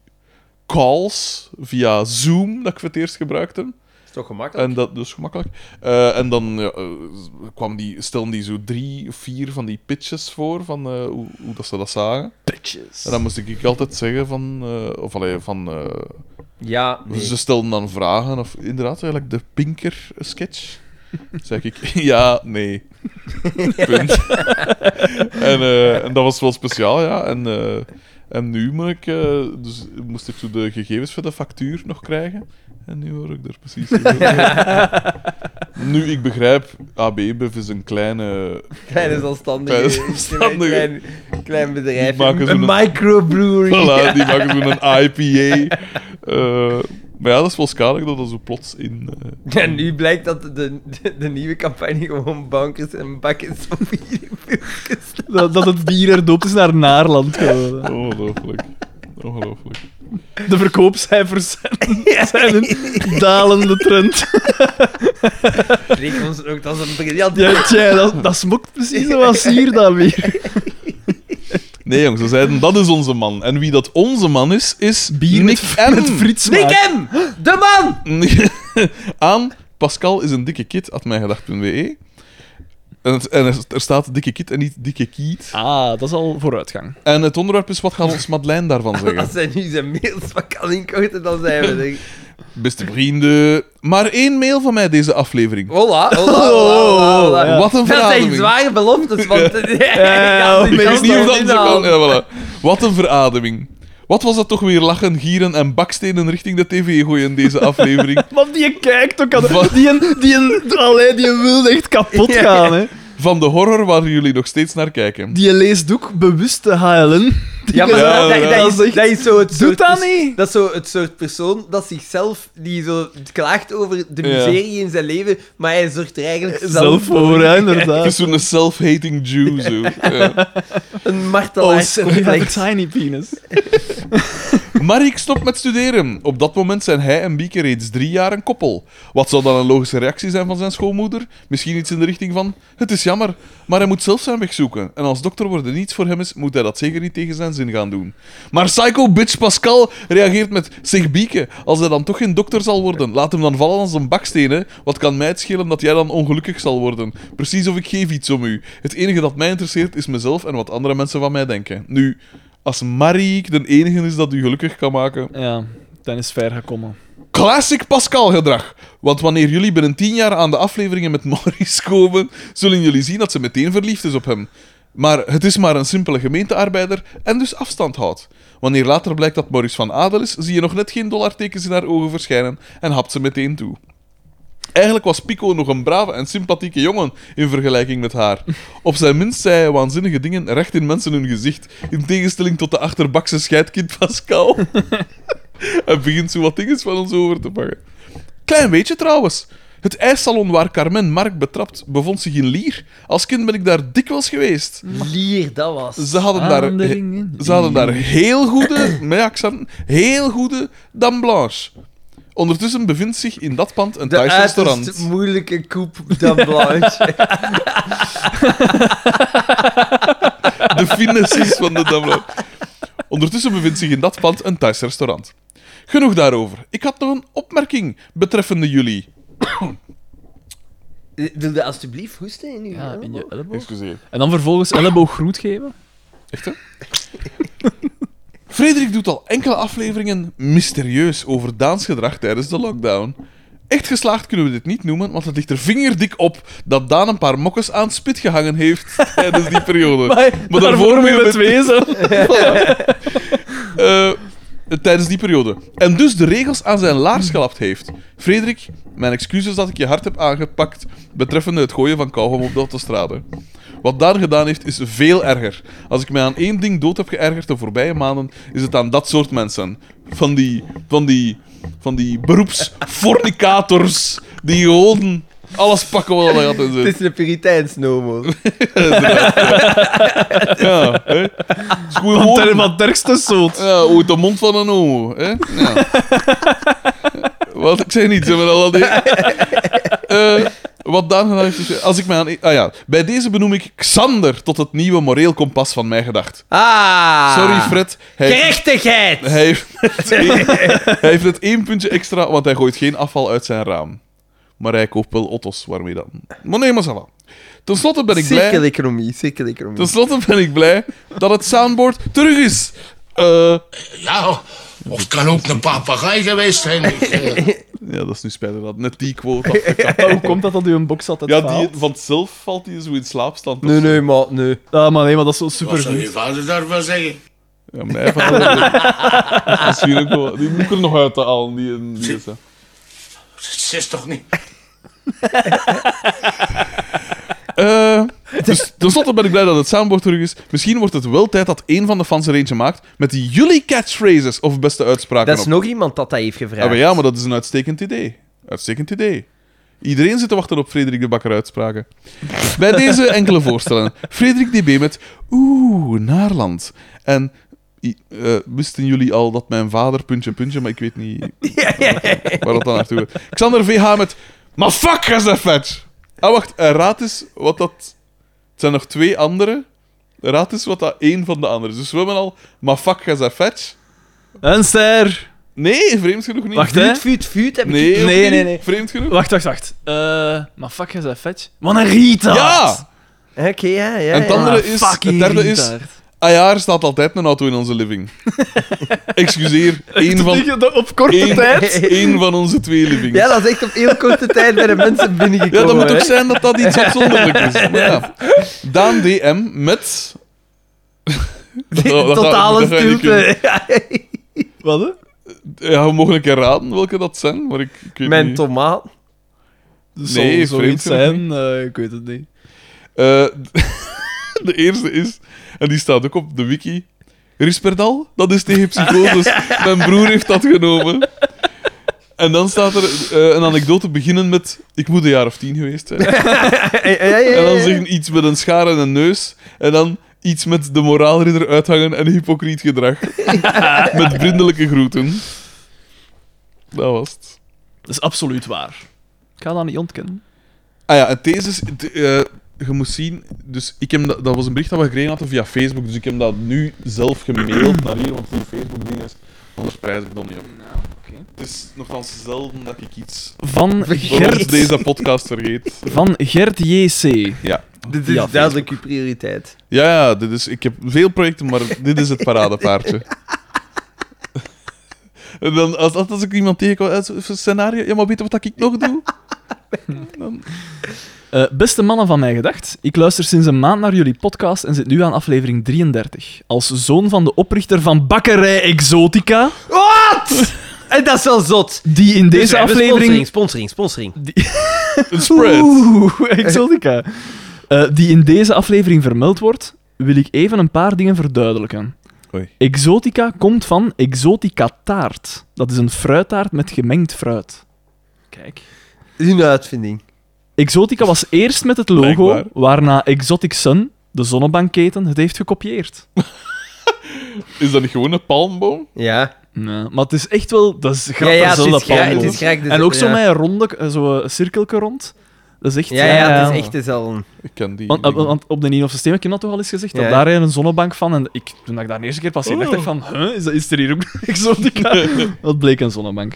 S2: calls via Zoom, dat ik voor het eerst gebruikte.
S1: is toch gemakkelijk?
S2: En dat dus gemakkelijk. Eh, en dan ja, eh, kwam die, stelden die zo drie, vier van die pitches voor, van eh, hoe, hoe dat ze dat zagen.
S3: Bitches.
S2: En dan moest ik altijd zeggen van... eh, of allee, van... eh, dus
S1: Ja, nee.
S2: Ze stelden dan vragen, of inderdaad, eigenlijk de pinker-sketch. Zeg ik, ja, nee. Punt. en, eh, en dat was wel speciaal, ja. En, eh, en nu moet ik, eh, dus moest ik zo de gegevens van de factuur nog krijgen. En nu hoor ik er precies... nu, ik begrijp, AB InBev is een kleine...
S1: Kleine
S2: Kleine
S1: zelfstandige.
S2: zelfstandige.
S1: Klein, klein bedrijf.
S2: Die maken
S1: Een,
S2: zo'n-
S1: microbrewery.
S2: Voilà, die maken zo'n IPA. eh, Maar ja, dat is wel schalig dat dat zo plots in... eh,
S1: En nu blijkt dat de, de, de nieuwe campagne gewoon bankers en bakjes van bierfilmpjes.
S3: Dat, dat het bier herdoopt is naar Naarland geworden.
S2: eh, Ongelooflijk. Ongelooflijk.
S3: De verkoopcijfers zijn, zijn een dalende trend.
S1: Reken ons ook, dat is een briljant.
S3: Ja, tja, dat, dat smokt precies zoals hier dan weer.
S2: Nee, jongens, ze zeiden dat is onze man. En wie dat onze man is, is
S3: Bier
S2: Nick
S3: met,
S2: M.
S3: met frietsmaak.
S1: Nick M! De man!
S2: Aan Pascal is een dikke kid, at mijngedacht.be. En, het- en er- er staat dikke kid en niet dikke kiet.
S3: Ah, dat is al vooruitgang.
S2: En het onderwerp is, wat gaat ons Madeleine daarvan zeggen?
S1: Als hij nu zijn mails van kan inkorten, dan zijn we denk ik.
S2: Beste vrienden, maar één mail van mij deze aflevering.
S1: Hola,
S3: Oh,
S1: hola, hola, hola, hola.
S3: Ja.
S2: Wat een
S1: Dat zijn
S2: verademing.
S1: zware beloftes, want...
S3: ja,
S1: Ik
S3: maar
S2: Ik
S1: kan
S2: wist niet of dat
S1: niet
S2: zo
S1: inhalen.
S2: kan. Ja, voilà. Wat een verademing. Wat was dat toch weer lachen, gieren en bakstenen richting de tv gooien in deze aflevering?
S3: Want die kijkt ook
S2: Wat?
S3: aan... Die, een- die, een- allee, die wil echt kapot
S1: Ja.
S3: gaan, hè.
S2: Van de horror waar jullie nog steeds naar kijken.
S3: Die leest ook bewust de HLN.
S1: Ja, maar
S2: Ja,
S1: dat, dat, dat,
S3: dat is
S1: is,
S3: echt-
S1: dat is zo het soort...
S3: Doet dat
S1: pers-
S3: niet?
S1: Dat is zo het soort persoon dat zichzelf... Die zo klaagt over de
S2: Ja.
S1: miserie in zijn leven, maar hij zorgt er eigenlijk zelf
S3: Zelf
S1: voor.
S3: voor, ja,
S2: Het is
S3: inderdaad.
S2: zo'n self-hating Jew, zo. Ja.
S1: Een
S3: Oh, sorry, I have
S1: martelaarscomplex.
S3: a tiny penis.
S2: Maar ik stop met studeren. Op dat moment zijn hij en Bieke reeds drie jaar een koppel. Wat zou dan een logische reactie zijn van zijn schoonmoeder? Misschien iets in de richting van... Het is jammer, maar hij moet zelf zijn weg zoeken. En als dokter worden niets voor hem is, moet hij dat zeker niet tegen zijn zin gaan doen. Maar psycho bitch Pascal reageert met... Zeg Bieke, als hij dan toch geen dokter zal worden, laat hem dan vallen als een baksteen, hè? Wat kan mij het schelen dat jij dan ongelukkig zal worden? Precies of ik geef iets om u. Het enige dat mij interesseert is mezelf en wat andere mensen van mij denken. Nu... Als Mariek de enige is dat u gelukkig kan maken.
S3: Ja, dan is ver gekomen.
S2: Classic Pascal gedrag. Want wanneer jullie binnen tien jaar aan de afleveringen met Maurice komen, zullen jullie zien dat ze meteen verliefd is op hem. Maar het is maar een simpele gemeentearbeider en dus afstand houdt. Wanneer later blijkt dat Maurice van Adel is, zie je nog net geen dollartekens in haar ogen verschijnen en hapt ze meteen toe. Eigenlijk was Pico nog een brave en sympathieke jongen in vergelijking met haar. Op zijn minst zei hij waanzinnige dingen recht in mensen hun gezicht, in tegenstelling tot de achterbakse scheidkind Pascal. en begint zo wat dinges van ons over te pakken. Klein beetje trouwens. Het ijssalon waar Carmen Mark betrapt bevond zich in Lier. Als kind ben ik daar dikwijls geweest.
S1: Lier, dat was.
S2: Ze hadden daar,
S3: Aanderingen.
S2: ze hadden daar heel goede, met accenten, heel goede Dame Blanche. Ondertussen bevindt zich in dat pand een
S1: De
S2: Thais restaurant.
S1: uiterst moeilijke koep dan Blanche.
S2: De finesses van de Damlo. Ondertussen bevindt zich in dat pand een Thais restaurant. Genoeg daarover. Ik had nog een opmerking betreffende jullie.
S1: Wil je alsjeblieft hoesten in uw
S3: Ja, in je
S1: elleboog?
S3: elleboog.
S2: Excuseer.
S3: Oh, En dan vervolgens elleboog groet geven.
S2: Echt hè? Frederik doet al enkele afleveringen mysterieus over Daans gedrag tijdens de lockdown. Echt geslaagd kunnen we dit niet noemen, want het ligt er vingerdik op dat Daan een paar mokkes aan het spit gehangen heeft tijdens die periode.
S3: Maar daarvoor moet je het wezen.
S2: Eh, tijdens die periode. En dus de regels aan zijn laars gelapt heeft. Frederik, mijn excuses dat ik je hard heb aangepakt betreffende het gooien van kauwgom op de autostrade. Wat Daan gedaan heeft, is veel erger. Als ik mij aan één ding dood heb geërgerd de voorbije maanden, is het aan dat soort mensen. Van die, van die, van die beroepsfornicators die gewoon alles pakken wat er gaat in zit.
S1: Het is een Puriteins nomo.
S2: Ja, hè? Het is gewoon
S3: Want
S2: horen.
S3: wat dergste soort.
S2: Ja, uit de mond van een homo, hè? Ja. Wat ik zei niet, ze hebben al al die... Eh, wat Daan gedaan heeft, is- als ik mij aan... Ah ja, bij deze benoem ik Xander tot het nieuwe moreel kompas van mij gedacht.
S1: Ah!
S2: Sorry Fred, hij,
S1: Gerechtigheid!
S2: hij, heeft, hij heeft het één puntje extra, want hij gooit geen afval uit zijn raam. Maar hij koopt wel otto's, waarmee dan? Maar nee, maar ça va. Ten slotte ben ik blij...
S1: Cirkeleconomie, cirkeleconomie.
S2: Ten slotte ben ik blij dat het soundboard terug is. Eh...
S4: Ja, of het kan ook een papegaai geweest zijn. Ik, eh,
S2: Ja, dat is nu spijtig dat net die quote afgekapt
S3: hoe komt dat dat u een box altijd
S2: Ja,
S3: faalt?
S2: die, van het zelf valt hij zo in slaapstand.
S1: Nee, nee, maar nee.
S3: Ah, maar nee, maar dat is zo super
S4: Wat zou je vader daarvan zeggen?
S2: Ja, mij valt dat- Misschien ook wel. Die moet ik er nog uit halen. Die, die is, hè.
S4: Dat is toch niet?
S2: Eh, Dus ten slotte ben ik blij dat het samenbord terug is. Misschien wordt het wel tijd dat één van de fans er eentje maakt met die jullie catchphrases of beste uitspraken
S1: Dat is
S2: op.
S1: nog iemand dat dat heeft
S2: Ah,
S1: gevraagd.
S2: maar ja, maar dat is een uitstekend idee. Uitstekend idee. Iedereen zit te wachten op Frederik de Bakker uitspraken. Bij deze enkele voorstellen. Frederik DB met Oeh, Naarland. En i- eh, wisten jullie al dat mijn vader puntje puntje, maar ik weet niet waar dat dan naartoe gaat. Xander VH met Maar fuck, is dat vet! Ah, wacht, eh, raad eens wat dat... Het zijn nog twee andere. Raad eens wat dat één van de andere is. Dus we hebben al Maar fuck, is dat vet?
S3: Een ster.
S2: Nee, vreemd genoeg niet.
S3: Wacht, hè.
S1: Vuut, vuut, vuut heb ik...
S2: Nee, ook
S3: Nee,
S2: niet.
S3: nee, nee.
S2: Vreemd genoeg.
S3: Wacht, wacht, wacht. Eh, maar fuck, is dat vet? Wat een retard. Ah,
S2: Ja!
S1: Oké, ja, ja.
S2: En het
S1: ja.
S2: andere is... Het
S3: Fucking
S2: derde is...
S3: retard.
S2: Ah ja, er staat altijd een auto in onze living. Excuseer, één van,
S3: Dat Op korte
S2: één-
S3: tijd.
S2: één van onze twee livings.
S1: Ja, dat is echt op heel korte tijd bij de mensen binnengekomen.
S2: Ja, dat moet
S1: hè.
S2: ook zijn dat dat iets uitzonderlijk is. Maar ja. Daan DM met... Dat- dat- dat-
S1: Totale
S2: dat ga je niet kunnen.
S1: stilte. Ja,
S3: Wat, hè?
S2: Ja, eh, we mogen een keer raden welke dat zijn, maar ik, ik weet
S1: Mijn
S2: niet.
S1: tomaat.
S3: Dat
S2: Nee,
S3: zal
S2: vreemd
S3: zoiets
S2: genoeg
S3: zijn. eh, ik weet het niet.
S2: Eh, de eerste is, en die staat ook op de wiki. Risperdal, dat is tegen psychoses. Mijn broer heeft dat genomen. En dan staat er eh, een anekdote beginnen met: Ik moet een jaar of tien geweest zijn.
S1: Ja, ja, ja, ja.
S2: En dan zeggen iets met een schaar en een neus. En dan iets met de moraalridder uithangen en hypocriet gedrag. met vriendelijke groeten. Dat was het.
S3: Dat is absoluut waar. Ik ga dat niet ontkennen.
S2: Ah ja, en deze is... d- eh, je moet zien... Dus ik heb dat, dat was een bericht dat we gekregen hadden via Facebook, dus ik heb dat nu zelf gemaild naar hier, want die Facebook-ding is... Anders prijs ik dan niet op. Het is nogthans zelden dat ik iets
S3: Van
S2: voor
S3: Gert,
S2: deze podcast vergeet.
S3: van Gert JC.
S2: Ja.
S1: Dit is
S3: Ja,
S1: duidelijk uw prioriteit.
S2: Ja, ja, dit is, ik heb veel projecten, maar dit is het paradepaardje. En dan, als, als, als ik iemand tegenkom, eh, zo'n scenario, ja, maar weet je wat ik nog doe?
S3: Eh, beste mannen van mijn gedacht, ik luister sinds een maand naar jullie podcast en zit nu aan aflevering 33. Als zoon van de oprichter van Bakkerij Exotica,
S1: Wat? En dat is wel zot.
S3: die in
S1: Dus we
S3: deze
S1: hebben
S3: aflevering...
S1: Sponsoring, sponsoring, sponsoring.
S2: Een spread.
S3: Oeh, Exotica. Eh, die in deze aflevering vermeld wordt, wil ik even een paar dingen verduidelijken.
S2: Oei.
S3: Exotica komt van Exotica taart. Dat is een fruittaart met gemengd fruit. Kijk.
S1: Hun uitvinding.
S3: Exotica was eerst met het logo,
S2: Blijkbaar.
S3: waarna Exotic Sun, de zonnebankketen, het heeft gekopieerd.
S2: Is dat niet gewoon een palmboom?
S1: Ja.
S3: Nee, maar het is echt wel... Dat is
S1: Ja,
S3: grappig,
S1: ja, het
S3: zo,
S1: is
S3: dat
S1: graag.
S3: palmboom.
S1: Het is graag de-
S3: En ook zo
S1: ja.
S3: met een ronde, eh, zo een cirkelke rond. Dat is echt...
S1: Ja, ja, het is echt dezelfde.
S2: Ik ken die.
S3: Want, eh, want op de Nino Systeem heb ik dat toch al eens gezegd,
S1: Ja.
S3: dat daar een zonnebank van. En ik, toen ik daar de eerste keer passeerde, dacht ik van, huh, is, dat, is er hier ook exotica? dat bleek een zonnebank.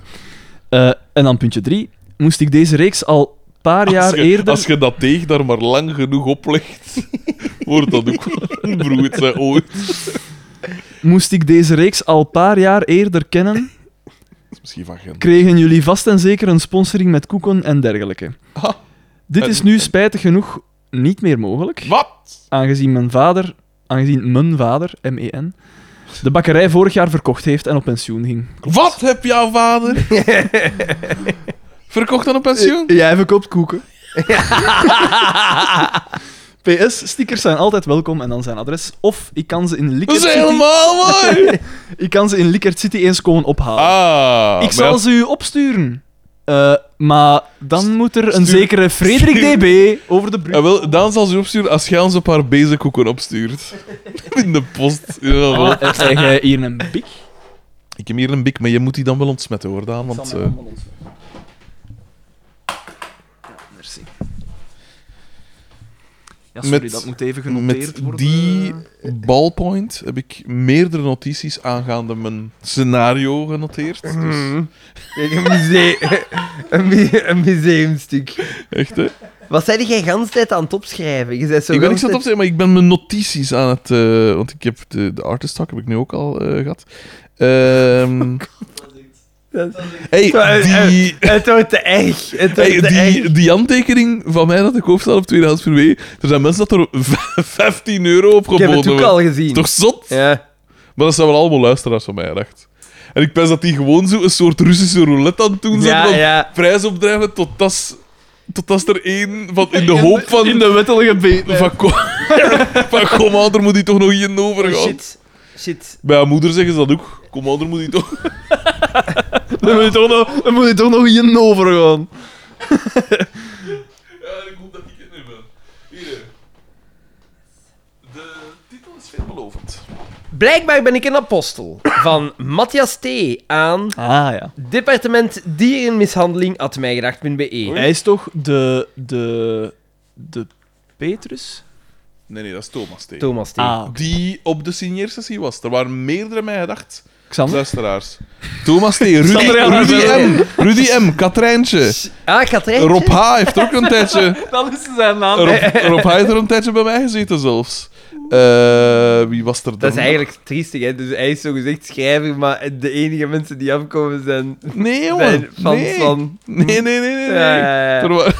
S3: Eh, en dan puntje drie. Moest ik deze reeks al een paar jaar
S2: als je,
S3: eerder...
S2: Als je dat deeg daar maar lang genoeg oplegt, wordt dat ook wel een broeit, hè, ooit.
S3: Moest ik deze reeks al een paar jaar eerder kennen,
S2: Dat is misschien van Gent.
S3: kregen jullie vast en zeker een sponsoring met koeken en dergelijke.
S2: Ah,
S3: Dit is nu spijtig genoeg niet meer mogelijk.
S2: wat?
S3: aangezien mijn vader, aangezien mijn vader, M-E-N, de bakkerij vorig jaar verkocht heeft en op pensioen ging.
S2: Wat heb jouw vader? Verkocht aan een pensioen?
S3: Jij verkoopt koeken. PS, stickers zijn altijd welkom en dan zijn adres. Of ik kan ze in
S2: Dat
S3: Likert
S2: is
S3: City,
S2: helemaal mooi!
S3: ik kan ze in Likert City eens komen ophalen.
S2: Ah,
S3: ik
S2: maar
S3: zal
S2: ja,
S3: ze u opsturen. Eh, maar dan moet er een
S2: stuur-
S3: zekere Frederik
S2: stuur-
S3: DB over de brug.
S2: eh, wel, Daan zal ze opsturen als jij ons een paar bezenkoeken opstuurt. In de post. Ja, wel.
S3: Ah, eh, Zeg jij hier een bik?
S2: Ik heb hier een bik, maar je moet die dan wel ontsmetten hoor, Daan. Want, eh,
S3: Merci. Ja, sorry,
S2: Met-
S3: dat moet even
S2: met
S3: genoteerd worden.
S2: die
S1: eh.
S2: ballpoint heb ik meerdere notities aangaande mijn scenario genoteerd.
S1: Mhm.
S2: Dus...
S1: Een, muse- een, mu- een museumstuk.
S2: Echt, hè?
S1: Wat zei jij gans tijd aan het opschrijven? Je zei zo
S2: ik
S1: gans
S2: ben niks aan het
S1: tijd-
S2: opzeggen, maar ik ben mijn notities aan het... eh, want ik heb de, de artist talk heb ik nu ook al eh, gehad.
S1: Oh
S2: Ehm hey,
S1: Sorry,
S2: die...
S1: eh, Het wordt te erg. Het wordt
S2: Hey,
S1: te erg.
S2: die, die handtekening van mij dat ik koop staat op tweedehands per week, er zijn mensen dat er v- 15 euro op
S1: Ik heb
S2: geboden
S1: het ook
S2: hebben.
S1: al gezien.
S2: Toch zot?
S1: Ja.
S2: Maar dat zijn wel allemaal luisteraars van mij, dacht. En ik pens dat die gewoon zo een soort Russische roulette aan het doen zijn.
S1: Ja,
S2: van
S1: ja.
S2: Prijs opdrijven tot dat Tot als er één van in de hoop van...
S3: In de wettelijke beet.
S2: Van, kom, van Commander moet hij toch nog in overgaan.
S1: Shit. Shit.
S2: Bij haar moeder zeggen ze dat ook. Commander moet hij toch...
S3: Dan moet je toch nog, dan moet je toch nog in overgaan.
S2: Ja, ik hoop dat ik het nu ben. Hier. eh. De titel is veelbelovend.
S1: Blijkbaar ben ik een apostel van Matthias T. aan
S3: Ah ja.
S1: departement dierenmishandeling at E.
S3: Hij is toch de. de. de Petrus? Ah,
S2: Nee, nee, dat is Thomas T.
S1: Thomas T.
S3: oké.
S2: Die op de signeersessie was. Er waren meerdere mij gedacht.
S3: Xander?
S2: Luisteraars. Thomas T. Rudy,
S3: Xander, ja,
S2: Rudy
S3: maar-
S2: M. Rudy M. Katrijntje.
S1: Ah, Katrijntje?
S2: Rob H. heeft er ook een tijdje...
S3: Dat is zijn naam.
S2: Rob, Rob H. heeft er een tijdje bij mij gezeten zelfs. Eh, wie was er dan?
S1: Dat is eigenlijk triestig, hè? Dus hij is zogezegd schrijver, maar de enige mensen die afkomen zijn...
S2: Nee,
S1: zijn
S2: jongen.
S1: fans
S2: Oh, nee.
S1: van...
S2: nee, nee, nee, nee. nee.
S1: Ja, ja, ja.
S2: Er wa-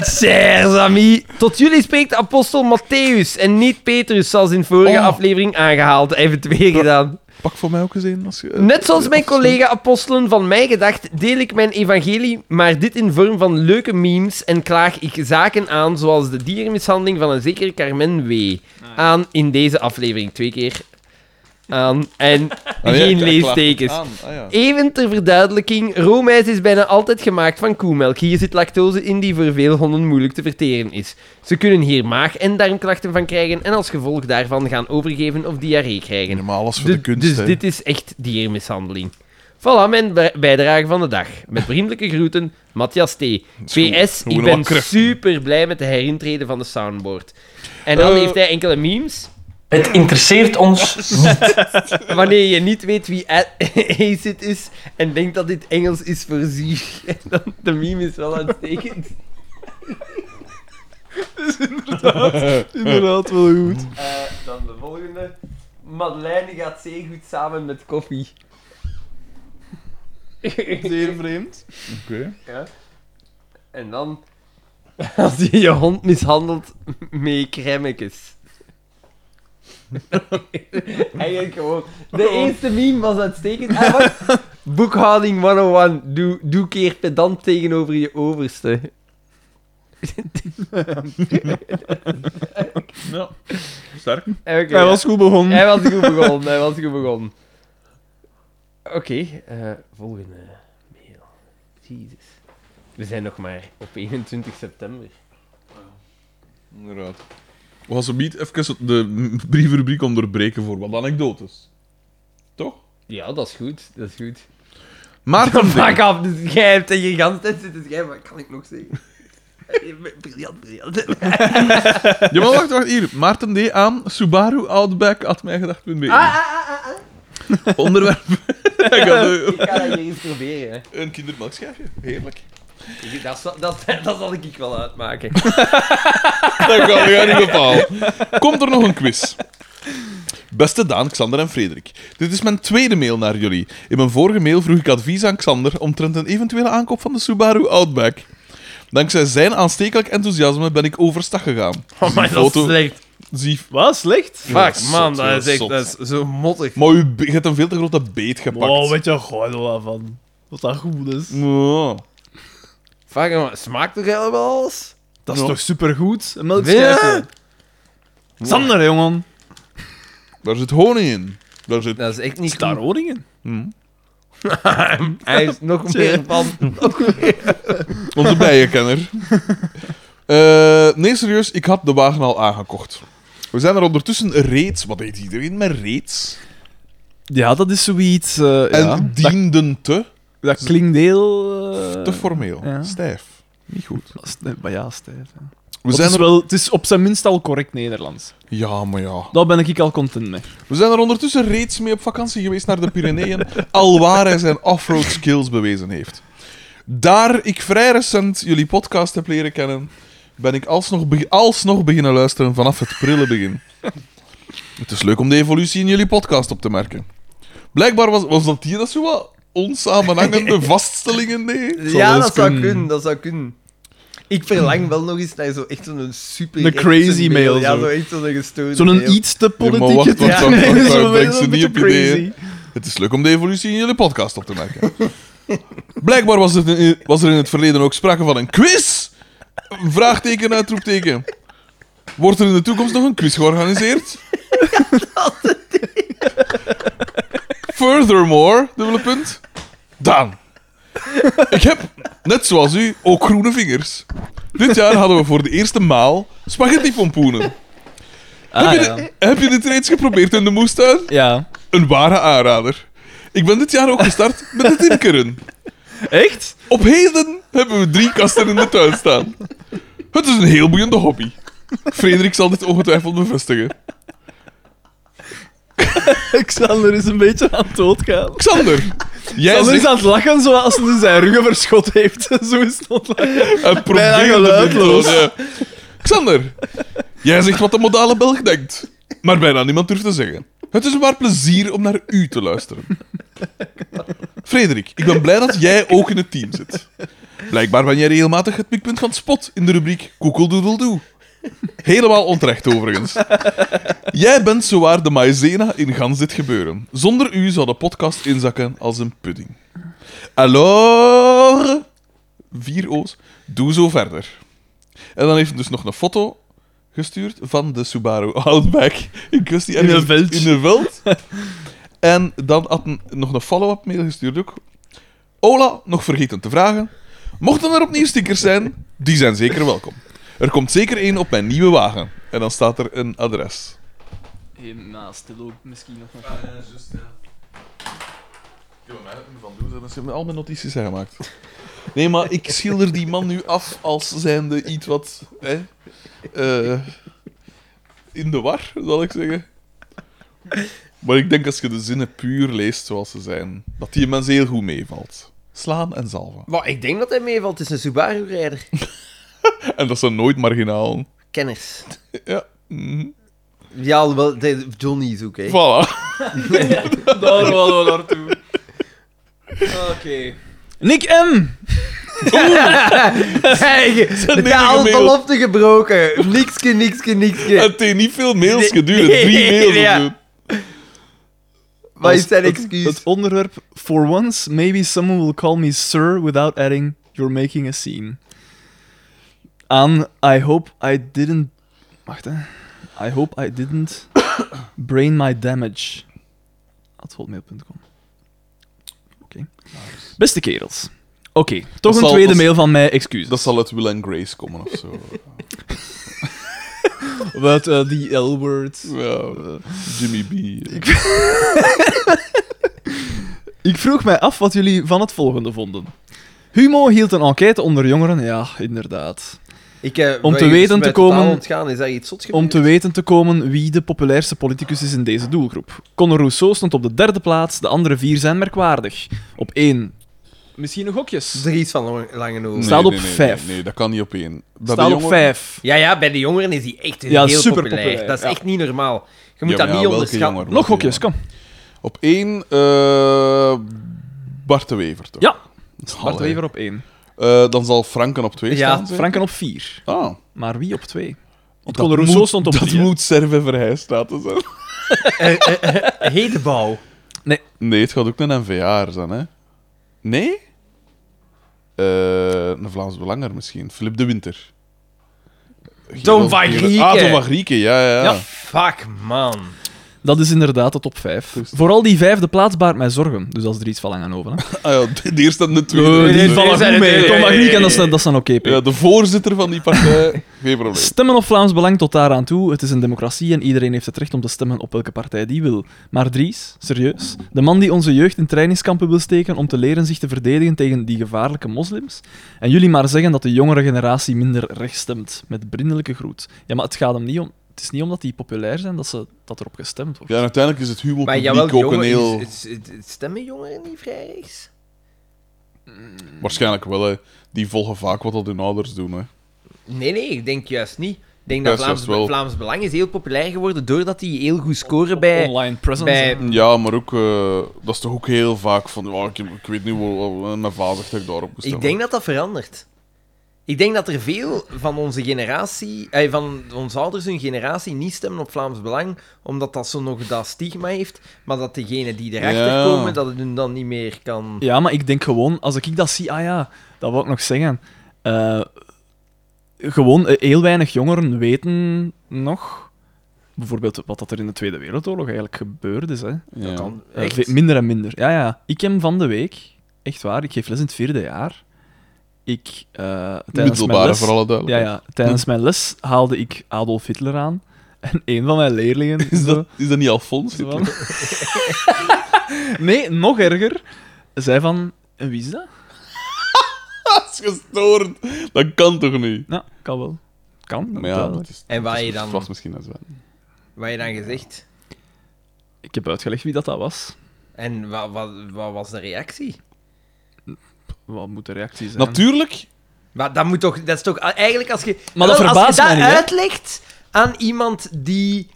S1: Chers amis, tot jullie spreekt de apostel Matthäus en niet Petrus, zoals in vorige
S2: Oh.
S1: aflevering aangehaald. Even twee gedaan.
S2: Pak voor mij ook eens een. Als je,
S1: Net zoals mijn collega-apostelen van mij gedacht, deel ik mijn evangelie, maar dit in vorm van leuke memes en klaag ik zaken aan, zoals de dierenmishandeling van een zekere Carmen W.
S2: Ah.
S1: Aan in deze aflevering, twee keer. Aan en
S2: Ah, ja,
S1: geen
S2: ik- ik
S1: leestekens.
S2: klaag het aan. Ah, ja.
S1: Even ter verduidelijking, roomijs is bijna altijd gemaakt van koemelk. Hier zit lactose in die voor veel honden moeilijk te verteren is. Ze kunnen hier maag- en darmklachten van krijgen en als gevolg daarvan gaan overgeven of diarree krijgen.
S2: Helemaal alles voor
S1: Du-
S2: de kunst.
S1: dus
S2: hè.
S1: dit is echt dierenmishandeling. Voilà mijn bij- bijdrage van de dag. Met vriendelijke groeten, Matthias T.
S2: goed.
S1: PS,
S2: Gewoon
S1: ik
S2: wat
S1: ben
S2: kracht.
S1: super blij met de herintreden van de soundboard. En dan
S2: Eh.
S1: heeft hij enkele memes.
S6: Het interesseert ons niet.
S1: Wanneer je niet weet wie Acid is en denkt dat dit Engels is voor zier, dan de meme is wel uitstekend.
S3: Inderdaad, wel goed.
S1: Eh, dan de volgende. Madeleine gaat zeer goed samen met koffie.
S3: Zeer vreemd.
S2: Oké.
S1: En dan... Als je je hond mishandelt mee kremmetjes. Eigenlijk gewoon... De eerste meme was uitstekend. Ah, wacht. Boekhouding 101. Doe, doe keer pedant tegenover je overste.
S2: Ja. Sterk.
S1: Oké,
S3: Hij
S1: ja.
S3: was goed begonnen.
S1: Hij was goed begonnen, hij was goed begonnen. Oké, eh, volgende mail. Jezus. We zijn nog maar op 21 september.
S2: Inderdaad. We gaan zo niet even de m- brievenrubriek onderbreken voor wat anekdotes. Toch?
S1: Ja, dat is goed, dat is goed.
S2: Maarten D.
S1: Pak af, dus jij hebt tegen je gans tijd zitten schrijven, wat kan ik nog zeggen? Eh, briljant, briljant.
S2: Ja, maar wacht, wacht. Hier. Maarten D. aan Subaru Outback at mijgedacht.be. E. Onderwerp. Ik had, eh,
S1: Ik ga dat hier eens proberen. Hè.
S2: een kindermelkschijfje. Heerlijk.
S1: Ik- Dat, zal- dat, dat zal ik wel uitmaken.
S2: Dat gaan we jou niet bepalen. Komt er nog een quiz? Beste Daan, Xander en Frederik. Dit is mijn tweede mail naar jullie. In mijn vorige mail vroeg ik advies aan Xander omtrent een eventuele aankoop van de Subaru Outback. Dankzij zijn aanstekelijk enthousiasme ben ik overstag gegaan.
S1: Oh, maar dat is
S2: Foto.
S1: slecht.
S2: Zie...
S3: Wat? Slecht?
S1: Fuck,
S2: Ja,
S1: man,
S2: zot,
S1: dat
S2: ja,
S1: is echt
S2: zot.
S1: dat is zo mottig.
S2: Maar u be- je hebt een veel te grote beet gepakt.
S3: Wow, weet je, gooi er wel van. Wat dat goed is.
S2: Ja.
S1: Fuck, man, smaakt toch helemaal alles?
S3: Dat is
S2: Ja.
S3: toch supergoed? Een melkschijfje. Xander, jongen.
S2: Daar zit honing in. Daar zit...
S1: Dat is echt niet goed.
S3: Daar Oringen.
S1: Hij is nog meer van.
S2: Onze bijenkenner. Eh, nee, serieus, ik had de wagen al aangekocht. We zijn er ondertussen reeds... Wat deed iedereen met reeds?
S3: Ja, dat is zoiets. eh,
S2: En
S3: ja. dat,
S2: dienden te,
S3: dat klinkt heel. eh,
S2: te formeel.
S3: ja.
S2: Stijf. Niet goed.
S3: dat is- nee, Maar ja, Stijf. hè.
S2: We
S3: Het
S2: zijn
S3: is
S2: er...
S3: wel, het is op zijn minst al correct Nederlands.
S2: Ja, maar ja.
S3: Daar ben ik al content mee.
S2: We zijn er ondertussen reeds mee op vakantie geweest naar de Pyreneeën, al waar hij zijn offroad skills bewezen heeft. Daar ik vrij recent jullie podcast heb leren kennen, ben ik alsnog, be- alsnog beginnen luisteren vanaf het prille begin. Het is leuk om de evolutie in jullie podcast op te merken. Blijkbaar was, was dat hier dat zo wat onsamenhangende vaststellingen deed.
S1: Ja, dat zou kunnen. dat zou kunnen. Ik verlang wel nog eens naar zo echt zo'n super.
S3: Een crazy
S1: rechtse
S3: mail,
S1: Ja,
S3: zo.
S1: zo echt zo'n gestoorde
S3: Zo'n
S1: mail.
S3: iets te
S2: maar
S3: politieke
S2: wacht, wacht, wacht,
S3: term.
S2: wacht,
S3: Zo
S2: wacht,
S3: wel
S2: denk ze
S3: een
S2: niet
S3: beetje
S2: op ideeën. Het is leuk om de evolutie in jullie podcast op te merken. Blijkbaar was, het in, was er in het verleden ook sprake van een quiz? Vraagteken, uitroepteken. Wordt er in de toekomst nog een quiz georganiseerd? Furthermore, dubbele punt. Daan. Ik heb, net zoals u, ook groene vingers. Dit jaar hadden we voor de eerste maal spaghetti pompoenen.
S3: Ah,
S2: heb, je
S3: ja.
S2: dit- heb je dit reeds geprobeerd in de moestuin?
S3: Ja.
S2: Een ware aanrader. Ik ben dit jaar ook gestart met het tinkeren.
S3: Echt?
S2: Op heden hebben we drie kasten in de tuin staan. Het is een heel boeiende hobby. Frederik zal dit ongetwijfeld bevestigen.
S3: Xander is een beetje aan het doodgaan.
S2: Xander, jij
S3: Xander is
S2: zegt
S3: aan het lachen zoals hij zijn ruggen verschot heeft. Zo is het ontlachen.
S2: en
S3: bijna
S2: probeert het
S3: geluidloos.
S2: te doen. Xander, jij zegt wat de modale Belg denkt, maar bijna niemand durft te zeggen. Het is een waar plezier om naar u te luisteren. Frederik, ik ben blij dat jij ook in het team zit. Blijkbaar ben jij regelmatig het mikpunt van spot in de rubriek Koekeldoedeldoe. Helemaal onterecht, overigens. Jij bent zowaar de maizena in gans dit gebeuren. Zonder u zou de podcast inzakken als een pudding. Alors, vier O's, doe zo verder. En dan heeft hij dus nog een foto gestuurd van de Subaru Outback in kwestie.
S3: In een
S2: ergens
S3: veld.
S2: In een veld. En dan had hij nog een follow-up mail gestuurd ook. Ola, nog vergeten te vragen. Mochten er opnieuw stickers zijn, die zijn zeker welkom. Er komt zeker één op mijn nieuwe wagen. En dan staat er een adres.
S3: Naast de loop misschien nog.
S2: Ik heb hem van doen, dan hebben al mijn notities gemaakt. Nee, maar ik schilder die man nu af als zijnde iets wat. Hè, eh, in de war, zal ik zeggen. Maar ik denk als je de zinnen puur leest zoals ze zijn, dat die mens heel goed meevalt. Slaan en zalven.
S1: Maar ik denk dat hij meevalt. Het is een Subaru-rijder.
S2: En dat zijn nooit marginaal.
S1: Kenners.
S2: Ja. mhm.
S1: Ja, alhoewel, de- Johnny is ook, hè.
S2: Voilà.
S3: Daar willen we naartoe. Oké. Nick M.
S1: Hey,
S2: een
S1: de
S2: nieuwe
S1: oude
S2: mail.
S1: belofte gebroken. Nikske, nikske, nikske.
S2: Het heeft niet veel mails
S1: Nee.
S2: geduurd. Drie mails of
S1: Ja.
S2: zo.
S1: Wat is zijn
S3: Het-
S1: excuus?
S3: Het onderwerp, for once, maybe someone will call me sir without adding, you're making a scene. Aan, I hope I didn't... Wacht, hè. I hope I didn't brain my damage. At hotmail.com. Oké. Beste kerels. Oké, toch een
S2: zal-
S3: tweede
S2: dat-
S3: mail van mij, excuses.
S2: Dat zal uit Will and Grace komen of zo.
S3: Wat, eh, die L-word.
S2: ja, Jimmy B.
S3: Ik vroeg mij af wat jullie van het volgende vonden. Humo hield een enquête onder jongeren, ja, inderdaad.
S1: Ik, eh,
S3: om
S1: wat
S3: te
S1: is
S3: weten
S1: mij
S3: te komen-
S1: totaal ontgaan. Is daar iets zots
S3: Om
S1: gebeurd?
S3: te weten te komen wie de populairste politicus is in deze doelgroep. Conor Rousseau stond op de derde plaats, de andere vier zijn merkwaardig. Op één. Misschien nog hokjes.
S1: Dries van Lang- Langenhoven.
S3: Staat op vijf.
S2: Nee, dat kan niet op één. Bij de
S3: Staat op
S2: jongeren-
S3: vijf.
S1: Ja, ja, bij de jongeren is die echt
S3: Ja,
S1: heel
S3: superpopulair.
S1: populair. Dat is
S3: Ja.
S1: echt niet normaal. Je moet dat
S2: Ja,
S1: niet
S2: maar ja, welke
S1: onderschatten.
S2: jongeren?
S3: Nog
S2: Welke
S3: hokjes,
S2: jongeren?
S3: kom.
S2: Op één, eh, Bart de Wever, toch?
S3: Ja. Bart
S2: Allee.
S3: Wever op één.
S2: Eh, dan zal Franken op twee
S1: Ja,
S2: staan. zeker?
S3: Franken op vier.
S2: Ah,
S3: Maar wie op twee?
S2: dat
S3: Want Conor Rousseau
S2: moet-
S3: stond op
S2: Dat
S3: drie. hè.
S2: moet Serve Verheijstraten zijn.
S1: Hedebouw.
S2: Nee, het gaat ook een NVA'er zijn, hè? Nee? Eh, een Vlaams Belanger misschien. Philip de Winter.
S1: Toon van Grieken.
S2: Ah, Toon van Grieken, ja, ja. ja.
S3: Ja.
S1: Fuck, man.
S3: Dat is inderdaad de top vijf. Vooral die vijfde plaats baart mij zorgen. Dus dat is Dries van Langenhoven. hè.
S2: Ah, ja de de eerste en de tweede.
S1: Nee,
S3: Die
S1: nee,
S3: vallen
S1: zijn
S3: goed
S1: het-
S3: mee.
S1: nee,
S3: Tom
S1: nee,
S3: van
S1: nee,
S3: Grieken, dat
S1: nee,
S3: is- dat is dan oké. P.
S2: Ja, de voorzitter van die partij. Geen probleem.
S3: Stemmen op Vlaams Belang tot daaraan toe. Het is een democratie en iedereen heeft het recht om te stemmen op welke partij die wil. Maar Dries, serieus, de man die onze jeugd in trainingskampen wil steken om te leren zich te verdedigen tegen die gevaarlijke moslims. En jullie maar zeggen dat de jongere generatie minder rechts stemt. Met vriendelijke groet. Ja, maar het gaat hem niet om... Het is niet omdat die populair zijn dat, ze, dat erop gestemd wordt.
S2: Ja, en uiteindelijk is het humo
S1: Maar
S2: publiek
S1: jawel,
S2: ook een
S1: jongeren,
S2: heel...
S1: is- is- is- stemmen jongeren niet vrij rechts?
S2: Waarschijnlijk wel, hè. Die volgen vaak wat dat hun ouders doen, hè.
S1: Nee, nee, ik denk juist niet. Ik denk
S2: Ja,
S1: dat
S2: juist
S1: Vlaams,
S2: wel.
S1: Vlaams Belang is heel populair geworden doordat die heel goed scoren bij...
S3: Online presence.
S1: bij
S2: Ja, maar ook... eh, dat is toch ook heel eh, vaak van... "Oh, ik, ik weet niet hoe... hoe- Mijn vader heeft daarop gestemd.
S1: ik denk dat dat verandert. Ik denk dat er veel van onze generatie, eh, van onze ouders hun generatie, niet stemmen op Vlaams Belang, omdat dat zo nog dat stigma heeft, maar dat degenen die erachter
S2: Ja.
S1: komen, dat het hun dan niet meer kan...
S3: Ja, maar ik denk gewoon, als ik dat zie, ah ja, dat wil ik nog zeggen. Eh, gewoon eh, heel weinig jongeren weten nog, bijvoorbeeld wat dat er in de Tweede Wereldoorlog eigenlijk gebeurd is. Hè.
S2: Ja.
S1: kan
S3: Eh,
S1: echt.
S3: ve- minder en minder. Ja, ja. Ik heb van de week, echt waar, ik geef les in het vierde jaar. Ik, eh tijdens mijn
S2: Middelbare,
S3: les-
S2: voor alle
S3: Ja,
S2: duidelijkheid.
S3: ja. Tijdens mijn les haalde ik Adolf Hitler aan. En een van mijn leerlingen...
S2: Is,
S3: zo-
S2: dat, is dat niet Alfons?
S3: zo van- nee, nog erger. Zei van... En wie is dat?
S2: Dat is gestoord. Dat kan toch niet?
S3: Nou, kan wel. Kan.
S2: Maar ja, dat is,
S1: En waar je
S2: dat
S1: dan,
S2: Dus was misschien als
S3: Hm.
S2: wel.
S1: wat je dan gezegd?
S3: Ik heb uitgelegd wie dat, dat was.
S1: En wat, wat, wat was de reactie?
S3: Wat moet de reactie zijn?
S2: Natuurlijk,
S1: Maar dat moet toch, dat is toch eigenlijk als je.
S3: Maar dat
S1: Wel,
S3: verbaast
S1: Als je
S3: mij
S1: dat
S3: niet, hè?
S1: uitlegt aan iemand die,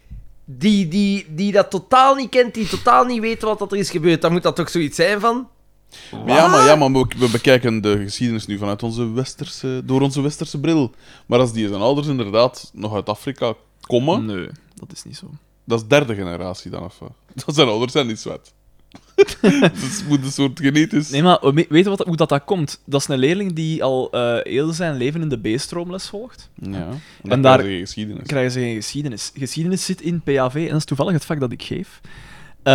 S1: die, die, die dat totaal niet kent, die totaal niet weet wat dat er is gebeurd, dan moet dat toch zoiets zijn van.
S2: Maar ja, maar, ja, maar we, we bekijken de geschiedenis nu vanuit onze westerse, door onze westerse bril. Maar als die zijn ouders inderdaad nog uit Afrika komen,
S3: Nee, dat is niet zo.
S2: dat is derde generatie dan of wat? Dat zijn ouders zijn niet zwart. dat moet een soort genetisch...
S3: Nee, maar we- weet je wat, hoe dat, dat komt? Dat is een leerling die al eh, heel zijn leven in de B-stroomles volgt.
S2: Ja, en daar
S3: En daar-
S2: krijgen ze geschiedenis.
S3: krijgen ze geen geschiedenis. Geschiedenis zit in PAV en dat is toevallig het vak dat ik geef. Eh,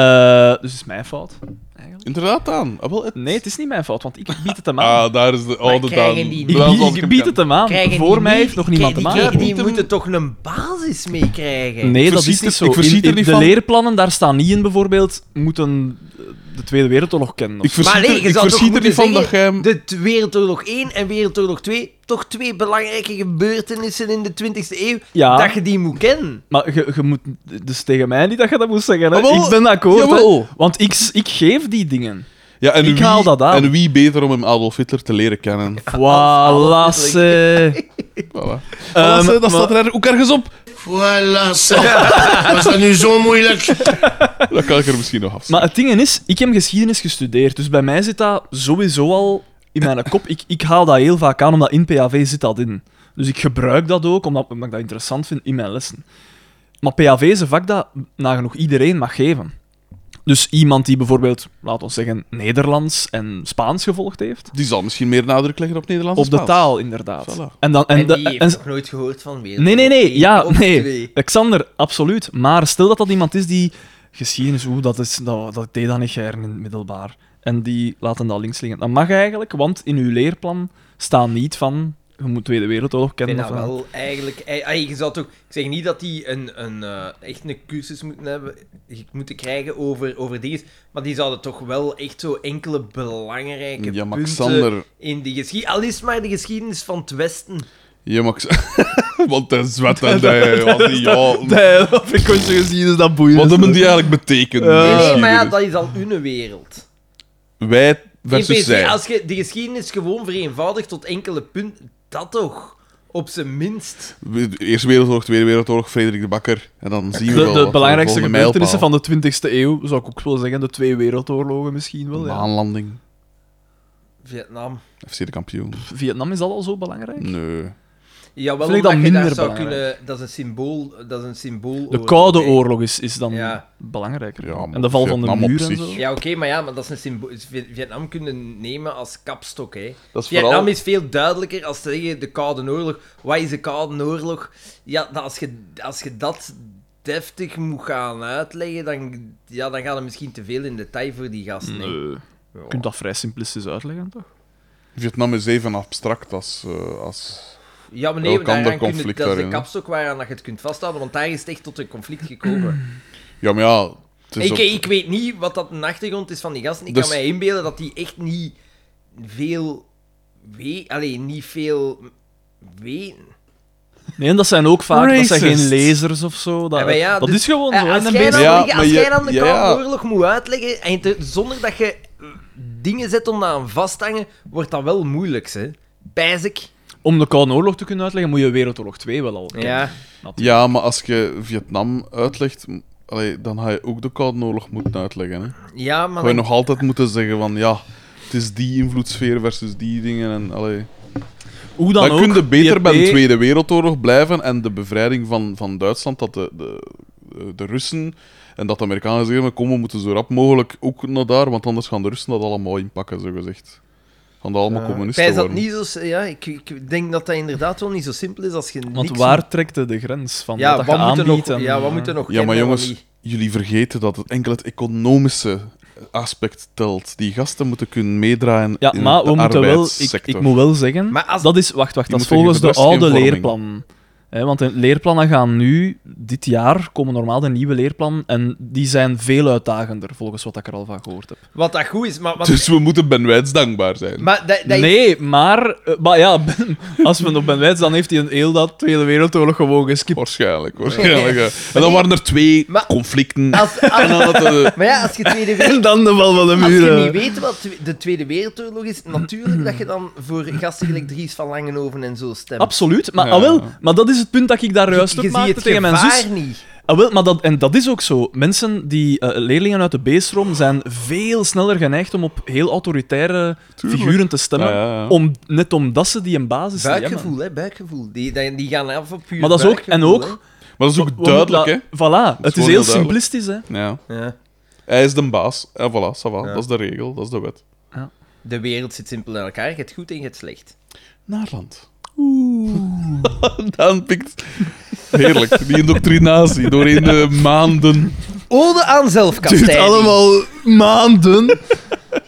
S3: dus het is mijn fout, eigenlijk.
S2: Inderdaad dan. Ah, wel, het-
S3: Nee, het is niet mijn fout, want ik bied het hem aan.
S2: Ah, daar is de oude
S1: krijgen
S2: Daan.
S1: die
S3: ik,
S1: niet-
S2: Daan
S3: bied,
S2: zal
S3: ik
S2: hem
S3: bied
S2: kennen.
S3: het hem aan.
S1: krijgen
S3: Voor
S1: die
S3: mij
S1: niet-
S3: heeft nog niemand
S1: die,
S3: hem
S1: die,
S3: aan.
S1: die
S2: Niet
S1: moeten
S2: hem-
S1: toch een basis meekrijgen?
S3: Nee, dat
S2: verziet
S3: is
S2: er-
S3: niet zo.
S2: ik verziet
S3: In-
S2: er
S3: in
S2: niet
S3: de
S2: van.
S3: leerplannen, daar staan niet in bijvoorbeeld, moeten eh, de Tweede Wereldoorlog kennen. of
S2: Ik
S3: zo.
S2: verschiet,
S1: Maar nee,
S2: er-
S1: je
S2: ik
S1: zou toch
S2: verschiet er niet
S1: moeten
S2: van dat jij
S1: zeggen,
S2: hem...
S1: de t- Wereldoorlog 1 en Wereldoorlog 2, toch twee belangrijke gebeurtenissen in de 20e eeuw,
S3: Ja.
S1: dat je die moet kennen.
S3: Maar je, je moet dus tegen mij niet dat je dat moest zeggen. Hè?
S2: Ah, wel,
S3: ik ben akkoord.
S2: jawel.
S3: Hè? Want ik, s- ik geef die dingen.
S2: Ja, en
S3: Ik
S2: wie,
S3: haal dat aan.
S2: En wie beter om hem Adolf Hitler te leren kennen.
S3: Voilà.
S1: alles
S3: ze. Ehm,
S2: Voilà. Voilà, dat
S3: maar-
S2: staat er er ook ergens op.
S4: Voilà, zeg. Was dat nu zo moeilijk?
S2: Dat kan ik er misschien nog af.
S3: Maar het ding is, ik heb geschiedenis gestudeerd. Dus bij mij zit dat sowieso al in mijn kop. Ik, ik haal dat heel vaak aan, omdat in PAV zit dat in. Dus ik gebruik dat ook, omdat, omdat ik dat interessant vind in mijn lessen. Maar PAV is een vak dat nagenoeg iedereen mag geven. Dus iemand die bijvoorbeeld, laten we zeggen, Nederlands en Spaans gevolgd heeft.
S2: Die zal misschien meer nadruk leggen op Nederlands.
S3: Op
S2: en
S3: de
S2: Spaans.
S3: taal, inderdaad.
S2: Voilà.
S3: En, dan, en,
S1: En,
S3: de-
S1: die heeft
S3: en-
S1: nog nooit gehoord van Wereldoorlog
S3: Nee, nee, nee.
S1: 1
S3: Ja,
S1: of
S3: nee.
S1: 2.
S3: Alexander, absoluut. Maar stel dat dat iemand is die geschiedenis, oeh, dat, is, dat, dat deed dat niet gern in het middelbaar. En die laten dat links liggen. Dat mag eigenlijk, want in uw leerplan staat niet van, je moet Tweede Wereldoorlog
S1: Ik
S3: kennen.
S1: vind
S3: Of,
S1: dat wel eigenlijk... ei- ei, je zou toch, ik zeg niet dat die een, een, eh, echt een cursus moeten, hebben, moeten krijgen over, over dingen, maar die zouden toch wel echt zo enkele belangrijke
S2: Ja, maar
S1: punten
S2: Xander.
S1: in die geschiedenis... Al is het maar de geschiedenis van het Westen.
S2: Je mag... z- Want hij zwet en hij... was niet- ja,
S3: Nee, dat vind Eh, ik ooit zo gezien, is dus dat boeiend.
S2: Wat hebben die eigenlijk betekend?
S1: Nee,
S2: de
S1: nee, Eh, maar ja,
S2: geschiedenis?
S1: dat is al hun wereld.
S2: Wij
S1: In
S2: versus
S1: principe,
S2: zij.
S1: Als je de geschiedenis gewoon vereenvoudigt tot enkele punten, dat toch? Op zijn minst.
S2: Eerste Wereldoorlog, Tweede Wereldoorlog, Frederik de Bakker. En dan zien we wel
S3: de,
S2: wat
S3: de belangrijkste
S2: volgende
S3: gebeurtenissen
S2: mijlpaal.
S3: van de 20e eeuw, zou ik ook wel zeggen, de twee wereldoorlogen misschien wel. Ja.
S2: Maanlanding.
S1: Vietnam.
S2: FC de kampioen.
S3: Vietnam is dat al zo belangrijk?
S2: Nee.
S1: Jawel,
S3: Vind ik
S1: omdat
S3: dan
S1: je daar
S3: minder
S1: zou
S3: belangrijk.
S1: kunnen... Dat is een symbool. Dat is een symbool
S3: De Koude
S1: oorlog.
S3: Oorlog is, is dan
S1: Ja.
S3: belangrijker.
S2: Ja, maar
S3: en de val van de
S2: Vietnam op
S3: muur en
S2: zich.
S3: zo.
S1: Ja, oké, maar ja, maar dat is een symbool. Vietnam kunnen nemen als kapstok, hè.
S2: Dat is
S1: Vietnam
S2: vooral-
S1: is veel duidelijker als te zeggen de Koude Oorlog. Wat is de Koude Oorlog? Ja, dat als je, als je dat deftig moet gaan uitleggen, dan, ja, dan gaat het misschien te veel in detail voor die gasten. hè.
S2: Eh,
S3: Nee. Je kunt dat vrij simplistisch uitleggen, toch?
S2: Vietnam is even abstract als... eh, als...
S1: Ja, maar
S2: Elk
S1: nee, daaraan
S2: ander
S1: kun je-
S2: conflict
S1: dat is de
S2: daarin, hè.
S1: kapstok waaraan dat je het kunt vasthouden, want daar is het echt tot een conflict gekomen.
S2: Ja, maar ja... het is
S1: ik,
S2: ook-
S1: ik weet niet wat dat een achtergrond is van die gasten. Ik
S2: Dus-
S1: kan mij inbeelden dat die echt niet veel weet, alleen niet veel weten.
S3: Nee, en dat zijn ook vaak dat zijn
S2: Racist.
S3: geen lezers of zo. Dat,
S1: Ja, maar ja,
S3: dat
S1: dus-
S3: is gewoon
S1: Eh,
S3: zo.
S1: Als
S3: en een
S1: jij dan,
S3: beetje-
S2: Ja,
S1: liggen-
S2: maar
S1: als jij
S2: je-
S1: dan de
S2: ja,
S1: Koude
S2: ja.
S1: Oorlog moet uitleggen, en te- zonder dat je eh, dingen zet om dat aan vast te hangen, wordt dat wel moeilijk, hè? Pijzik.
S3: Om de Koude Oorlog te kunnen uitleggen, moet je Wereldoorlog 2 wel al kennen.
S1: Ja.
S2: Ja, maar als je Vietnam uitlegt, m- allee, dan ga je ook de Koude Oorlog moeten uitleggen. Hè.
S1: ja, maar...
S2: Ga je
S1: dan-
S2: nog altijd moeten zeggen van ja, het is die invloedssfeer versus die dingen en allee.
S3: Hoe dan
S2: Dan,
S3: ook.
S2: kun je beter
S3: IRP
S2: bij de Tweede Wereldoorlog blijven en de bevrijding van, van Duitsland, dat de, de, de Russen en dat de Amerikanen zeggen, "Maar kom, we moeten zo rap mogelijk ook naar daar, want anders gaan de Russen dat allemaal inpakken, zo gezegd. Gaan dat allemaal communisten
S1: Pijs dat
S2: worden.
S1: niet zo... Ja, ik, ik denk dat dat inderdaad wel niet zo simpel is als je
S3: Want
S1: niks-
S3: waar trekt de, de grens van
S1: ja,
S3: wat,
S1: wat
S3: je
S1: moet er
S3: aanbiedt?
S1: nog,
S3: en-
S1: ja, wat moet er nog
S2: Ja, maar
S1: kennen, wat
S2: jongens,
S1: niet?
S2: jullie vergeten dat het enkel het economische aspect telt. Die gasten moeten kunnen meedraaien
S3: Ja,
S2: in
S3: maar
S2: de
S3: we moeten wel, ik,
S2: arbeidssector.
S3: ik moet wel zeggen,
S1: Maar als-
S3: dat is, wacht, wacht, dat
S2: moeten
S3: is
S2: tegen
S3: volgens
S2: de
S3: de
S2: rest geen
S3: oude
S2: vorming.
S3: leerplannen. Hè, want de leerplannen gaan nu, dit jaar, komen normaal de nieuwe leerplannen en die zijn veel uitdagender, volgens wat ik er al van gehoord heb.
S1: Wat dat goed is, maar... wat-
S2: Dus we moeten Ben Wijts dankbaar zijn.
S1: maar dat, dat
S3: Nee, maar, eh, maar ja, Ben- als we op Ben Wijts, dan heeft hij een heel dat Tweede Wereldoorlog gewoon geskipt.
S2: Waarschijnlijk, waarschijnlijk. ja. En dan waren er twee
S1: Maar-
S2: conflicten.
S1: Als, als-
S2: En dan had de-
S1: maar ja, als je Tweede
S3: En
S1: Wereldoorlog...
S3: dan de val van de
S1: Als je niet
S3: muren.
S1: weet wat twe- de Tweede Wereldoorlog is, natuurlijk dat je dan voor gasten gelijk Dries van Langenhoven en zo stemt.
S3: Absoluut, maar,
S2: Ja.
S3: ah, wel, maar dat is het punt dat ik daar juist
S1: Je
S3: op
S1: ziet
S3: maakte
S1: het
S3: tegen mijn
S1: gevaar
S3: zus.
S1: niet.
S3: Ah, wel, maar dat, en dat is ook zo. Mensen die eh, leerlingen uit de B-stroom zijn veel sneller geneigd om op heel autoritaire
S2: Tuurlijk.
S3: figuren te stemmen.
S2: Ja, ja, ja.
S3: Om, net omdat ze die een basis niet hebben.
S1: Buikgevoel, hè, buikgevoel. Die, die, die gaan af op puur
S3: Maar dat is ook, en
S1: buikgevoel,
S3: ook,
S2: Maar dat is ook
S3: we
S2: duidelijk, hè?
S3: moeten la- Voilà,
S2: is
S3: het is
S2: gewoon
S3: heel
S2: heel duidelijk.
S3: simplistisch, hè.
S2: Ja.
S1: hè. Ja.
S2: Hij is de baas. En voilà, ça va. Dat is de regel, dat is de wet.
S1: De wereld zit simpel in elkaar. Je hebt goed en je hebt slecht.
S2: Naarland. Oeh. Dan pikt. Heerlijk, die indoctrinatie doorheen de maanden.
S1: Ode aan
S3: Het
S1: zelfkastijding.
S3: duurt allemaal maanden.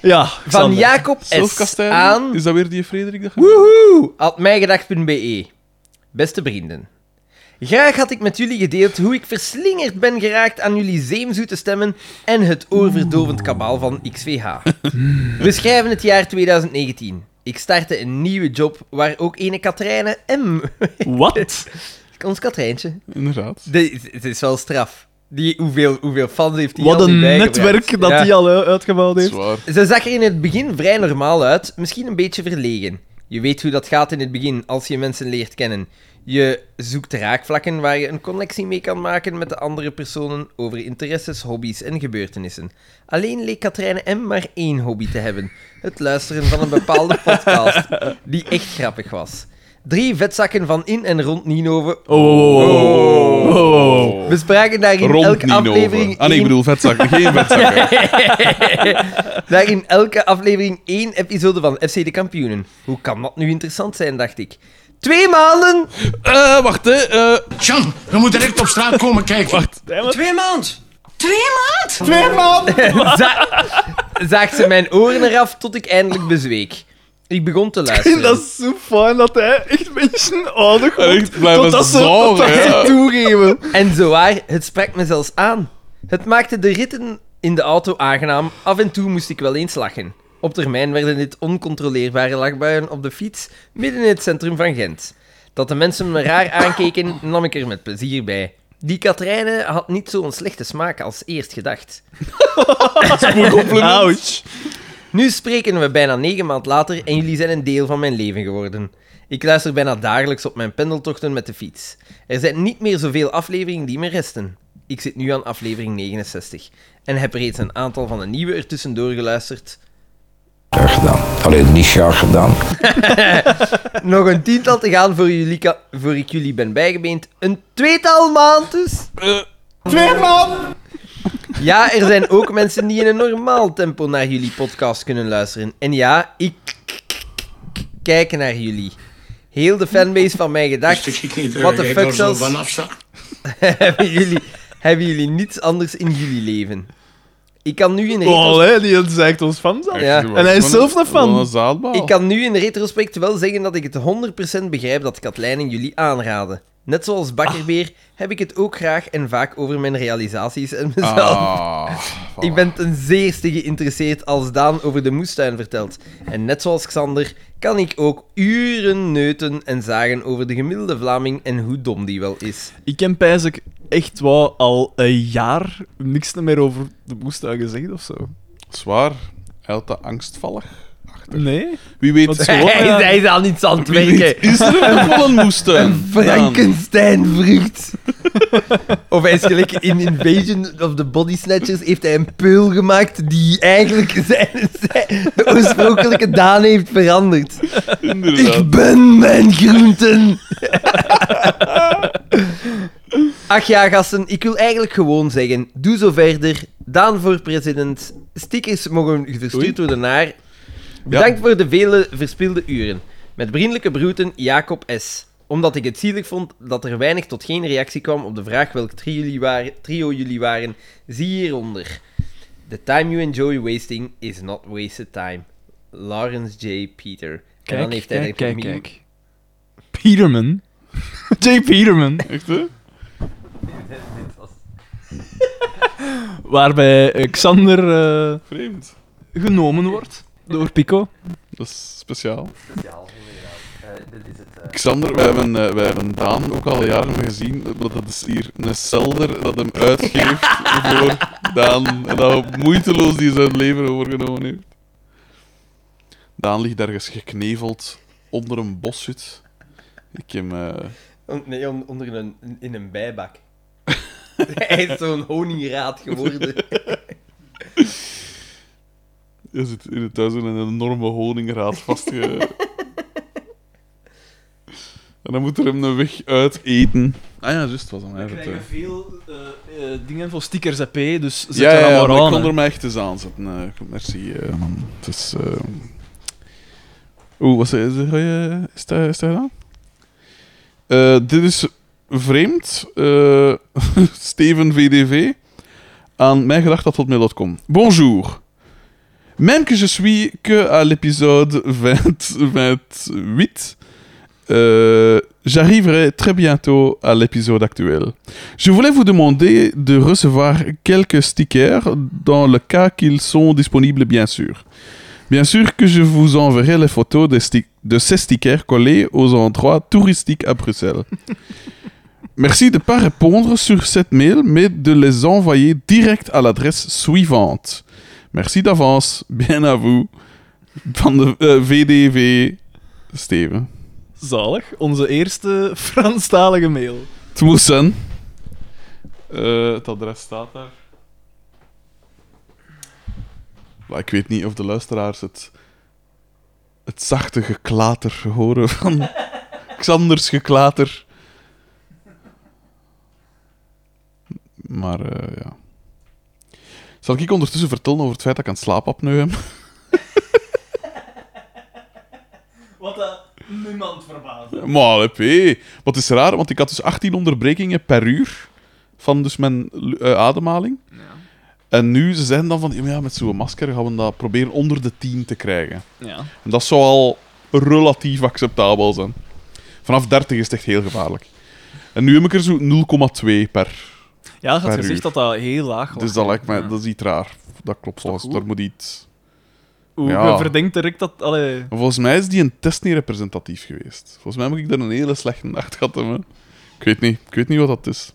S3: ja,
S1: Van
S3: Xander.
S1: Jacob S.
S2: Zelfkastijding.
S1: aan
S2: Is dat weer die Frederik? Dat je-
S1: Woehoe! At mijgedacht.be. E. Beste vrienden. Graag had ik met jullie gedeeld hoe ik verslingerd ben geraakt aan jullie zeemzoete stemmen en het oorverdovend kabaal van XVH. We schrijven het jaar 2019. Ik startte een nieuwe job waar ook ene Katrijne M...
S3: Wat?
S1: Ons Katrijntje.
S2: Inderdaad.
S1: De- Het is wel straf. Die, hoeveel, hoeveel fans heeft hij
S3: Wat een netwerk dat
S1: hij
S3: hij al eh, uitgebouwd heeft.
S2: Zwaar.
S1: ze zag er in het begin vrij normaal uit, misschien een beetje verlegen. Je weet hoe dat gaat in het begin als je mensen leert kennen. Je zoekt raakvlakken waar je een connectie mee kan maken met de andere personen over interesses, hobby's en gebeurtenissen. Alleen leek Katrijne M. maar één hobby te hebben: het luisteren van een bepaalde podcast, die echt grappig was. Drie vetzakken van in en rond Ninove.
S3: Oh, oh, oh, oh,
S2: Oh.
S3: oh, oh.
S1: We spraken daarin
S2: Rond
S1: elke
S2: niet
S1: aflevering.
S2: over. Ah nee, ik
S1: één-
S2: bedoel vetzakken. Geen vetzakken.
S1: Daar in elke aflevering één episode van FC de Kampioenen. Hoe kan dat nu interessant zijn, dacht ik. Twee maanden!
S2: Eh, wacht, hè. eh,
S4: Jan, we moeten direct op straat komen kijken.
S6: Twee maand.
S1: za- zaag ze mijn oren eraf tot ik eindelijk bezweek. Ik begon te luisteren.
S3: Dat is zo fijn dat hij echt mensen ouder
S2: En
S3: wordt.
S2: echt blijven
S3: totdat ze,
S2: zagen,
S3: totdat ze
S2: ja.
S3: toegeven.
S1: En zowaar, het sprak me zelfs aan. Het maakte de ritten in de auto aangenaam. Af en toe moest ik wel eens lachen. Op termijn werden dit oncontroleerbare lachbuien op de fiets midden in het centrum van Gent. Dat de mensen me raar aankeken, nam ik er met plezier bij. Die Katrijne had niet zo'n slechte smaak als eerst gedacht.
S3: Ouch.
S1: Nu spreken we bijna negen maand later en jullie zijn een deel van mijn leven geworden. Ik luister bijna dagelijks op mijn pendeltochten met de fiets. Er zijn niet meer zoveel afleveringen die me resten. Ik zit nu aan aflevering 69 en heb reeds een aantal van de nieuwe ertussendoor geluisterd.
S7: gedaan. Alleen niet jaar gedaan.
S1: Nog een tiental te gaan voor, jullie ka- voor ik jullie ben bijgebeend. Een tweetal maand dus.
S2: eh,
S1: Ja, er zijn ook mensen die in een normaal tempo naar jullie podcast kunnen luisteren. En ja, ik kijk naar jullie. Heel de fanbase van mijn gedachten. Wat de fuck zelfs
S4: Vanaf sta.
S1: hebben jullie, hebben jullie niets anders in jullie leven. Ik kan nu in
S3: Oh,
S1: retrospect,
S3: hè, die zegt ons fans af.
S1: Ja.
S2: echt,
S3: En hij is
S2: gewoon
S3: zelf een fan.
S2: gewoon een zaadbaal.
S1: ik kan nu in retrospect wel zeggen dat ik het 100% begrijp dat Katlijn en jullie aanraden. Net zoals Bakkerbeer heb ik het ook graag en vaak over mijn realisaties en mezelf.
S2: Ah, voilà.
S1: Ik ben ten zeerste geïnteresseerd als Daan over de moestuin vertelt. En net zoals Xander kan ik ook uren neuten en zagen over de gemiddelde Vlaming en hoe dom die wel is.
S3: Ik ken Pijsik echt wel al een jaar niks meer over de moestuin gezegd of zo.
S2: Zwaar. Hij had dat angstvallig. prachtig.
S3: Nee?
S2: Wie weet,
S3: Wat-
S1: Hij,
S2: gewoon,
S1: is- hij is al niets aan het
S2: wie weet
S1: werken.
S2: is er een eh, pollenmoestuin?
S1: Frankenstein-vrucht. of hij is gelijk in Invasion of the Body Snatchers heeft hij een peul gemaakt die eigenlijk zijn, zijn- de oorspronkelijke Daan heeft veranderd.
S2: Daan, inderdaad.
S1: Ik ben mijn groenten. Ach ja, gasten, ik wil eigenlijk gewoon zeggen: doe zo verder. Daan voor president. Stickers mogen
S2: Oei.
S1: verstuurd worden naar. Bedankt voor de vele verspilde uren. Met vriendelijke broeten, Jacob S. Omdat ik het zielig vond dat er weinig tot geen reactie kwam op de vraag welk trio jullie waren, trio jullie waren zie hieronder. The time you enjoy wasting is not wasted time. Lawrence J. Peter. en dan heeft hij eigenlijk nog meer-
S3: Peterman. J. Peterman.
S2: Echt, hè?
S3: Waarbij eh, Xander eh,
S2: Vreemd.
S3: genomen wordt door Pico.
S2: Dat is speciaal. Xander, wij hebben, eh, wij hebben Daan ook al jaren gezien. Dat dat is hier een celder dat hem uitgeeft voor Daan. En dat moeiteloos die zijn leven overgenomen heeft. Daan ligt ergens gekneveld onder een boshut. Ik heb... eh,
S1: On- Nee, on- onder een, in een bijbak. Hij is zo'n honingraad geworden.
S2: Je zit in het thuis in een enorme honingraad vastge... en dan moet er hem een weg uit eten. Ah ja, juist, was hem
S3: We
S2: eigenlijk.
S3: krijgen
S2: hè.
S3: veel eh, eh, dingen voor stickers EP, dus zet
S2: Ja, ja,
S3: er
S2: ja, maar
S3: allemaal
S2: ik
S3: aan.
S2: kon
S3: hè.
S2: er mij echt eens aanzetten. eh, goed, merci, eh, man. Het is... eh, Oeh, wat zei ze? Ga je- Is dat, is dat gedaan? Eh, dit is vreemd. eh, Steven VDV. Aan mijn gedacht tot mail.com. Bonjour. Même que je suis que à l'épisode 20 28, euh, j'arriverai très bientôt à l'épisode actuel. Je voulais vous demander de recevoir quelques stickers dans le cas qu'ils sont disponibles, bien sûr. Bien sûr que je vous enverrai les photos des sti- de ces stickers collés aux endroits touristiques à Bruxelles. Merci de ne pas répondre sur cette mail, mais de les envoyer direct à l'adresse suivante. Merci d'avance, bien à vous, van de eh, VDV Steven.
S3: Zalig. Onze eerste Franstalige mail.
S2: Het moest zijn. Eh, het adres staat daar. Maar ik weet niet of de luisteraars het, het zachte geklater horen van Xanders geklater. Maar eh, ja. Zal ik ondertussen vertellen over het feit dat ik aan het slaapapneu heb?
S3: Wat dat niemand verbaast.
S2: Maar hé. Wat is raar, want ik had dus 18 onderbrekingen per uur van dus mijn lu- eh, ademhaling. En nu, ze zijn dan van, ja, maar ja, met zo'n masker gaan we dat proberen onder de 10 te krijgen.
S3: Ja.
S2: En dat zou al relatief acceptabel zijn. Vanaf 30 is het echt heel gevaarlijk. En nu heb ik er zo 0,2 per.
S3: Ja, je had
S2: Per
S3: gezegd
S2: uur.
S3: dat dat heel laag was.
S2: Dus dat lijkt mij,
S3: Ja.
S2: dat is iets raar. Dat klopt, volgens
S3: goed?
S2: daar moet iets...
S3: Oeh,
S2: Ja.
S3: je verdenkt direct dat... Allee...
S2: Maar Volgens mij is die een test niet representatief geweest. Volgens mij moet ik daar een hele slechte nacht gehad hebben. Ik weet niet. Ik weet niet wat dat is.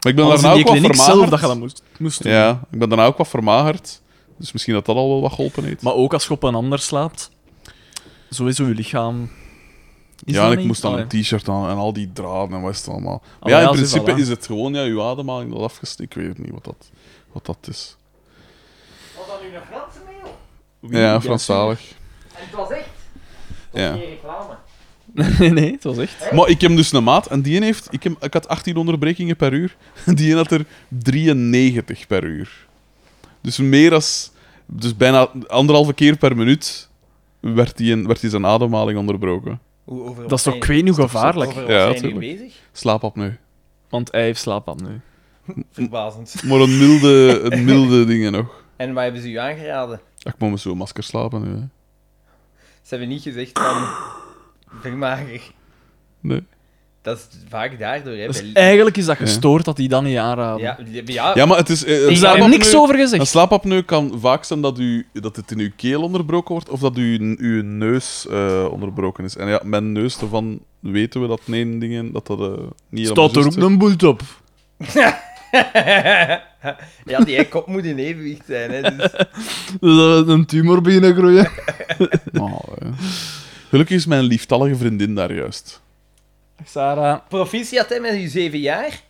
S2: Maar ik ben
S3: Alles in
S2: daarna
S3: die
S2: ook wat
S3: kliniek zelf
S2: vermagerd.
S3: dat je dat moest, moest doen.
S2: ja, ik ben daarna ook wat vermagerd. Dus misschien dat dat al wel wat geholpen heeft.
S3: Maar ook als je op een ander slaapt, sowieso je lichaam... Is
S2: ja,
S3: dat
S2: en ik
S3: niet?
S2: moest dan
S3: Allee.
S2: een t-shirt aan en al die draden en wat is het allemaal. Maar
S3: Ah,
S2: ja,
S3: maar
S2: in
S3: ja, zie,
S2: principe
S3: voilà.
S2: is het gewoon ja, uw ademhaling dat afgestikt. Ik weet niet wat dat, wat dat is.
S1: Was dat nu een Franse mail?
S2: ja, Franstalig.
S1: En het was echt.
S2: Ja.
S1: geen reclame.
S3: Nee, nee, het was echt.
S2: Maar ik heb dus een maat en die een heeft... Ik, heb, ik had 18 onderbrekingen per uur. En die een had er 93 per uur. Dus meer als... Dus bijna anderhalve keer per minuut werd die, een, werd die zijn ademhaling onderbroken.
S1: Hoe, over
S3: Dat is toch ik weet niet hoe gevaarlijk,
S2: Ja,
S1: Ja, zijn nu
S2: tuurlijk.
S1: bezig?
S2: Slaap op nu.
S3: want hij heeft slaapap nu.
S1: Verbazend.
S2: Maar een milde, een milde dingen nog.
S1: En wat hebben ze u aangeraden?
S2: Ja, Ik moet met zo'n masker slapen nu. Hè.
S1: Ze hebben niet gezegd van. vermager.
S2: Nee.
S1: Dat is vaak daardoor. Hè.
S3: Dus
S1: bij-
S3: eigenlijk is dat gestoord dat hij dat niet aanraadt.
S1: ja, ja,
S2: Ja, maar het is... eh, een
S3: Is daar
S2: slaapapneu-
S3: niks over gezegd?
S2: Een slaapapneu kan vaak zijn dat, u, dat het in uw keel onderbroken wordt of dat uw, uw neus eh, onderbroken is. En ja, mijn neus, daarvan weten we dat nee, dingen, dat dat eh, niet helemaal
S3: Staat er
S2: juist
S3: ook
S2: is.
S3: een boelt op.
S1: Ja, die kop moet in evenwicht zijn. Hè, dus.
S3: Dus dat een tumor beginnen groeien.
S2: Oh, ja. Gelukkig is mijn lieftallige vriendin daar juist.
S3: Sarah.
S1: Proficiat hè, met je zeven jaar.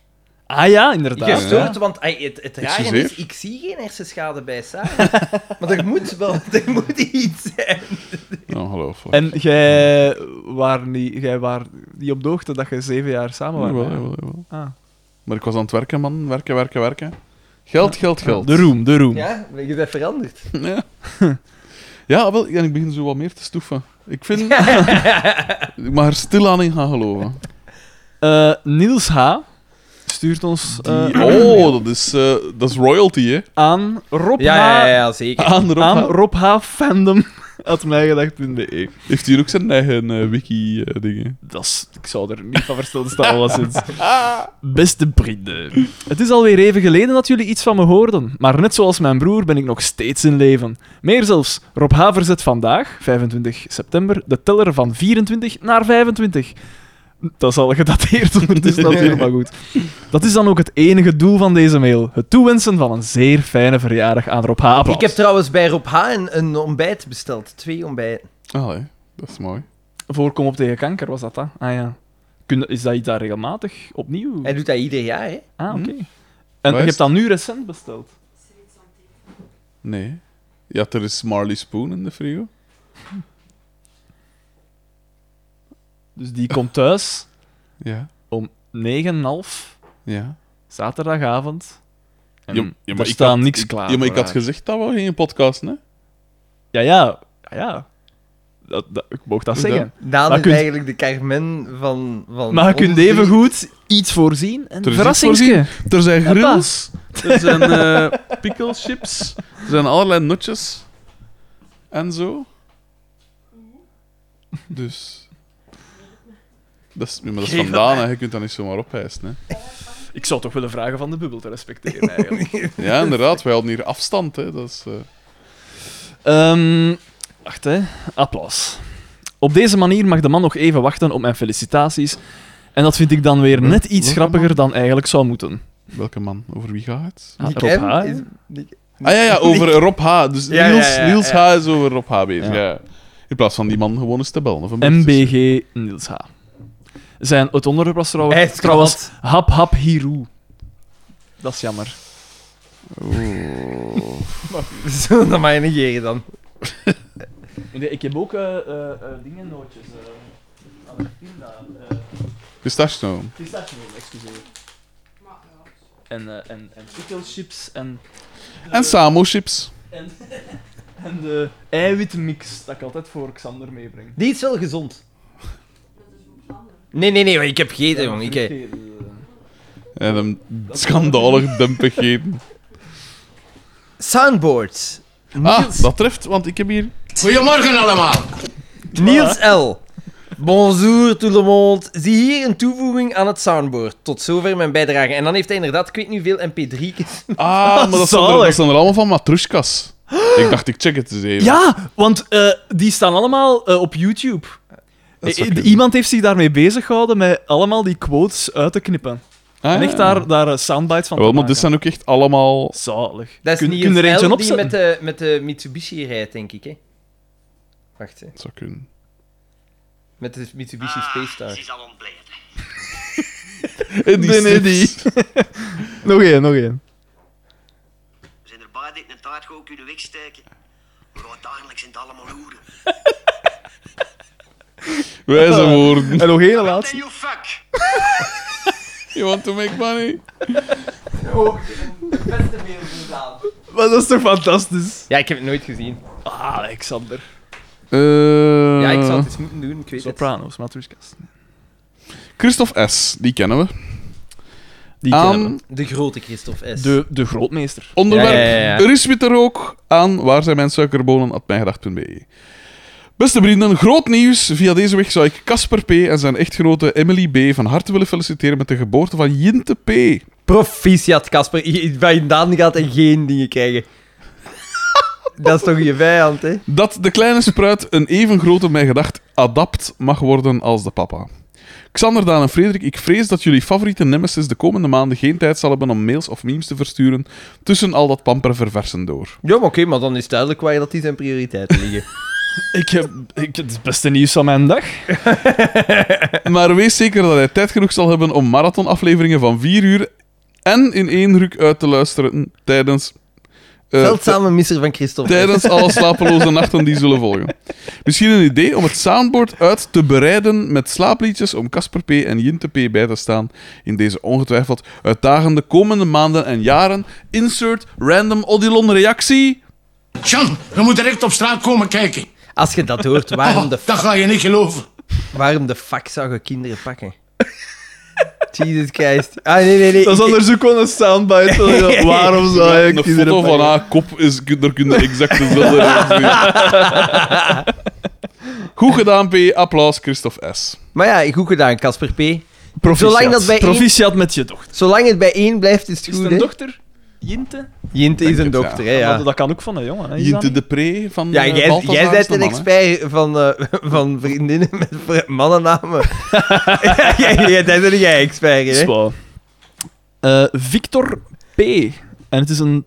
S3: Ah ja, inderdaad.
S1: Gestoord, want ai, het, het rare
S2: zie
S1: is,
S2: zeer.
S1: ik zie geen hersenschade bij Sarah. maar er moet wel, er moet iets zijn.
S2: Ongelooflijk.
S3: En jij waar niet, jij waar niet op de hoogte dat je zeven jaar samen waren.
S2: Jawel,
S3: hè?
S2: jawel, jawel.
S3: Ah.
S2: Maar ik was aan het werken, man. Werken, werken, werken. Geld, geld, geld.
S3: De roem, de roem.
S1: Ja, je bent veranderd.
S2: Ja. Ja, wel, en ik begin zo wat meer te stoefen. Ik vind... ik mag er stilaan in gaan geloven.
S3: Eh, Niels H. stuurt ons eh,
S2: Die- oh, dat is, eh, dat is royalty, hè.
S3: aan Rob
S1: Ja, ja,
S3: H.
S1: ja, zeker.
S2: Aan Rob
S3: Aan
S2: H.
S3: Rob H. Fandom. At mijgedacht.be.
S2: Heeft hier ook zijn eigen eh, wiki-dingen?
S3: E. Dat is, ik zou er niet van versteld staan, alleszins. Beste vrienden. Het is alweer even geleden dat jullie iets van me hoorden. Maar net zoals mijn broer ben ik nog steeds in leven. Meer zelfs, Rob H. verzet vandaag, 25 september, de teller van 24 naar 25. Dat is al gedateerd ondertussen, dat is helemaal goed. Dat is dan ook het enige doel van deze mail. Het toewensen van een zeer fijne verjaardag aan Rob H. Applaus.
S1: Ik heb trouwens bij Rob H. een, een ontbijt besteld. Twee ontbijten.
S2: Ah, hè. Dat is mooi.
S3: Voorkom op tegen kanker, was dat dat? Ah ja. Kun- Is dat iets dat regelmatig opnieuw...
S1: Hij doet dat ieder jaar, hè.
S3: Ah, oké.
S2: Waar
S3: En je
S2: is
S3: hebt dat nu recent besteld?
S2: Nee. Ja, er is Marley Spoon in de frigo.
S3: Dus die komt thuis
S2: Ja.
S3: om 9.30
S2: Ja.
S3: zaterdagavond. En
S2: Ja, ja, maar
S3: er
S2: ik
S3: staat
S2: had-
S3: niks
S2: ik-
S3: klaar.
S2: Ja, maar ik
S3: voor
S2: had
S3: haar.
S2: gezegd dat we geen podcast, hè.
S3: Ja, ja. ja, ja. Dat, dat, ik mocht dat
S2: Ja.
S3: zeggen.
S1: Daan
S3: Maar
S1: is
S3: kunt-
S1: eigenlijk de Carmen van... van
S3: Maar je kunt
S1: ons
S3: even
S1: drie.
S3: goed iets voorzien. En
S2: Er is
S3: verrassingsje.
S2: iets Er zijn
S3: Hoppa.
S2: grills, er zijn eh pickles chips, er zijn allerlei nutjes en zo. Dus. Dat is, ja, maar dat is vandaan, hè. je kunt dat niet zomaar ophijsen. Hè.
S3: Ik zou toch willen vragen van de bubbel te respecteren, eigenlijk.
S2: Ja, inderdaad, wij hadden hier afstand. Hè. Dat is, eh,
S3: Ehm, wacht, hè. Applaus. Op deze manier mag de man nog even wachten op mijn felicitaties. En dat vind ik dan weer
S1: Hm?
S3: net iets
S2: welke
S3: grappiger dan eigenlijk zou moeten.
S2: welke man? Over wie gaat het?
S3: Ah,
S1: Nick
S3: Rob
S1: M.
S3: H.
S1: is-
S3: hè?
S1: Nick-
S2: Ah ja, ja over Rob H. Dus
S1: Ja, ja,
S2: Niels,
S1: ja,
S2: Niels
S1: ja.
S2: H. is over Rob H. bezig. Ja. In plaats van die man gewoon eens te bellen. Of een bericht te sturen.
S3: MBG Niels H. Zijn, het onderwerp was trouwens,
S1: Hij is
S3: trouwens Hap Hap Hiru. Dat is jammer.
S1: Zo, dat mag je negeren dan.
S3: ik heb ook eh, dingennootjes. eh,
S2: Pistachio.
S3: excuseer. En, eh, en, en chips en,
S2: En Samo chips.
S3: en, en de eiwitmix dat ik altijd voor Xander meebreng.
S1: Die is wel gezond. Nee, nee, nee, maar ik heb gegeten, jongen. Ik, eh,
S2: En een schandalig dumpig eten.
S1: Soundboards.
S2: Ah, dat treft, want ik heb hier...
S4: Goedemorgen allemaal.
S1: Niels L. Bonjour tout le monde. Zie hier een toevoeging aan het soundboard. Tot zover mijn bijdrage. En dan heeft hij inderdaad, ik weet niet hoeveel mp3's.
S2: Ah, maar dat zijn, er,
S3: zalig.
S2: dat zijn er allemaal van matroeskas. Ik dacht, ik check het eens even.
S3: Ja, want eh, die staan allemaal eh, op YouTube.
S2: Dat
S3: I-
S2: zou kunnen.
S3: iemand heeft zich daarmee bezig gehouden met allemaal die quotes uit te knippen.
S2: Ah,
S3: En
S2: ja.
S3: echt daar, daar eh, soundbites van
S2: Wel, maar
S3: te maken.
S2: dit zijn ook echt allemaal...
S3: Zalig.
S1: Dat is
S3: Kun-
S1: niet
S3: kun
S1: Niels
S3: er eentje
S1: L die
S3: opzetten?
S1: met de, met de Mitsubishi rijdt, denk ik. Hè? Wacht, hè.
S2: Dat zou kunnen.
S1: met de Mitsubishi Space Star.
S8: is al ontbleven.
S2: Eddie
S3: Ben Eddie.
S2: Stips.
S3: Nog één, nog één.
S8: We zijn erbij dat ik een taart gewoon kunnen wegsteken. Maar uiteindelijk zijn het allemaal hoeren.
S2: Wijze
S3: Eh.
S2: woorden.
S3: En nog één laatste.
S8: you fuck!
S2: You want to make money?
S3: Maar dat is toch fantastisch?
S1: Ja, ik heb het nooit gezien.
S3: Ah, Alexander.
S2: Eh,
S1: Ja, ik zou het eens moeten doen, ik weet het.
S3: Sopranos, Matruskas.
S2: Christophe S. Die kennen we.
S3: Die kennen
S2: Aan
S3: we.
S1: Ehm, De grote Christophe S.
S3: De, de grootmeester.
S2: onderwerp
S1: Ja, ja, ja, ja.
S2: Er is witte rook aan waar zijn mijn suikerbonen at mijgedacht.be. Beste vrienden, groot nieuws. Via deze weg zou ik Casper P. en zijn echtgenote Emily B. van harte willen feliciteren met de geboorte van Jinte P.
S1: Proficiat, Casper. Je- Bij Daan gaat hij geen dingen krijgen. Dat is toch je vijand, hè?
S2: Dat de kleine spruit een even grote mijn gedacht adapt mag worden als de papa. Xander, Daan en Frederik, ik vrees dat jullie favoriete nemesis de komende maanden geen tijd zal hebben om mails of memes te versturen tussen al dat pamperverversen door.
S1: Ja, maar oké, maar dan is duidelijk waar dat die zijn prioriteiten liggen.
S3: Ik heb, ik, het is het beste nieuws van mijn dag.
S2: Maar wees zeker dat hij tijd genoeg zal hebben om marathonafleveringen van 4 uur en in één ruk uit te luisteren tijdens... eh,
S1: Zeldzame misser van Christophe.
S2: Tijdens alle slapeloze nachten die zullen volgen. Misschien een idee om het soundboard uit te bereiden met slaapliedjes om Casper P. en Jinte P. bij te staan in deze ongetwijfeld uitdagende komende maanden en jaren. Insert random Odilon reactie.
S4: Jan, je moet direct op straat komen kijken.
S1: Als je dat hoort, waarom
S3: Oh,
S1: de,
S4: Dat ga je niet geloven.
S1: waarom de fuck zou je kinderen pakken? Jesus Christ. Ah, nee, nee, nee.
S3: Dat is
S1: ik-
S3: anders ook wel een soundbite. Waarom zou
S2: Ja,
S3: ik
S2: een
S3: kinderen
S2: foto van
S3: pakken?
S2: haar kop is, daar kun je exact dezelfde reactie zien. Goed gedaan, P. Applaus, Christophe S.
S1: Maar ja, goed gedaan, Casper P.
S3: Proficiat.
S1: Zolang dat bij één-
S3: Proficiat met je dochter.
S1: Zolang het bij één blijft, is het
S3: Is
S1: goed,
S3: het
S1: hè?
S3: een dochter? Jinte?
S1: Jint is een
S2: het,
S1: dokter,
S2: ja.
S1: hè, ja.
S3: Dat, dat kan ook van een jongen. Hè? Is dat
S2: Jinte
S3: niet?
S2: de Pre van
S1: Ja,
S2: eh,
S1: jij,
S2: Balthazar
S1: jij
S2: is
S1: bent
S2: de
S1: een
S2: man, hè.
S1: expert van, eh, van vriendinnen met vri- mannennamen. ja, jij, jij, daar ben jij expert in, hè?
S3: Zwaar. Eh, Victor P. En het is een,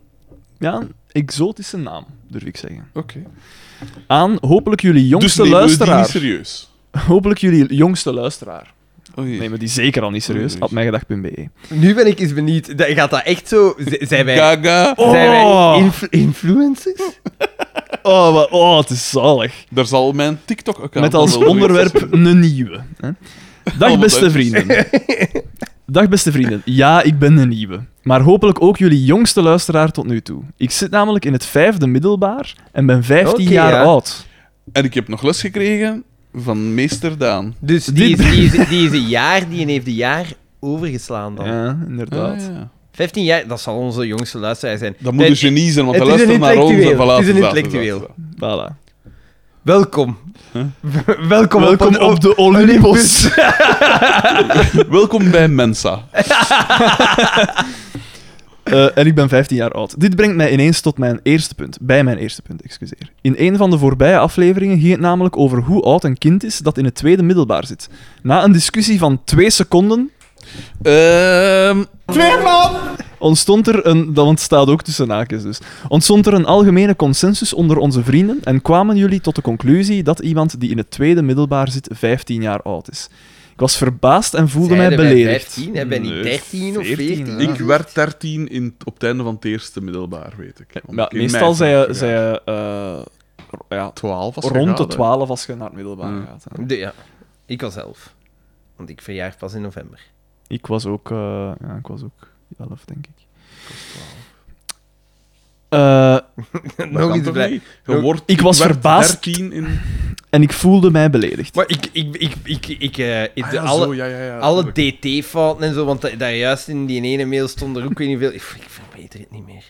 S3: ja, een exotische naam, durf ik zeggen.
S2: Oké.
S3: Aan hopelijk jullie
S2: Dus
S3: jongste
S2: nemen we die niet
S3: luisteraar.
S2: serieus.
S3: Hopelijk jullie jongste luisteraar.
S2: Oh jee.
S3: Nemen die zeker al niet serieus.
S2: Oei,
S3: Op mijngedag.be.
S1: Nu ben ik eens benieuwd. Dat- Gaat dat echt zo... Z- Zijn wij,
S2: Gaga.
S1: zijn wij
S3: Oh.
S1: inf- influencers?
S3: Oh, wat- oh, het is zalig.
S2: Daar zal mijn TikTok-account
S3: Met als
S2: van wel
S3: onderwerp
S2: weten.
S3: een nieuwe. hè. Dag
S2: wat
S3: beste
S2: leuk.
S3: vrienden. Dag beste vrienden. Ja, ik ben een nieuwe. Maar hopelijk ook jullie jongste luisteraar tot nu toe. Ik zit namelijk in het vijfde middelbaar en ben 15
S1: Oké,
S3: jaar
S1: ja.
S3: oud.
S2: En ik heb nog les gekregen van meester Daan.
S1: Dus die is, die, is, die is een jaar, die heeft een jaar overgeslaan dan.
S3: Ja, inderdaad.
S2: Ah, ja.
S1: 15 jaar, dat zal onze jongste luisteraar zijn.
S2: Dat moet dus een
S1: Ben-
S2: genie zijn, want
S1: het
S2: hij
S1: is een
S2: luistert naar ons. en
S1: intellectueel.
S2: voilà,
S1: Het is een
S2: voilà, voilà,
S1: intellectueel.
S2: voilà.
S3: Voilà.
S1: Welkom. Welkom,
S3: Welkom
S1: een-
S3: op de Olympus.
S2: Welkom bij Mensa.
S3: Eh, en ik ben 15 jaar oud. Dit brengt mij ineens tot mijn eerste punt. Bij mijn eerste punt, excuseer. In een van de voorbije afleveringen ging het namelijk over hoe oud een kind is dat in het tweede middelbaar zit. Na een discussie van twee seconden
S2: Ehm,
S3: ontstond er een... Dat ontstaat ook tussen haakjes dus. Ontstond er een algemene consensus onder onze vrienden en kwamen jullie tot de conclusie dat iemand die in het tweede middelbaar zit 15 jaar oud is. Ik was verbaasd en voelde mij
S1: Zeiden wij
S3: beledigd.
S1: 15, hè? Ben ik 13 of 14?
S3: hè.
S2: ik werd 13 in, op het einde van het eerste middelbaar, weet ik.
S3: Ja,
S2: Omdat ik in
S3: meestal
S2: mei
S3: zei je...
S2: ben
S3: Zei
S2: gegaan.
S3: je eh, ja,
S2: 12 was
S3: rond de
S2: gegaan, hè.
S3: 12 als je naar het middelbaar
S2: Mm.
S3: gaat. hè.
S1: De- ja. Ik was 11. Want ik verjaar pas in november.
S3: Ik was ook, eh, ja, ik was ook 11, denk ik. Eh,
S2: Dat
S1: Nog
S2: kan
S1: iets
S2: toch
S1: blij.
S2: niet? Je wordt,
S3: Ik was
S2: werd
S3: verbaasd.
S2: 13 in...
S3: en ik voelde mij beledigd.
S1: Maar ik, ik, ik, ik, ik, eh, ik-
S2: Ah,
S1: de-
S2: ja,
S1: alle,
S2: zo, ja, ja, ja,
S1: alle
S2: tuurlijk.
S1: DT-fouten en zo, want da- daar juist in die ene mail stond er ook weer niet veel. Ik, ik verbeter het niet meer.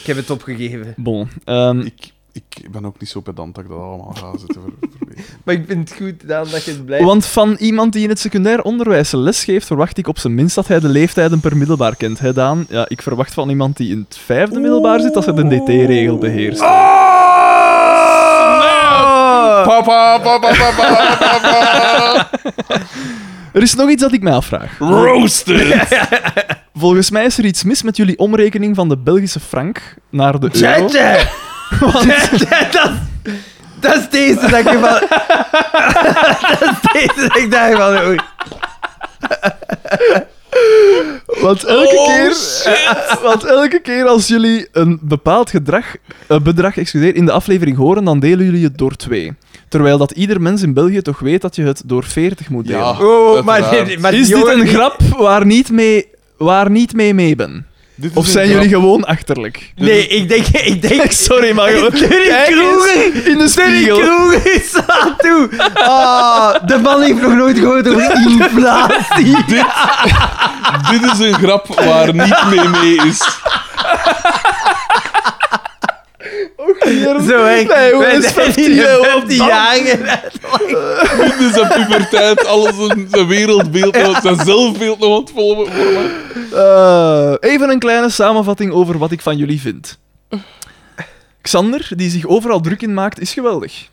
S1: Ik heb het opgegeven.
S3: Bon. ehm,
S2: Ik, ik ben ook niet zo pedant dat ik dat allemaal ga zitten ver, verweten.
S1: Maar ik vind het goed Daan, dat je het blijft.
S3: want van iemand die in het secundair onderwijs les geeft, verwacht ik op zijn minst dat hij de leeftijden per middelbaar kent. Hè, Daan? Ja, ik verwacht van iemand die in het vijfde middelbaar zit, dat hij de DT-regel beheerst.
S2: Papa, papa, papa,
S3: Er is nog iets dat ik mij afvraag.
S2: roasted!
S3: Volgens mij is er iets mis met jullie omrekening van de Belgische frank naar de euro.
S1: Tjetje! Tjetje, dat, is- dat is deze dat ik van. dat is deze dat ik daarvan hoor.
S3: Want elke,
S1: Oh,
S3: keer, want elke keer als jullie een bepaald gedrag, eh, bedrag excuseer, in de aflevering horen, dan delen jullie het door twee. Terwijl dat ieder mens in België toch weet dat je het door 40 moet delen.
S2: Ja,
S1: Oh, maar,
S2: uiteraard.
S1: dit- maar
S3: is
S1: die
S3: dit
S1: horen
S3: een
S1: niet-
S3: grap waar niet mee, waar niet mee, mee ben?
S2: Dit is
S3: Of
S2: een
S3: zijn
S2: grap.
S3: jullie gewoon achterlijk?
S1: Nee, ik denk. Ik denk
S3: Sorry, maar gewoon...
S1: Danny
S3: Kijk eens
S1: Kroeger!
S3: in de
S1: Danny
S3: spiegel.
S1: Kroeger slaat toe! Ah, de man heeft nog nooit gehoord over inflatie.
S2: Dit is een grap waar niet mee mee is.
S1: Zo, hè.
S3: Nee, hoe
S1: Wij
S3: is
S1: zijn
S3: 15
S1: in de
S3: euro
S1: 15 jaar geleden.
S2: Dit is een puberteit, alles een, een wereldbeeld, nog- zijn zelfbeeld nog aan het volgen. worden.
S3: Eh, even een kleine samenvatting over wat ik van jullie vind. Xander, die zich overal druk in maakt, is geweldig.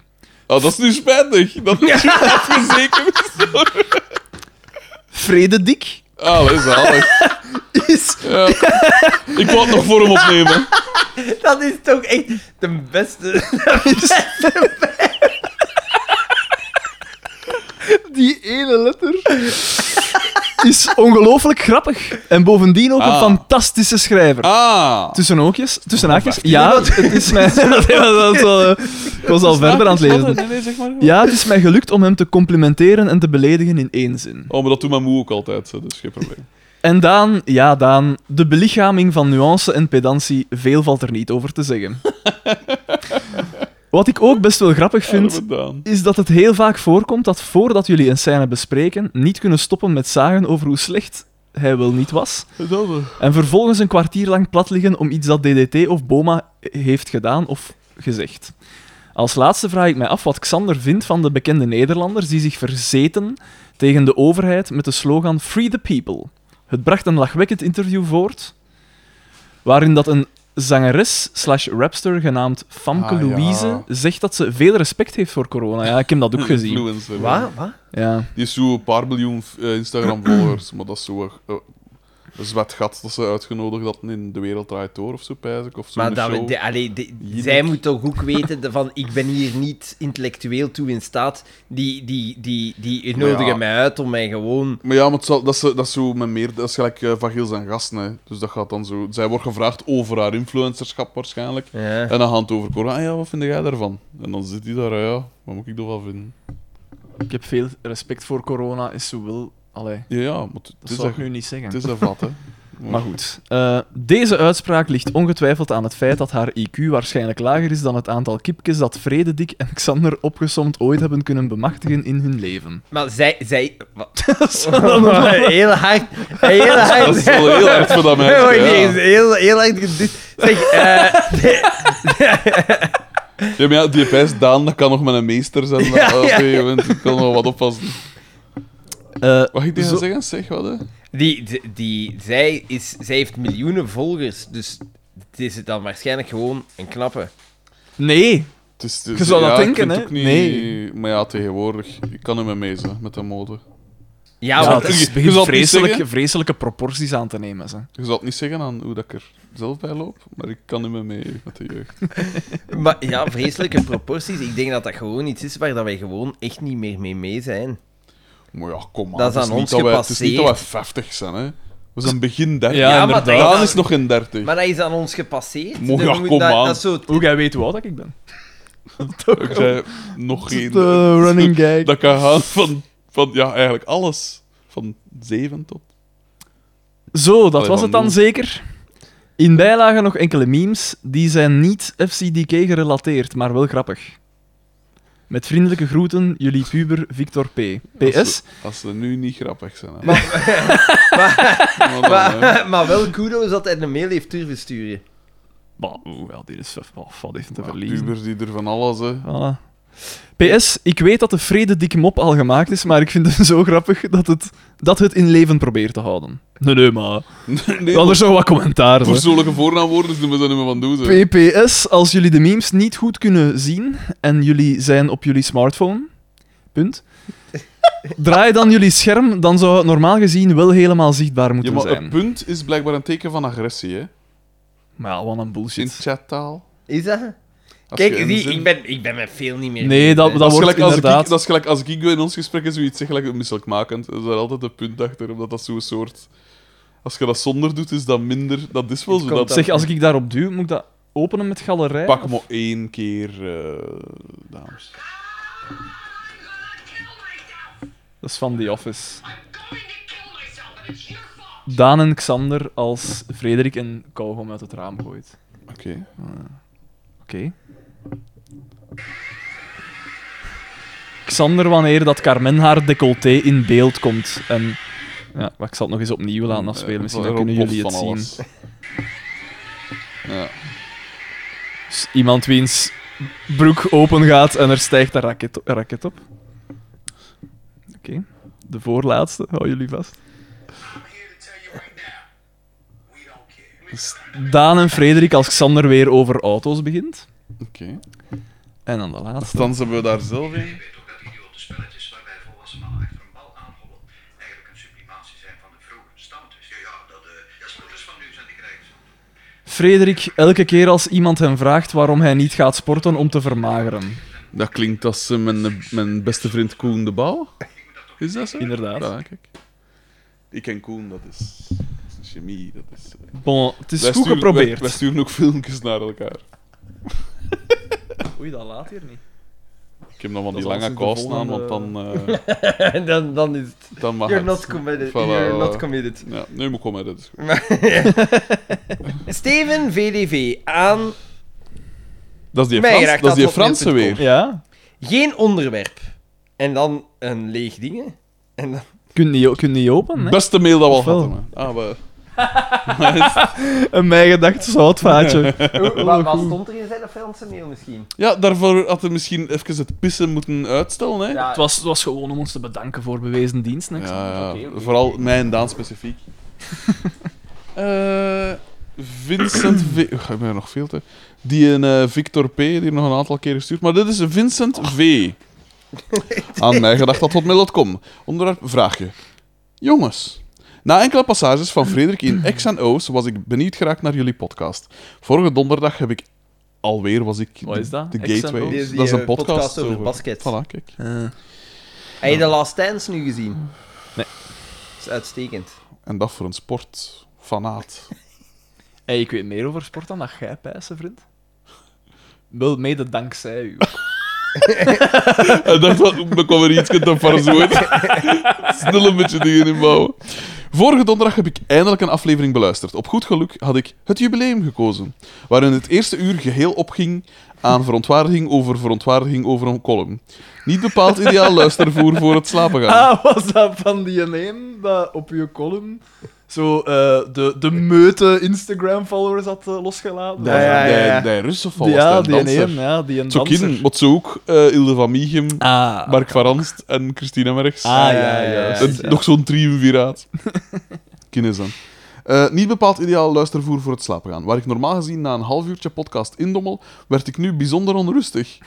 S2: Ah, dat is nu spijtig. Dat is nu even zeker. Sorry.
S3: Frededik
S2: Ah, dat is zalig.
S3: is.
S2: Ja. Ik wou het nog voor hem opnemen.
S1: Dat is toch echt de beste.
S3: Die ene letter is ongelooflijk grappig. En bovendien ook
S2: Ah.
S3: een fantastische schrijver.
S2: Ah.
S3: Tussen oogjes, tussen haakjes. Ja, het is mij. dat was al, eh, ik was al verder aan het lezen.
S2: Nee, nee, zeg maar.
S3: Ja, het is mij gelukt om hem te complimenteren en te beledigen in één zin.
S2: Oh, maar dat doet mijn moe ook altijd, hè, dus geen probleem.
S3: En Daan, ja Daan, de belichaming van nuance en pedantie, veel valt er niet over te zeggen. Wat ik ook best wel grappig vind,
S2: Arme Daan.
S3: is dat het heel vaak voorkomt dat voordat jullie een scène bespreken, niet kunnen stoppen met zagen over hoe slecht hij wel niet was. En vervolgens een kwartier lang plat liggen om iets dat DDT of Boma heeft gedaan of gezegd. Als laatste vraag ik mij af wat Xander vindt van de bekende Nederlanders die zich verzeten tegen de overheid met de slogan Free the People. Het bracht een lachwekkend interview voort, waarin dat een zangeres slash rapster genaamd Famke
S2: Ah, ja.
S3: Louise zegt dat ze veel respect heeft voor corona. Ja, ik heb dat ook gezien.
S2: Influencer.
S1: Wat? Wat?
S3: Ja.
S2: Die is zo een paar miljoen eh, Instagram-volgers, maar dat is zo eh, een zwart gat dat ze uitgenodigd hadden in De Wereld Draait Door of zo, pijs ik. Of zo
S1: Maar dat we, de, allee, de- zij moet toch ook weten de- van ik ben hier niet intellectueel toe in staat. Die, die, die, die
S2: Maar ja.
S1: nodigen mij uit om mij gewoon...
S2: Maar ja, maar het zal- dat, is, eh, dat is zo met meer... Dat is gelijk eh, van Gils en Gasten, hè. Dus dat gaat dan zo... Zij wordt gevraagd over haar influencerschap waarschijnlijk.
S1: Ja.
S2: En dan gaat het over corona. Ah ja, wat vind jij daarvan? En dan zit hij daar, ah ja, wat moet ik ervan vinden?
S3: Ik heb veel respect voor corona, is zo wel... Allee,
S2: Ja, ja, maar het- het
S3: dat
S2: is
S3: zou
S2: dat,
S3: ik nu niet
S2: het
S3: zeggen.
S2: is dat vat, hè.
S3: Maar goed. eh, deze uitspraak ligt ongetwijfeld aan het feit dat haar IQ waarschijnlijk lager is dan het aantal kipjes dat Vrededik en Xander opgesomd ooit hebben kunnen bemachtigen in hun leven.
S1: Maar zij... zij wat? heel hard. Heel hard.
S2: Dat is wel heel erg voor dat
S1: Ja, maar
S2: meisje,
S1: die
S2: ja.
S1: is heel, heel hard geduwd. Zeg, eh,
S2: Ja, maar ja, die pijs Daan, dat kan nog met een meester zijn.
S1: Ja,
S2: eh, op een
S1: ja.
S2: gegeven moment. Ik kan nog wat oppassen.
S3: Eh,
S2: Wat ik tegen
S3: Zo-
S2: zeggen? Zeg, wat, hè?
S1: die, die, die, zij, is, zij heeft miljoenen volgers, dus het is dan waarschijnlijk gewoon een knappe.
S3: nee,
S2: Het is- het is-
S3: Je zou dat
S2: ja, ik
S3: denken,
S2: vind het
S3: hè?
S2: ook niet-
S3: Nee.
S2: Maar ja, tegenwoordig, ik kan er mee mee zijn, met de mode.
S1: Ja,
S3: ja,
S1: want
S3: het is-
S2: Ah, je
S3: begint
S2: zal het niet
S3: vreselijke,
S2: zeggen.
S3: vreselijke proporties aan te nemen. Ze.
S2: Je zal het niet zeggen aan hoe dat ik er zelf bij loop, maar ik kan er mee mee met de jeugd.
S1: Maar ja, vreselijke proporties. Ik denk dat dat gewoon iets is waar dat wij gewoon echt niet meer mee mee zijn.
S2: Maar ja, kom maar.
S1: Dat is aan ons
S2: Het is niet dat wij 50 zijn, hè. We zijn begin 30.
S3: Ja, Ja, maar
S1: inderdaad. dat-
S2: Daan is nog geen 30.
S1: Maar dat is aan ons gepasseerd.
S2: Mooi,
S1: Dus
S2: ja,
S1: we moeten
S2: kom
S1: dat,
S2: aan.
S1: dat is zo...
S3: Hoe jij weet hoe oud ik ben.
S2: Ik zei nog geen...
S3: De running gag.
S2: Dat kan gaan van, van, ja, eigenlijk alles. Van 7 tot...
S3: Zo, dat
S2: Allee,
S3: was
S2: van
S3: het dan
S2: nul.
S3: zeker. In bijlagen nog enkele memes, die zijn niet FCDK gerelateerd, maar wel grappig. Met vriendelijke groeten, jullie puber Victor P. PS,
S2: Als ze, als ze nu niet grappig zijn. hè. Maar dan, hè.
S1: Maar, maar wel kudos dat hij een mail heeft durven sturen.
S3: Maar, hoewel, dit is wel wat even te
S2: Ja,
S3: verliezen.
S2: pubers die er van alles, hè.
S3: Voilà. PS, ik weet dat de vrede dikke mop al gemaakt is, maar ik vind het zo grappig dat het, dat het in leven probeert te houden. Nee, nee, maar...
S2: Nee,
S3: Anders zo wat commentaar. hè.
S2: Persoonlijke voornaamwoorden is nummer zijn nummer van doen, ze.
S3: PPS, als jullie de memes niet goed kunnen zien en jullie zijn op jullie smartphone, punt. Draai dan jullie scherm, dan zou het normaal gezien wel helemaal zichtbaar
S2: Ja,
S3: moeten
S2: maar
S3: zijn.
S2: een punt is blijkbaar een teken van agressie, hè.
S3: Maar ja, wat een
S2: In
S3: bullshit.
S2: chattaal.
S1: Is dat?
S2: Als je
S1: Kijk,
S2: een
S1: die,
S2: zin-
S1: ik, ben, ik ben met veel niet meer...
S3: Nee, dat,
S2: Dat
S3: dat
S2: is,
S3: wordt
S2: gelijk als ik,
S3: inderdaad...
S2: dat is gelijk als Gigo in ons gesprek zoiets zeg, gelijk misselijkmakend. Er is daar altijd een punt achter, omdat dat zo'n soort... Als je dat zonder doet, is dat minder... Dat is wel zo. Dat,
S3: Zeg, als ik daarop duw, moet ik dat openen met galerij?
S2: Pak maar één keer, eh, dames.
S3: Dat is van The Office. Daan en Xander als Frederik een kauwgom uit het raam gooit.
S2: Oké.
S3: Oké. Xander, wanneer dat Carmen haar decolleté in beeld komt. En, ja, maar ik zal het nog eens opnieuw laten afspelen,
S2: Eh,
S3: misschien
S2: van-
S3: dan kunnen
S2: Rob
S3: jullie
S2: Hof
S3: het
S2: van
S3: zien.
S2: alles. Ja.
S3: Dus iemand wiens broek open gaat en er stijgt een raket, een raket op. Oké, de voorlaatste, hou jullie vast. Daan en Frederik als Xander weer over auto's begint.
S2: Oké.
S3: En dan de laatste.
S2: Dan zijn we daar zelf in.
S9: Ik weet ook dat idiote spelletjes waarbij volwassenen mannen achter een bal aanhollen eigenlijk een sublimatie
S3: Frederik elke keer als iemand hem vraagt waarom hij niet gaat sporten om te vermageren.
S2: Dat klinkt als eh, mijn, mijn beste vriend Koen de Bouw. Is dat zo?
S3: Inderdaad.
S2: Ja, kijk. Ik ken Koen, dat is, dat is een chemie. Dat is,
S3: Bon, het is
S2: Wij
S3: goed
S2: sturen- wij-
S3: geprobeerd.
S2: wij sturen ook filmpjes naar elkaar.
S3: Oei, dat laat hier niet.
S2: Ik heb nog wel die
S3: Dat is
S2: lange
S3: als
S2: kous
S3: de
S2: aan, want dan, eh,
S1: En dan, dan is het...
S2: dan mag
S1: You're
S2: het.
S1: not committed.
S2: Voilà,
S1: You're not
S2: voilà.
S1: committed.
S2: Ja, nu moet ik komen, dat is goed.
S1: Steven VDV aan
S2: Dat is die,
S1: Mij
S2: Frans,
S1: raakt
S2: dat is die
S1: dat hotmail punt
S2: Franse
S1: com.
S2: weer.
S3: Ja?
S1: geen onderwerp. En dan een leeg ding. En dan...
S3: Kunt niet, kunt niet open, hè?
S2: Beste mail dat we al
S3: Ofwel.
S2: hadden. man. Ah, we-
S3: Een mijn gedacht zoutvaatje.
S1: Wat, wat stond er in zijn Franse mail misschien?
S2: Ja, daarvoor hadden we misschien even het pissen moeten uitstellen. Hè?
S1: Ja,
S3: het, was, het was gewoon om ons te bedanken voor bewezen dienst. niks.
S2: Ja, ja.
S1: Oké, oké.
S2: vooral mij en Daan specifiek. Eh, Vincent V. Oeh, ik ben er nog veel te. Die een eh, Victor P. die heeft nog een aantal keer gestuurd. Maar dit is Vincent V. Aan mij gedacht dat hotmail.com. Onderwerp vraagje. Jongens. Na enkele passages van Frederik in X en O's was ik benieuwd geraakt naar jullie podcast. Vorige donderdag heb ik alweer was ik
S3: Wat
S2: de-
S3: is dat?
S2: de
S3: X en
S2: Gateway.
S1: O's? Dit is die,
S2: dat is een
S1: eh,
S2: podcast,
S1: podcast over basket.
S2: Voilà, kijk.
S1: Heb je de Last Dance nu gezien? Nee. Dat is uitstekend.
S2: En dat voor een sportfanaat.
S3: Hey, ik weet meer over sport dan dat jij, Pijse, vriend. Wel mede dankzij u.
S2: Hij dacht, wat, dan kwam er iets te verzoet. Snel een beetje dingen inbouwen. Vorige donderdag heb ik eindelijk een aflevering beluisterd. Op goed geluk had ik het jubileum gekozen, waarin het eerste uur geheel opging aan verontwaardiging over verontwaardiging over een column. Niet bepaald ideaal luistervoer voor het slapen gaan.
S3: Ah, was dat van die een dat op je column zo eh, de, de meute Instagram-followers had eh, losgelaten?
S2: Die- die- Die Russen
S3: Die-
S2: volgens
S3: ja,
S2: ja,
S3: die een, ja, die een
S2: Zo
S3: danser.
S2: kind, wat zo ook eh, Ilde van Miegem,
S3: Ah,
S2: Mark van Ranst en Christina Merks.
S3: ah, ja, ja.
S1: Ja,
S3: ja,
S2: Het-
S3: ja.
S2: Nog zo'n triumviraat. Kines dan. Eh, niet bepaald ideaal luistervoer voor het slapen gaan. Waar ik normaal gezien na een half uurtje podcast indommel, werd ik nu bijzonder onrustig.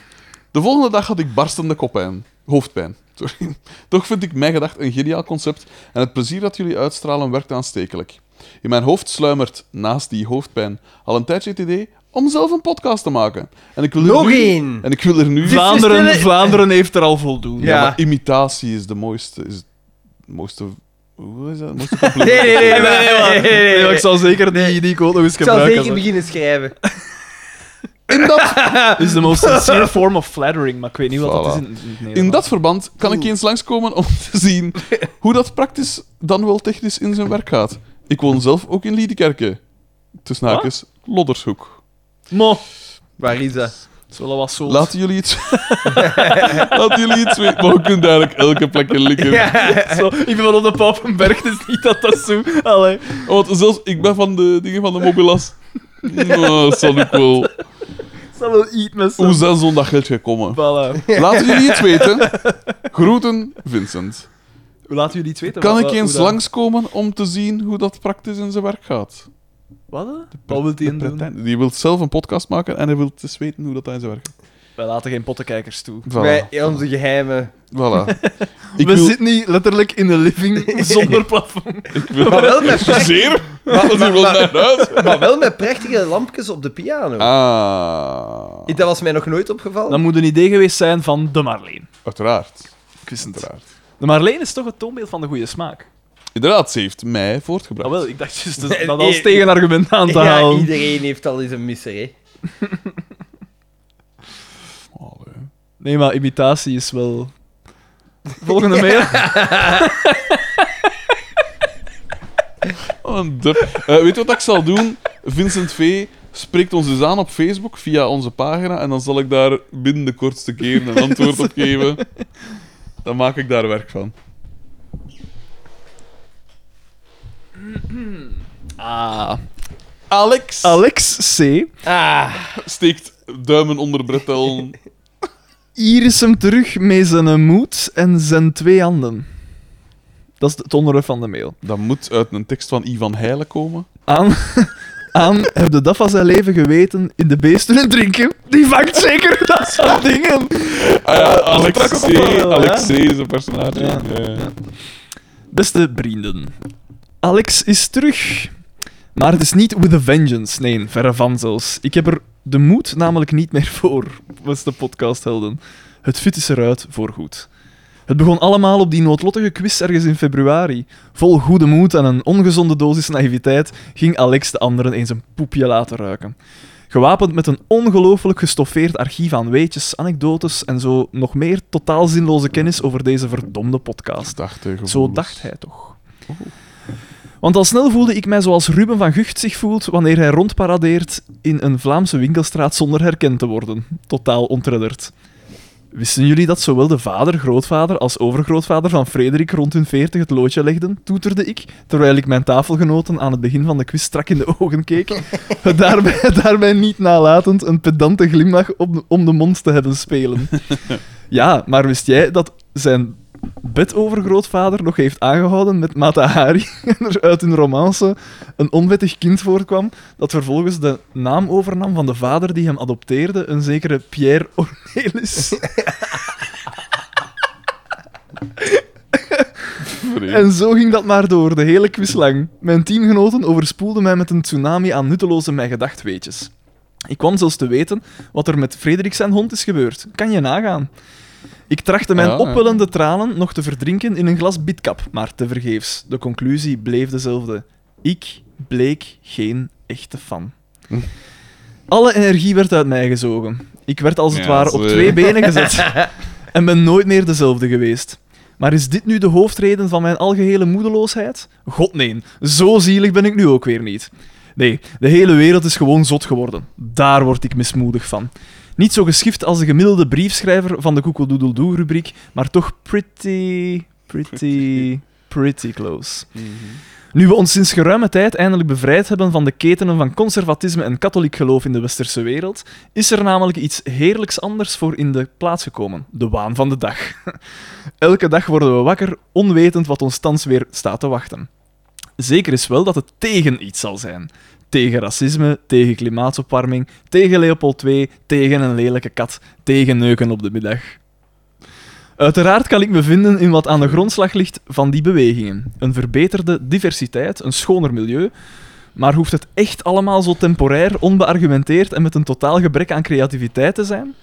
S2: De volgende dag had ik barstende koppijn. Hoofdpijn. Sorry. Toch vind ik mijn gedacht een geniaal concept en het plezier dat jullie uitstralen werkt aanstekelijk. In mijn hoofd sluimert, naast die hoofdpijn, al een tijdje het idee om zelf een podcast te maken. En ik wil er
S1: Nog
S2: nu-
S1: één.
S2: En ik wil er nu...
S3: Vlaanderen, Vlaanderen heeft er al voldoende.
S2: Ja,
S1: Ja.
S2: maar imitatie is de mooiste. Is het mooiste. Hoe is dat? Het mooiste compliment.
S1: Nee, nee, nee. nee, nee, nee,
S3: Nee,
S1: nee,
S3: maar
S1: nee.
S3: ik zal zeker die, die quote nog eens
S1: Ik zal
S3: gebruiken.
S1: zeker
S3: hè.
S1: beginnen schrijven.
S2: In dat,
S3: is de most sincere form of flattering, maar ik weet niet wat dat
S2: Voilà.
S3: is in, in het Nederlands.
S2: in dat verband kan ik eens langskomen om te zien hoe dat praktisch dan wel technisch in zijn werk gaat. Ik woon zelf ook in Liedekerke. Tussen haakjes, Loddershoek.
S3: Mo,
S1: Waar is dat?
S3: zullen was zo.
S2: Laten jullie iets... Laten jullie iets weten. Maar we kunnen eigenlijk elke plek in likken.
S3: zo. Ik ben wel op de Papenberg, dus niet dat dat zo. Allee.
S2: Oh, Want zelfs ik ben van de dingen van de mobilas. Nou, dat zal ook wel.
S3: zal wel iets met
S2: Hoe
S3: zo'n
S2: zijn zondag geld gekomen?
S3: ballen.
S2: Laten jullie iets weten. Groeten, Vincent.
S3: Hoe laten jullie iets weten?
S2: Kan
S3: Wat-
S2: ik
S3: hoe
S2: eens
S3: dat-
S2: langskomen om te zien hoe dat praktisch in zijn werk gaat?
S3: Wat? hè? Wat wil die
S2: De
S3: een doen?
S2: pretend- Die wil zelf een podcast maken en hij wil eens weten hoe dat in zijn werk gaat.
S3: Wij laten geen pottenkijkers toe.
S2: Voilà.
S1: Bij onze geheimen.
S2: voilà. ik
S3: We
S2: wil...
S3: zitten niet letterlijk in de living zonder plafond.
S2: Ik wil...
S1: Maar wel met, pracht-
S2: Zeer? Dat is hier wel naar huis.
S1: maar wel met prachtige lampjes op de piano.
S2: Ah.
S1: Dat was mij nog nooit opgevallen.
S3: Dat moet een idee geweest zijn van de Marleen.
S2: Uiteraard.
S3: Ik wist het.
S2: Uiteraard.
S3: De Marleen is toch het toonbeeld van de goede smaak.
S2: Inderdaad, ze heeft mij voortgebracht.
S3: Ah, wel, ik dacht juist
S1: Nee,
S3: dat dat als
S1: nee.
S3: tegenargument aan te
S1: ja,
S3: halen.
S1: iedereen heeft al eens een misser, hè.
S2: Hm. Allee.
S3: Nee, maar imitatie is wel. Volgende mail.
S2: Oh, een dub. Eh, weet je wat ik zal doen? Vincent V. spreekt ons dus aan op Facebook via onze pagina en dan zal ik daar binnen de kortste keer een antwoord op geven. Dan maak ik daar werk van.
S3: Ah.
S2: Alex
S3: Alex C.
S2: steekt duimen onder brettel.
S3: Hier is hem terug met zijn moed en zijn twee handen. Dat is het onderwerp van de mail.
S2: Dat moet uit een tekst van Ivan Heijlen komen.
S3: Aan, aan heb de dag van zijn leven geweten in de beesten en drinken. Die vangt zeker dat soort dingen.
S2: Ah ja, Alex
S3: dat trok
S2: C.
S3: ook wel wel,
S2: Alex C.
S3: hè?
S2: is een personage.
S3: Ja.
S2: Ja, ja.
S3: Beste vrienden. Alex is terug. Maar het is niet with a vengeance, nee, verre van zelfs. Ik heb er de moed namelijk niet meer voor, was de podcast helden. Het fit is eruit voorgoed. Het begon allemaal op die noodlottige quiz ergens in februari. Vol goede moed en een ongezonde dosis naïviteit ging Alex de anderen eens een poepje laten ruiken. Gewapend met een ongelooflijk gestoffeerd archief aan weetjes, anekdotes en zo nog meer totaal zinloze kennis over deze verdomde podcast.
S2: Dachten gevoelens.
S3: Zo dacht hij toch. Want al snel voelde ik mij zoals Ruben van Gucht zich voelt wanneer hij rondparadeert in een Vlaamse winkelstraat zonder herkend te worden. Totaal ontredderd. Wisten jullie dat zowel de vader, grootvader als overgrootvader van Frederik rond hun veertig het loodje legden? Toeterde ik, terwijl ik mijn tafelgenoten aan het begin van de quiz strak in de ogen keek, het daarbij, daarbij niet nalatend een pedante glimlach om, om de mond te hebben spelen. Ja, maar wist jij dat zijn bedovergrootvader nog heeft aangehouden met Mata Hari en er uit hun romance een onwettig kind voorkwam dat vervolgens de naam overnam van de vader die hem adopteerde, een zekere Pierre Ornelis.
S2: Vreemd.
S3: En zo ging dat maar door, de hele quiz lang. Mijn teamgenoten overspoelden mij met een tsunami aan nutteloze mijn gedachtweetjes. Ik kwam zelfs te weten wat er met Frederik zijn hond is gebeurd. Kan je nagaan. Ik trachtte mijn
S2: Ja, ja.
S3: opwellende tranen nog te verdrinken in een glas bitkap, maar tevergeefs. De conclusie bleef dezelfde. Ik bleek geen echte fan.
S2: Hm.
S3: Alle energie werd uit mij gezogen. Ik werd als het
S2: Ja,
S3: ware
S2: dat is,
S3: op
S2: eh,
S3: twee benen gezet en ben nooit meer dezelfde geweest. Maar is dit nu de hoofdreden van mijn algehele moedeloosheid? God nee, zo zielig ben ik nu ook weer niet. Nee, de hele wereld is gewoon zot geworden. Daar word ik mismoedig van. Niet zo geschift als de gemiddelde briefschrijver van de Koekeldoedeldoe-rubriek, maar toch pretty, pretty, pretty close. Nu we ons sinds geruime tijd eindelijk bevrijd hebben van de ketenen van conservatisme en katholiek geloof in de westerse wereld, is er namelijk iets heerlijks anders voor in de plaats gekomen: de waan van de dag. Elke dag worden we wakker, onwetend wat ons thans weer staat te wachten. Zeker is wel dat het tegen iets zal zijn. Tegen racisme, tegen klimaatopwarming, tegen Leopold II, tegen een lelijke kat, tegen neuken op de middag. Uiteraard kan ik me vinden in wat aan de grondslag ligt van die bewegingen. Een verbeterde diversiteit, een schoner milieu. Maar hoeft het echt allemaal zo temporair, onbeargumenteerd en met een totaal gebrek aan creativiteit te zijn?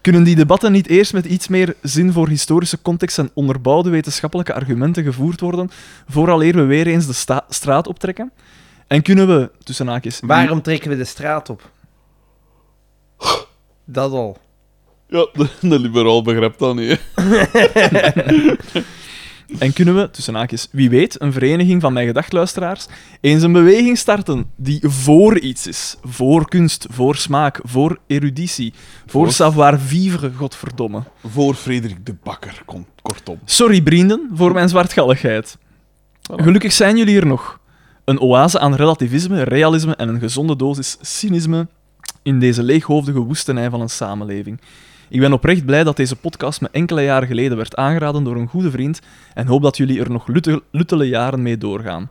S3: Kunnen die debatten niet eerst met iets meer zin voor historische context en onderbouwde wetenschappelijke argumenten gevoerd worden, vooraleer we weer eens de sta- straat optrekken? En kunnen we, tussen haakjes...
S1: Waarom trekken we de straat op? Dat al.
S2: Ja, de, de liberaal begrijpt dat niet. hè.
S3: En kunnen we, tussen haakjes, wie weet, een vereniging van mijn gedachtluisteraars, eens een beweging starten die voor iets is. Voor kunst, voor smaak, voor eruditie, voor,
S2: Voor-
S3: savoir-vivre, godverdomme.
S2: Voor Frederik de Bakker, kon- kortom.
S3: Sorry, vrienden, voor mijn zwartgalligheid. Gelukkig zijn jullie er nog. Een oase aan relativisme, realisme en een gezonde dosis cynisme in deze leeghoofdige woestenij van een samenleving. Ik ben oprecht blij dat deze podcast me enkele jaren geleden werd aangeraden door een goede vriend en hoop dat jullie er nog lutte- luttele jaren mee doorgaan.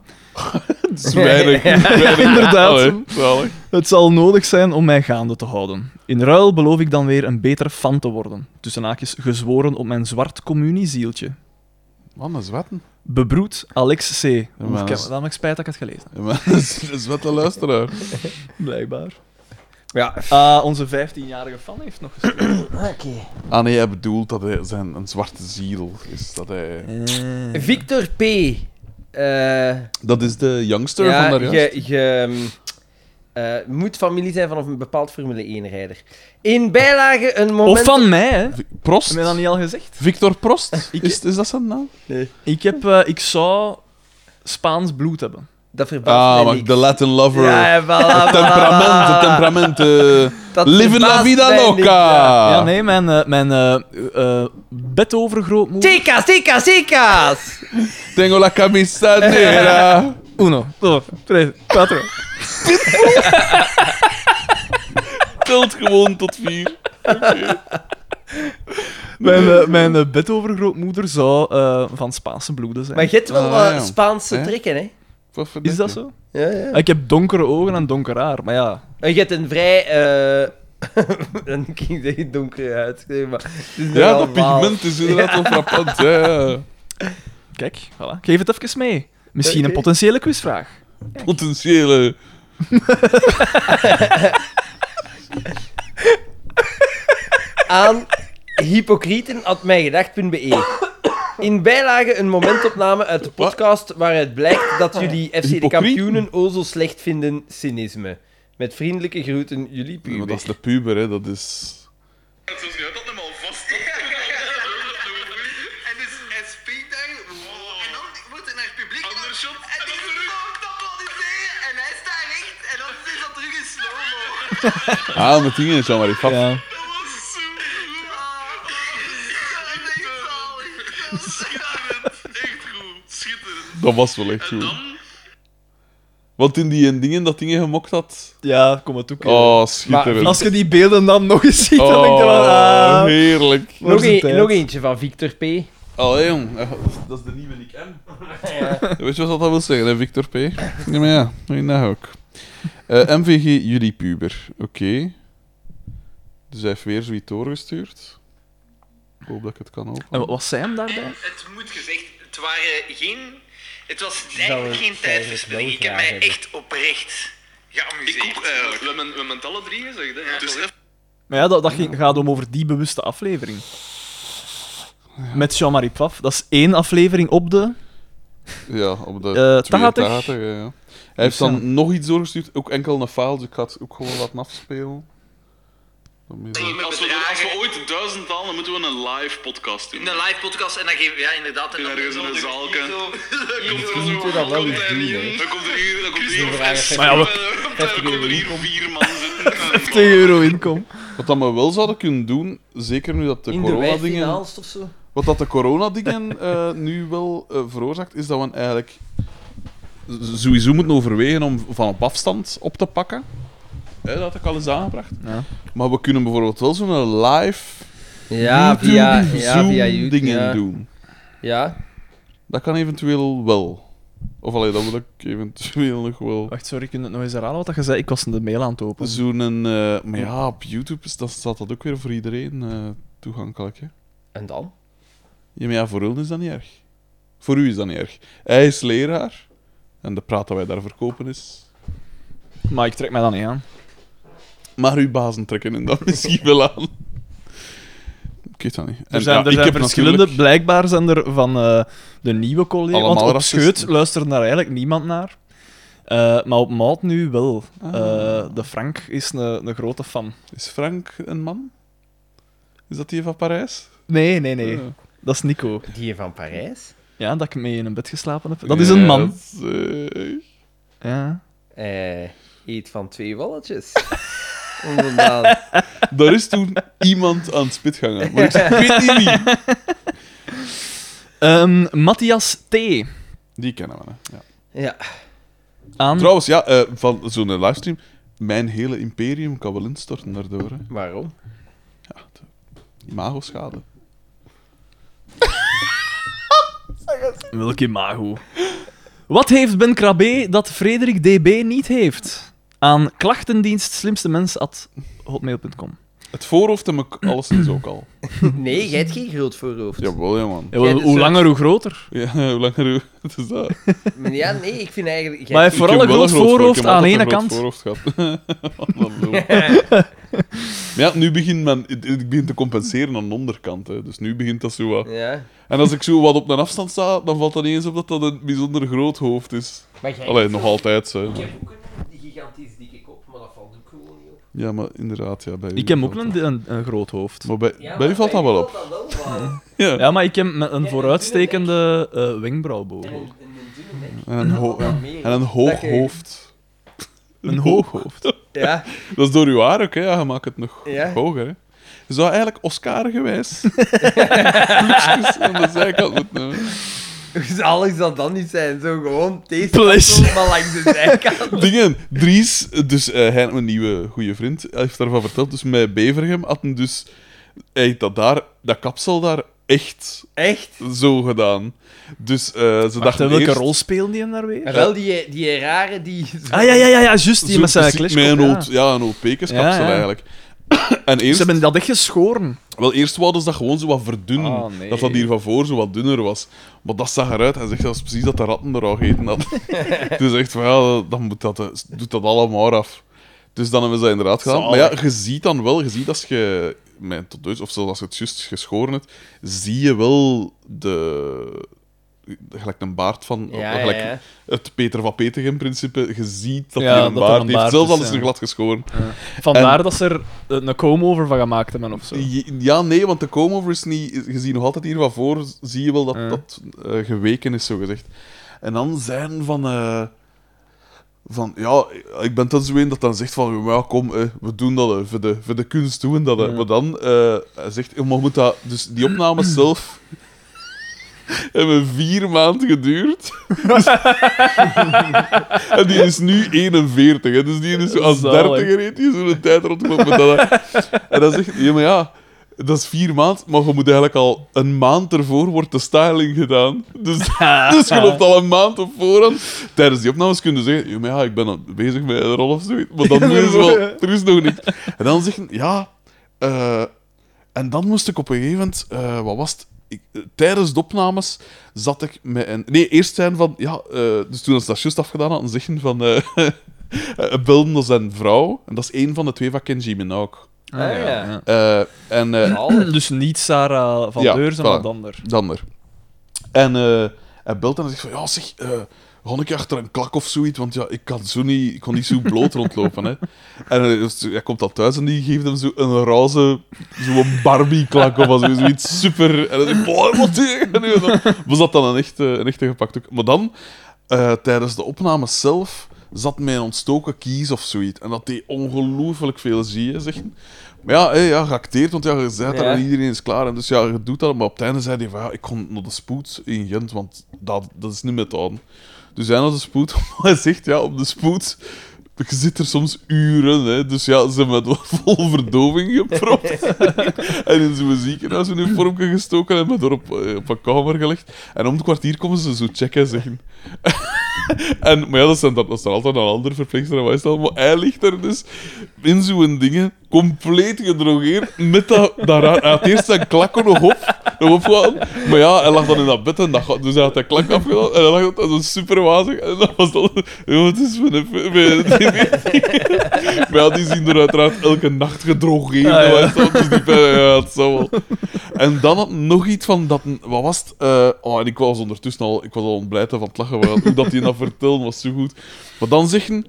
S2: Het is weinig. weinig.
S3: Inderdaad.
S2: Allee, zalig.
S3: Het zal nodig zijn om mij gaande te houden. In ruil beloof ik dan weer een betere fan te worden. Tussen haakjes gezworen op mijn zwart communiezieltje.
S2: Man, dat is wetten.
S3: Bebroed Alex C.
S2: maar dat is-
S3: Dan heb ik spijt dat ik het gelezen
S2: Ja, maar Dat is, dat is wat de luisteraar.
S3: heb. Blijkbaar.
S1: Ja,
S3: Ah, onze 15-jarige fan heeft nog geschreven.
S2: Ah nee, hij bedoelt dat hij zijn een zwarte ziel is. Dat, hij...
S1: Victor P. Eh,
S2: dat is de youngster
S1: ja,
S2: van daar juist.
S1: je, je, mm, eh, moet familie zijn vanaf een bepaald Formule 1-rijder. In bijlage een moment...
S3: Of van mij, hè? Heb
S2: Vi- Prost?
S3: je dat niet al gezegd?
S2: Victor Prost? Is, is dat zijn naam?
S3: Ik, heb, eh, ik zou Spaans bloed hebben.
S1: Dat verbaast
S2: Ah,
S1: mij
S2: maar
S1: niks.
S2: de Latin lover.
S1: Ja, voilà, voilà,
S2: Temperament,
S1: voilà.
S2: het temperament. eh.
S1: Dat
S2: Living la
S1: verbaast
S2: vida
S1: mij niks, ja.
S2: loca.
S3: Ja, nee, mijn, eh, mijn eh, eh, bedovergrootmoeder...
S1: Chicas, chicas, chicas!
S2: Tengo la camisa negra.
S3: Uno, dos, tres, cuatro.
S2: Telt gewoon tot vier.
S3: Mijn, eh, mijn eh, bedovergrootmoeder zou eh, van Spaanse bloeden zijn.
S1: Maar je hebt wel
S2: Ah,
S1: eh,
S2: ja.
S1: Spaanse
S2: Hè?
S1: trekken, hè?
S2: Wat voor
S3: Is dat
S2: nek,
S3: zo?
S1: Ja, ja.
S3: Ik heb donkere ogen en donker haar, maar ja.
S1: En je hebt een vrij... eh dan ging het donker uit. Maar het is
S2: hè? Ja,
S1: nogal
S2: dat
S1: waal.
S2: pigment is inderdaad wel frappant. Ja, ja.
S3: Kijk, voilà. geef het even mee. Misschien een
S1: Oké.
S3: potentiële quizvraag.
S2: potentiële.
S1: aan hypocrieten.mijgedacht.be. In bijlage een momentopname uit de podcast waaruit blijkt dat jullie FC de
S2: Ah. Hypocrieten?
S1: kampioenen o zo slecht vinden cynisme. Met vriendelijke groeten, jullie
S2: Maar
S1: puber.
S2: dat is de puber, hè. Dat is...
S8: En dus hij speelt daar. En dan wordt er naar het publiek. Oh. Ander shot. En die is ook te applaudisseren. En hij staat recht. En dan is dat terug in slow-mo.
S2: Ah, met dingen, Jean-Marie Pap.
S3: Ja.
S8: Dat was zo goed. Ah, Dat is echt zalig. Dat is echt goed. Schitterend.
S2: Dat was wel echt goed. Want in die eh, dingen dat dingen gemokt had...
S3: Ja, kom maar toe. kerel.
S2: Oh, schitterend.
S3: Als je die beelden dan nog eens ziet, dan denk je wel...
S2: Oh,
S3: ah.
S2: heerlijk.
S3: Voor
S1: Nog,
S3: zijn
S1: een-
S3: tijd.
S1: nog eentje van Victor P.
S2: Allee, jong. eh, Dat is de nieuwe Nick M. Weet je wat dat wil zeggen, hè, Victor P? Ja, maar ja. Doe je nou ook. Eh, MVG, jullie puber. Oké. Dus hij heeft weer zoiets doorgestuurd. Ik hoop dat ik het kan
S3: En
S2: openen.
S3: wat was hem daarbij?
S8: Het moet gezegd, het waren geen... Het was eigenlijk geen tijdverspilling. Ik heb mij echt oprecht geamuseerd. Ik ook eigenlijk. We hebben, we het alle drie gezegd. Hè? dus
S3: Maar ja, dat, dat ging, gaat om over die bewuste aflevering. Met Jean-Marie Pfaff. Dat is één aflevering op de...
S2: Ja, op de
S3: Eh,
S2: 82.
S3: 80.
S2: ja, ja. Hij heeft dan nog iets doorgestuurd, ook enkel een file, dus ik ga het ook gewoon laten afspelen. Dan meer-
S8: Als we, als we ooit duizend halen, dan moeten we een live podcast doen. Een live podcast en dan geven we ja, inderdaad een ergens in een zaalke. Dan komt er
S1: dat wel
S8: komt
S1: eens
S8: hij
S1: doen,
S8: niet in. Dan komt er hier, dan komt er hier.
S1: vragen
S8: Maar
S3: ja, we-
S8: dan komt er hier vier man zitten.
S3: 10 euro inkom.
S2: Wat dat we wel zouden kunnen doen, zeker nu dat de
S1: In de
S2: corona-dingen...
S1: wijfinals of zo.
S2: Wat dat de corona-dingen eh, nu wel eh, veroorzaakt, is dat we eigenlijk z- sowieso moeten overwegen om van op afstand op te pakken. Hè, dat had ik al eens aangebracht.
S3: Ja.
S2: Maar we kunnen bijvoorbeeld wel zo'n live
S1: Ja, Ah, via, ja,
S2: YouTube
S1: via
S2: Zoom
S1: YouTube.
S2: dingen
S1: ja.
S2: doen.
S1: Ja.
S2: Dat kan eventueel wel. Of alleen dat wil ik eventueel nog wel.
S3: Wacht, sorry, kun je het nog eens herhalen wat je zei? Ik was de mail aan het openen.
S2: Zo'n. eh maar ja, op YouTube is, dat, staat dat ook weer voor iedereen eh, toegankelijk. Hè?
S1: En dan?
S2: Ja, maar ja, voor hun is dat niet erg. Voor u is dat niet erg. Hij is leraar. En de praat dat wij daar verkopen is.
S3: Maar ik trek mij dan niet aan.
S2: Maar uw bazen trekken en dat misschien wel aan. Ik weet dat niet. En
S3: Er zijn,
S2: ja,
S3: er
S2: ik
S3: zijn
S2: heb
S3: verschillende,
S2: natuurlijk-
S3: blijkbaar zijn er van eh, de nieuwe collega's. Want
S2: Allemaal
S3: op
S2: racisten.
S3: Scheut luistert daar eigenlijk niemand naar. Eh, maar op Maalt nu wel. Eh, de Frank is een een grote fan.
S2: Is Frank een man? Is dat die van Parijs?
S3: Nee, nee, nee.
S2: Ja.
S3: Dat is Nico.
S1: Die van Parijs?
S3: Ja, dat ik mee in een bed geslapen heb. Dat is een
S2: Ja,
S3: man.
S2: dat is, eh,
S3: Ja.
S1: Eh, eet van twee walletjes. Onderaan.
S2: Daar is toen iemand aan het spit gaan. Maar ik weet niet wie.
S3: Ehm, Matthias T.
S2: Die kennen we. Hè. Ja.
S1: Ja.
S3: Aan...
S2: Trouwens, ja, eh, van zo'n eh, livestream. Mijn hele imperium kan wel instorten daardoor. Hè.
S1: Waarom?
S2: Imago-schade.
S3: Welk imago. Wat heeft Ben Krabbe dat Frederik DB niet heeft? Aan klachtendienst slimste mens at hotmail.com.
S2: Het voorhoofd heb ik alleszins ook al.
S1: Nee, jij hebt geen groot voorhoofd.
S2: Jawel, ja, man.
S3: Ja, wel,
S1: dus,
S3: hoe
S1: eh,
S3: langer, hoe groter.
S2: Ja, hoe langer het is dat? Ik
S1: Maar Ja, nee, ik vind eigenlijk... jij-
S3: Maar hij heeft
S2: heb
S3: vooral een
S2: wel
S3: groot voorhoofd
S2: ik heb
S3: aan de
S2: altijd
S3: ene
S2: een groot
S3: kant.
S2: voorhoofd gehad. Wat een lul. ja, nu begint men... het- Ik begin te compenseren aan de onderkant. Hè. Dus nu begint dat zo wat...
S1: Ja.
S2: En als ik zo wat op een afstand sta, dan valt dat ineens op dat dat een bijzonder groot hoofd is.
S1: Maar jij...
S2: Alleen nog altijd, hè.
S1: Ik heb ook een gigantisch dikke kop, maar dat valt ook gewoon niet op.
S2: Ja, maar inderdaad, ja, bij u
S3: Ik heb
S2: valt
S3: ook
S2: dat.
S3: een, een, een groot hoofd.
S2: Maar bij, bij u valt dat wel op. Ja.
S3: Ja, maar ik heb met een vooruitstekende eh wenkbrauw boven.
S2: En een, ho- en, en een hoog
S1: Dat je-
S2: hoofd.
S3: Een hoog hoofd.
S1: Ja,
S2: Dat is door uw haar ook, hè? Ja, je maakt het nog
S1: Ja.
S2: hoger, hè? Je zou eigenlijk Oscar gewijs. Luxus aan de zijkant moeten nemen.
S1: hoe zalig zal Dus dat niet zijn? Zo gewoon deze
S3: Plus.
S1: kant op, maar langs de zijkant.
S2: Dingen, Dries, dus eh, hij, mijn nieuwe goede vriend, hij heeft daarvan verteld. Dus met Bevergem had hem dus. Hij heeft dat, daar, dat kapsel daar echt
S1: Echt?
S2: zo gedaan. Dus eh, ze
S3: Wacht,
S2: dachten.
S3: en welke
S2: eerst-
S3: rol speelde die daar weer?
S1: Wel, die, die rare die...
S3: Ah ja, ja, ja, ja juist. Die
S2: Zo
S3: met zijn
S2: precies
S3: klesje.
S2: Met een
S3: ja.
S2: oud, ja, een oud pekerskapsel
S3: Ja, ja.
S2: eigenlijk. En
S3: Ze
S2: eerst,
S3: hebben dat echt geschoren.
S2: wel, eerst wouden ze dat gewoon zo wat verdunnen.
S3: Ah, nee.
S2: Dat dat hier van voor zo wat dunner was. Maar dat zag eruit. Hij zegt dat is precies dat de ratten er al gegeten hadden. dus echt van ja, dan moet dat, eh, doet dat allemaal af. Dus dan hebben ze dat inderdaad gedaan. Maar ja, je ziet dan wel, je ziet als je mijn tot Duits, of zelfs als je het juist geschoren hebt, zie je wel de. Gelijk een baard van.
S1: Ja, ja,
S2: gelijk
S1: ja.
S2: Het Peter van Petig in principe. Je ziet dat
S3: Ja,
S2: hij een,
S3: dat er
S2: baard
S3: een
S2: heeft.
S3: baard
S2: Zelfs al
S3: is,
S2: is
S3: ja.
S2: er glad geschoren.
S3: Vandaar dat ze er eh, een comb-over van gemaakt hebben of zo.
S2: Je- Ja, nee, want de comb-over is niet... Je ziet nog altijd hier van voor, zie je wel dat dat eh, geweken is, zogezegd. En dan zijn van... eh, van, ja, ik ben dan zo een dat dan zegt van... Ja, kom, eh, we doen dat, eh, voor, de, voor de kunst doen we dat. eh." Maar dan eh, hij zegt... "Ja, Maar moet dat... Dus die opnames zelf... hebben vier maanden geduurd. Dus- en die is nu 41, hè, dus die is zo als
S3: Zalig.
S2: 30 reed die zo'n tijd rondgelopen. met dat- en dan zegt hij, ja, maar ja, dat is vier maand, maar je moet eigenlijk al een maand ervoor wordt de styling gedaan. Dus, dus je loopt al een maand op voorhand. Tijdens die opnames kunnen ze zeggen, ja, maar ja, ik ben al bezig met een rol of zoiets. Maar dan is wel, er is nog niks. En dan zeggen, ja, eh, en dan moest ik op een gegeven moment, eh, wat was het? Ik, eh, tijdens de opnames zat ik met een. Nee, eerst zijn van. Ja, eh, dus toen ze dat juist afgedaan hadden, zeggen van. eh eh, belden dat zijn vrouw. En dat is één van de twee van Kenji Minogue.
S1: Ah, ja. ja.
S2: Eh, en eh,
S3: Dus niet Sarah van
S2: Ja,
S3: Deurzen,
S2: voilà.
S3: maar Dander.
S2: dan er. En eh, hij belt en hij zegt van, ja zeg, eh ga een keer achter een klak of zoiets, want ja, ik kan zo niet, ik kon niet zo bloot rondlopen, hè. En eh, dus hij komt dan thuis en die geeft hem zo een roze, zo'n Barbie-klak of zo, zoiets super. En hij zegt, boah, wat tegen En dan was dat dan een echte, een echte gepakt ook. Maar dan, eh, tijdens de opname zelf, zat mij een ontstoken kies of zoiets. En dat deed ongelooflijk veel zie je, zeggen. Maar ja, hé, ja, geacteerd, want ja, je bent daar
S1: Ja.
S2: en iedereen is klaar. En dus ja, je doet dat. Maar op het einde zei hij van ja, ik kon naar de spoed in Gent, want dat, dat is niet met aan. Dus hij naar de spoed, maar hij zegt ja, op de spoed. Je zit er soms uren, hè. dus ja, ze hebben het vol verdoving gepropt. en in zo'n ziekenhuis een vormje gestoken en met haar op, eh, op een kamer gelegd. En om het kwartier komen ze zo checken en zeggen. En, maar ja, dat is, dan, dat is dan altijd een ander verpleegster en wat is dat allemaal. Hij ligt er dus in zo'n dingen, compleet gedrogeerd, met dat, dat raar... Hij had eerst zijn klakken nog op, nog opgehouden. Maar ja, hij lag dan in dat bed en dat, gaat- dus hij had zijn klak afgedaan en hij lag dan zo superwazig. En dat was dan... Joh, het is mijn... mijn- mijn- Maar ja, die zien er uiteraard elke nacht gedrogeerd. en wat is dat? Dus die pijn, ja, het zal wel. En dan had nog iets van dat... Wat was het? Eh, oh, en ik was ondertussen al... Ik was al ontblijten van het lachen. want Hoe dat hij dat vertelde was zo goed. Maar dan zeggen...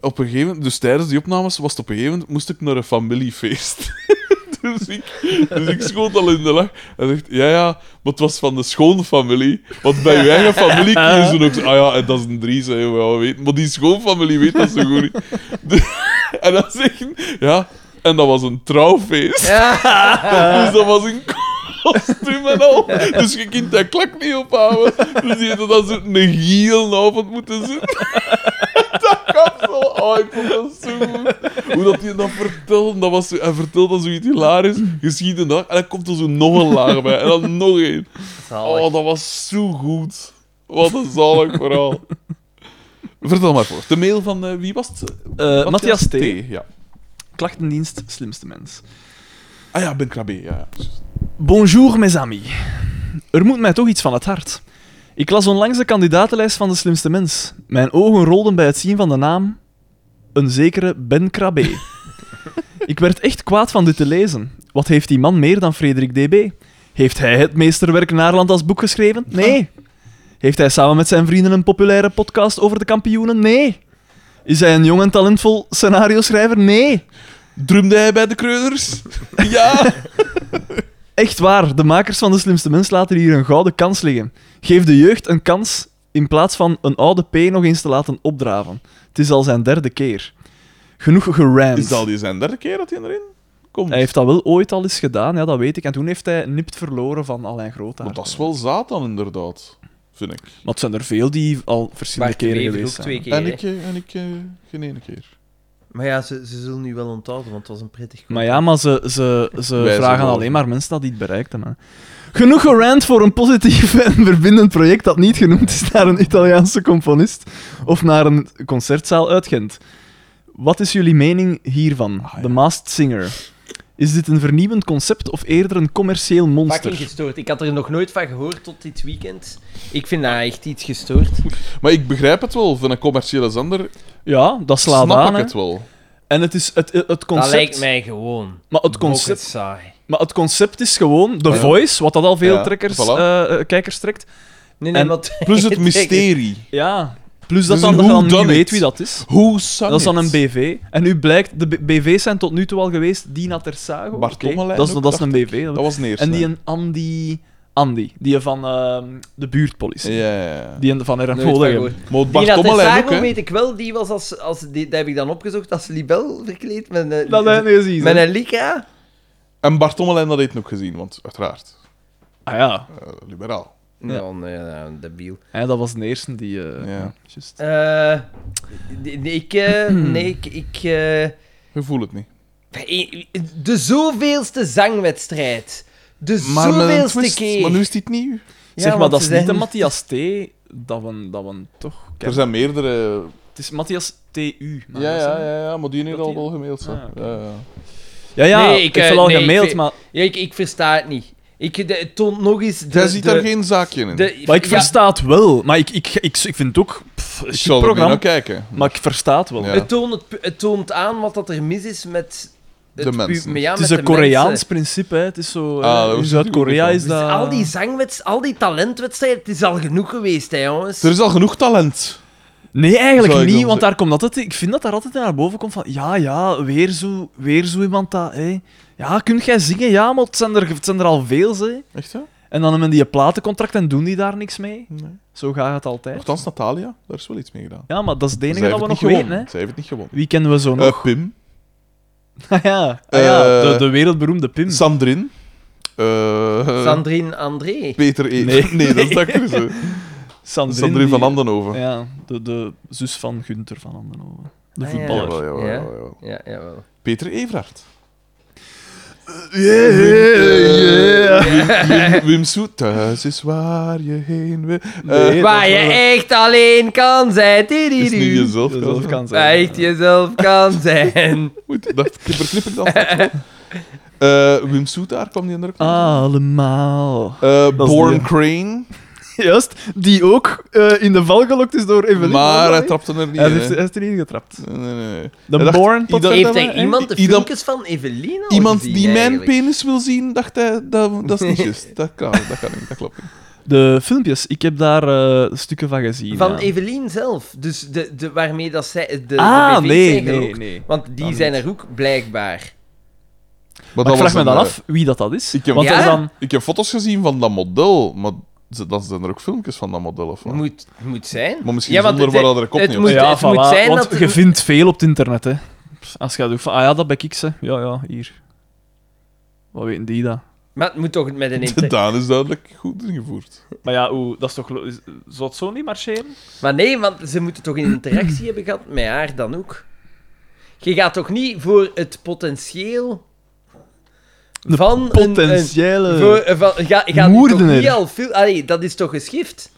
S2: Op een gegeven moment... Dus tijdens die opnames was het op een gegeven moment... Moest ik naar een familiefeest. Dus ik, dus ik schoot al in de lach. Hij zegt, ja, ja, maar het was van de schoonfamilie. Want bij je eigen familie kiezen ze ook... zo, Ah ja, en dat is een Dries, hè, ja, we weten. Maar die schoonfamilie weet dat zo goed niet. Dus- en dan zeggen... Ja, en dat was een trouwfeest. Dus dat was een kostuum en al. Dus je kunt dat klak niet ophouden. Dus die hadden dan zo'n een gielenavond moeten zitten. Dat kan zo. Oh, ik vond dat zo goed. Hoe dat hij dat vertelde, dat was zo, hij vertelde dan zoiets hilarisch, geschieden dat. En dan komt er zo nog een laag bij. En dan nog één. Oh, dat was zo goed. Wat een zalig verhaal. Vertel maar voor. De mail van eh, wie was het?
S3: Eh Matthias T.
S2: Ja.
S3: Klachtendienst, slimste mens.
S2: Ah ja, Ben Krabbe. Ja, ja.
S3: Bonjour, mes amis. Er moet mij toch iets van het hart. Ik las onlangs de kandidatenlijst van de slimste mens. Mijn ogen rolden bij het zien van de naam... Een zekere Ben Krabbe. ik werd echt kwaad van dit te lezen. Wat heeft die man meer dan Frederik DB? Heeft hij het meesterwerk Naarland als boek geschreven? Nee. Heeft hij samen met zijn vrienden een populaire podcast over de kampioenen? Nee. Is hij een jong en talentvol scenario-schrijver? Nee.
S2: Drumde hij bij de kreuners? Ja!
S3: Echt waar, de makers van De Slimste Mens laten hier een gouden kans liggen. Geef de jeugd een kans in plaats van een oude P nog eens te laten opdraven. Het is al zijn derde keer. Genoeg geramd.
S2: Is dat die zijn derde keer dat hij erin komt?
S3: Hij heeft dat wel ooit al eens gedaan, ja, dat weet ik. En toen heeft hij nipt verloren van Alain
S2: Maar
S3: Groothaar.
S2: dat is wel Satan, inderdaad. Vind ik.
S3: Maar het zijn er veel die al verschillende
S1: Maar
S3: keren
S1: Klever ook
S3: geweest zijn.
S1: twee keer.
S2: En
S1: hè.
S2: ik, eh, en ik eh, geen ene keer.
S1: Maar ja, ze, ze zullen nu wel onthouden, want het was een prettig
S3: Maar ja, maar ze, ze, ze
S2: Wij
S3: vragen
S2: zijn wel-
S3: alleen maar mensen dat die het bereikt hebben. hè. Genoeg gerant voor een positief en verbindend project dat niet genoemd is naar een Italiaanse componist of naar een
S2: Ah,
S3: concertzaal uit Gent. Wat is jullie mening hiervan? The Masked Singer. Is dit een vernieuwend concept of eerder een commercieel
S1: Fucking
S3: monster?
S1: gestoord. Ik had er nog nooit van gehoord tot dit weekend. Ik vind dat echt iets gestoord.
S2: Maar ik begrijp het wel. Van een commerciële zender
S3: Ja, dat slaat
S2: snap
S3: aan.
S2: ik
S3: hè.
S2: het wel.
S3: En het is het, het concept.
S1: Dat lijkt mij gewoon.
S3: Maar
S1: Pocket
S3: het concept,
S1: saai.
S3: maar het concept is gewoon The Voice, wat dat al veel
S2: Ah, Ja,
S3: trekkers,
S2: voilà.
S3: eh, eh, kijkers trekt.
S1: Nee, nee,
S3: En
S1: wat...
S2: Plus het mysterie.
S3: Ja. Plus dat
S2: Dus
S3: dan,
S2: een
S3: dat je dan
S2: whodunit.
S3: niet weet wie dat is.
S2: Hoe sang
S3: dat is dan
S2: it?
S3: een BV. En nu blijkt, de B- BV's zijn tot nu toe al geweest Dina Tersago.
S2: Bartolmelijn
S3: Oké, Dat is,
S2: ook,
S3: dat is een
S2: dacht
S3: BV.
S2: Dat was neer.
S3: en die een Andy, Andy, die van ehm, de buurtpolitie.
S2: Ja, ja, ja.
S3: Die een van
S1: Nooit van
S3: Ermolden.
S1: gehoord.
S2: Maar Bart
S1: Dina
S2: Tommelijn ook,
S1: Tessago
S2: hè.
S1: weet ik wel, die was als, als die, dat heb ik dan opgezocht, als libel verkleed met een,
S3: Dat zijn nu gezien.
S1: met
S3: hè.
S1: een lycra.
S2: En Bart Tommelijn dat heeft nog gezien, want uiteraard,
S3: Ah ja.
S2: eh, liberaal.
S1: Ja, nee, nee, debiel.
S3: ja, dat was de eerste die... eh,
S2: Ja.
S3: juist.
S1: Eh, nee, ik, eh, nee, ik, ik eh,
S2: Je voelt het niet.
S1: de zoveelste zangwedstrijd. De
S2: Maar met een
S1: zoveelste
S2: twist,
S1: keer.
S2: maar nu is dit nieuw.
S1: Ja,
S3: zeg maar,
S1: want
S3: dat
S1: ze
S3: is niet de
S1: zijn-
S3: Matthias T. Dat we, dat we toch...
S2: Er zijn meerdere...
S3: Het is Matthias T.U. maar
S2: Ja,
S3: dat is
S2: ja,
S3: hem.
S2: ja, ja, maar die heeft
S3: Dat
S2: al
S3: die-
S2: wel gemaild.
S3: Ah,
S2: Ja,
S3: oké.
S2: ja, ja.
S3: Ja, ja,
S1: Nee,
S3: ik
S1: ik,
S3: heb
S1: eh,
S3: wel al
S1: nee, ik
S3: gemaild,
S1: vind-
S3: maar,
S1: Ja, ik, ik versta het niet. Ik, de, het toont nog eens... De,
S2: Jij ziet
S1: de-
S2: daar geen zaakje in.
S1: de-
S3: maar ik
S1: ja,
S3: versta het wel. Maar ik, ik, ik, ik vind het ook pff, een
S2: ik
S3: chic
S2: zal er
S3: programma,
S2: naar kijken.
S3: maar ik versta het wel.
S2: Ja.
S1: Het, toont, het, het toont aan wat dat er mis is met...
S2: De
S1: pu-
S2: mensen.
S1: ja,
S3: Het
S1: met
S3: is
S1: de
S3: een Koreaans
S1: mensen.
S3: principe, hè. Het is zo... eh,
S2: Ah, dat was
S3: in
S2: natuurlijk
S3: Zuid-Korea
S2: ook
S3: is
S1: Dus
S3: dat...
S1: al die zangweds, al die talentwedstrijden, het is al genoeg geweest, hè, jongens.
S2: Er is al genoeg talent.
S3: Nee,
S2: Zou
S3: eigenlijk
S2: ik
S3: niet,
S2: dan
S3: want
S2: zeggen.
S3: daar komt altijd... Ik vind dat daar altijd naar boven komt van... Ja, ja, weer zo, weer zo iemand dat... Hè. Ja, kun jij zingen? Ja, maar het zijn er, het zijn er al veel, hè.
S2: Echt, hè?
S3: En dan hebben die een platencontract en doen die daar niks mee.
S2: Nee.
S3: Zo gaat het altijd.
S2: Nochtans, Natalia, daar is wel iets mee gedaan.
S3: Ja, maar dat is het enige
S2: Zij
S3: dat we
S2: heeft
S3: nog
S2: het niet
S3: weten, hè.
S2: gewonnen. Zij heeft het niet gewonnen.
S3: Wie kennen we zo nog?
S2: Eh, Pim,
S3: Ah ja, ah ja,
S2: Eh,
S3: de, de wereldberoemde Pim.
S2: Sandrin, eh,
S1: Sandrine André.
S2: Peter E.
S3: Nee.
S2: dat is dat actrice.
S3: Sandrine,
S2: Sandrin
S3: die-
S2: van Andenhoven.
S3: Ja, de, de zus van Gunther van Andenhoven. De
S1: Ah, ja.
S3: voetballer.
S2: Jawel, jawel,
S1: Ja.
S2: jawel, jawel.
S1: Ja, jawel.
S2: Peter Evraert.
S3: Yeah,
S2: Eh, Wim, Wim, Wim Soet, thuis is waar je heen wil. Eh,
S3: Nee.
S1: Waar je echt alleen kan zijn.
S2: is niet
S1: Tidididu.
S2: jezelf.
S3: Jezelf kan
S1: Waar
S3: zijn.
S1: echt jezelf kan zijn.
S2: Moet, dat verknip ik dan. straks wel. Eh, Wim Soet, daar kwam die indruk.
S3: Allemaal.
S2: Eh
S3: Ah. dat is
S2: Born
S3: die, hè.
S2: Crane,
S3: Juist, die ook eh, in de val gelokt is door Evelyn.
S2: maar hij
S3: hij,
S2: trapte er niet
S3: hij
S2: in,
S3: heeft,
S2: hè.
S3: hij heeft erin getrapt.
S2: Nee, nee, nee.
S3: De
S2: Hij dacht,
S3: Born
S2: Ida-
S3: Potverdomme,
S1: Heeft er
S3: hè?
S1: iemand de
S2: Iemand-
S1: filmpjes van Evelina al
S2: Iemand
S1: gezien,
S2: die mijn
S1: eigenlijk?
S2: penis wil zien, dacht hij, dat, dat is niet juist. Dat kan, dat kan niet, dat klopt niet.
S3: De filmpjes, ik heb daar eh, stukken van gezien.
S1: Van
S3: ja.
S1: Evelien zelf. Dus de, de, waarmee dat zij... De, de
S3: Ah,
S1: BV's
S3: nee,
S1: zijn er
S3: nee,
S1: ook.
S3: nee.
S1: Want die
S3: Dat
S1: zijn
S3: niet.
S1: er ook, blijkbaar.
S2: Maar
S3: Maar
S2: dat
S3: ik vraag
S2: was
S3: me dan
S2: een,
S3: af wie dat, dat is.
S2: ik heb-
S3: Want er
S1: Ja?
S3: dan...
S2: eh, Ik heb foto's gezien van dat model, maar ze- dan zijn er ook filmpjes van dat model of wat?
S1: Moet, moet zijn.
S2: Maar misschien
S1: Ja, want
S2: zonder
S1: het-
S2: waar dat er kop
S1: het
S2: niet op
S1: moet-
S2: zit.
S3: ja,
S1: het
S3: voilà,
S1: moet zijn
S3: want
S1: dat-
S3: je vindt veel op het internet, hè. Als je gaat ook van, ah ja, dat ben ik, ze. Ja, ja, hier. Wat weten die dat?
S1: Maar het moet toch met een... inter-
S2: Daan is duidelijk goed ingevoerd.
S3: Maar ja, oe, dat is toch... lo- is- Zou het zo niet marcheren?
S1: Maar nee, want ze moeten toch een interactie hebben gehad met haar dan ook. Je gaat toch niet voor het potentieel van
S3: Potentiële...
S1: een... Voor, eh, van, ga, gaat die toch
S3: moordenaar.
S1: niet al veel... Allee, dat is toch geschift?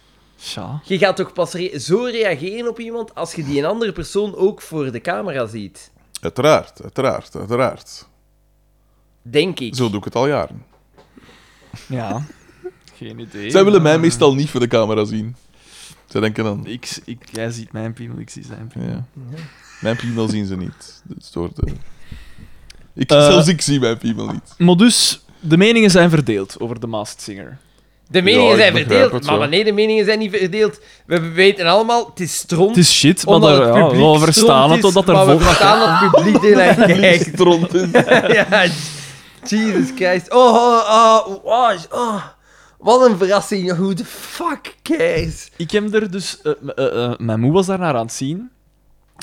S3: Tja.
S1: Je gaat toch pas re- zo reageren op iemand als je die een andere persoon ook voor de camera ziet?
S2: Uiteraard, uiteraard, uiteraard.
S1: Denk ik.
S2: Zo doe ik het al jaren.
S3: Ja. Geen idee.
S2: Zij willen mij meestal niet voor de camera zien. Zij denken dan...
S3: Ik, ik, jij ziet mijn piemel, ik zie zijn piemel.
S2: Ja. Mijn piemel zien ze niet. Dus door de... ik,
S3: Eh.
S2: zelfs ik zie mijn piemel niet.
S3: Maar dus, de meningen zijn verdeeld over de Masked Singer.
S1: De meningen
S2: Ja, ik
S1: zijn
S2: begrijp het
S1: verdeeld,
S2: wel.
S1: maar wanneer de meningen zijn niet verdeeld... We weten allemaal, het is stront.
S3: Het is shit, maar
S1: omdat
S3: daar, ja,
S1: publiek
S3: we verstaan het
S1: stront is,
S3: totdat er
S1: maar we
S3: volgt.
S1: verstaan dat het publiek er naar kijkt.
S2: Stront is.
S1: ja, Jesus Christ. Oh, oh, oh, oh, oh. Wat een verrassing. Who the fuck cares?
S3: Ik heb er dus... eh, m- eh, eh, mijn moe was daar naar aan het zien.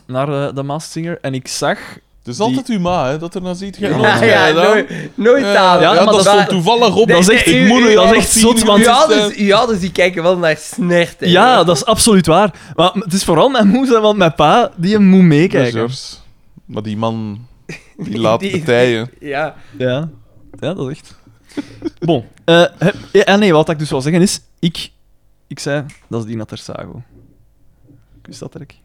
S3: Naar eh, de Masked Singer. En ik zag
S2: Het is altijd uw ma, hè, dat er naar ziet.
S1: Ja,
S2: Geen
S1: ja, nooit, nooit
S2: Ja,
S1: aan.
S2: ja,
S3: maar
S2: dat
S3: dat-
S2: stond toevallig op.
S1: Nee,
S2: dat is echt,
S1: nee,
S2: ik
S1: u-
S2: moet
S1: u-
S2: een
S3: dat is
S2: jaar
S3: echt
S2: of tien
S3: zot,
S2: geweest
S3: want-
S1: Uw
S2: zijn.
S1: ouders, uw ouders dus- die kijken wel naar snerten.
S3: Ja, dat is absoluut waar. Maar het is vooral mijn moes, want mijn pa, die hem moet meekijken.
S2: George. Maar die man, die laat
S1: Die-
S2: partijen.
S1: Ja.
S3: Ja. ja, dat is echt. Bon. Eh, heb- ja, ah, nee, wat ik dus wil zeggen is, ik, ik zei, dat is Dina Tersago. Kus dat rek.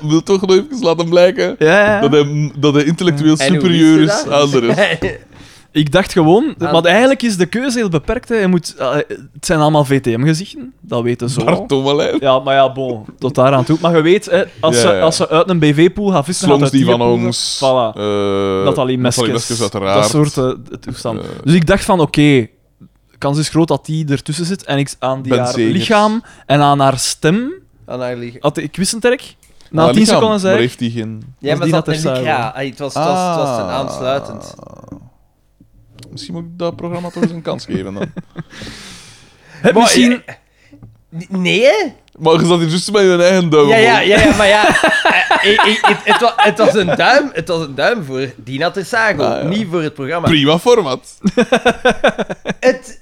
S2: Wil toch nog even laten blijken
S3: Ja, ja, ja.
S2: dat hij, dat hij intellectueel
S1: En hoe
S2: superieur
S1: wist
S2: is
S1: je dat?
S2: aan de rest.
S3: Ik dacht gewoon,
S1: Ah.
S3: want eigenlijk is de keuze heel beperkt. Hè. Je moet, eh, het zijn allemaal VTM-gezichten, dat weten ze al.
S2: Bart Tommelijn.
S3: Ja, maar ja, bon, tot daar aan toe. Maar je weet, hè, als,
S2: Ja, ja.
S3: Ze, als ze uit een BV-pool gaan vissen, gaat
S2: Slongs
S3: uit
S2: die van
S3: pool gaan-
S2: ons.
S3: Voilà.
S2: eh,
S3: Nathalie Meskes.
S2: Nathalie Meskes, uiteraard.
S3: Dat soort eh, toestanden.
S2: Eh.
S3: dus ik dacht van, oké, de kans is groot dat die ertussen zit. En ik aan die
S2: Ben
S3: haar
S2: Segers.
S3: lichaam en aan haar stem
S1: Aan haar liggen.
S3: had ik wissenterk.
S2: Ah,
S3: Na 10
S2: lichaam,
S3: seconden zei
S2: Maar
S3: ik...
S2: heeft hij geen...
S1: Ja,
S3: was
S1: maar
S3: die
S1: dat
S3: dat
S1: een
S3: er
S1: lichaam.
S3: zou-
S1: Ja, ah, het was, het was, het was een
S2: Ah.
S1: aansluitend.
S2: Misschien moet ik dat programma toch eens een kans geven dan.
S3: "Hè,
S1: Maar-
S3: misschien...
S1: N- Oh, Nee, hè?
S2: Maar je zat hier juist met je eigen duim.
S1: Ja, ja, ja, ja, maar ja. eh, eh, eh, het, het, wa- het was een duim, het was een duim voor Dina Tersago,
S2: Ah, ja.
S1: niet voor het programma.
S2: Prima format.
S1: Het,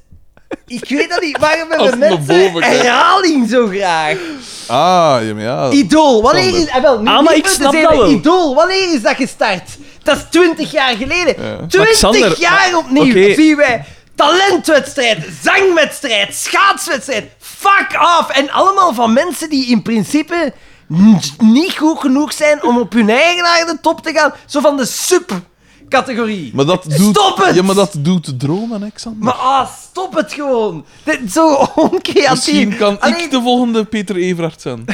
S1: ik weet dat niet, waarom
S2: Als
S1: hebben
S2: het naar
S1: mensen
S2: boven kijkt.
S1: herhaling zo graag?
S2: Ah, ja, maar ja.
S1: Idool, wanneer
S2: Sander.
S1: is... Ah, wel, nu
S3: Ah, maar
S1: niet meer
S3: ik
S1: te
S3: snap
S1: zeggen,
S3: dat wel.
S1: Idool, wanneer is dat gestart? Dat is twintig jaar geleden.
S2: Ja. Maar
S1: Twintig
S3: Xander,
S1: jaar
S3: maar-
S1: opnieuw
S3: oké.
S1: zien wij talentwedstrijd, zangwedstrijd, schaatswedstrijd, fuck off. En allemaal van mensen die in principe n- niet goed genoeg zijn om op hun eigen naar de top te gaan. Zo van de subcategorie.
S2: Maar dat doet...
S1: Stop het!
S2: Ja, maar dat doet dromen, hè, Xander.
S1: Maar ah, stop het gewoon. Dit is zo oncreatief.
S2: Misschien kan
S1: Allee,
S2: ik de volgende Peter Everhard zijn.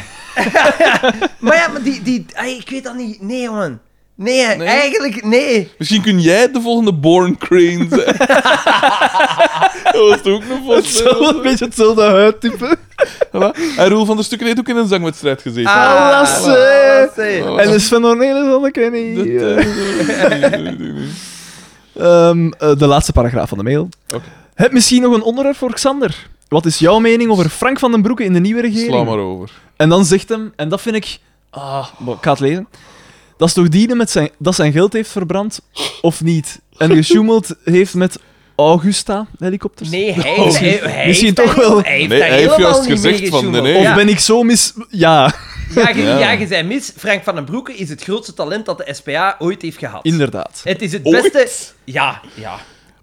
S1: Maar ja, maar die... die ai, ik weet dat niet. Nee, man. Nee, eigenlijk nee.
S2: Misschien kun jij de volgende Born Crane zijn. dat was toch ook een volgende.
S3: Zo een beetje hetzelfde huidtype.
S2: Voilà. En Roel van der Stukken heeft ook in een zangwedstrijd gezeten.
S1: Ah.
S3: lasse.
S1: lasse.
S2: Ah, Voilà.
S3: En de Sven Ornelis had ik niet.
S2: Dat,
S3: Eh,
S2: eh, nee, nee, nee.
S3: Ehm, eh, de laatste paragraaf van de mail.
S2: Oké.
S3: Heb misschien nog een onderwerp voor Xander? Wat is jouw mening over Frank van den Broeke in de nieuwe regering?
S2: Sla maar over.
S3: En dan zegt hem, en dat vind ik... Ah, maar ik ga het lezen. Dat is toch die die met zijn, dat zijn geld heeft verbrand, of niet? En gesjoemeld heeft met Augusta-helikopters?
S1: Nee, hij
S2: Oh.
S1: heeft, hij, hij
S3: Misschien
S1: heeft
S3: toch
S1: daar-
S3: wel.
S1: Hij heeft,
S2: Nee,
S1: daar
S2: hij heeft
S1: helemaal
S2: juist
S1: niet mee
S2: gezegd van,
S1: gesjoemeld.
S2: nee, nee.
S1: Ja,
S3: Of ben ik zo mis... Ja,
S1: ja, je,
S2: Ja.
S1: ja, je zei mis. Frank van den Broeke is het grootste talent dat de SPA ooit heeft gehad.
S3: inderdaad.
S1: Het is het
S2: Ooit?
S1: beste... Ja, ja.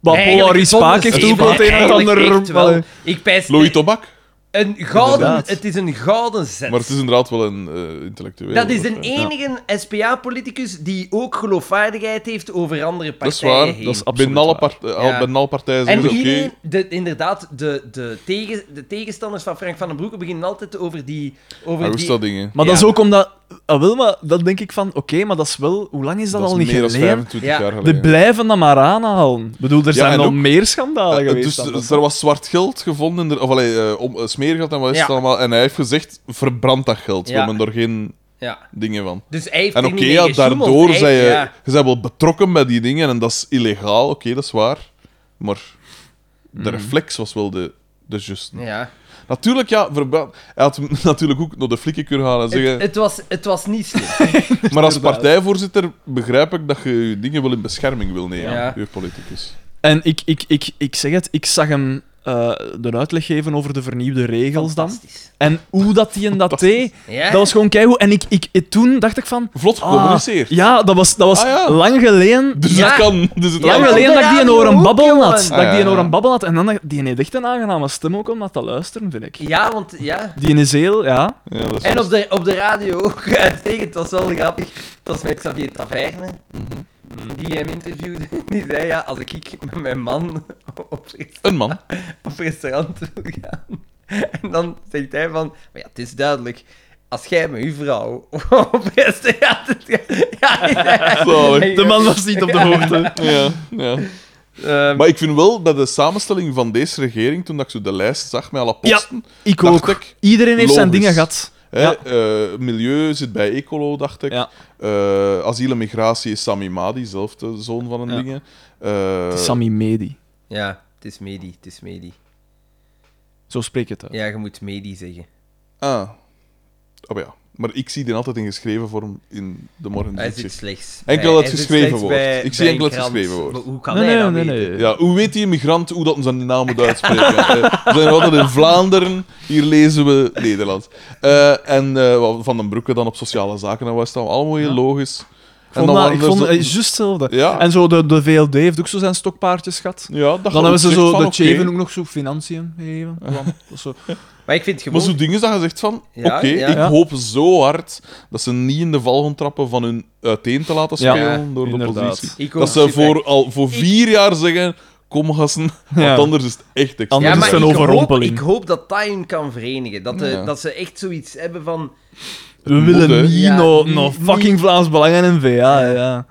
S3: Maar
S1: Eigenlijk
S3: Polaris Spaak
S1: vonden
S3: heeft
S1: ze
S3: ook
S1: wel-
S3: wel het een en
S1: eigenlijk echt
S3: ander...
S1: wel.
S3: Allee.
S1: Ik pijs...
S2: Louis Tobak.
S1: Een gouden...
S3: Inderdaad.
S1: Het is een gouden zet.
S2: Maar het is inderdaad wel een eh intellectueel. Eh,
S1: Dat is de
S2: Ja.
S1: enige SPA-politicus die ook geloofwaardigheid heeft over andere
S2: Dat is
S1: partijen
S2: waar.
S1: heen.
S2: Dat is
S3: absoluut
S2: binnen alle,
S3: waar.
S2: part- eh, al-
S1: Ja.
S2: binnen alle partijen
S1: en
S2: zeggen ze, oké.
S1: iedereen, de, inderdaad, de, de, tegen, de tegenstanders van Frank van den Broeke beginnen altijd over die... Over die
S2: Augusta dingen.
S3: Maar dat
S1: Ja.
S3: is ook omdat... Ah, wel, maar dan denk ik van... Oké, maar dat is wel... Hoe lang is dat,
S2: Dat
S3: al
S2: is
S3: niet
S2: meer dan
S3: geleden?
S2: 25
S1: Ja.
S2: jaar
S3: De
S2: geleden.
S3: blijven dat maar aanhalen. Ik bedoel, er zijn
S2: en
S3: al
S2: ook-
S3: meer schandalen
S2: Eh,
S3: geweest.
S2: dus
S3: dan
S2: er-
S3: dat.
S2: er was zwart geld gevonden, er, of allee, eh, om, eh, smeergeld en wat is
S1: Ja.
S2: het allemaal. En hij heeft gezegd: verbrand dat geld. We
S1: Ja.
S2: hebben er geen
S1: Ja.
S2: dingen van.
S1: Dus hij heeft
S2: En
S1: er
S2: oké,
S1: niet mee
S2: ja,
S1: gesjoemeld,
S2: daardoor
S1: hij-
S2: zijn je,
S1: ja.
S2: je bent wel betrokken bij die dingen en dat is illegaal, oké, dat is waar. Maar
S3: Mhm.
S2: de reflex was wel de, de juiste.
S1: Ja.
S2: Natuurlijk, ja, verba- hij had hem natuurlijk ook naar de flikken kunnen gaan en zeggen.
S1: Het, het, was, het was niet slim.
S2: maar als partijvoorzitter begrijp ik dat je je dingen wel in bescherming wil nemen,
S1: Ja.
S2: je politicus.
S3: En ik, ik, ik, ik zeg het, ik zag hem eh, de uitleg geven over de vernieuwde regels dan.
S1: Fantastisch.
S3: En hoe dat hij en dat deed,
S1: Ja.
S3: dat was gewoon keigoed. En ik, ik, ik- toen dacht ik van...
S2: Vlot
S3: ah,
S2: gecommuniceerd.
S3: ja, dat was, dat was
S2: Ah, ja.
S3: lang geleden...
S2: Dus
S1: Ja.
S2: het kan. Dus het
S1: Ja,
S3: Lang
S2: kan.
S1: maar-
S3: geleden
S1: op de
S3: dat ik die een
S1: radio
S3: oren
S1: ook,
S3: babbelen had.
S1: jongen.
S3: Dat
S2: Ah,
S3: ik die een
S2: ja.
S3: oren babbelen had. En dan dacht ik, die heeft echt een aangename stem ook om dat te luisteren, vind ik.
S1: Ja, want... Ja.
S3: Die is heel, ja.
S2: Ja, dat is-
S1: En op de, op de radio ook uitstekend. Het was wel grappig. Het was met Xavier Taverne.
S2: Mhm.
S1: Die hem interviewde. Die zei, ja, als ik met mijn man op,
S2: Een man.
S1: op restaurant wil gaan. En dan zegt hij van, maar ja, het is duidelijk. Als jij met uw vrouw op restaurant gaat... Ja, ja.
S2: Zalig.
S3: De man was niet op de hoogte.
S2: Ja, ja.
S1: Ehm,
S2: Maar ik vind wel dat de samenstelling van deze regering, toen dat ik zo de lijst zag met alle
S3: Ja,
S2: posten,
S3: ik
S2: Dacht
S3: ook.
S2: ik.
S3: Iedereen heeft zijn
S2: Logisch.
S3: dingen gehad.
S2: Hè,
S3: Ja.
S2: eh, milieu zit bij Ecolo, dacht ik.
S3: Ja.
S2: Eh, asiel en migratie is Sami Madi, zelf de zoon van een
S3: Ja.
S2: dingen. Eh,
S3: Sammy Medi.
S1: ja, het is medi, het is medi.
S3: Zo spreek je het uit.
S1: Ja, je moet medi zeggen.
S2: Ah. Oh ja. Maar ik zie die altijd in geschreven vorm in de morgen.
S1: Hij zit slechts.
S2: Enkel
S1: bij-
S2: dat
S1: hij zit
S2: het geschreven
S1: slechts
S2: wordt.
S1: bij-
S2: Ik zie
S1: bij
S2: enkel dat het
S1: Grant.
S2: geschreven wordt.
S1: Maar Hoe kan
S3: Nee,
S1: hij
S3: nee,
S1: dat
S3: nee,
S1: weten?
S3: nee.
S2: Ja, hoe weet die migrant hoe dat ze zijn naam moet uitspreken? Eh, we zijn altijd in Vlaanderen, hier lezen we Nederlands. Eh, en eh, wat Van den Broeke dan op sociale zaken, dat was dan allemaal heel logisch.
S3: Ik vond,
S2: dan
S3: dat,
S2: waren
S3: ik
S2: er
S3: vond
S2: zo-
S3: het juist hetzelfde.
S2: Ja.
S3: En zo de, de VLD heeft ook zo zijn stokpaardjes gehad.
S2: Ja, dat
S3: Dan hebben ze
S2: gezegd
S3: zo
S2: van,
S3: de
S2: oké.
S3: Cheven ook nog zo financiën gegeven. Want dat is zo-
S1: Maar ik vind
S2: Maar
S1: gewoon...
S2: zo'n ding is dat je zegt van...
S1: Ja,
S2: Oké,
S1: ja.
S2: ik
S1: Ja.
S2: hoop zo hard dat ze niet in de val gaan trappen van hun uiteen te laten
S3: Ja,
S2: spelen door de
S3: inderdaad.
S2: positie.
S1: Ik ook.
S2: Dat ze voor, al voor vier jaar zeggen... Kom, gassen,
S3: Ja.
S2: want anders is het echt extra.
S1: ja,
S3: Anders is
S1: maar
S3: het een
S1: ik hoop,
S3: overrompeling.
S1: ik hoop dat dat hun kan verenigen. Dat, de,
S2: Ja.
S1: dat ze echt zoiets hebben van...
S3: We
S2: Moet, hè.
S3: willen niet
S1: Ja,
S3: nog
S1: niet-
S3: nog
S1: niet-
S3: fucking Vlaams Belang en NVA, ja. ja.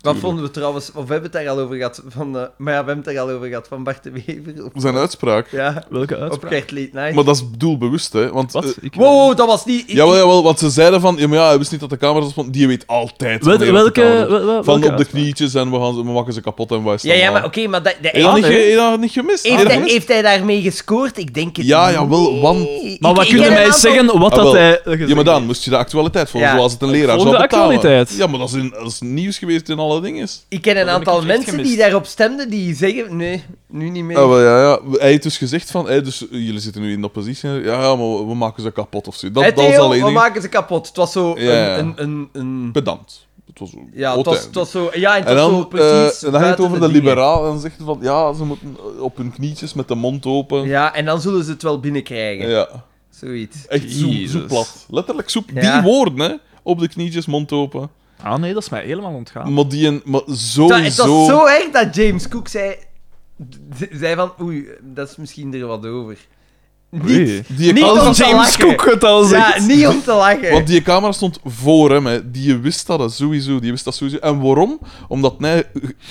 S1: Wat vonden we trouwens... Of we hebben het daar al over gehad van... eh, maar ja, we hebben het daar al over gehad van Bart de Wever. Op,
S2: Zijn uitspraak.
S1: ja,
S3: Welke
S1: op
S3: uitspraak?
S1: Gert Late Night.
S2: Maar dat is doelbewust, hè. Want, eh,
S3: Wat? Ik-
S1: Wow, wow, dat was niet...
S2: jawel, jawel, want ze zeiden van... Ja, maar ja, hij wist niet dat de camera's... Van, die weet altijd
S3: Wel-
S2: wanneer dat de
S3: welke,
S2: camera's-
S3: wel-
S2: Van
S3: wel- welke
S2: op de
S3: uitspraak?
S2: knietjes en we, gaan, ze- we maken ze kapot en wij staan
S1: ja, ja,
S2: aan.
S1: maar oké, maar dat, dat-
S2: Heb je dat
S1: heeft,
S2: niet, ge- heb je dat niet gemist? Heb je
S1: heeft,
S2: dat
S1: hij,
S2: gemist?
S1: heeft hij daarmee gescoord? Ik denk het
S2: Ja,
S1: niet.
S2: jawel, want...
S3: Maar
S1: Ik-
S3: wat
S1: ik
S3: kun je
S1: ken
S3: mij
S1: een aantal-
S3: zeggen wat
S2: Ah, wel.
S3: dat hij... gezegd
S2: Ja, maar dan
S3: heeft?
S2: moest je de actualiteit volgen,
S1: Ja.
S2: zoals het een leraar
S3: Volg
S2: zou
S3: de
S2: betalen.
S3: actualiteit.
S2: Ja, maar dat is, in, dat is nieuws geweest in alle dingen.
S1: Ik ken een
S6: heb
S1: aantal
S6: ik echt
S1: mensen die
S6: gemist.
S1: daarop stemden die zeggen... Nee, nu niet meer.
S2: Ah, wel, ja, ja. Hij heeft dus gezegd van, hey, dus, eh, jullie zitten nu in de oppositie, ja, ja, maar we- we maken ze kapot of zo. Dat,
S1: Hé,
S2: dat was
S1: Theo,
S2: alleen
S1: we
S2: niet
S1: maken ze kapot. Het was zo
S2: Ja, ja.
S1: een... een, een, een
S2: pedant. Het was zo
S1: ja, het
S2: oud
S1: was, het was
S2: eigenlijk.
S1: zo... Ja, en het
S2: En
S1: was
S2: dan,
S1: zo
S2: eh,
S1: precies
S2: en dan ging het
S1: buiten
S2: over de,
S1: dingen.
S2: liberaal en zegt van, ja, ze moeten eh, op hun knietjes met de mond open. Ja.
S1: Ja, en dan zullen ze het wel binnenkrijgen. Zoiets.
S2: Echt zo, zo
S3: Jezus.
S2: plat. Letterlijk zo,
S1: Ja.
S2: die woorden, hè. Op de knietjes, mond open.
S3: Ah nee, dat is mij helemaal ontgaan.
S2: Maar die een, maar
S1: Dat, het was
S2: sowieso...
S1: zo erg dat James Cook zei, d- zei van... Oei, dat is misschien er wat over. Niet,
S3: Oei.
S2: die
S1: niet
S2: kan-
S1: om
S3: Als
S1: te
S3: James
S1: lachen.
S3: Cook het al zegt.
S1: ja, niet om te lachen.
S2: Want die camera stond voor hem, hè. die wist dat hè, sowieso. Die wist dat sowieso. En waarom? Omdat hij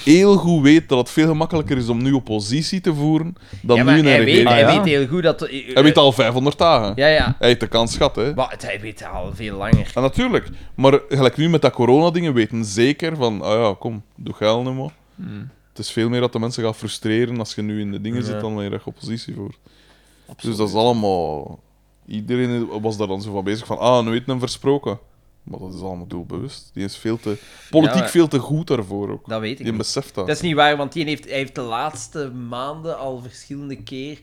S2: heel goed weet dat het veel gemakkelijker is om nu oppositie te voeren dan
S1: ja,
S2: nu
S1: maar
S2: een
S1: hij, weet,
S2: regering.
S3: Ah,
S1: hij
S3: ja.
S1: weet heel goed dat... eh,
S2: Hij weet al 500 dagen.
S1: Ja, ja.
S2: Hij heeft de kans gehad, hè.
S1: Maar het- hij weet dat al veel langer.
S2: En Ah, natuurlijk. Maar gelijk nu met dat corona-dingen weten zeker van, ah ja, kom, doe geil nu maar.
S1: Hmm.
S2: Het is veel meer dat de mensen gaan frustreren als je nu in de dingen zit dan wanneer je oppositie voert. Dus dat is allemaal... Iedereen was daar dan zo van bezig van, ah, nu weet hem versproken. Maar dat is allemaal doelbewust. Die is veel te... Politiek
S1: Ja, maar-
S2: veel te goed daarvoor ook.
S1: Dat weet ik
S2: Die
S1: niet.
S2: beseft dat.
S1: Dat is niet waar, want die heeft, hij heeft de laatste maanden al verschillende keer...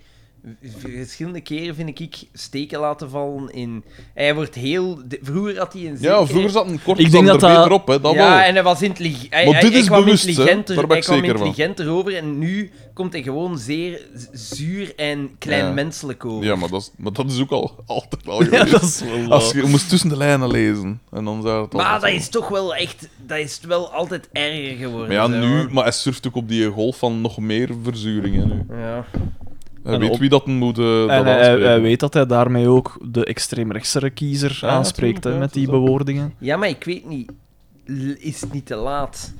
S1: Verschillende keren, vind ik, steken laten vallen in... Hij wordt heel... de- Vroeger had hij een
S2: Ja,
S1: zekere-
S2: vroeger zat een kort
S3: Ik denk
S2: er
S3: dat dat-
S2: beter op, hè. Dat
S1: ja,
S2: wel.
S1: en hij was intelligent. Hij,
S2: Maar
S1: hij-
S2: dit
S1: hij
S2: is
S1: kwam
S2: bewust, hè.
S1: intelligenter,
S2: Daar ben ik
S1: hij kwam
S2: zeker van.
S1: intelligenter over en nu komt hij gewoon zeer z- zuur en kleinmenselijk over.
S2: Ja, maar dat, is, maar dat is ook al altijd al
S3: Ja,
S2: geweest.
S3: dat is wel laag.
S2: Als je, je moest tussen de lijnen lezen. En dan zou het
S1: Maar
S2: altijd
S1: dat
S2: zo.
S1: is toch wel echt... Dat is wel altijd erger geworden.
S2: Maar ja,
S1: zo.
S2: nu... Maar hij surft ook op die golf van nog meer verzuring, hè, nu.
S1: Ja.
S2: Hij
S3: En
S2: weet
S3: op-
S2: wie dat moet... eh dat
S3: En hij- hij,
S2: aanspreken.
S3: hij weet dat hij daarmee ook de extreemrechtsere kiezer
S2: ja,
S3: aanspreekt hè,
S2: tuurlijk, ja,
S3: met
S2: het is
S3: die
S2: ook-
S3: bewoordingen.
S1: ja, maar ik weet niet... L- Is het niet te laat?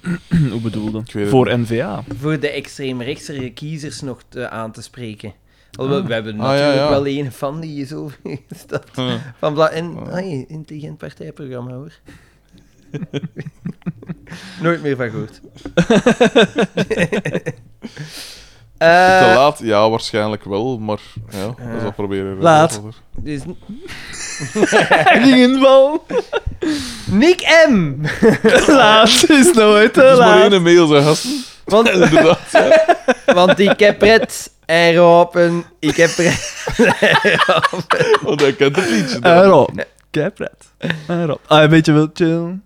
S3: Hoe bedoelde?
S2: weet het
S3: Voor NVA.
S1: voor de extreemrechtse kiezers nog te- aan te spreken. Alhoewel, we hebben
S2: Ah, ja,
S1: natuurlijk
S2: ja. Ah.
S1: wel een van die is overgestapt.
S2: Ja.
S1: Van Bla en ai, intelligent partijprogramma hoor. Nooit meer van gehoord.
S2: Te
S1: Eh
S2: laat? Ja, waarschijnlijk wel, maar ja,
S3: Eh.
S2: we zal proberen. eh,
S3: Laat.
S1: dus
S3: Ringenval.
S1: Nick M.
S3: Laat is nooit te
S2: Het is maar
S3: laat.
S2: één mail, zijn gasten.
S1: Want,
S2: Inderdaad.
S1: want ik heb pret en ropen. Ik heb pret.
S2: Want hij kent het liedje.
S3: En Eh, Rob. Keipraat. En Rob. Ah, een beetje wil chill.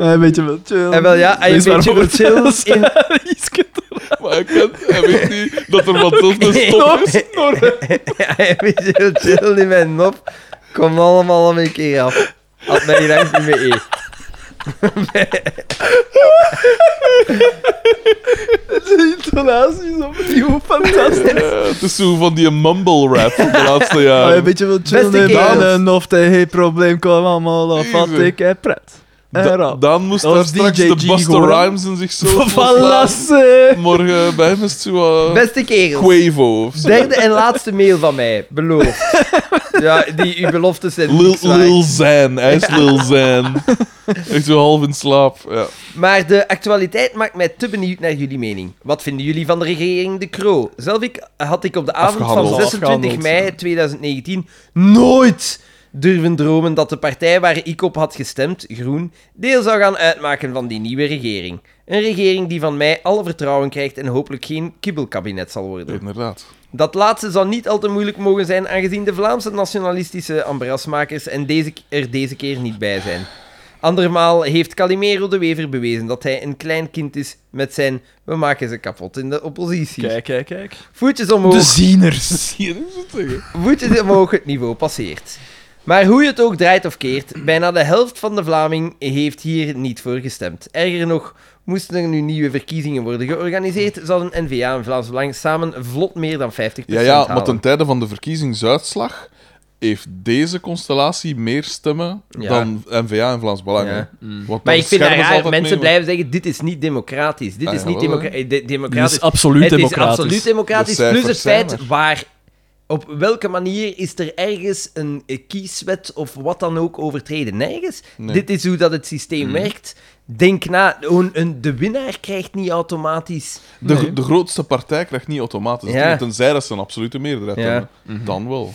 S3: Ah, Een beetje wil chill.
S1: En Eh, wel ja, en
S3: Wees
S1: een beetje
S3: maar
S1: wil
S3: voorbeeld.
S1: chill in-
S3: Iets kunt er
S2: Maar hij kent... Hij weet niet dat er wat tussen
S1: Nee.
S2: stopt is.
S1: Ja, een beetje wil chill in mijn nop. Kom allemaal om een keer af. Had mij hier echt niet mee eer.
S3: de intonaties opnieuw. Fantastisch.
S2: Eh, Het is zo van die mumble rap van de laatste
S3: Ah,
S2: jaren.
S3: een beetje wil chill.
S1: Beste
S3: en
S1: kerels.
S3: Dan een of de probleem kwam allemaal af. Wat
S2: Jezus.
S3: ik heb pret. En
S2: Da
S3: Eh, Rob.
S2: dan moest
S3: Dat
S2: daar
S3: was
S2: straks
S3: DJ
S2: de
S3: G
S2: Busta
S3: Goran.
S2: Rhymes in zichzelf
S3: Van
S2: loslaan.
S3: Lasse.
S2: Morgen bij hem is het zo... eh,
S1: Beste kerels.
S2: Quavo of zo.
S1: Derde en laatste mail van mij. Beloofd. Ja, die uw beloftes zijn
S2: Lil,
S1: niks waard.
S2: Lil Zan. Hij is Lil Zan. Echt zo half in slaap. Ja.
S1: Maar de actualiteit maakt mij te benieuwd naar jullie mening. Wat vinden jullie van de regering De Croo? Zelf ik, had ik op de avond
S2: Afgehandeld.
S1: van 26
S3: Afgehandeld,
S1: mei 2019 nooit durven dromen dat de partij waar ik op had gestemd, Groen, deel zou gaan uitmaken van die nieuwe regering. Een regering die van mij alle vertrouwen krijgt en hopelijk geen kibbelkabinet zal worden.
S2: Inderdaad.
S1: Dat laatste zal niet al te moeilijk mogen zijn, aangezien de Vlaamse nationalistische embarrasmakers en deze, er deze keer niet bij zijn. Andermaal heeft Calimero de Wever bewezen dat hij een klein kind is met zijn we maken ze kapot in de oppositie.
S3: Kijk, kijk, kijk.
S1: Voetjes omhoog.
S3: De zieners.
S2: Zie je dat zo zeggen?
S1: voeten omhoog het niveau passeert. Maar hoe je het ook draait of keert, bijna de helft van de Vlaming heeft hier niet voor gestemd. Erger nog, moesten er nu nieuwe verkiezingen worden georganiseerd, zouden N-VA en Vlaams Belang samen vlot meer dan 50%
S2: Ja, ja,
S1: halen.
S2: maar ten tijde van de verkiezingsuitslag heeft deze constellatie meer stemmen
S1: Ja.
S2: dan NVA en Vlaams Belang.
S1: Ja. Mm.
S2: hè. Want
S1: Maar
S2: dan
S1: ik vind dat
S2: schermen ze
S1: raar,
S2: altijd
S1: mensen
S2: mee, maar-
S1: blijven zeggen, dit is niet democratisch. Dit
S2: Ah,
S1: is niet
S2: jawel, hè.
S1: democra- eh, de-
S3: Dat
S1: democratisch.
S3: is absoluut
S1: het
S3: democratisch.
S1: is absoluut democratisch.
S2: De
S1: Plus het
S2: cijfers
S1: feit
S2: zijn er.
S1: waar... Op welke manier is er ergens een eh, kieswet of wat dan ook overtreden? Nergens.
S2: Nee.
S1: Dit is hoe dat het systeem werkt. Denk na, een, een- de winnaar krijgt niet automatisch...
S2: De, de grootste partij krijgt niet automatisch.
S1: Ja.
S2: Ja. Tenzij dat ze een absolute meerderheid
S1: Ja. Mhm.
S2: hebben. Dan wel.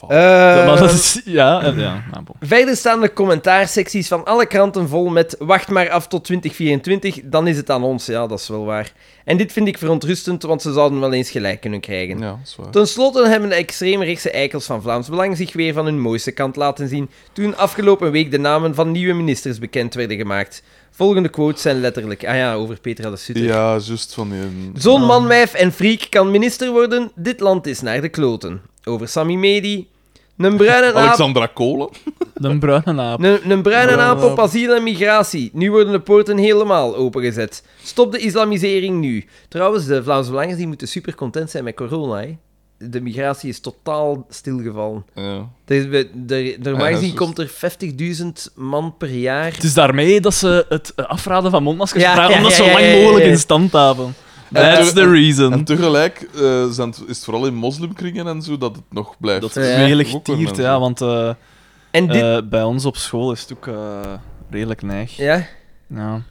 S2: Oh.
S1: Eh,
S3: maar dat is... Ja, en- ja. maar bon.
S1: Verder staan de commentaarsecties van alle kranten vol met wacht maar af tot 2024, dan is het aan ons. Ja, dat is wel waar. En dit vind ik verontrustend, want ze zouden wel eens gelijk kunnen krijgen.
S2: Ja, dat is waar.
S1: Ten slotte hebben de extreemrechtse eikels van Vlaams Belang zich weer van hun mooiste kant laten zien toen afgelopen week de namen van nieuwe ministers bekend werden gemaakt. Volgende quotes zijn letterlijk... Ah ja, over Petra de Sutter.
S2: Ja, juist van die... eh,
S1: Zo'n manwijf en freak kan minister worden, dit land is naar de kloten. Over Sammy Medi, een bruine naap...
S2: Alexandra Kolen.
S3: De bruine aap.
S1: Een, een bruine
S3: Bruine
S1: naap op
S3: aap.
S1: asiel en migratie. Nu worden de poorten helemaal opengezet. Stop de islamisering nu. Trouwens, de Vlaamse Belangers die moeten super content zijn met corona. Hè. De migratie is totaal stilgevallen.
S2: Ja.
S1: Er- we- er- Normaal
S2: Ja, dat
S1: gezien
S2: is- dus-
S1: komt er 50.000 man per jaar.
S3: Het is daarmee dat ze het eh, afraden van mondmaskers
S1: Ja,
S3: vragen
S1: ja,
S3: om dat
S1: ja,
S3: zo
S1: ja,
S3: lang
S1: ja, ja,
S3: mogelijk
S1: ja.
S3: in stand te houden. That's the
S2: En
S3: reason.
S2: tegelijk eh, zijn het- is het vooral in moslimkringen en zo dat het nog blijft.
S3: Dat
S1: Ja.
S3: is redelijk
S2: Ook wel
S3: tiert,
S2: mensen.
S3: ja, want eh,
S1: En dit.
S3: eh, bij ons op school is het ook eh, redelijk neig.
S2: Eh,
S3: Ja.
S1: ja.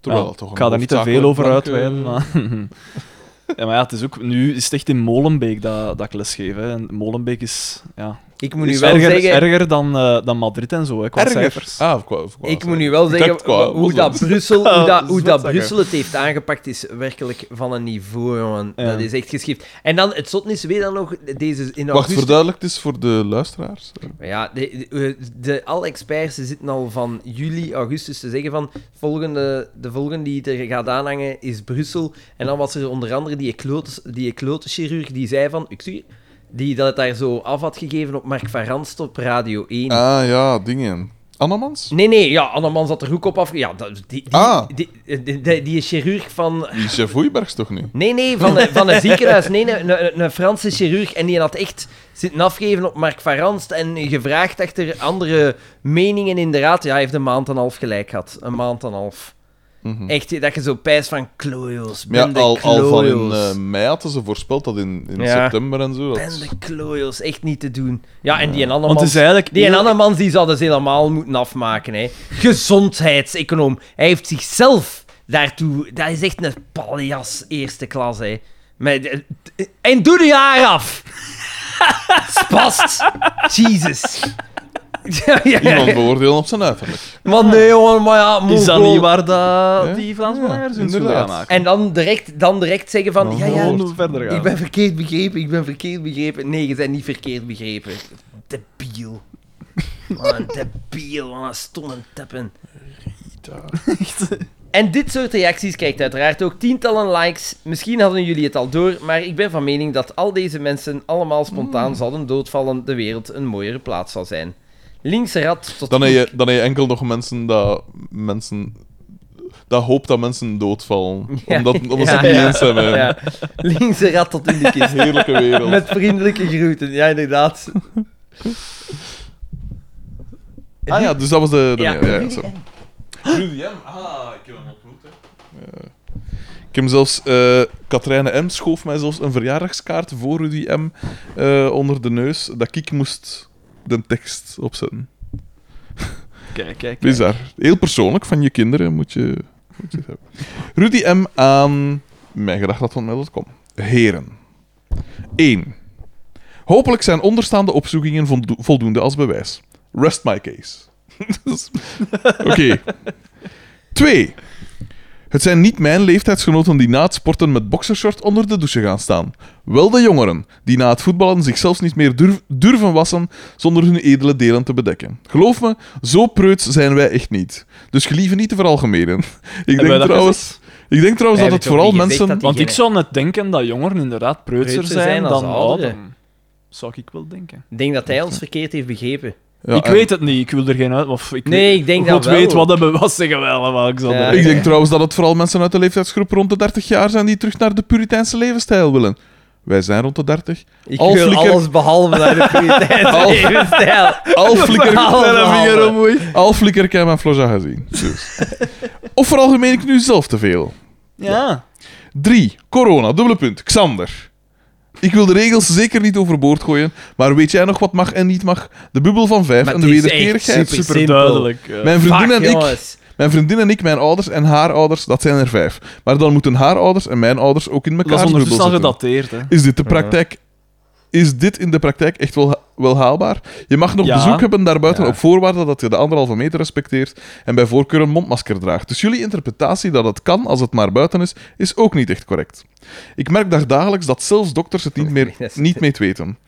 S2: Terwijl
S3: Ja,
S2: toch een
S3: ik ga daar niet te veel
S2: hoofdzakelijk
S3: over
S2: blanke-
S3: uitweiden, maar... Ja, maar ja, het is ook, nu is het echt in Molenbeek dat, dat ik lesgeef. Hè. En Molenbeek is, ja,
S1: Ik moet nu
S3: is
S1: wel
S3: erger,
S1: zeggen.
S3: erger dan, eh, dan Madrid en zo, hè, qua
S2: Erger.
S3: cijfers.
S2: Ah, qua, qua
S1: Ik moet nu wel
S2: Ik
S1: zeggen
S2: dacht qua
S1: wa- hoe, dat
S2: moslims.
S1: Brussel, hoe, dat, hoe dat
S3: Zwitserland.
S1: Brussel het heeft aangepakt, is werkelijk van een niveau, jongen.
S3: Ja.
S1: Dat is echt geschikt. En dan, het zot is weer dan nog, deze in
S2: Wacht,
S1: augustus
S2: verduidelijk het is voor de luisteraars.
S1: Maar Ja, de, de, de- alle experts zitten al van juli, augustus te zeggen van volgende, de volgende die er gaat aanhangen is Brussel. En dan was er onder andere die eclotes- die eclotenchirurg die zei van, ik zie, die dat het daar zo af had gegeven op Mark van Ranst op Radio 1.
S2: Ah ja, dingen. Annemans?
S1: Nee, nee, ja, Annemans had er ook op afge... Ja, dat- die, die,
S2: Ah.
S1: die, die, die, die chirurg van...
S2: Die chef Oeibergs toch niet?
S1: Nee, nee, van, een- van een ziekenhuis. Nee, een, een, een Franse chirurg. En die had echt zitten afgeven op Mark van Ranst en gevraagd achter andere meningen in de raad. Ja, hij heeft een maand en een half gelijk gehad. Een maand en een half.
S2: Mhm.
S1: Echt, dat je zo pijst van klojo's,
S2: Maar ja,
S1: ben de
S2: al, al van in
S1: klojo's.
S2: eh, mei hadden ze voorspeld dat in, in
S1: Ja.
S2: september en zo.
S1: Ben
S2: Dat...
S1: de klojo's, echt niet te doen. Ja, en die en
S3: Want het is eigenlijk...
S1: die en
S3: heel-
S1: Annemans die zouden ze helemaal moeten afmaken. Hè. Gezondheidseconoom. Hij heeft zichzelf daartoe... Dat is echt een paljas eerste klas. Hè. Met, eh, en doe de haar af. Spast. Jesus. Ja, ja, ja.
S2: Iemand beoordelen op zijn uiterlijk.
S1: Maar nee, jongen, maar ja,
S3: Is dat
S1: Mongool.
S3: niet waar dat
S2: Ja.
S3: die Vlaams
S2: Ja,
S3: Belangers hun
S2: inderdaad.
S3: schoenen gaan maken?
S1: En dan direct, dan direct zeggen van... Ja, ja,
S3: Gewoon verder gaan.
S1: ik ben verkeerd begrepen, ik ben verkeerd begrepen. Nee, je bent niet verkeerd begrepen. Debiel. Wat een debiel, wat een stomme teppen. En dit soort reacties krijgt uiteraard ook tientallen likes. Misschien hadden jullie het al door, maar ik ben van mening dat al deze mensen allemaal spontaan zouden doodvallen, de wereld een mooiere plaats zou zijn. Linkse rat tot...
S2: Dan heb, je, dan heb je enkel nog mensen dat mensen. Dat hoopt dat mensen doodvallen.
S1: Ja.
S2: Omdat, omdat ze
S1: Ja,
S2: het niet
S1: ja.
S2: eens hebben.
S1: Ja, linkse rat tot in de kist.
S2: Heerlijke wereld.
S1: Met vriendelijke groeten, ja inderdaad.
S2: Ah ja, dus dat was de. de
S1: Ja.
S2: ja, ja, zo. Rudy M. Ah, ik heb hem ontmoet. Hè. Ik heb hem zelfs. eh Katrijne M. schoof mij zelfs een verjaardagskaart voor Rudy M. eh, onder de neus. Dat ik moest de tekst opzetten.
S3: Kijk, kijk.
S2: Bizar. Heel persoonlijk van je kinderen moet je. Moet je het hebben. Rudy M. aan mijngedachtdatvanmail.com. Heren. 1. Hopelijk zijn onderstaande opzoekingen voldo- voldoende als bewijs. Rest my case. Dat is- Oké. 2. Het zijn niet mijn leeftijdsgenoten die na het sporten met boxershort onder de douche gaan staan. Wel de jongeren, die na het voetballen zich zelfs niet meer durf- durven wassen zonder hun edele delen te bedekken. Geloof me, zo preuts zijn wij echt niet. Dus gelieve niet te veralgemenen. Ik
S3: wij
S2: denk
S3: dat
S2: trouwens... Ik denk trouwens dat
S1: Wij
S2: het
S1: hebben
S2: vooral
S1: toch niet gezegd dat
S2: mensen...
S1: die
S3: Want ik
S1: Diegene.
S3: zou net denken dat jongeren inderdaad preutser,
S1: Preutser
S3: zijn,
S1: zijn als
S3: dan
S1: ouderen.
S3: ouderen. Zou ik wel denken.
S1: Ik denk dat hij ons verkeerd heeft begrepen.
S2: Ja,
S3: ik
S2: en-
S3: weet het niet, ik wil er geen uit... Of ik
S1: Nee, ik denk
S3: God
S1: dat wel.
S3: weet wat hebben was, zeggen wij allemaal. Ik zal
S1: Ja.
S3: er-
S2: Ik denk trouwens dat het vooral mensen uit de leeftijdsgroep rond de 30 jaar zijn die terug naar de Puriteinse levensstijl willen. Wij zijn rond de 30.
S1: Ik
S2: Al
S1: wil
S2: flikker-
S1: alles behalve naar de prioriteit. stijl.
S2: Al flikker,
S1: Behalve handen.
S2: al flikker ik heb mijn Floja gezien. Dus. Of veralgemeen ik nu zelf te veel.
S3: Ja.
S2: 3. Corona, dubbele punt. Xander. Ik wil de regels zeker niet overboord gooien, maar weet jij nog wat mag en niet mag? De bubbel van 5
S1: Maar
S2: en de
S1: het is echt
S2: wederkerigheid.
S1: super
S3: Super duidelijk.
S2: Mijn vriendin
S1: Fuck,
S2: en ik
S1: jongens.
S2: Mijn vriendin en ik, mijn ouders en haar ouders, dat zijn er vijf. Maar dan moeten haar ouders en mijn ouders ook in elkaar
S3: dat is
S2: bubbel
S3: ondertussen al
S2: zitten.
S3: gedateerd, hè.
S2: Is dit de praktijk? Is dit in de praktijk echt wel, wel haalbaar? Je mag nog
S3: Ja.
S2: bezoek hebben daarbuiten
S3: Ja.
S2: op voorwaarde dat je de anderhalve meter respecteert en bij voorkeur een mondmasker draagt. Dus jullie interpretatie dat het kan als het maar buiten is, is ook niet echt correct. Ik merk daar dagelijks dat zelfs dokters het
S3: Oh,
S2: niet, meer,
S1: Yes.
S2: niet mee weten.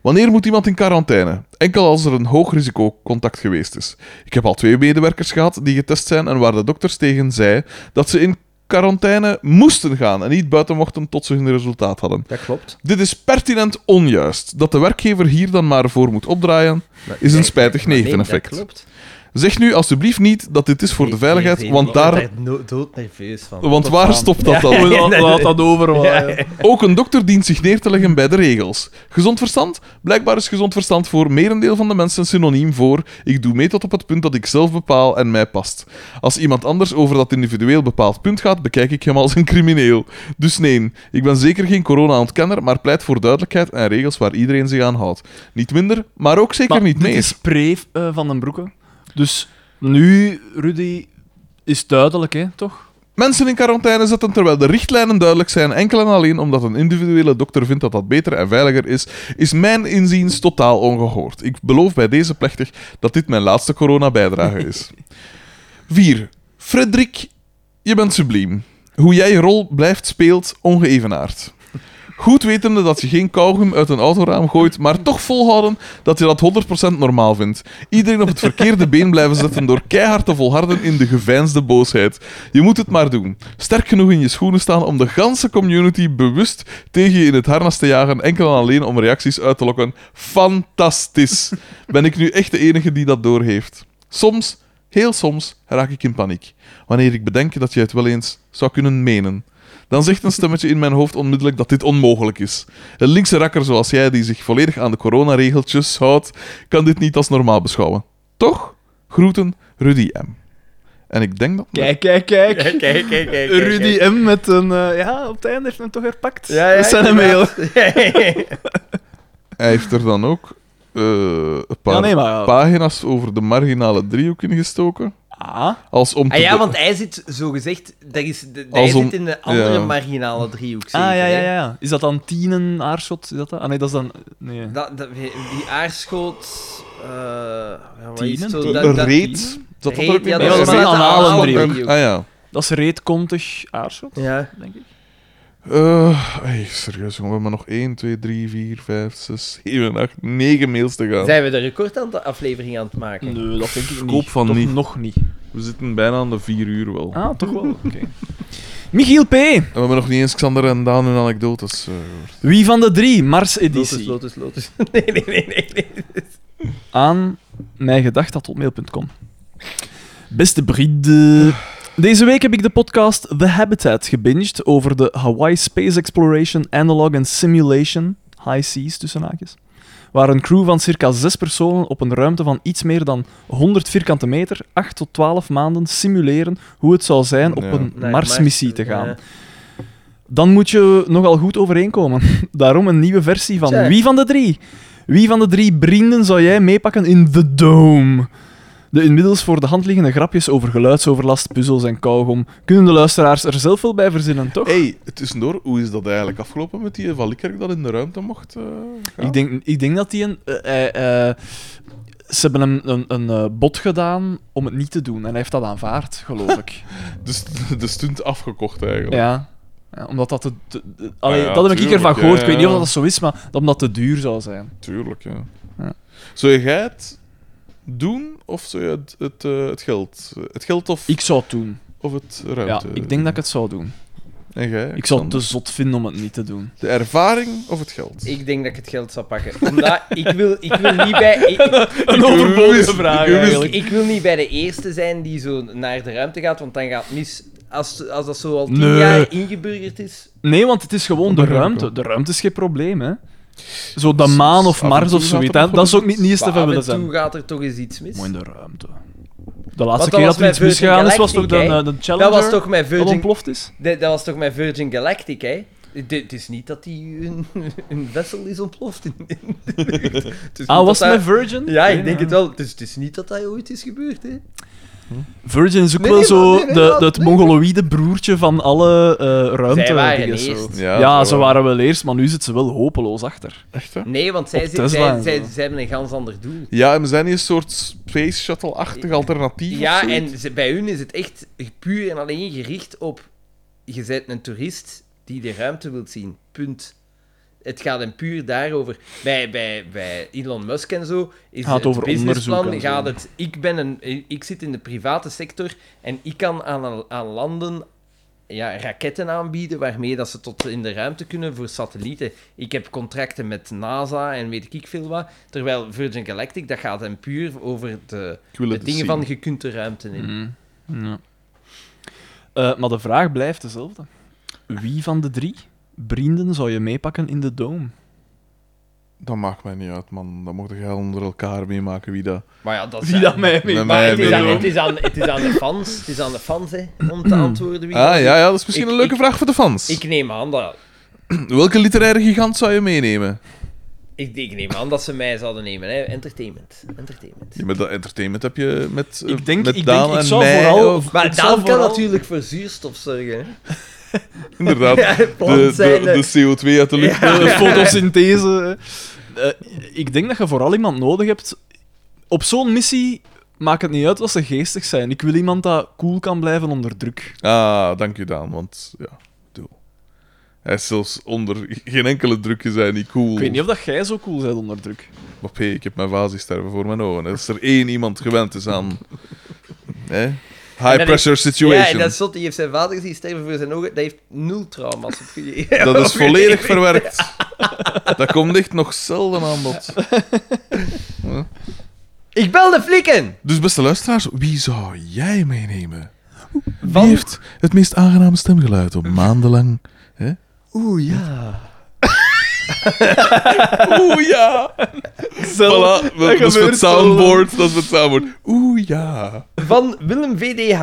S2: Wanneer moet iemand in quarantaine? Enkel als er een hoog risicocontact geweest is. Ik heb al twee medewerkers gehad die getest zijn en waar de dokters tegen zei dat ze in quarantaine moesten gaan en niet buiten mochten tot ze hun resultaat hadden.
S1: Dat klopt.
S2: Dit is pertinent onjuist. Dat de werkgever hier dan maar voor moet opdraaien, is een spijtig
S1: Maar nee,
S2: neveneffect.
S1: Dat klopt.
S2: zeg nu alsjeblieft niet dat dit is voor de veiligheid,
S1: Ik-
S2: want
S1: ik word
S2: daar... Oh.
S1: no- doodnerveus van.
S2: Want waar stopt dat
S3: Ja,
S2: dan?
S3: laat, laat dat eh, overwaaien.
S2: Ook een dokter dient zich neer te leggen bij de regels. Gezond verstand? Blijkbaar is gezond verstand voor merendeel van de mensen synoniem voor ik doe mee tot op het punt dat ik zelf bepaal en mij past. Als iemand anders over dat individueel bepaald punt gaat, bekijk ik hem als een crimineel. Dus nee, ik ben zeker geen corona-ontkenner, maar pleit voor duidelijkheid en regels waar iedereen zich aan houdt. Niet minder, maar ook zeker
S3: Maar
S2: niet
S3: dit
S2: meer.
S3: is pre eh, van den Broeke. Dus nu, Rudy, is duidelijk, hè, toch?
S2: Mensen in quarantaine zetten terwijl de richtlijnen duidelijk zijn, enkel en alleen omdat een individuele dokter vindt dat dat beter en veiliger is, is mijn inziens totaal ongehoord. Ik beloof bij deze plechtig dat dit mijn laatste corona-bijdrage is. 4. Frederik, je bent subliem. Hoe jij je rol blijft speelt, ongeëvenaard. Goed wetende dat je geen kauwgum uit een autoraam gooit, maar toch volhouden dat je dat 100% normaal vindt. Iedereen op het verkeerde been blijven zetten door keihard te volharden in de geveinsde boosheid. Je moet het maar doen. Sterk genoeg in je schoenen staan om de ganse community bewust tegen je in het harnas te jagen, enkel en alleen om reacties uit te lokken. Fantastisch! Ben ik nu echt de enige die dat doorheeft? Soms, heel soms, raak ik in paniek. Wanneer ik bedenk dat je het wel eens zou kunnen menen. Dan zegt een stemmetje in mijn hoofd onmiddellijk dat dit onmogelijk is. Een linkse rakker zoals jij, die zich volledig aan de coronaregeltjes houdt, kan dit niet als normaal beschouwen. Toch? Groeten, Rudy M. En ik denk dat...
S3: Kijk, kijk, kijk.
S1: Kijk, kijk, kijk.
S3: Rudy M met een... eh, ja, op het einde heeft hem toch herpakt.
S1: Ja, ja,
S3: Dat zijn hem heel...
S2: Hij heeft er dan ook eh, een paar
S3: Ja, nee, maar...
S2: pagina's over de marginale driehoek in gestoken.
S3: Ah,
S2: Als om te...
S1: Ah ja,
S2: be-
S1: want hij zit zogezegd... Dat is, de- hij
S2: Als om-
S1: zit in de andere
S2: ja.
S1: marginale driehoek.
S3: ah
S1: zeker,
S3: ja, ja,
S1: hè?
S3: ja, ja. Is dat dan tienen aarschot? Is dat dat? Ah nee, dat is dan... Nee.
S1: Dat, dat, die aarschot... eh, ja, wat is
S3: Tienen?
S1: het
S2: Een
S1: zo? Dat- dat-
S2: reet. Zat dat er ook
S1: Reet,
S2: niet
S1: ja,
S2: bij?
S1: dat
S3: Ja,
S1: is
S3: dat
S1: maar
S3: is
S1: de
S3: een
S1: anale
S3: anale
S1: driehoek.
S3: driehoek.
S2: Ah ja.
S3: Dat is reetkontig aarschot,
S1: Ja.
S3: denk ik.
S2: Eh, hey, serieus, jongen. We hebben nog 1, 2, 3, 4, 5, 6, 7, 8, 9 mails te gaan.
S3: Oh.
S1: Zijn we de recordaflevering aan het maken?
S3: Nee, dat denk ik niet.
S2: Koop van
S3: Toch
S2: niet.
S3: nog niet.
S2: We zitten bijna aan de 4 uur wel.
S3: Ah, toch wel. Oké. Michiel P.
S2: En we hebben nog niet eens Xander en Daan hun anekdotes. eh, gehoord.
S3: Wie van de drie Mars-editie?
S1: Lotus, Lotus, Lotus. Nee, nee, nee, nee. nee.
S3: aan mijngedacht.mail.com. Beste Bride. Deze week heb ik de podcast The Habitat gebinged over de Hawaii Space Exploration Analog and Simulation, High Seas tussen haakjes, waar een crew van circa zes personen op een ruimte van iets meer dan 100 vierkante meter 8 tot 12 maanden simuleren hoe het zou zijn op
S2: Ja.
S3: een
S1: Naar
S3: Marsmissie
S1: Mars,
S3: te gaan.
S1: ja.
S3: Dan moet je nogal goed overeenkomen. Daarom een nieuwe versie van
S1: Tja.
S3: Wie van de Drie? Wie van de drie vrienden zou jij meepakken in The Dome? De inmiddels voor de hand liggende grapjes over geluidsoverlast, puzzels en kauwgom kunnen de luisteraars er zelf wel bij verzinnen, toch?
S2: hey, tussendoor, hoe is dat eigenlijk afgelopen met die Van Likkerk dat in de ruimte mocht eh, gaan?
S3: Ik, denk, ik denk dat die een... eh, eh, eh, Ze hebben hem een, een eh, bod gedaan om het niet te doen. En hij heeft dat aanvaard, geloof ik.
S2: Dus de stunt afgekocht eigenlijk.
S3: ja. Ja, Omdat dat te... te- te- allee,
S2: Ah ja,
S3: dat heb ik
S2: tuurlijk,
S3: ervan gehoord. Ik weet niet
S2: ja.
S3: of dat zo is, maar dat omdat het te duur zou zijn.
S2: Tuurlijk, ja.
S3: Ja.
S2: Zou jij het doen of zou je het, het, eh, het geld? Het geld of,
S3: Ik zou het doen.
S2: of het
S3: Ja,
S2: ruimte?
S3: ik denk dat ik het zou doen.
S2: En jij?
S3: Ik zou het
S2: Xander?
S3: te zot vinden om het niet te doen.
S2: De ervaring of het geld?
S1: Ik denk dat ik het geld zou pakken. Omdat ik wil, ik wil niet bij... ik- ik-
S3: Een
S2: overbodige vraag
S1: Ik,
S2: eigenlijk.
S1: ik wil niet bij de eerste zijn die zo naar de ruimte gaat, want dan gaat mis. Als, als dat zo al tien
S3: Nee.
S1: jaar ingeburgerd is.
S3: Nee, want het is gewoon de ruimte. De ruimte is geen probleem, hè. Zo de maan
S2: af
S3: of
S2: en
S3: Mars
S2: toe
S3: of
S2: gaat
S3: zoiets,
S2: er
S3: hè.
S2: nog
S3: Dat is
S2: wel
S3: ook niet, niet eens te
S1: maar af
S3: veel
S1: en
S3: willen
S1: toe
S3: zijn.
S1: gaat er toch eens iets mis.
S3: Mooi in de ruimte. De laatste
S1: dat
S3: keer
S1: was
S3: dat er
S1: bij
S3: iets misgegaan is, was toch
S1: Virgin
S3: de, eh,
S1: Galactic,
S3: de Challenger
S1: Dat was toch met
S3: dat
S1: Virgin,
S3: ontploft is?
S1: dat, dat was toch met Virgin Galactic, hè? Het het is niet dat die hun, hun vessel is ontploft. In, in de lucht. Het is niet
S3: Ah,
S1: dat
S3: was het
S1: dat-
S3: met Virgin?
S1: Ja, ik
S3: Nee,
S1: denk
S3: nee.
S1: het wel. Dus het is niet dat dat ooit is gebeurd, hè?
S3: Virgin is ook
S1: Nee,
S3: wel
S1: nee,
S3: zo
S1: nee, nee,
S3: de,
S1: nee,
S3: de- het
S1: nee.
S3: mongoloïde broertje van alle eh ruimte.
S1: Zij waren
S3: dingen zo.
S1: eerst.
S2: Ja,
S3: Ja,
S2: zij
S3: ze
S2: waren-
S3: waren wel eerst, maar nu zit ze wel hopeloos achter.
S2: Echt, hè?
S1: Nee, want zij,
S3: Op
S1: zij,
S3: Tesla
S1: zij,
S3: en
S1: zij,
S3: zo.
S1: zij hebben een gans ander doel.
S2: Ja, en we zijn hier een soort space shuttle-achtig alternatief. of
S1: Ja,
S2: zoiets.
S1: en ze- bij hun is het echt puur en alleen gericht op... Je bent een toerist die de ruimte wilt zien. Punt. Het gaat hem puur daarover. Bij, bij, bij Elon Musk en zo is
S3: Gaat
S1: het
S3: over
S1: businessplan...
S3: onderzoek en zo.
S1: Gaat het, ik, ben een, ik zit in de private sector en ik kan aan, aan landen ja, raketten aanbieden waarmee dat ze tot in de ruimte kunnen voor satellieten. Ik heb contracten met NASA en weet ik veel wat. Terwijl Virgin Galactic, dat gaat hem puur over de,
S2: Ik wil
S1: de
S2: het
S1: dingen
S2: zien.
S1: van je kunt de ruimte in.
S3: Ja. Eh, maar de vraag blijft dezelfde. Wie van de drie vrienden zou je meepakken in de dome?
S2: Dat maakt mij niet uit, man. Dat mocht jij onder elkaar meemaken wie dat...
S1: Maar ja, dat
S3: Wie dat mij mee?
S2: Met
S1: Maar
S2: mij
S1: het is, aan,
S2: meedoet.
S1: het, is aan, het is aan de fans, het is aan de fans hè, om te antwoorden wie.
S2: Ah, ja, ja, dat is misschien
S1: Ik-
S2: een leuke
S1: ik-
S2: vraag voor de fans.
S1: Ik neem aan dat.
S2: Welke literaire gigant zou je meenemen?
S1: Ik, ik neem aan dat ze mij zouden nemen, hè. Entertainment. Entertainment.
S2: Ja, met dat entertainment heb je met, eh,
S3: Ik denk,
S2: met
S3: ik,
S2: Daan
S3: denk, ik
S2: en
S3: zou
S2: mij,
S3: vooral...
S2: of-
S1: Maar
S3: ik
S1: dat
S3: zou
S1: kan
S3: vooral-
S1: natuurlijk voor zuurstof zorgen. Hè.
S2: inderdaad,
S1: Ja,
S2: de,
S1: plant zijn,
S2: de, de CO2 uit de lucht.
S3: Eh, fotosynthese. Eh, ik denk dat je vooral iemand nodig hebt. Op zo'n missie maakt het niet uit wat ze geestig zijn. Ik wil iemand dat cool kan blijven onder druk.
S2: Ah, dank u Daan, want ja, doe. Hij is zelfs onder geen enkele drukje zijn niet cool.
S3: Ik weet niet of dat jij zo cool bent onder druk.
S2: Maar P, ik heb mijn vasie sterven voor mijn ogen. Als er één iemand gewend is aan hè, high pressure
S1: Ja,
S2: situation,
S1: en dat
S2: dat,
S1: zot, die heeft zijn vader gezien sterven voor zijn ogen. Dat heeft nul trauma's opgegeven.
S2: is... volledig verwerkt. dat komt echt nog zelden aan bod.
S1: Ik bel de flikken!
S2: Dus beste luisteraars, wie zou jij meenemen? Wie
S1: Van-
S2: heeft het meest aangename stemgeluid op maandenlang? Hè?
S3: Oeh, ja.
S2: Oeh ja! Voilà, dat, dat is
S3: gebeurt
S2: het soundboard. Dat is het soundboard. Oeh ja!
S1: Van Willem VDH.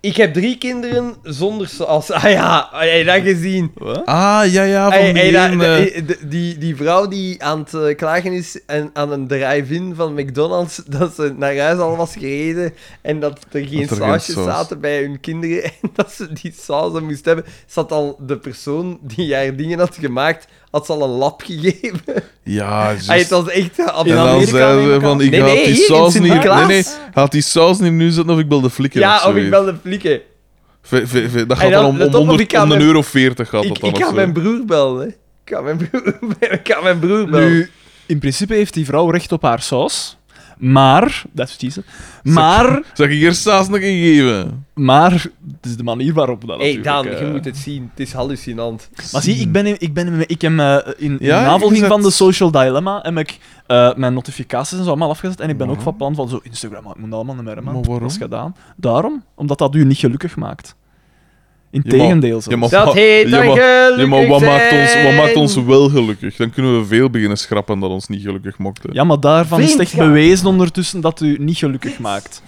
S1: Ik heb drie kinderen zonder zoals. Ah ja, heb je dat gezien?
S2: Ah, ja, ja, van
S1: Hey,
S2: die
S1: hey, da-
S2: ene-
S1: da-
S3: eh.
S1: die, die, die vrouw die aan het eh, klagen is en aan een drive-in van McDonald's dat ze naar huis al was gereden en dat er geen
S2: er geen
S1: sausjes
S2: saus.
S1: zaten bij hun kinderen en dat ze die sausen moest hebben, zat al de persoon die haar dingen had gemaakt, had ze al een lap gegeven.
S2: Ja, juist.
S1: Hey, het was echt eh,
S2: En
S1: absurd.
S2: dan
S3: Amerika
S2: zei
S3: neem
S2: ze
S3: ik
S2: van,
S3: aan.
S2: ik
S1: Nee,
S2: haal
S1: nee,
S2: die
S1: hier in
S2: saus niet... Nee,
S1: Sint-Niklaas.
S2: nee, haal die saus niet nu zetten of ik bel de flikker
S1: Ja,
S2: of
S1: of
S2: zoiets.
S1: ik bel de flikken.
S2: Ve- ve- ve- dat
S1: En
S2: gaat dan
S1: dan,
S2: om,
S1: let
S2: om,
S1: op, of
S2: 100
S1: ik ga
S2: om een
S1: mijn-
S2: euro 40 gaat dat
S1: Ik,
S2: dan
S1: ik
S2: of
S1: ga
S2: zo.
S1: mijn broer bellen. hè. Ik ga mijn broer, ik ga mijn broer bellen.
S3: Nu, in principe heeft die vrouw recht op haar saus. Maar, dat is cheese. Maar,
S2: Zeg ik hier saus nog ingeven?
S3: maar, het is de manier waarop dat
S1: Hé, hey,
S3: natuurlijk,
S1: Daan,
S3: eh,
S1: je moet het zien. Het is hallucinant.
S3: Maar zie, ik ben, in- ik ben in- ik heb, eh, in, in
S2: Ja, je
S3: navolging
S2: zet-
S3: van de Social Dilemma heb ik eh, mijn notificaties en zo allemaal afgezet. En ik ben ook van plan van zo Instagram, maar ik moet dat allemaal niet meer hebben.
S2: Maar waarom?
S3: Dat is gedaan. Daarom, omdat dat u niet gelukkig maakt.
S2: Ja, maar-
S3: Integendeel
S2: ja,
S3: zelfs.
S1: Dat
S2: maar wa-
S1: heet
S2: ja,
S1: dan
S2: maar-
S1: gelukkig
S2: Ja, maar wat maakt, ons, wat
S1: zijn.
S2: maakt ons wel gelukkig? Dan kunnen we veel beginnen schrappen dat ons niet gelukkig mocht. hè.
S3: Ja, maar daarvan is het echt
S1: Vriendschap.
S3: bewezen ondertussen dat u niet gelukkig maakt.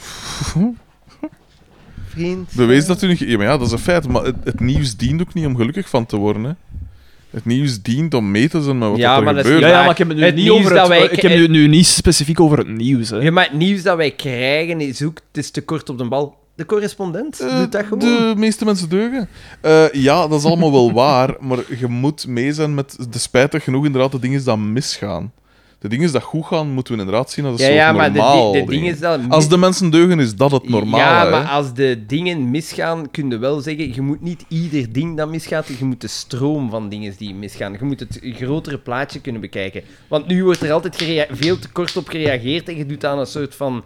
S1: Vriend.
S2: Bewees dat u niet... ge- Ja, maar ja, dat is een feit. Maar het, het nieuws dient ook niet om gelukkig van te worden, hè. Het nieuws dient om mee te zijn met wat
S1: Ja,
S2: er
S1: maar dat is
S2: gebeurt.
S3: Ja,
S1: niet
S3: ja,
S1: waar.
S3: maar ik heb het nu
S1: Het
S3: niet
S1: nieuws
S3: over het,
S1: dat wij-
S3: ik heb het nu niet specifiek over het nieuws. Hè.
S1: Ja, maar het nieuws dat wij krijgen is ook... Het is te kort op de bal. De correspondent
S2: Eh,
S1: doet dat gewoon.
S2: De meeste mensen deugen. Eh, ja, dat is allemaal wel waar, maar je moet mee zijn met de spijtig genoeg inderdaad de dingen die misgaan. De dingen is dat goed gaan, moeten we inderdaad zien als een
S1: Ja,
S2: soort
S1: ja, maar de,
S2: normaal
S1: di- de ding is dat...
S2: Als de mensen deugen, is dat het normaal.
S1: Ja,
S2: hè.
S1: maar als de dingen misgaan, kun je wel zeggen... Je moet niet ieder ding dat misgaat, je moet de stroom van dingen die misgaan. Je moet het grotere plaatje kunnen bekijken. Want nu wordt er altijd gerea- veel te kort op gereageerd en je doet aan een soort van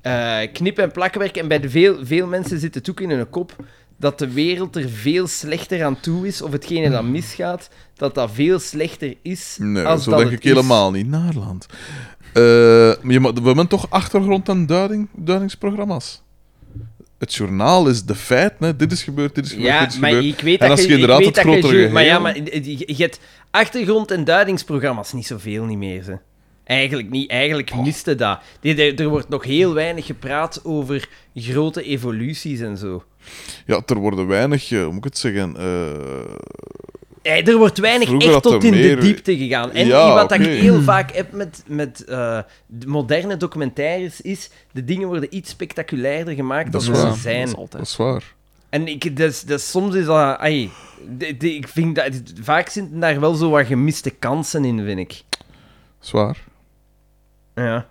S1: eh, knip- en plakwerk. En bij de veel, veel mensen zit het ook in hun kop dat de wereld er veel slechter aan toe is, of hetgene dat misgaat, dat dat veel slechter is
S2: Nee,
S1: als
S2: zo
S1: dat
S2: denk
S1: het
S2: ik
S1: is.
S2: helemaal niet. Naarland. Eh, maar je, ma- we hebben toch achtergrond- en duiding, duidingsprogramma's. Het journaal is de feit. Hè. Dit is gebeurd, dit is gebeurd,
S1: Ja,
S2: dit is
S1: maar
S2: gebeurd.
S1: ik weet
S2: en
S1: dat je,
S2: als je inderdaad
S1: ik
S2: het
S1: weet dat je
S2: grotere
S1: ju- Maar ja,
S2: geheel-
S1: maar je, je hebt achtergrond- en duidingsprogramma's niet zoveel niet meer. Ze. Eigenlijk niet. Eigenlijk miste dat. Die- Er, er wordt nog heel weinig gepraat over grote evoluties en zo.
S2: Ja, er worden weinig, eh, hoe moet ik het zeggen... eh,
S1: Eh, Er wordt weinig
S2: Vroeger
S1: echt
S2: had
S1: tot
S2: er
S1: in
S2: meer-
S1: de diepte gegaan. En
S2: Ja,
S1: wat
S2: oké.
S1: ik heel vaak heb met, met eh, de moderne documentaires is... De dingen worden iets spectaculairder gemaakt
S2: Dat
S1: dan
S2: is
S1: ze
S2: waar.
S1: zijn.
S2: dat is waar.
S1: En ik, dus, dus soms is dat... ai, de- de- ik vind dat... Vaak zitten daar wel zo wat gemiste kansen in, vind ik.
S2: Zwaar.
S1: Ja.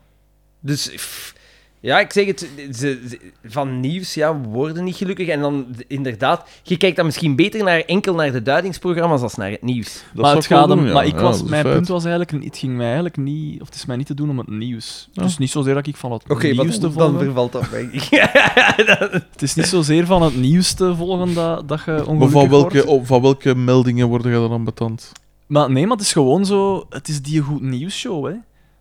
S1: Dus... pff, ja, ik zeg het, ze, ze- van nieuws ja, we worden niet gelukkig. En dan d- inderdaad, je kijkt dan misschien beter naar, enkel naar de duidingsprogramma's als naar het nieuws.
S2: Dat
S3: maar
S2: zou
S3: het
S2: ik wel
S3: gaat
S2: doen,
S3: hem,
S2: ja.
S3: maar ik
S2: Ja,
S3: was,
S2: dat is
S3: mijn
S2: feit.
S3: punt was eigenlijk, het ging mij eigenlijk niet, of het is mij niet te doen om het nieuws. Dus niet zozeer dat ik van het nieuws te volgen.
S1: vervalt dat mij.
S3: Het is niet zozeer van het nieuws te volgen dat, dat je
S2: Maar
S3: ongelukkig
S2: van welke,
S3: wordt.
S2: op- van welke meldingen worden jij dan betand?
S3: Maar nee, maar het is gewoon zo, het is die goed nieuws show, hè.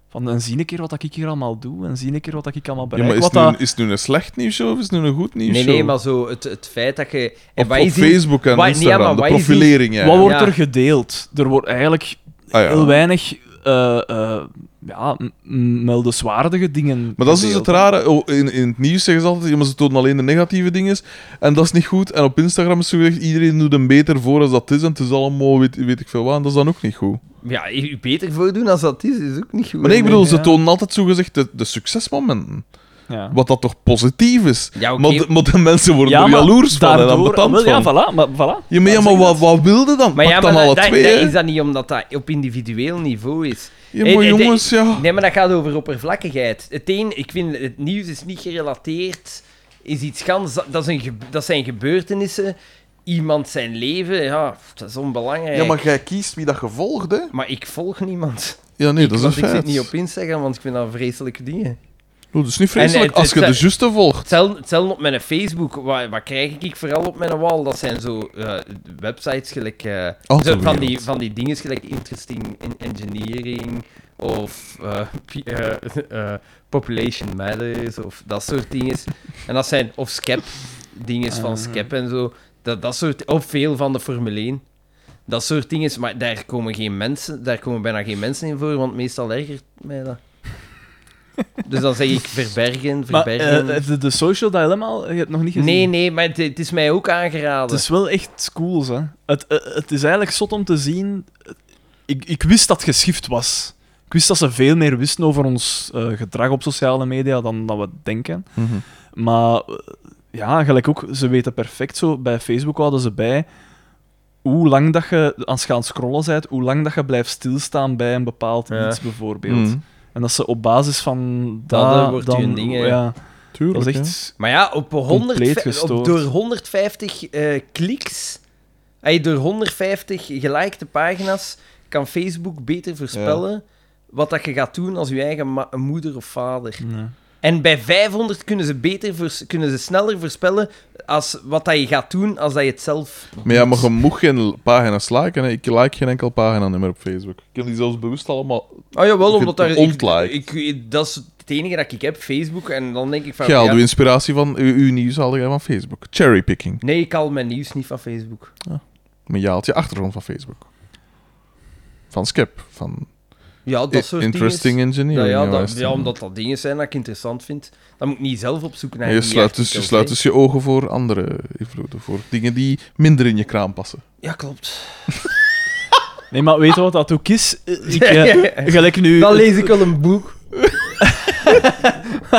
S3: Van, en zie een keer wat ik hier allemaal doe, en zie een keer wat ik allemaal
S2: Ja,
S3: bereik.
S2: maar is,
S3: wat
S2: het nu,
S3: dat-
S2: een- is het nu een slecht nieuwsshow of is het nu een goed nieuwsshow?
S1: Nee, nee, maar zo het, het feit dat je... En
S2: Op,
S1: wat
S2: op
S1: is die-
S2: Facebook en
S1: wat- nee, ja,
S2: Instagram,
S1: maar
S2: de
S1: wat is die-
S2: profilering. ja.
S3: Wat wordt
S1: Ja.
S3: er gedeeld? Er wordt eigenlijk
S2: Ah, ja.
S3: heel weinig eh, eh, ja, m- m- meldenswaardige dingen
S2: Maar dat is dus het
S3: gedeeld.
S2: rare. Oh, in, in het nieuws zeggen ze altijd, ja, maar ze tonen alleen de negatieve dingen. En dat is niet goed. En op Instagram is zo gezegd, iedereen doet hem beter voor als dat is. En het is allemaal weet, weet ik veel wat. En dat is dan ook niet goed.
S1: Ja, je beter voordoen als dat is, is ook niet goed.
S2: Maar nee, ik bedoel, ze
S3: ja.
S2: tonen altijd zo gezegd de, de succesmomenten.
S3: Ja.
S2: Wat dat toch positief is.
S1: Ja, oké.
S2: maar, de, maar de mensen worden er
S3: maar
S2: jaloers van en dan
S3: ah,
S2: betand
S3: wel,
S2: van.
S3: Ja, voilà. Maar, voilà.
S2: Ja, maar, ja, maar
S3: Dan zeg
S2: wat,
S3: je
S2: wat wilde dan?
S1: Maar
S2: Pak
S1: ja,
S2: dan
S1: maar
S2: alle
S1: dat, dat-
S2: twee.
S1: dat
S2: hè.
S1: is dat niet omdat dat op individueel niveau is.
S2: Ja,
S1: Eh,
S2: maar
S1: eh,
S2: jongens,
S1: eh,
S2: ja.
S1: Nee, maar dat gaat over oppervlakkigheid. Het een, ik vind het nieuws is niet gerelateerd, is iets gans. Dat, is een gebe- dat zijn gebeurtenissen, iemand zijn leven, ja, dat is onbelangrijk.
S2: Ja, maar jij kiest wie dat gevolgd, hè?
S1: Maar ik volg niemand.
S2: Ja, nee, dat is een
S1: want ik
S2: feit.
S1: zit niet op Instagram, want ik vind dat vreselijke dingen.
S2: Oh, dat is niet vreselijk.
S1: En het-
S2: Als je
S1: het-
S2: de juiste volgt.
S1: Hetzelfde, hetzelfde op mijn Facebook. Wat, wat krijg ik vooral op mijn wall? Dat zijn zo eh, websites gelijk... eh,
S2: Altijd
S1: zo van, die,
S2: wereld.
S1: van die dingen gelijk Interesting in Engineering of eh, p- eh, eh, Population Matters of dat soort dingen. En dat zijn... Of SCAP. Dingen van SCAP en zo. Dat, dat soort... Of veel van de Formule 1. Dat soort dingen. Maar daar komen, geen mensen, daar komen bijna geen mensen in voor, want meestal ergert mij dat. Dus dan zeg ik verbergen,
S3: Maar
S1: verbergen.
S3: eh, de, de social dilemma, al, je hebt nog niet gezien.
S1: Nee, nee, maar het, het is mij ook
S3: Het
S1: aangeraden.
S3: is wel echt cool, hè. Het, eh, het is eigenlijk zot om te zien... Ik, ik wist dat het geschift was. Ik wist dat ze veel meer wisten over ons eh, gedrag op sociale media dan, dan we denken.
S2: Mhm.
S3: Maar eh, ja, gelijk ook, ze weten perfect zo. Bij Facebook houden ze bij hoe lang dat je aan het gaan scrollen bent, hoe lang dat je blijft stilstaan bij een bepaald
S1: Ja.
S3: iets bijvoorbeeld.
S2: Mhm.
S3: En dat ze op basis van
S1: Dat,
S3: dat...
S1: eh, wordt
S3: dan,
S1: hun ding, hè.
S3: Ja,
S2: Tuurlijk,
S3: dat is
S2: hè.
S3: echt...
S1: Maar ja, op
S3: Compleet
S1: 100,
S3: gestoord.
S1: op, door 150 eh kliks, ay, door 150 gelikte pagina's, kan Facebook beter voorspellen wat dat je gaat doen als je eigen ma- moeder of vader.
S3: Ja.
S1: En bij 500 kunnen ze, beter voors- kunnen ze sneller voorspellen als wat dat je gaat doen als dat je het zelf...
S2: Maar ja, maar je moet geen pagina's liken. Hè. Ik like geen enkel pagina meer op Facebook. Ik heb die zelfs bewust allemaal...
S1: Oh jawel,
S2: Je
S1: omdat daar...
S2: kunt
S1: Ik,
S2: ontliken.
S1: ik, dat is het enige dat ik heb, Facebook. En dan denk ik van...
S2: Jij haalt
S1: ja,
S2: uw inspiratie van... Uw, uw nieuws haalde jij van Facebook. Cherrypicking.
S1: nee, ik haal mijn nieuws niet van Facebook.
S2: Maar je haalt je achtergrond van Facebook. Van Skip. Van
S1: Ja, dat soort
S2: Interesting
S1: dingen. Ja,
S2: Engineering.
S1: Nou ja,
S2: wat
S1: dat,
S2: is
S1: ja,
S2: het?
S1: omdat dat dingen zijn dat ik interessant vind. Dan moet ik niet zelf op zoek naar
S2: En je
S1: die
S2: sluit, dus, je
S1: artikels,
S2: sluit
S1: hè.
S2: dus je ogen voor andere invloeden. Voor dingen die minder in je kraan passen.
S1: Ja, klopt.
S3: Nee, maar weet je wat dat ook is? Eh, Ik, eh, gelijk nu...
S1: Dan lees ik wel een boek.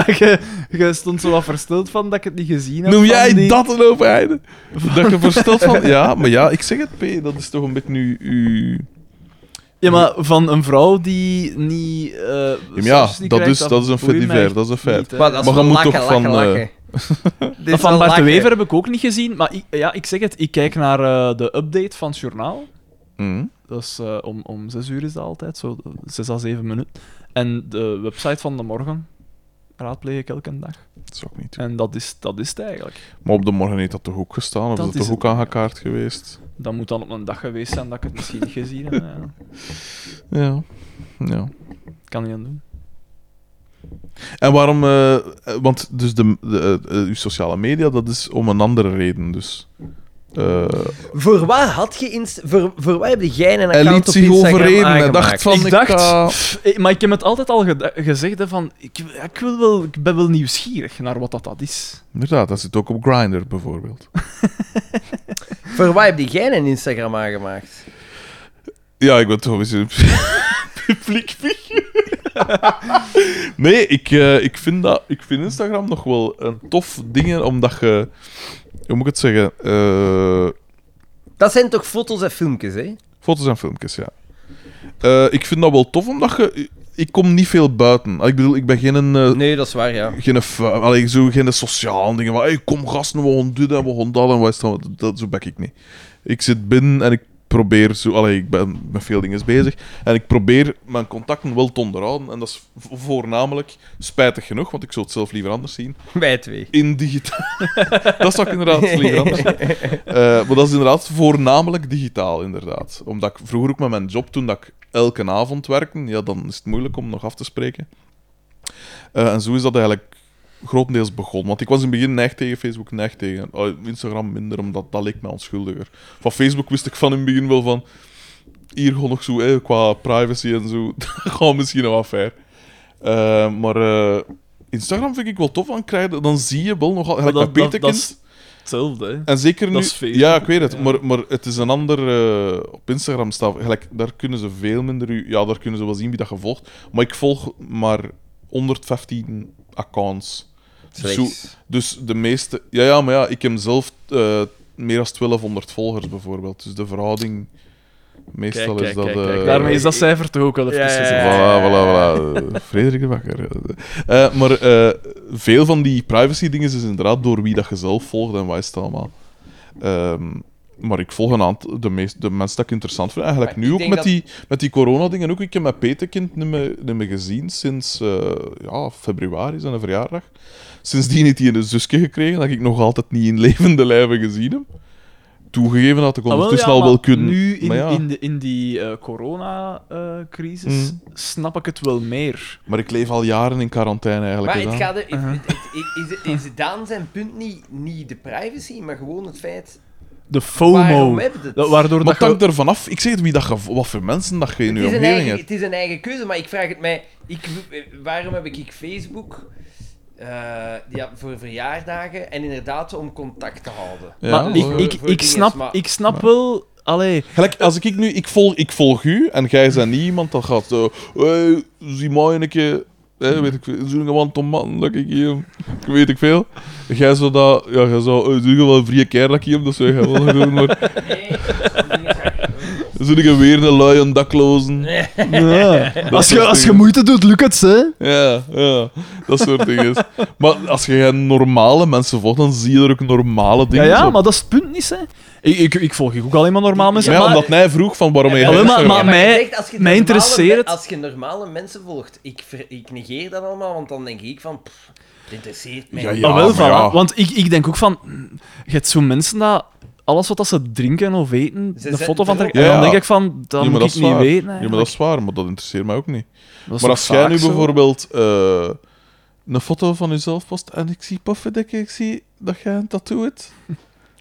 S3: je, je stond zo wat versteld van dat ik het niet gezien had.
S2: Noem
S3: van
S2: jij
S3: die-
S2: dat een open einde? Dat je versteld van... Ja, maar ja, ik zeg het, P. Dat is toch een beetje nu uw...
S3: Ja, maar van een vrouw die niet... eh,
S2: maar ja,
S3: service niet
S2: dat
S3: krijgt,
S2: is, dat is een
S3: boeit
S2: fait
S3: mij
S2: divers, dat is een feit.
S3: niet, hè.
S1: Maar dat is
S2: Maar
S1: wel
S2: je moet
S1: lachen,
S2: toch
S1: lachen,
S2: van, eh,
S1: lachen. Dit
S3: Dat
S1: is
S3: van
S1: wel
S3: Bart de
S1: lachen.
S3: Wever heb ik ook niet gezien, maar ik, ja, ik zeg het, ik kijk naar eh, de update van het journaal.
S2: Mhm.
S3: Dat is eh, om, om zes uur is dat altijd, zo eh, zes à zeven minuten. En de website van de morgen raadpleeg ik elke dag.
S2: Dat zou ik niet doen.
S3: En dat is, dat is het eigenlijk.
S2: Maar op de morgen heeft dat toch ook gestaan? Of
S3: Dat
S2: is dat
S3: is
S2: toch ook
S3: het.
S2: aangekaart geweest?
S3: Dat moet dan op een dag geweest zijn dat ik het misschien niet gezien heb. Ja,
S2: Ja. ja.
S3: kan niet aan doen.
S2: En waarom... eh, eh, want dus de, de, eh, eh, uw sociale media, dat is om een andere reden, dus... Eh,
S1: Voor waar had je inst- voor, voor waar heb jij een
S2: hij
S1: account
S2: liet
S1: op
S2: zich
S1: Instagram
S2: overreden. Hij
S1: aangemaakt?
S2: dacht van...
S3: ik dacht,
S2: ga-
S3: pff, eh, maar ik heb het altijd al geda- gezegd hè, van, ik, ik, wil wel, ik ben wel nieuwsgierig naar wat dat, dat is.
S2: Inderdaad, dat zit ook op Grindr bijvoorbeeld.
S1: Voor waar heb jij een Instagram aangemaakt?
S2: Ja, ik ben toch eens een publiek figuur. nee, ik, eh, ik, vind dat, ik vind Instagram nog wel een tof ding, omdat je... Hoe moet ik het zeggen? Eh,
S1: Dat zijn toch foto's en filmpjes, hè?
S2: foto's en filmpjes, ja. Eh, ik vind dat wel tof, omdat je... Ik kom niet veel buiten. Ah, Ik bedoel, ik ben geen... eh,
S1: Nee, dat is waar, ja.
S2: geen, fu- allee, zo, geen sociaal dingen. Van, hey, kom gasten, we gaan dit en we gaan dat en wat is dat. dat. Zo ben ik niet. Ik zit binnen en ik probeer... Zo, allee, ik ben met veel dingen bezig. En ik probeer mijn contacten wel te onderhouden. En dat is vo- voornamelijk, spijtig genoeg, want ik zou het zelf liever anders zien,
S1: Wij twee.
S2: in digitaal. dat zou ik inderdaad liever anders zien. Eh, maar dat is inderdaad voornamelijk digitaal, inderdaad. Omdat ik vroeger ook met mijn job, toen dat ik elke avond werkte, ja, dan is het moeilijk om nog af te spreken. Eh, en zo is dat eigenlijk grotendeels begonnen. Want ik was in het begin neig tegen Facebook, neig tegen oh, Instagram minder, omdat dat leek mij onschuldiger. Van Facebook wist ik van in het begin wel van... Hier gewoon nog zo, eh, qua privacy en zo, gewoon misschien nog wat ver. Eh, maar eh, Instagram vind ik wel tof, want krijg je- dan zie je wel nogal... gelijk
S3: dat-
S2: bij
S3: dat- dat
S2: Peterkind-
S3: is- Hetzelfde, hè.
S2: en zeker nu...
S3: Dat is Facebook,
S2: ja, ik weet het.
S3: ja.
S2: Maar, maar het is een ander... eh, op Instagram staat... Gelijk, daar kunnen ze veel minder... u- Ja, daar kunnen ze wel zien wie dat je volgt. Maar ik volg maar 115 accounts.
S1: Slechts.
S2: Zo- dus de meeste... Ja, ja, maar ja, ik heb zelf eh, meer dan 1200 volgers, bijvoorbeeld. Dus de verhouding... Meestal
S1: Kijk,
S2: is
S1: kijk,
S2: dat...
S1: kijk, kijk.
S2: eh,
S3: Daarmee is dat cijfer toch ook wel even
S1: Ja, ja, ja.
S2: Voilà, voilà, voilà. Eh, Frederik de Bakker. Eh, maar eh, veel van die privacy-dingen is inderdaad door wie dat je zelf volgt en wat is het allemaal. Ehm, maar ik volg een aantal, de, meest, de mensen dat ik interessant vind. Eigenlijk
S1: Maar
S2: nu
S1: ik
S2: ook
S1: denk
S2: met,
S1: dat-
S2: die, met die corona-dingen. Ook, ik heb mijn Peterkind niet meer, niet meer gezien sinds eh, ja, februari, zijn verjaardag. Sindsdien heeft hij een zusje gekregen dat ik nog altijd niet in levende lijven gezien heb. Toegegeven had ik
S3: Ah, wel,
S2: ondertussen
S3: ja,
S2: al wel
S3: maar
S2: kunnen.
S3: Nu, in,
S2: maar, ja.
S3: in, de, in die eh,
S2: Mm.
S3: corona-crisis, snap ik het wel meer.
S2: maar ik leef al jaren in quarantaine eigenlijk.
S1: Maar
S2: hè,
S1: het
S2: Daan.
S1: gaat... er- het- het- het- Is, is, is Daan zijn punt niet, niet de privacy, maar gewoon het feit...
S3: De FOMO.
S1: Waarom heb je het?
S3: Dat- Waardoor
S2: Maar
S3: dat
S2: het hangt
S3: je...
S2: er vanaf. Ik zeg het, wie dat ge- wat voor mensen dat je in je
S1: Het is, een
S2: omgeving
S1: eigen,
S2: hebt.
S1: het is een eigen keuze, maar ik vraag het mij... Ik, waarom heb ik Facebook... eh, ja, voor verjaardagen en inderdaad om contact te houden.
S2: Ja,
S3: Maar
S2: hoor.
S3: ik, ik,
S1: Voor
S3: ik
S1: dinges,
S3: snap,
S1: maar-
S3: ik snap wel... Allee,
S2: Gelijk, als ik nu... Ik volg, ik volg u en jij bent niet iemand dat gaat... eh, hey, zie mij een keer... Hey, weet ik veel. Zo'n gewoon tomaten dat ik hier... heb. Weet ik veel. Jij zou dat... Ja, jij zou... eh, Zo'n gewoon vrije keer dat ik hier heb. Dat zou jij wel doen, maar... Zo'n keer weer een lui en daklozen.
S3: als, je,
S2: soort
S3: als je
S2: dingen.
S3: moeite doet, lukt het, hè?
S2: Ja, ja. Dat soort dingen. Maar als je geen normale mensen volgt, dan zie je er ook normale
S3: Ja,
S2: dingen
S3: ja,
S2: op.
S3: maar dat is het punt niet, hè. Ik, ik, ik volg ook alleen maar normaal mensen.
S2: Maar ja,
S3: maar-
S2: omdat mij vroeg van waarom je...
S3: maar-
S2: geen
S3: maar-
S2: Instagram
S1: Ja,
S2: hebt.
S1: maar je
S3: mij-
S1: zegt, als je
S3: mij
S1: normale
S3: interesseert
S1: me-
S3: het.
S1: Als je normale mensen volgt, ik, ver- ik negeer dat allemaal, want dan denk ik van... pff, het interesseert mij.
S2: Ja,
S1: niet.
S2: ja.
S3: Ah, wel,
S2: maar
S3: voilà.
S2: ja.
S3: Want ik, ik denk ook van... mm, Je hebt zo'n mensen dat... Alles wat dat ze drinken of eten,
S1: Ze
S3: een
S1: zetten
S3: foto
S1: erop.
S3: van trekken. En
S2: Ja,
S3: dan
S2: ja.
S3: denk ik van, dat
S2: Ja, maar
S3: moet
S2: dat
S3: ik
S2: is
S3: niet
S2: waar.
S3: weten.
S2: Ja, maar dat is waar, maar dat interesseert mij ook niet.
S3: eigenlijk. Dat is
S2: maar
S3: toch
S2: als jij
S3: vaak
S2: nu
S3: zo?
S2: bijvoorbeeld eh, een foto van jezelf post en ik zie Pufferdikke, ik zie dat jij een tattoo hebt,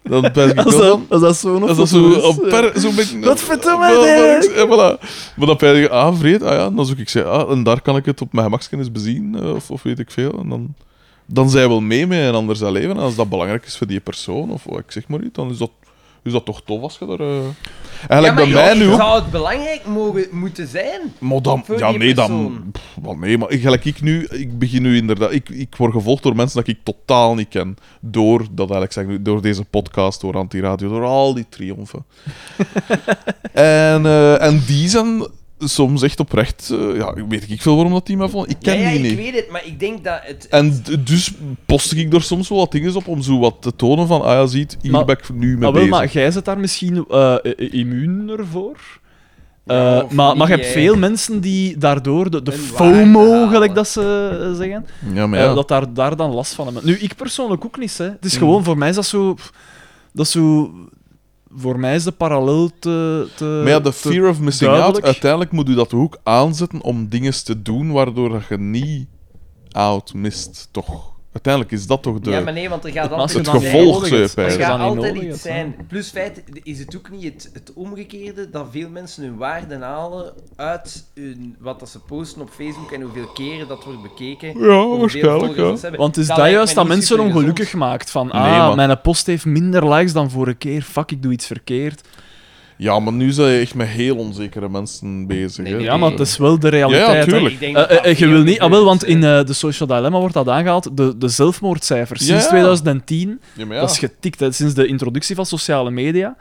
S2: dan ben ik
S3: Als
S2: wel
S3: dat,
S2: van-
S3: als dat zo'n
S2: Als dat
S3: foto
S2: zo
S3: is,
S2: op
S3: eh.
S2: per... Zo met,
S3: Wat verdomme,
S2: Wel,
S3: Dirk!
S2: dat is- eh, voilà. Maar dan ben je, ah, vreed, ah ja, dan zoek ik ze, ah, en daar kan ik het op mijn gemak eens bezien, eh, of, of weet ik veel, en dan... Dan zijn wel mee met een ander zijn leven. En als dat belangrijk is voor die persoon, of wat ik zeg maar niet, dan is dat, is dat toch tof als je daar... eh, Eigenlijk bij mij nu ook.
S1: Zou het belangrijk mogen, moeten zijn?
S2: Maar dan,
S1: Voor
S2: ja,
S1: die
S2: nee, dan.
S1: persoon.
S2: pff, wel nee, maar gelijk ik nu, ik begin nu inderdaad. Ik, ik word gevolgd door mensen dat ik totaal niet ken. Door dat eigenlijk zeg, ik nu, door deze podcast, door Antiradio, door al die triomfen. en, eh, en die zijn soms echt oprecht... eh, ja, weet ik veel waarom dat die mij vond. Ik ken
S1: ja, ja,
S2: die
S1: ik
S2: niet.
S1: weet het, maar ik denk dat het...
S2: En d- dus postte ik er soms wel wat dingen op om zo wat te tonen van, ah ja, ziet, hier
S3: Maar-
S2: ben ik nu mee
S3: Ah, wel,
S2: bezig.
S3: maar jij zit daar misschien eh, eh, eh, immuuner voor. Eh,
S1: Ja, of
S3: maar, maar je
S1: niet,
S3: hebt
S1: hè.
S3: veel mensen die daardoor de, de
S1: Hun waarde
S3: FOMO,
S1: halen.
S3: gelijk dat ze eh, zeggen,
S2: Ja, maar
S3: eh,
S2: ja. Mm.
S3: dat daar, daar dan last van hebben. Nu, ik persoonlijk ook niet. Hè. Het is gewoon, voor mij is dat zo... pff, Dat is zo voor mij is de parallel te... te
S2: Maar ja, de
S3: Eh, te-
S2: fear of missing out,
S3: duidelijk.
S2: uiteindelijk moet u dat toch ook aanzetten om dingen te doen waardoor dat je niet out mist, toch? Uiteindelijk is dat toch de...
S1: Ja, maar nee, want er gaat
S3: als
S1: altijd
S2: het
S3: je dat niet
S2: gevolg,
S3: nodig
S2: zou je
S3: hebt, als
S1: Er
S3: je
S2: peilen.
S1: gaat
S3: dat niet
S1: altijd
S3: nodig
S1: iets
S3: hebt, hè.
S1: zijn. Plus feit is het ook niet het, het omgekeerde dat veel mensen hun waarden halen uit hun, wat dat ze posten op Facebook en hoeveel keren dat wordt bekeken. Hoeveel
S2: waarschijnlijk,
S1: volgers
S2: ja.
S1: dat ze hebben.
S3: Want het is dat,
S1: lijkt
S3: juist
S1: mij
S3: dat
S1: niet
S3: mensen
S1: supergezond.
S3: ongelukkig maakt. Van,
S2: Nee, maar-
S3: ah, mijn post heeft minder likes dan vorige keer. Fuck, ik doe iets verkeerd.
S2: Ja, maar nu zijn je echt met heel onzekere mensen bezig, hè.
S1: Nee,
S3: Ja, maar het is wel de realiteit.
S2: Ja, ja,
S3: hè.
S2: tuurlijk.
S1: Ik denk
S3: Eh,
S1: dat
S3: eh,
S1: dat
S3: eh, je
S1: veel
S3: wil niet, ah, wel,
S1: gebeurt,
S3: want in
S1: eh.
S3: eh, de Social Dilemma wordt dat aangehaald, de, de zelfmoordcijfers. Sinds
S2: Ja.
S3: 2010,
S2: Ja, maar ja.
S3: dat is getikt, hè, sinds de introductie van sociale media.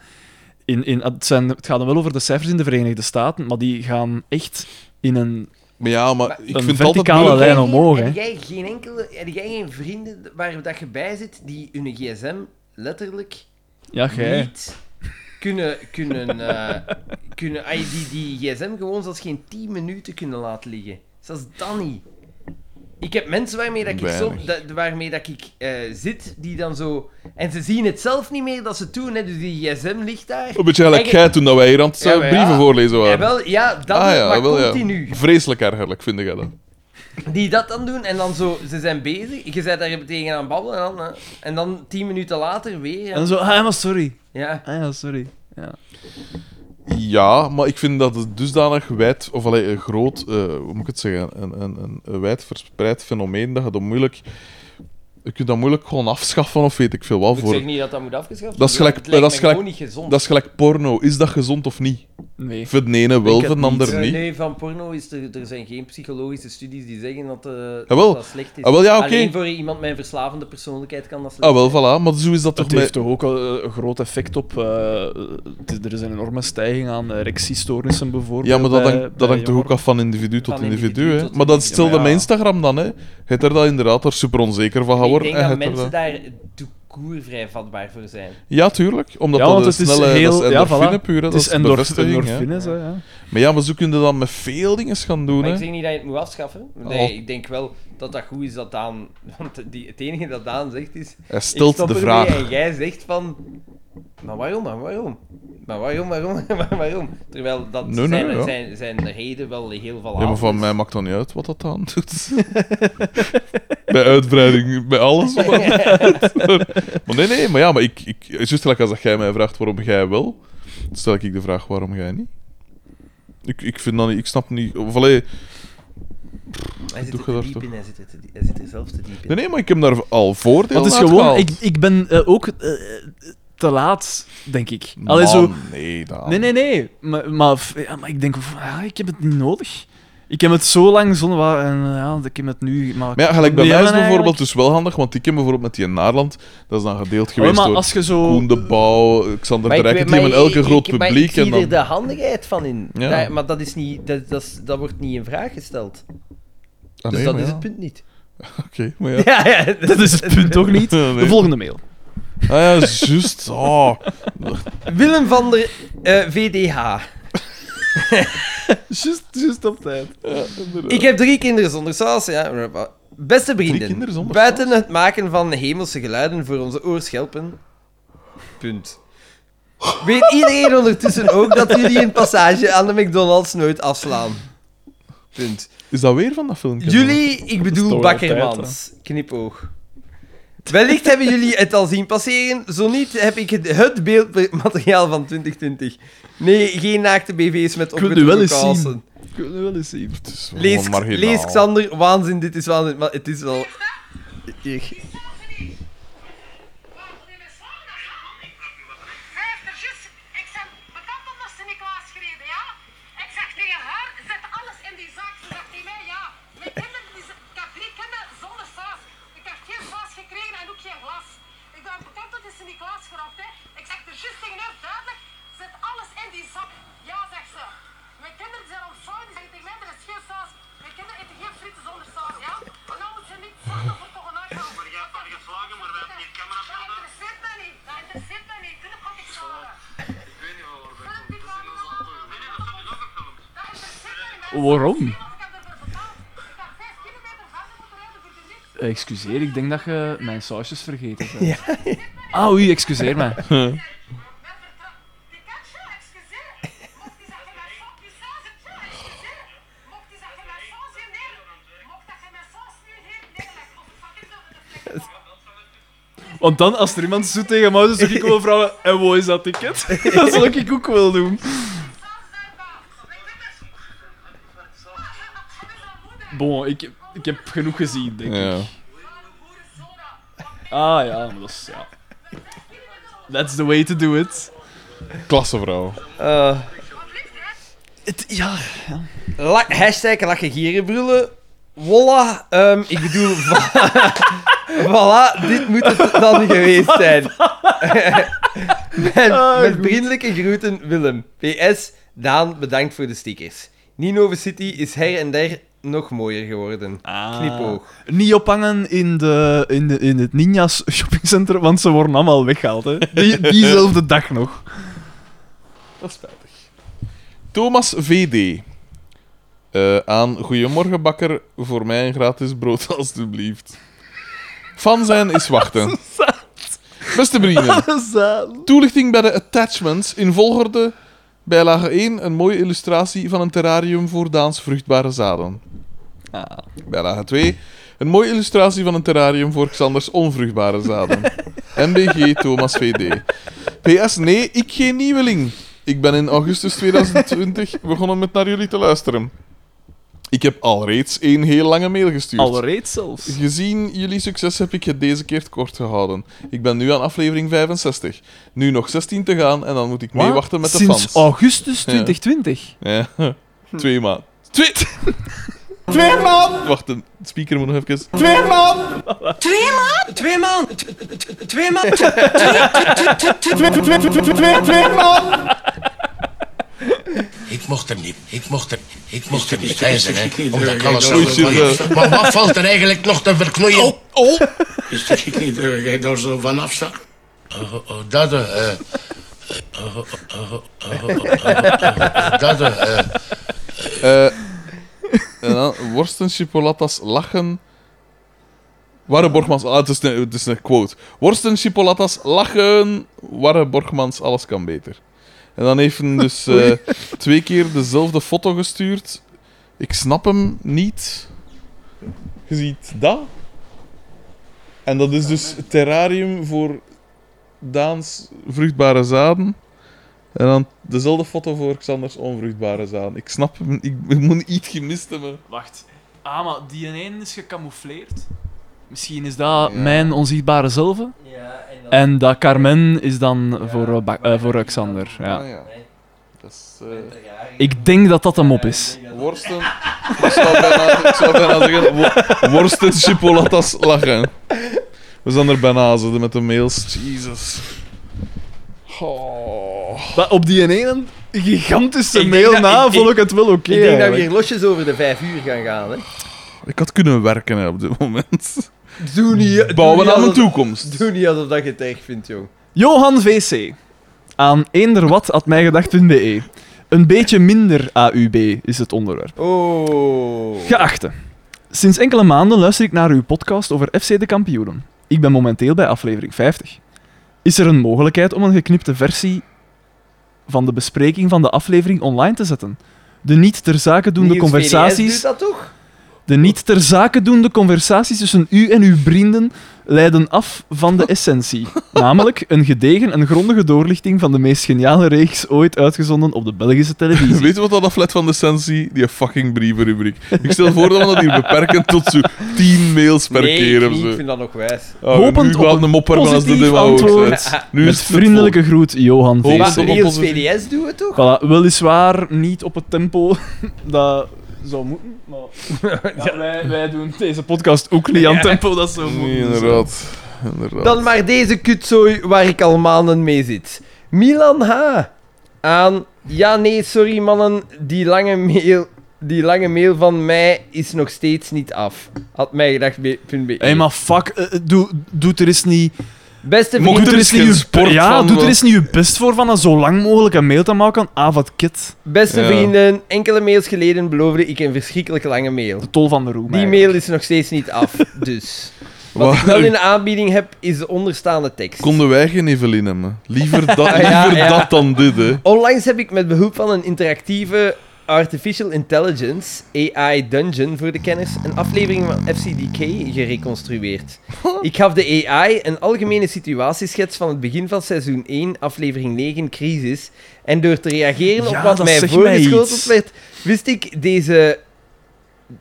S3: In, in, het, zijn, het gaat dan wel over de cijfers in de Verenigde Staten, maar die gaan echt in een...
S2: Maar ja, maar ik
S3: een
S2: vind het altijd
S3: verticale
S2: moeilijk...
S3: lijn.
S1: Heb jij-
S3: omhoog,
S1: Heb
S3: hè.
S1: jij geen enkele, heb jij geen vrienden waar dat je bij zit die hun gsm letterlijk
S3: Ja, jij.
S1: niet kunnen, kunnen, eh, kunnen ah, die, die gsm gewoon zelfs geen 10 minuten kunnen laten liggen. Zelfs dan niet. Ik heb mensen waarmee dat ik, zo,
S2: Weinig.
S1: dat, waarmee dat ik eh, zit, die dan zo... En ze zien het zelf niet meer dat ze het doen, hè, dus die gsm ligt daar.
S2: Een beetje gelijk
S1: En je-
S2: jij toen dat wij hier aan het eh,
S1: Ja, maar ja.
S2: brieven voorlezen
S1: Ja,
S2: waren.
S1: wel, ja, dat
S2: ah
S1: is
S2: ja,
S1: maar
S2: wel, ja.
S1: continu.
S2: Vreselijk ergerlijk, vind jij dat.
S1: Die dat dan doen en dan zo, ze zijn bezig, je bent daar tegen aan het babbelen en dan, eh, en dan tien minuten later weer.
S3: En zo, ah, ja, maar sorry.
S1: Ja.
S3: Ah, ja, sorry. Ja.
S2: Ja, maar ik vind dat het dusdanig wijd, of allee, een groot, eh, hoe moet ik het zeggen, een, een, een, een wijd verspreid fenomeen dat je dat moeilijk, je kunt dat moeilijk gewoon afschaffen of weet ik veel wat.
S1: Ik
S2: Voor,
S1: zeg niet dat dat moet afgeschaft worden.
S2: Dat is gelijk-
S1: want het lijkt
S2: dat is
S1: mij
S2: gelijk-
S1: gewoon niet gezond.
S2: dat is gelijk porno, is dat gezond of niet?
S3: Nee.
S2: Voor de ene wel,
S3: Ik het
S2: voor de
S3: niet.
S2: ander
S1: Ja,
S2: niet.
S1: Eh, Nee, van porno is er, er zijn geen psychologische studies die zeggen dat, eh,
S2: Jawel.
S1: dat, dat slecht is.
S2: Ah, wel, ja, oké.
S1: Alleen voor iemand met een verslavende persoonlijkheid kan dat slecht
S2: Ah wel, voilà, maar zo is dat toch
S3: Het heeft
S2: met...
S3: toch ook al, eh, een groot effect op... eh, het- er is een enorme stijging aan erectiestoornissen bijvoorbeeld.
S2: Ja, maar dat
S3: bij-
S2: hangt,
S3: bij
S2: dat hangt toch
S3: jongeren.
S2: ook af van individu tot
S1: Van
S2: individu,
S1: individu
S2: hè.
S1: tot
S2: Maar dat
S1: individu.
S2: stelde
S3: Ja, maar
S2: mijn
S3: ja.
S2: Instagram dan, hè. Het er dat inderdaad er super onzeker van gaan
S1: Ik
S2: worden.
S1: denk
S2: en
S1: dat
S2: het er
S1: mensen
S2: dat-
S1: daar tout court vrij vatbaar voor zijn.
S2: Ja, tuurlijk. Omdat
S3: Ja,
S2: dat
S3: want
S2: een
S3: het is
S2: snelle...
S3: heel...
S2: dat is
S3: ja,
S2: endorfine
S3: voilà.
S2: puur, hè.
S3: Het
S2: dat
S3: is endorf-
S2: bevestiging, hè.
S3: endorfines, hè, ja.
S2: Maar ja, maar zo kun je dan met veel dingen gaan doen,
S1: Maar ik
S2: hè.
S1: zeg niet dat je het moet afschaffen. Nee,
S2: Oh.
S1: ik denk wel dat dat goed is dat Daan... Want die, het enige dat Daan zegt is...
S2: Hij
S1: ik
S2: stelt
S1: stop
S2: de
S1: ermee
S2: vraag.
S1: En jij zegt van... Maar waarom, maar waarom? Maar waarom, waarom, maar waarom? Terwijl dat
S2: Nee, nee,
S1: zijn,
S2: ja.
S1: zijn, zijn reden wel heel veel
S2: Ja, maar van mij maakt dan niet uit wat dat dan doet. bij uitbreiding, bij alles. wat dat doet. maar nee, nee, maar ja, maar ik... ik het is juist gelijk als dat jij mij vraagt waarom jij wel, stel ik de vraag waarom jij niet. Ik, ik vind dat niet... Ik snap niet... Of allee,
S1: Hij zit
S2: Doe
S1: er te
S2: je daar
S1: diep
S2: toch?
S1: in, hij zit er, te die- hij zit er zelf te diep in.
S2: nee, nee, maar ik heb daar al voordelen
S3: Want het is
S2: uit
S3: gewoon,
S2: gehaald.
S3: ik, ik ben eh, ook eh, te laat, denk ik. Allee, zo,
S2: Man, nee, dan.
S3: nee, nee, nee. Maar, maar, f- ja, maar ik denk, f- ja, ik heb het niet nodig. Ik heb het zo lang zonder wa- en eh, ja, ik heb het nu. Maar,
S2: Maar ja, gelijk bij
S3: Nee,
S2: mij is
S3: maar
S2: bijvoorbeeld
S3: eigenlijk-
S2: dus wel handig, want ik heb bijvoorbeeld met die Naarland, dat is dan gedeeld
S3: Allee,
S2: geweest
S3: Oh, maar
S2: door
S3: als je zo.
S2: Koen de Bouw, Xander de
S1: Oh. ik
S2: Rijk,
S1: weet-
S2: die hebben elke
S1: ik-
S2: groot
S1: ik- maar
S2: publiek.
S1: Ik zie
S2: en dan...
S1: er de handigheid van in.
S2: Ja.
S1: Daar- maar dat, is niet, dat, dat, is- dat wordt niet in vraag gesteld.
S2: Ah,
S1: dus
S2: nee,
S1: dat
S2: maar
S1: is
S2: ja.
S1: het punt niet.
S2: Oké, maar ja. Ah,
S1: Ja, ja,
S3: Dat is het punt toch niet?
S2: Nee.
S3: De volgende mail.
S2: Ah ja, juist. Oh.
S1: Willem van der eh, VDH.
S3: Just, just op tijd.
S1: Ik heb drie kinderen zonder saus. Ja. Beste
S2: Drie
S1: vrienden,
S2: kinderen zonder
S1: buiten het maken van hemelse geluiden voor onze oorschelpen. Punt. Weet iedereen ondertussen ook dat jullie een passage aan de McDonald's nooit afslaan? Punt.
S2: Is dat weer van dat filmpje?
S1: Jullie, ik bedoel
S3: toch
S1: Bakkermans. Knipoog. Wellicht hebben jullie het al zien passeren. Zo niet heb ik het, het beeldmateriaal van 2020. Nee, geen naakte BV's met
S3: wil nu
S1: opgetrokken
S3: wel eens zien.
S1: kousen.
S3: Ik wil nu wel eens zien.
S2: Het is gewoon
S1: Lees,
S2: marginaal.
S1: lees Xander, waanzin, dit is waanzin. Maar het is wel... Hier.
S9: Duidelijk, zet alles in die zak. Ja, zegt ze. Mijn kinderen zijn ontvallen. nou
S3: Waarom? Eh, Excuseer, ik denk dat je mijn sausjes vergeten hebt. Ah, oei, excuseer mij. Want dan, als er iemand zoet tegen mij is, zou ik wel vragen: en wat is dat ticket? dat zou ik ook wel doen. Bon, ik, ik heb genoeg gezien, denk ik.
S2: Ja.
S3: Ah ja, maar dat is. Ja. That's the way to do it.
S2: Klasse vrouw.
S3: Het- ja.
S1: La hashtag lachen gieren brullen. Voilà. ehm, ik bedoel... va- voilà, dit moet het dan geweest zijn. met, met vriendelijke groeten, Willem. PS, Daan, bedankt voor de stickers. Ninove City is her en der nog mooier geworden. Knipoog.
S3: Niet ophangen in, de, in, de, in het Ninja's shoppingcenter, want ze worden allemaal weggehaald. Hè. Die, diezelfde dag nog.
S2: Thomas VD. Eh, aan Goedemorgen Bakker, voor mij een gratis brood alstublieft. Fan zijn is wachten. Beste vrienden,
S3: Zaal.
S2: toelichting bij de attachments in volgorde. Bijlage 1, een mooie illustratie van een terrarium voor Daans vruchtbare zaden. Bijlage 2, een mooie illustratie van een terrarium voor Xanders onvruchtbare zaden. MBG Thomas VD. PS, nee, ik geen nieuweling. Ik ben in augustus 2020 begonnen met naar jullie te luisteren. Ik heb alreeds één heel lange mail gestuurd.
S3: Alreeds zelfs.
S2: Gezien jullie succes heb ik het deze keer kort gehouden. Ik ben nu aan aflevering 65. Nu nog 16 te gaan en dan moet ik meewachten met de
S3: Sinds
S2: fans.
S3: augustus 2020.
S2: Ja. Twee maanden. Twee... Twee maanden! Wacht, de speaker moet nog even...
S1: Twee man! Twee man!
S4: Ik mocht er niet. Ik mocht er, ik mocht er niet bij zijn, hè. Omdat ik alles
S2: Oei, shit,
S4: zelf- Maar wat valt er eigenlijk nog te verknoeien? Oh,
S2: Oh!
S4: Is dat ik niet dat jij daar zo van afzakt? Oh, oh, dat, eh... eh, oh, oh, oh, oh, oh, oh, Dat, eh... eh,
S2: Eh, en dan, worsten, chipolatas, lachen... Warre Borgmans... Ah, het is, een, het is een quote. Worsten, chipolatas, lachen... Warre Borgmans, alles kan beter. En dan heeft hij dus eh, twee keer dezelfde foto gestuurd. Ik snap hem niet. Je ziet dat. En dat is dus het terrarium voor Daans vruchtbare zaden. En dan dezelfde foto voor Xanders onvruchtbare zaden. Ik snap hem, ik, ik moet iets gemist hebben.
S3: Wacht. Ah, maar die ene is gecamoufleerd. Misschien is dat mijn onzichtbare zelve. En dat Carmen is dan voor, eh, Ba- eh, voor Alexander. Ja.
S2: Ah, ja. Dat is... eh,
S3: Ik denk dat dat hem op is.
S2: worsten... ik, zou bijna, ik zou bijna zeggen... wo- worsten, chipolatas, lachen. We zijn er bijna zitten met de mails. Jesus. Oh.
S3: Maar op die ene gigantische
S1: Ik denk
S3: mail
S1: dat-
S3: na
S1: ik-
S3: vond ik het wel oké.
S1: Ik denk dat we
S3: eigenlijk.
S1: hier losjes over de vijf uur gaan gaan. Hè.
S2: Ik had kunnen werken hè, op dit moment.
S1: Doe niet... doe niet
S2: Bouwen aan de
S1: alsof-
S2: toekomst.
S1: Doe niet alsof dat je het erg vindt, jong.
S3: Johan VC. Aan eenderwat.mijgedacht.be. e. Een beetje minder AUB is het onderwerp.
S1: Oh.
S3: Geachte, sinds enkele maanden luister ik naar uw podcast over FC de kampioenen. Ik ben momenteel bij aflevering 50. Is er een mogelijkheid om een geknipte versie van de bespreking van de aflevering online te zetten? De niet ter zake doende
S1: Nieuws VDS
S3: conversaties,
S1: doet dat toch?
S3: de niet ter zake doende conversaties tussen u en uw vrienden leiden af van de essentie, namelijk een gedegen en grondige doorlichting van de meest geniale reeks ooit uitgezonden op de Belgische televisie.
S2: Weet je wat dat aflet van de sensie? Die fucking brievenrubriek. Ik stel voor dat we dat hier beperken tot zo 10 mails per
S1: nee,
S2: keer
S1: ik
S2: of
S1: niet, ik
S2: zo.
S1: vind dat nog wijs.
S2: Oh,
S3: Hopend
S2: nu
S3: op
S2: gaat de
S3: een
S2: mopper van als de
S3: positief
S2: demo ook
S3: antwoord.
S2: zit. Nu
S3: Met
S2: is het
S3: vriendelijke groet, Johan
S2: Hoop
S3: Vees.
S2: dat
S1: Maar
S2: op
S1: Niels
S2: oppositie.
S1: VDS doet het toch?
S3: Voilà, weliswaar niet op het tempo dat zou moeten, maar ja, wij, wij doen deze podcast ook niet aan het tempo dat zou
S2: vol.
S3: moeten.
S2: Nee,
S3: dus,
S2: inderdaad. inderdaad.
S1: Dan maar deze kutzooi waar ik al maanden mee zit. Milan H. Aan... Ja, nee, sorry mannen. Die lange mail, die lange mail van mij is nog steeds niet af. Had mij gedacht.
S3: eh. Hé, maar fuck, eh, eh, doe, doe er eens niet...
S1: Beste
S2: Mocht
S1: vriend,
S2: er eens geen sport
S3: ja,
S2: van,
S3: doe er
S2: eh,
S3: eens niet je best voor van dat zo lang mogelijk een mail te maken aan avatkit.
S1: beste
S2: Ja.
S1: vrienden, enkele mails geleden beloofde ik een verschrikkelijk lange mail.
S3: De tol van de roem.
S1: Die
S3: eigenlijk.
S1: mail is nog steeds niet af, dus. Wat
S2: Wat-
S1: ik wel in de aanbieding heb, is de onderstaande tekst.
S2: Konden wij geen Evelien hebben? Liever, dat, liever
S1: Ja, ja.
S2: dat dan dit, hè.
S1: Onlangs heb ik met behulp van een interactieve Artificial Intelligence, AI Dungeon voor de kenners, een aflevering van FCDK gereconstrueerd. Ik gaf de AI een algemene situatieschets van het begin van seizoen 1, aflevering 9, Crisis. En door te reageren op
S3: Ja,
S1: wat
S3: dat
S1: mij
S3: zegt mij
S1: voorgeschoteld
S3: iets.
S1: werd, wist ik deze,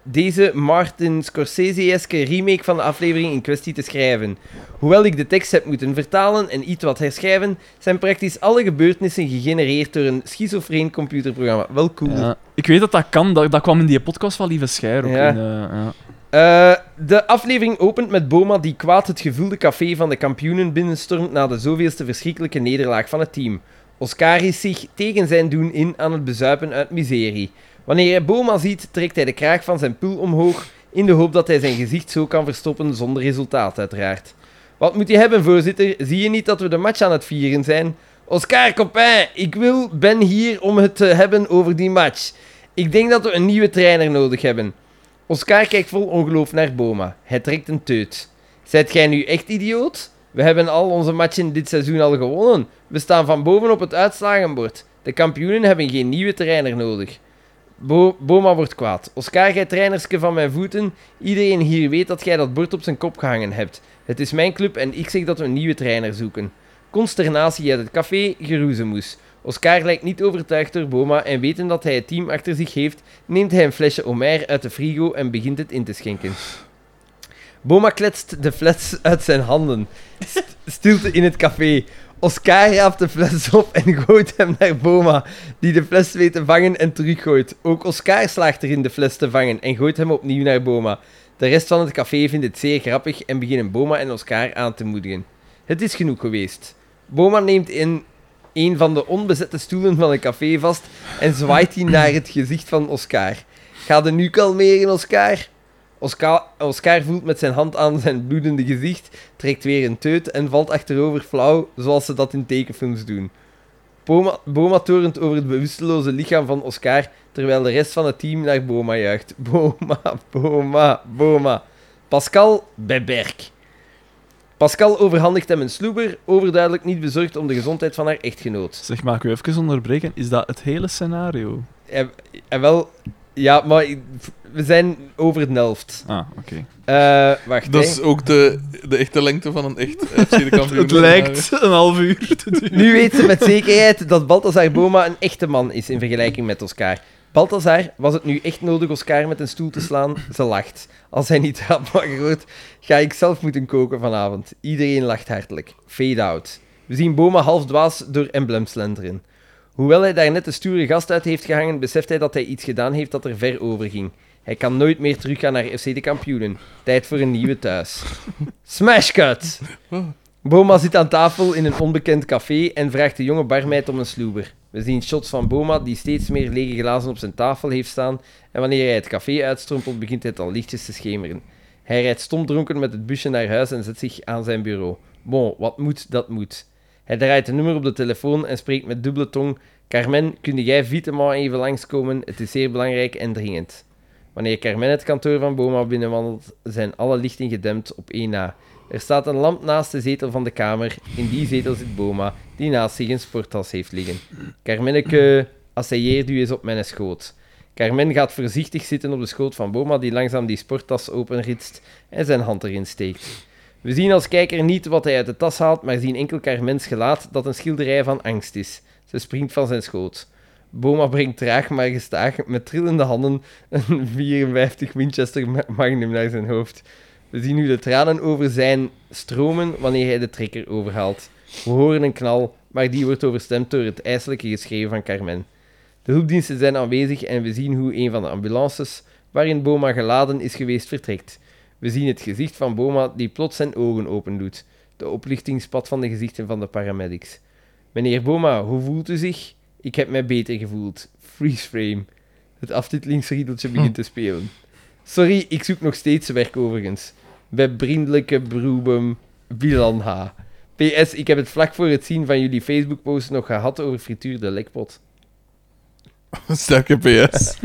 S1: deze Martin Scorsese-eske remake van de aflevering in kwestie te schrijven. Hoewel ik de tekst heb moeten vertalen en iets wat herschrijven, zijn praktisch alle gebeurtenissen gegenereerd door een schizofreen computerprogramma. Wel cool.
S3: Ja. Ik weet dat dat kan, dat, dat kwam in die podcast van Lieve Scheier ook.
S1: Ja.
S3: in, eh, ja.
S1: Eh, de aflevering opent met Boma die kwaad het gevulde café van de kampioenen binnenstormt na de zoveelste verschrikkelijke nederlaag van het team. Oscar is zich tegen zijn doen in aan het bezuipen uit miserie. Wanneer hij Boma ziet, trekt hij de kraag van zijn pul omhoog in de hoop dat hij zijn gezicht zo kan verstoppen zonder resultaat uiteraard. Wat moet je hebben, voorzitter? Zie je niet dat we de match aan het vieren zijn? Oscar Copin, ik wil, ben hier om het te hebben over die match. Ik denk dat we een nieuwe trainer nodig hebben. Oscar kijkt vol ongeloof naar Boma. Hij trekt een teut. Zijt jij nu echt idioot? We hebben al onze matchen dit seizoen al gewonnen. We staan van boven op het uitslagenbord. De kampioenen hebben geen nieuwe trainer nodig. Bo- Boma wordt kwaad. Oscar, gij trainerske van mijn voeten. Iedereen hier weet dat jij dat bord op zijn kop gehangen hebt. Het is mijn club en ik zeg dat we een nieuwe trainer zoeken. Consternatie uit het café, geroezemoes. Oscar lijkt niet overtuigd door Boma en weten dat hij het team achter zich heeft, neemt hij een flesje Omer uit de frigo en begint het in te schenken. Boma kletst de fles uit zijn handen. St- stilte in het café. Oscar raapt de fles op en gooit hem naar Boma, die de fles weet te vangen en teruggooit. Ook Oscar slaagt erin de fles te vangen en gooit hem opnieuw naar Boma. De rest van het café vindt het zeer grappig en beginnen Boma en Oscar aan te moedigen. Het is genoeg geweest. Boma neemt in een van de onbezette stoelen van een café vast en zwaait die naar het gezicht van Oscar. Ga er nu kalmeren, Oscar? Oscar, Oscar voelt met zijn hand aan zijn bloedende gezicht, trekt weer een teut en valt achterover flauw, zoals ze dat in tekenfilms doen. Boma, Boma torent over het bewusteloze lichaam van Oscar, terwijl de rest van het team naar Boma juicht. Boma, Boma, Boma. Pascal bij Berk. Pascal overhandigt hem een sloeber, overduidelijk niet bezorgd om de gezondheid van haar echtgenoot.
S3: Zeg, maar ik u even onderbreken? Is dat het hele scenario?
S1: En, en wel, ja, maar ik- we zijn over de helft.
S3: Ah, oké.
S1: Eh, wacht,
S2: Dat
S1: hè.
S2: is ook de, de echte lengte van een echt FC de kampioen.
S3: Het lijkt een half uur te duren.
S1: Nu weet ze met zekerheid dat Balthazar Boma een echte man is in vergelijking met Oscar. Balthazar, was het nu echt nodig Oscar met een stoel te slaan? Ze lacht. Als hij niet had wakker wordt, ga ik zelf moeten koken vanavond. Iedereen lacht hartelijk. Fade out. We zien Boma half dwaas door emblem slenteren. Hoewel hij daarnet de stoere gast uit heeft gehangen, beseft hij dat hij iets gedaan heeft dat er ver over ging. Hij kan nooit meer teruggaan naar FC de kampioenen. Tijd voor een nieuwe thuis. Smash cut! Boma zit aan tafel in een onbekend café en vraagt de jonge barmeid om een sloeber. We zien shots van Boma die steeds meer lege glazen op zijn tafel heeft staan en wanneer hij het café uitstrompelt begint het al lichtjes te schemeren. Hij rijdt stomdronken met het busje naar huis en zet zich aan zijn bureau. Bon, wat moet, dat moet. Hij draait een nummer op de telefoon en spreekt met dubbele tong. Carmen, kun jij Vitema even langskomen? Het is zeer belangrijk en dringend. Wanneer Carmen het kantoor van Boma binnenwandelt, zijn alle lichten gedempt op één na. Er staat een lamp naast de zetel van de kamer. In die zetel zit Boma, die naast zich een sporttas heeft liggen. Carmenneke, asseilleert u eens op mijn schoot. Carmen gaat voorzichtig zitten op de schoot van Boma, die langzaam die sporttas openritst en zijn hand erin steekt. We zien als kijker niet wat hij uit de tas haalt, maar zien enkel Carmens gelaat dat een schilderij van angst is. Ze springt van zijn schoot. Boma brengt traag maar gestaag met trillende handen een 54 Winchester Ma- Magnum naar zijn hoofd. We zien hoe de tranen over zijn stromen wanneer hij de trekker overhaalt. We horen een knal, maar die wordt overstemd door het ijselijke geschreeuw van Carmen. De hulpdiensten zijn aanwezig en we zien hoe een van de ambulances waarin Boma geladen is geweest vertrekt. We zien het gezicht van Boma die plots zijn ogen opendoet. De oplichting spat van de gezichten van de paramedics. Meneer Boma, hoe voelt u zich? Ik heb mij beter gevoeld. Freeze frame. Het aftitelingsriedeltje begint te spelen. Sorry, ik zoek nog steeds werk overigens. Bij vriendelijke Broebem Bilan H. PS, ik heb het vlak voor het zien van jullie Facebook-post nog gehad over frituur de lekpot.
S2: Sterke PS.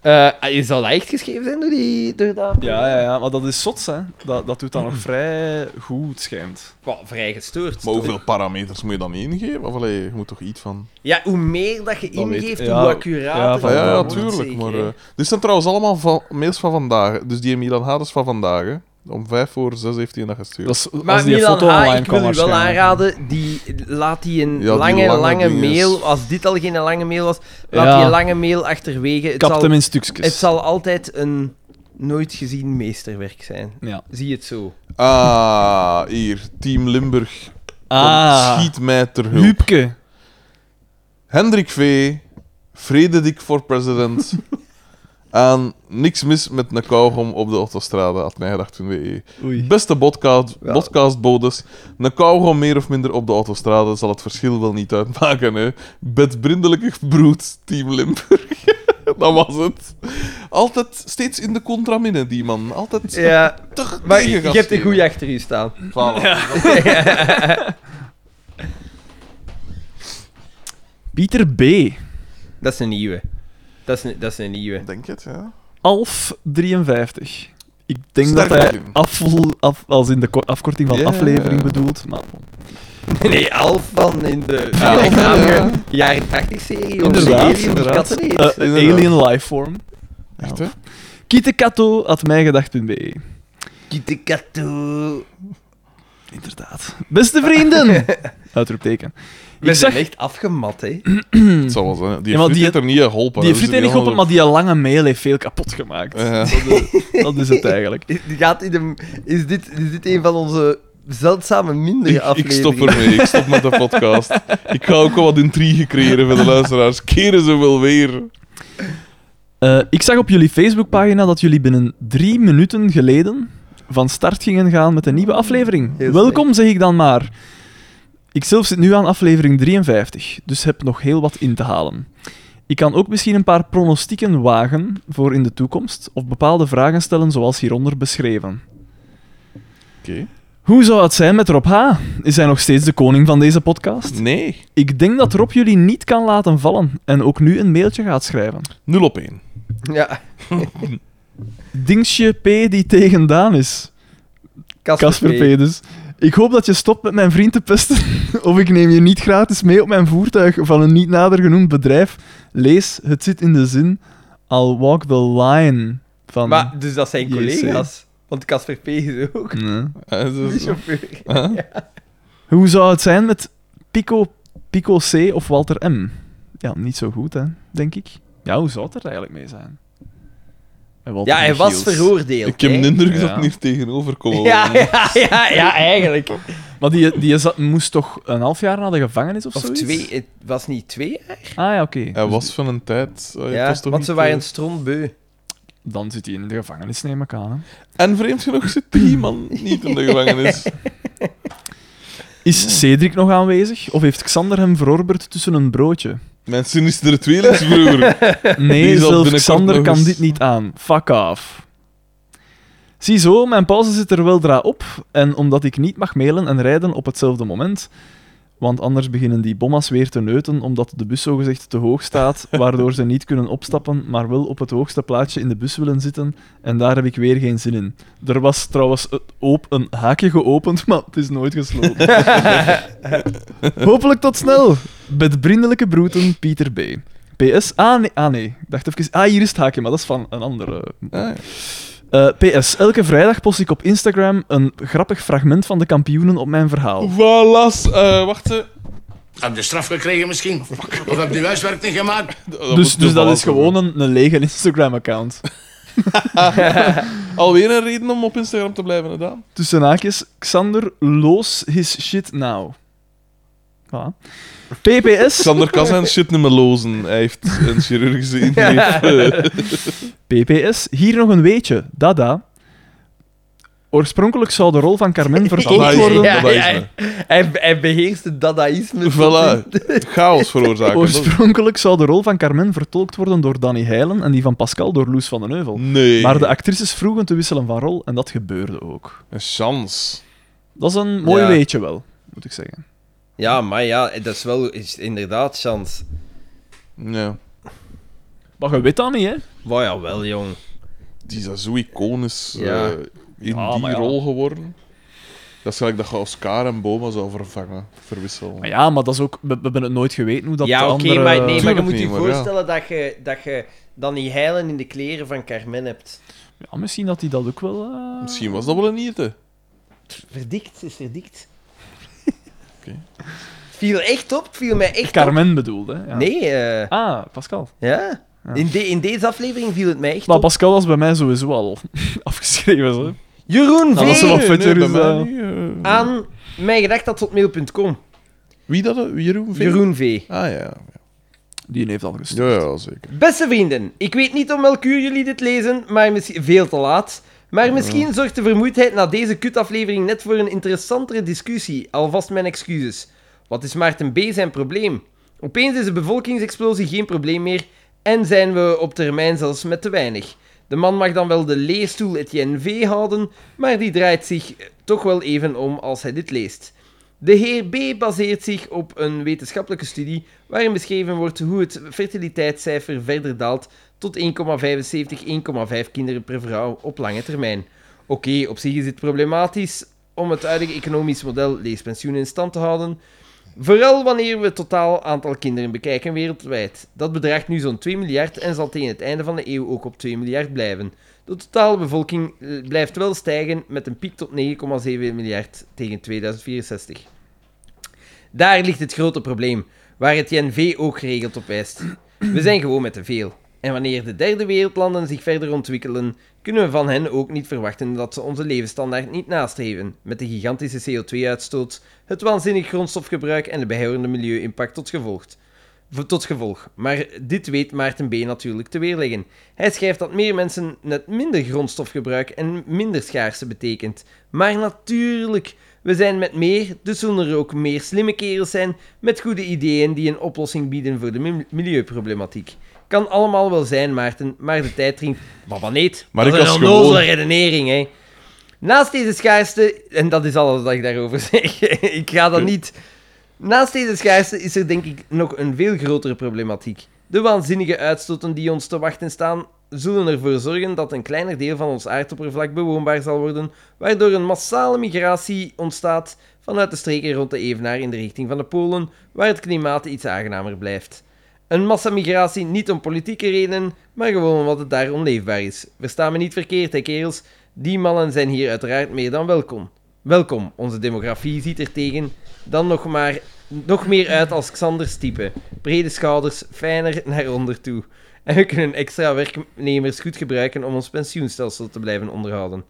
S1: Eh, ah, zal dat echt geschreven zijn door, die, door dat?
S3: Ja, ja, ja, maar dat is zot, hè. Dat, dat doet dan nog vrij goed, schijnt.
S1: Wel, vrij gestoord.
S2: Maar hoeveel parameters moet je dan ingeven? Of allee, je moet toch iets van...
S1: Ja, hoe meer dat je
S2: weet
S1: ingeeft, hoe
S3: ik. Ja, ja,
S1: accurater.
S2: Ja,
S3: van-
S2: ja,
S1: dat wordt,
S2: tuurlijk.
S1: zeker,
S2: Maar,
S1: hè.
S2: eh, dit zijn trouwens allemaal van, mails van vandaag. hè. Dus die Milan Hades van vandaag. hè. Om vijf voor zes heeft hij dat gestuurd.
S3: Dat is,
S1: Maar
S3: als die
S1: Milan
S3: foto
S1: H,
S3: online
S1: ah, ik wil u wel aanraden, die, laat die een
S2: die
S1: lange, lange,
S2: lange dinges.
S1: mail, als dit al geen lange mail was, laat
S3: Ja.
S1: die een lange mail achterwege. Het
S3: Kapt
S1: zal,
S3: hem in stukjes.
S1: het zal altijd een nooit gezien meesterwerk zijn.
S3: Ja.
S1: Zie het zo.
S2: Ah, hier. Team Limburg. Kom,
S3: Ah,
S2: Schiet mij ter hulp.
S3: Huubke.
S2: Hendrik V. Frederik voor president. Aan niks mis met een kauwgom op de autostrade, had mij gedacht toen we-
S3: Oei.
S2: Beste podcast, podcastbodes, een kauwgom meer of minder op de autostrade zal het verschil wel niet uitmaken, hè. Bedbrindelijke broed, Team Limburg. Dat was het. Altijd steeds in de contraminne, die man. Altijd
S1: Ja,
S2: toch
S1: maar je
S2: tegengas
S1: hebt een
S2: geven.
S1: goeie achter je staan.
S2: Voilà.
S3: Pieter B.
S1: Dat is een nieuwe. Dat is een, dat is een nieuwe.
S2: Denk het, ja.
S3: Alf53. Ik denk
S2: Sterk
S3: dat hij
S2: begin.
S3: afvoel, af, als in de ko- afkorting van
S2: Ja.
S3: aflevering bedoelt. Maar
S1: Nee, Alf van in de
S2: Ja,
S1: de
S2: ja, ja.
S1: jaren 80 serie. of
S3: Inderdaad,
S1: serie van die
S2: inderdaad.
S1: kattenneef.
S3: Eh,
S2: inderdaad.
S3: alien lifeform.
S2: Echt, hè?
S3: Kietekato.mijgedacht.be
S1: Kittekatoo.
S3: Inderdaad. Beste vrienden! Uitroepteken.
S1: We
S3: Ik
S1: zijn
S3: zag,
S1: echt afgemat, hè.
S2: Het zal wel zijn. Hm. Die
S3: Ja, maar
S2: friet
S3: die-
S2: heeft er niet geholpen.
S3: die
S2: hè. Dus
S3: friet heeft niet geholpen,
S2: andere-
S3: maar die lange mail heeft veel kapot gemaakt.
S2: Ja.
S3: Dat is het eigenlijk.
S1: Is- die Gaat in de, is, dit, is dit een van onze zeldzame mindere
S2: Ik, ik
S1: afleveringen?
S2: stop ermee, ik stop met de podcast. Ik ga ook wel wat intrigue creëren voor de luisteraars. Keren ze wel weer.
S3: Eh, ik zag op jullie Facebookpagina dat jullie binnen drie minuten geleden van start gingen gaan met een nieuwe aflevering.
S1: Heel
S3: Welkom, zeg ik dan maar. Ik zelf zit nu aan aflevering 53, dus heb nog heel wat in te halen. Ik kan ook misschien een paar pronostieken wagen voor in de toekomst, of bepaalde vragen stellen zoals hieronder beschreven.
S2: Oké.
S3: Hoe zou het zijn met Rob H? Is hij nog steeds de koning van deze podcast?
S2: Nee.
S3: Ik denk dat Rob jullie niet kan laten vallen en ook nu een mailtje gaat schrijven.
S2: 0 op 1.
S1: Ja,
S3: Dingsje P die tegen Daan is. Casper
S1: P.
S3: P. dus. Ik hoop dat je stopt met mijn vriend te pesten. Of ik neem je niet gratis mee op mijn voertuig van een niet nader genoemd bedrijf. Lees, het zit in de zin. I'll walk the line. Van...
S1: Maar, dus dat zijn
S3: JC.
S1: collega's. Want Casper P is ook
S3: Nee.
S2: Eh, dus,
S1: een chauffeur.
S3: Hoe zou het zijn met Pico, Pico C of Walter M? Ja, niet zo goed, hè, denk ik. Ja, hoe zou het er eigenlijk mee zijn? Met Walter
S1: Ja, hij was
S3: Michiels.
S1: veroordeeld.
S2: Ik heb
S1: hè.
S2: de indruk dat
S3: Ja.
S2: ik hier tegenover kom.
S1: Ja, ja, ja, ja, eigenlijk.
S3: Maar die, die zat, moest toch een half jaar naar de gevangenis of,
S1: Of
S3: zoiets?
S1: twee, het was niet twee jaar?
S3: Ah ja, oké.
S2: Hij was van een tijd. eh, Oh, het
S1: Ja,
S2: was toch
S1: want
S2: niet,
S1: ze
S2: eh,
S1: waren strontbeu.
S3: Dan zit hij in de gevangenis, neem ik aan. hè.
S2: En vreemd genoeg zit die man niet in de gevangenis.
S3: Is Cedric nog aanwezig? Of heeft Xander hem verorberd tussen een broodje?
S2: Mijn sinistere tweelingsbroer. Die
S3: Nee,
S2: zal
S3: zelfs
S2: binnenkort
S3: Xander
S2: nog
S3: kan
S2: eens-
S3: dit niet aan. Fuck off. Ziezo, mijn pauze zit er weldra op. En omdat ik niet mag mailen en rijden op hetzelfde moment... Want anders beginnen die bomma's weer te neuten, omdat de bus zogezegd te hoog staat, waardoor ze niet kunnen opstappen, maar wel op het hoogste plaatsje in de bus willen zitten. En daar heb ik weer geen zin in. Er was trouwens het op een haakje geopend, maar het is nooit gesloten. Hopelijk tot snel! Met vriendelijke broeten, Pieter B. PS. Ah nee, ah, nee. Ik dacht even. Ah, hier is het haakje, maar dat is van een andere.
S2: Ah,
S3: Eh, PS. Elke vrijdag post ik op Instagram een grappig fragment van de kampioenen op mijn verhaal.
S2: Voilà. eh, wacht. hè.
S4: Heb je straf gekregen misschien? Of heb je huiswerk niet gemaakt?
S2: Dat
S3: Dus,
S2: moet
S3: dus dat
S2: toevallig
S3: is gewoon een, een lege Instagram-account.
S2: Alweer een reden om op Instagram te blijven, gedaan.
S3: Tussen haakjes, Xander, los his shit now. Voilà. PPS.
S2: Xander kan zijn shit niet meer lozen. Hij heeft een chirurgische ingreep. eh,
S3: PPS. Hier nog een weetje. Dada. Oorspronkelijk zou de rol van Carmen vertolkt
S2: Dadaïsme,
S3: worden.
S1: Ja, ja,
S2: dadaïsme.
S1: hij, hij, hij beheerst het dadaïsme. tot
S2: Voilà.
S1: in-
S2: Chaos veroorzaken. Dat-
S3: Oorspronkelijk zou de rol van Carmen vertolkt worden door Danny Heilen en die van Pascal door Loes van den Heuvel.
S2: Nee.
S3: Maar de actrices vroegen te wisselen van rol en dat gebeurde ook.
S2: Een chance.
S3: Dat is een mooi
S1: Ja.
S3: weetje wel, moet ik zeggen.
S1: Ja, maar ja, dat is wel is inderdaad chance.
S2: Ja.
S3: Maar je weet dat niet, hè?
S1: Maar ja, wel, jong.
S2: Die is daar zo iconisch eh,
S1: Ja.
S2: in
S3: Ja,
S2: die
S3: maar ja.
S2: rol geworden. Dat is gelijk dat je Oscar en Boma zou vervangen, verwisselen.
S3: Maar ja, maar dat is ook... We, we hebben het nooit geweten hoe dat
S1: ja,
S3: de
S1: oké,
S3: andere...
S1: maar, nee, maar je
S2: Tuurlijk
S1: moet
S2: niet,
S1: je
S2: maar ja.
S1: voorstellen dat, je, dat je dan die heilen in de kleren van Carmen hebt.
S3: Ja, misschien dat hij dat ook wel... eh,
S2: Misschien was dat wel een nierte.
S1: Verdikt, is verdikt.
S2: Oké.
S1: Het viel echt op, het viel mij echt op.
S3: Carmen bedoelde, hè? Ja.
S1: Nee, eh,
S3: Ah, Pascal.
S1: ja. In, de- in deze aflevering viel het mij echt
S3: Maar
S1: op.
S3: Pascal was bij mij sowieso al afgeschreven, hè? Nou,
S1: Jeroen
S3: Dat was
S1: Veen
S3: wel fitter
S2: bij
S3: is,
S2: mij
S3: eh.
S2: niet, eh.
S1: aan mijngedacht.mail.com.
S2: Wie dat? eh, Jeroen Veen?
S1: Jeroen V.
S2: Ah ja.
S3: Die heeft al gestuurd.
S2: Ja, ja, zeker.
S1: Beste vrienden, ik weet niet om welk uur jullie dit lezen, maar misschien veel te laat. Maar misschien zorgt de vermoeidheid na deze kutaflevering net voor een interessantere discussie. Alvast mijn excuses. Wat is Maarten B. zijn probleem? Opeens is de bevolkingsexplosie geen probleem meer en zijn we op termijn zelfs met te weinig. De man mag dan wel de leestoel Etienne V houden, maar die draait zich eh, toch wel even om als hij dit leest. De heer B. baseert zich op een wetenschappelijke studie waarin beschreven wordt hoe het fertiliteitscijfer verder daalt tot 1,75, 1,5 kinderen per vrouw op lange termijn. Oké, op zich is dit problematisch om het huidige economisch model leespensioenen in stand te houden. Vooral wanneer we het totaal aantal kinderen bekijken wereldwijd. Dat bedraagt nu zo'n 2 miljard en zal tegen het einde van de eeuw ook op 2 miljard blijven. De totale bevolking eh, blijft wel stijgen met een piek tot 9,7 miljard tegen 2064. Daar ligt het grote probleem, waar het INV ook geregeld op wijst. We zijn gewoon met te veel. En wanneer de derde wereldlanden zich verder ontwikkelen, kunnen we van hen ook niet verwachten dat ze onze levensstandaard niet nastreven, met de gigantische CO2-uitstoot, het waanzinnig grondstofgebruik en de bijhorende milieu-impact tot gevolg. V- Tot gevolg. Maar dit weet Maarten B. natuurlijk te weerleggen. Hij schrijft dat meer mensen net minder grondstofgebruik en minder schaarste betekent. Maar natuurlijk, we zijn met meer, dus zullen er ook meer slimme kerels zijn met goede ideeën die een oplossing bieden voor de mil- milieuproblematiek. Kan allemaal wel zijn, Maarten, maar de tijd dringt. Maar wanneer?
S2: Maar
S1: dat
S2: ik
S1: is een
S2: als
S1: onnozele
S2: gewoon-
S1: redenering, hè. Naast deze schaarste, en dat is alles wat ik daarover zeg, ik ga dat niet... Naast deze schaarste is er denk ik nog een veel grotere problematiek. De waanzinnige uitstoten die ons te wachten staan, zullen ervoor zorgen dat een kleiner deel van ons aardoppervlak bewoonbaar zal worden, waardoor een massale migratie ontstaat vanuit de streken rond de Evenaar in de richting van de Polen, waar het klimaat iets aangenamer blijft. Een massamigratie niet om politieke redenen, maar gewoon omdat het daar onleefbaar is. Verstaan me niet verkeerd, hè kerels? Die mannen zijn hier uiteraard meer dan welkom. Welkom, onze demografie ziet er tegen dan nog, maar, nog meer uit als Xanders type. Brede schouders, fijner naar onder toe. En we kunnen extra werknemers goed gebruiken om ons pensioenstelsel te blijven onderhouden.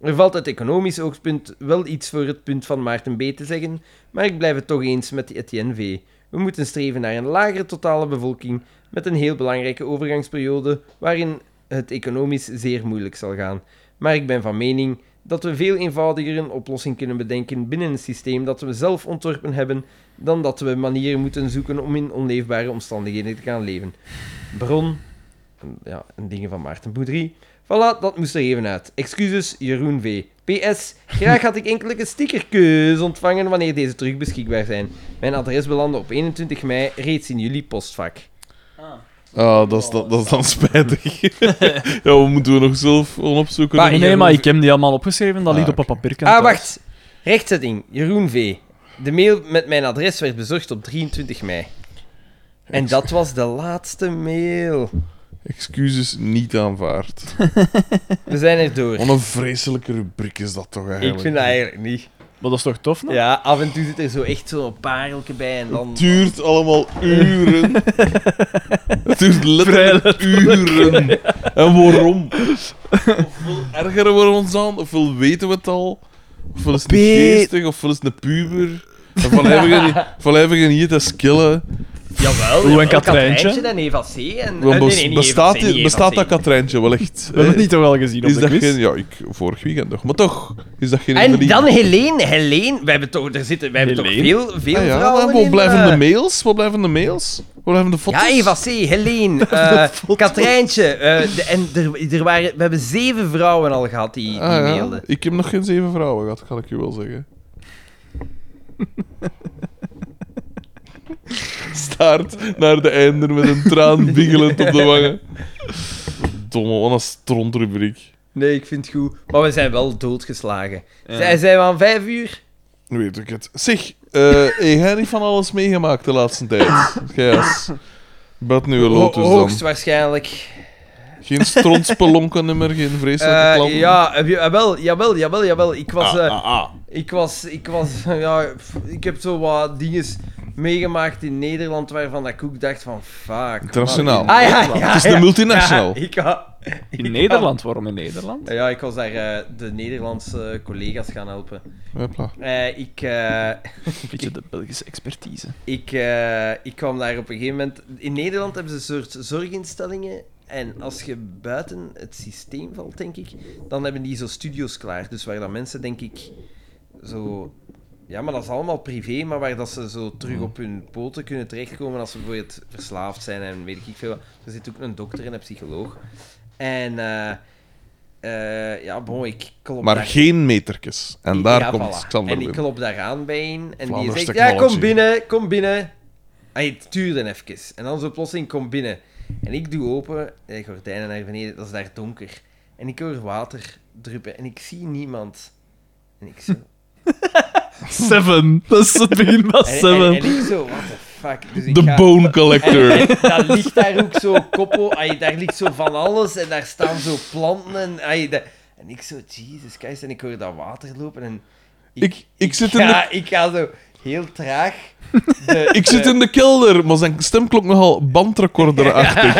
S1: Er valt uit economisch oogpunt wel iets voor het punt van Maarten B. te zeggen, maar ik blijf het toch eens met Etienne V. We moeten streven naar een lagere totale bevolking met een heel belangrijke overgangsperiode waarin het economisch zeer moeilijk zal gaan. Maar ik ben van mening dat we veel eenvoudiger een oplossing kunnen bedenken binnen een systeem dat we zelf ontworpen hebben, dan dat we manieren moeten zoeken om in onleefbare omstandigheden te gaan leven. Bron, ja, en dingen van Maarten Boudry. Voilà, dat moest er even uit. Excuses, Jeroen V. PS, graag had ik enkele stickerkeus ontvangen wanneer deze terug beschikbaar zijn. Mijn adres belandde op 21 mei reeds in jullie postvak.
S2: Ah, dat is, dan- dat is dan spijtig. ja, wat moeten we nog zelf gewoon opzoeken?
S1: Maar-
S3: Nee, maar ik heb die allemaal opgeschreven. Dat
S2: Ah,
S3: liet op een
S2: oké.
S3: papierken.
S1: Ah,
S3: thuis.
S1: wacht. Rechtzetting, Jeroen V. De mail met mijn adres werd bezorgd op 23 mei. En dat was de laatste mail.
S2: Excuses niet aanvaard.
S1: We zijn er door.
S2: Wat een vreselijke rubriek is dat toch eigenlijk.
S1: Ik vind dat eigenlijk niet.
S3: Maar dat is toch tof, nou?
S1: Ja, af en toe zit er zo echt zo'n pareltje bij en dan...
S2: Het duurt allemaal uren. Het duurt letterlijk uren. En waarom? Ofwel ergeren we ons aan, ofwel weten we het al. Ofwel is het niet
S3: Pete.
S2: geestig, ofwel is het een puber. En van hebben we geen hier te skillen.
S1: Jawel.
S3: Hoe een
S1: Katrijntje
S3: Katrijntje?
S1: en Eva C. En...
S2: Want
S1: eh,
S2: bes-
S1: nee, nee, niet
S2: bestaat
S1: Eva C,
S2: die-
S1: niet
S2: bestaat
S1: Eva
S2: dat
S1: C.
S2: katrijntje wel echt?
S3: We hebben
S2: Eh,
S3: het niet toch wel gezien op
S2: is
S3: de
S2: dat
S3: quiz?
S2: geen... Ja, ik, vorig weekend nog. Maar toch, is dat geen
S1: En
S2: invalide?
S1: dan Helene. Helene. We hebben toch, er zitten, we hebben toch
S3: Helene?
S1: veel, veel
S2: Ah ja,
S1: vrouwen
S2: en wat
S1: in,
S2: blijven
S1: eh,
S2: de mails? Wat blijven de mails? Wat blijven de foto's?
S1: Ja, Eva C., Helene, eh Katrijntje. eh, de- en er, er waren, we hebben zeven vrouwen al gehad die, die
S2: Ah ja,
S1: mailden.
S2: Ik heb nog geen zeven vrouwen gehad, kan ik je wel zeggen. Staart naar de einder met een traan biggelend op de wangen. Domme, wat een strontrubriek.
S1: Nee, ik vind het goed. Maar we zijn wel doodgeslagen. Zij zijn we aan vijf uur?
S2: Weet ik het. Zeg, eh hey, jij niet van alles meegemaakt de laatste tijd? Gijs. Wat nu een
S1: Ho-
S2: lotus dan?
S1: hoogstwaarschijnlijk.
S2: Geen strontspelonken nummer, geen vreselijke
S1: Eh,
S2: klanten?
S1: ja, heb je- jawel, jawel, jawel, jawel. Ik was...
S2: Ah,
S1: eh,
S2: ah, ah.
S1: Ik was, ik was, ja, pff, ik heb zo wat dingen meegemaakt in Nederland waarvan dat ik ook dacht van, fuck.
S2: Internationaal.
S1: man. Ah, ja, ja,
S2: Het is de
S1: ja.
S2: multinational.
S1: Ja, ik, wa-
S3: In Nederland, waarom in Nederland?
S1: ja, ik was daar eh, de Nederlandse collega's gaan helpen.
S2: Hopla.
S1: Eh, ik, eh,
S3: Een beetje de Belgische expertise.
S1: ik, eh, ik kwam daar op een gegeven moment... In Nederland hebben ze een soort zorginstellingen. En als je buiten het systeem valt, denk ik, dan hebben die zo studio's klaar. Dus waar dan mensen, denk ik, zo... Ja, maar dat is allemaal privé, maar waar dat ze zo terug
S2: Mhm.
S1: op hun poten kunnen terechtkomen als ze bijvoorbeeld verslaafd zijn en weet ik veel wat. Er zit ook een dokter en een psycholoog. En... eh, eh, ja, bon, ik klop
S2: Maar
S1: daar-
S2: geen metertjes. En daar
S1: ja,
S2: komt
S1: voilà.
S2: Xander
S1: En ik
S2: binnen.
S1: klop daar aan bij een en die
S2: Vlaanders
S1: zegt, ja,
S2: technology.
S1: kom binnen, kom binnen. Hij tuurde even. En dan zo plotseling, kom binnen. En ik doe open, de gordijnen naar beneden, dat is daar donker. En ik hoor water druppen en ik zie niemand. En ik zo...
S3: Seven. Dat is het begin van
S1: En, en-
S3: Seven.
S1: en ik zo, what the fuck. Dus ik
S2: De
S1: ga-
S2: Bone Collector.
S1: en daar ligt daar ook zo koppel, ay, daar ligt zo van alles en daar staan zo planten. En, ay, dat- en ik zo, Jesus Christ, en ik hoor dat water lopen. En
S2: Ik- ik zit in
S1: ga, Ik ga zo heel traag. de-
S2: Ik zit
S1: de-
S2: in de kelder, maar zijn stemklok nogal bandrecorderachtig.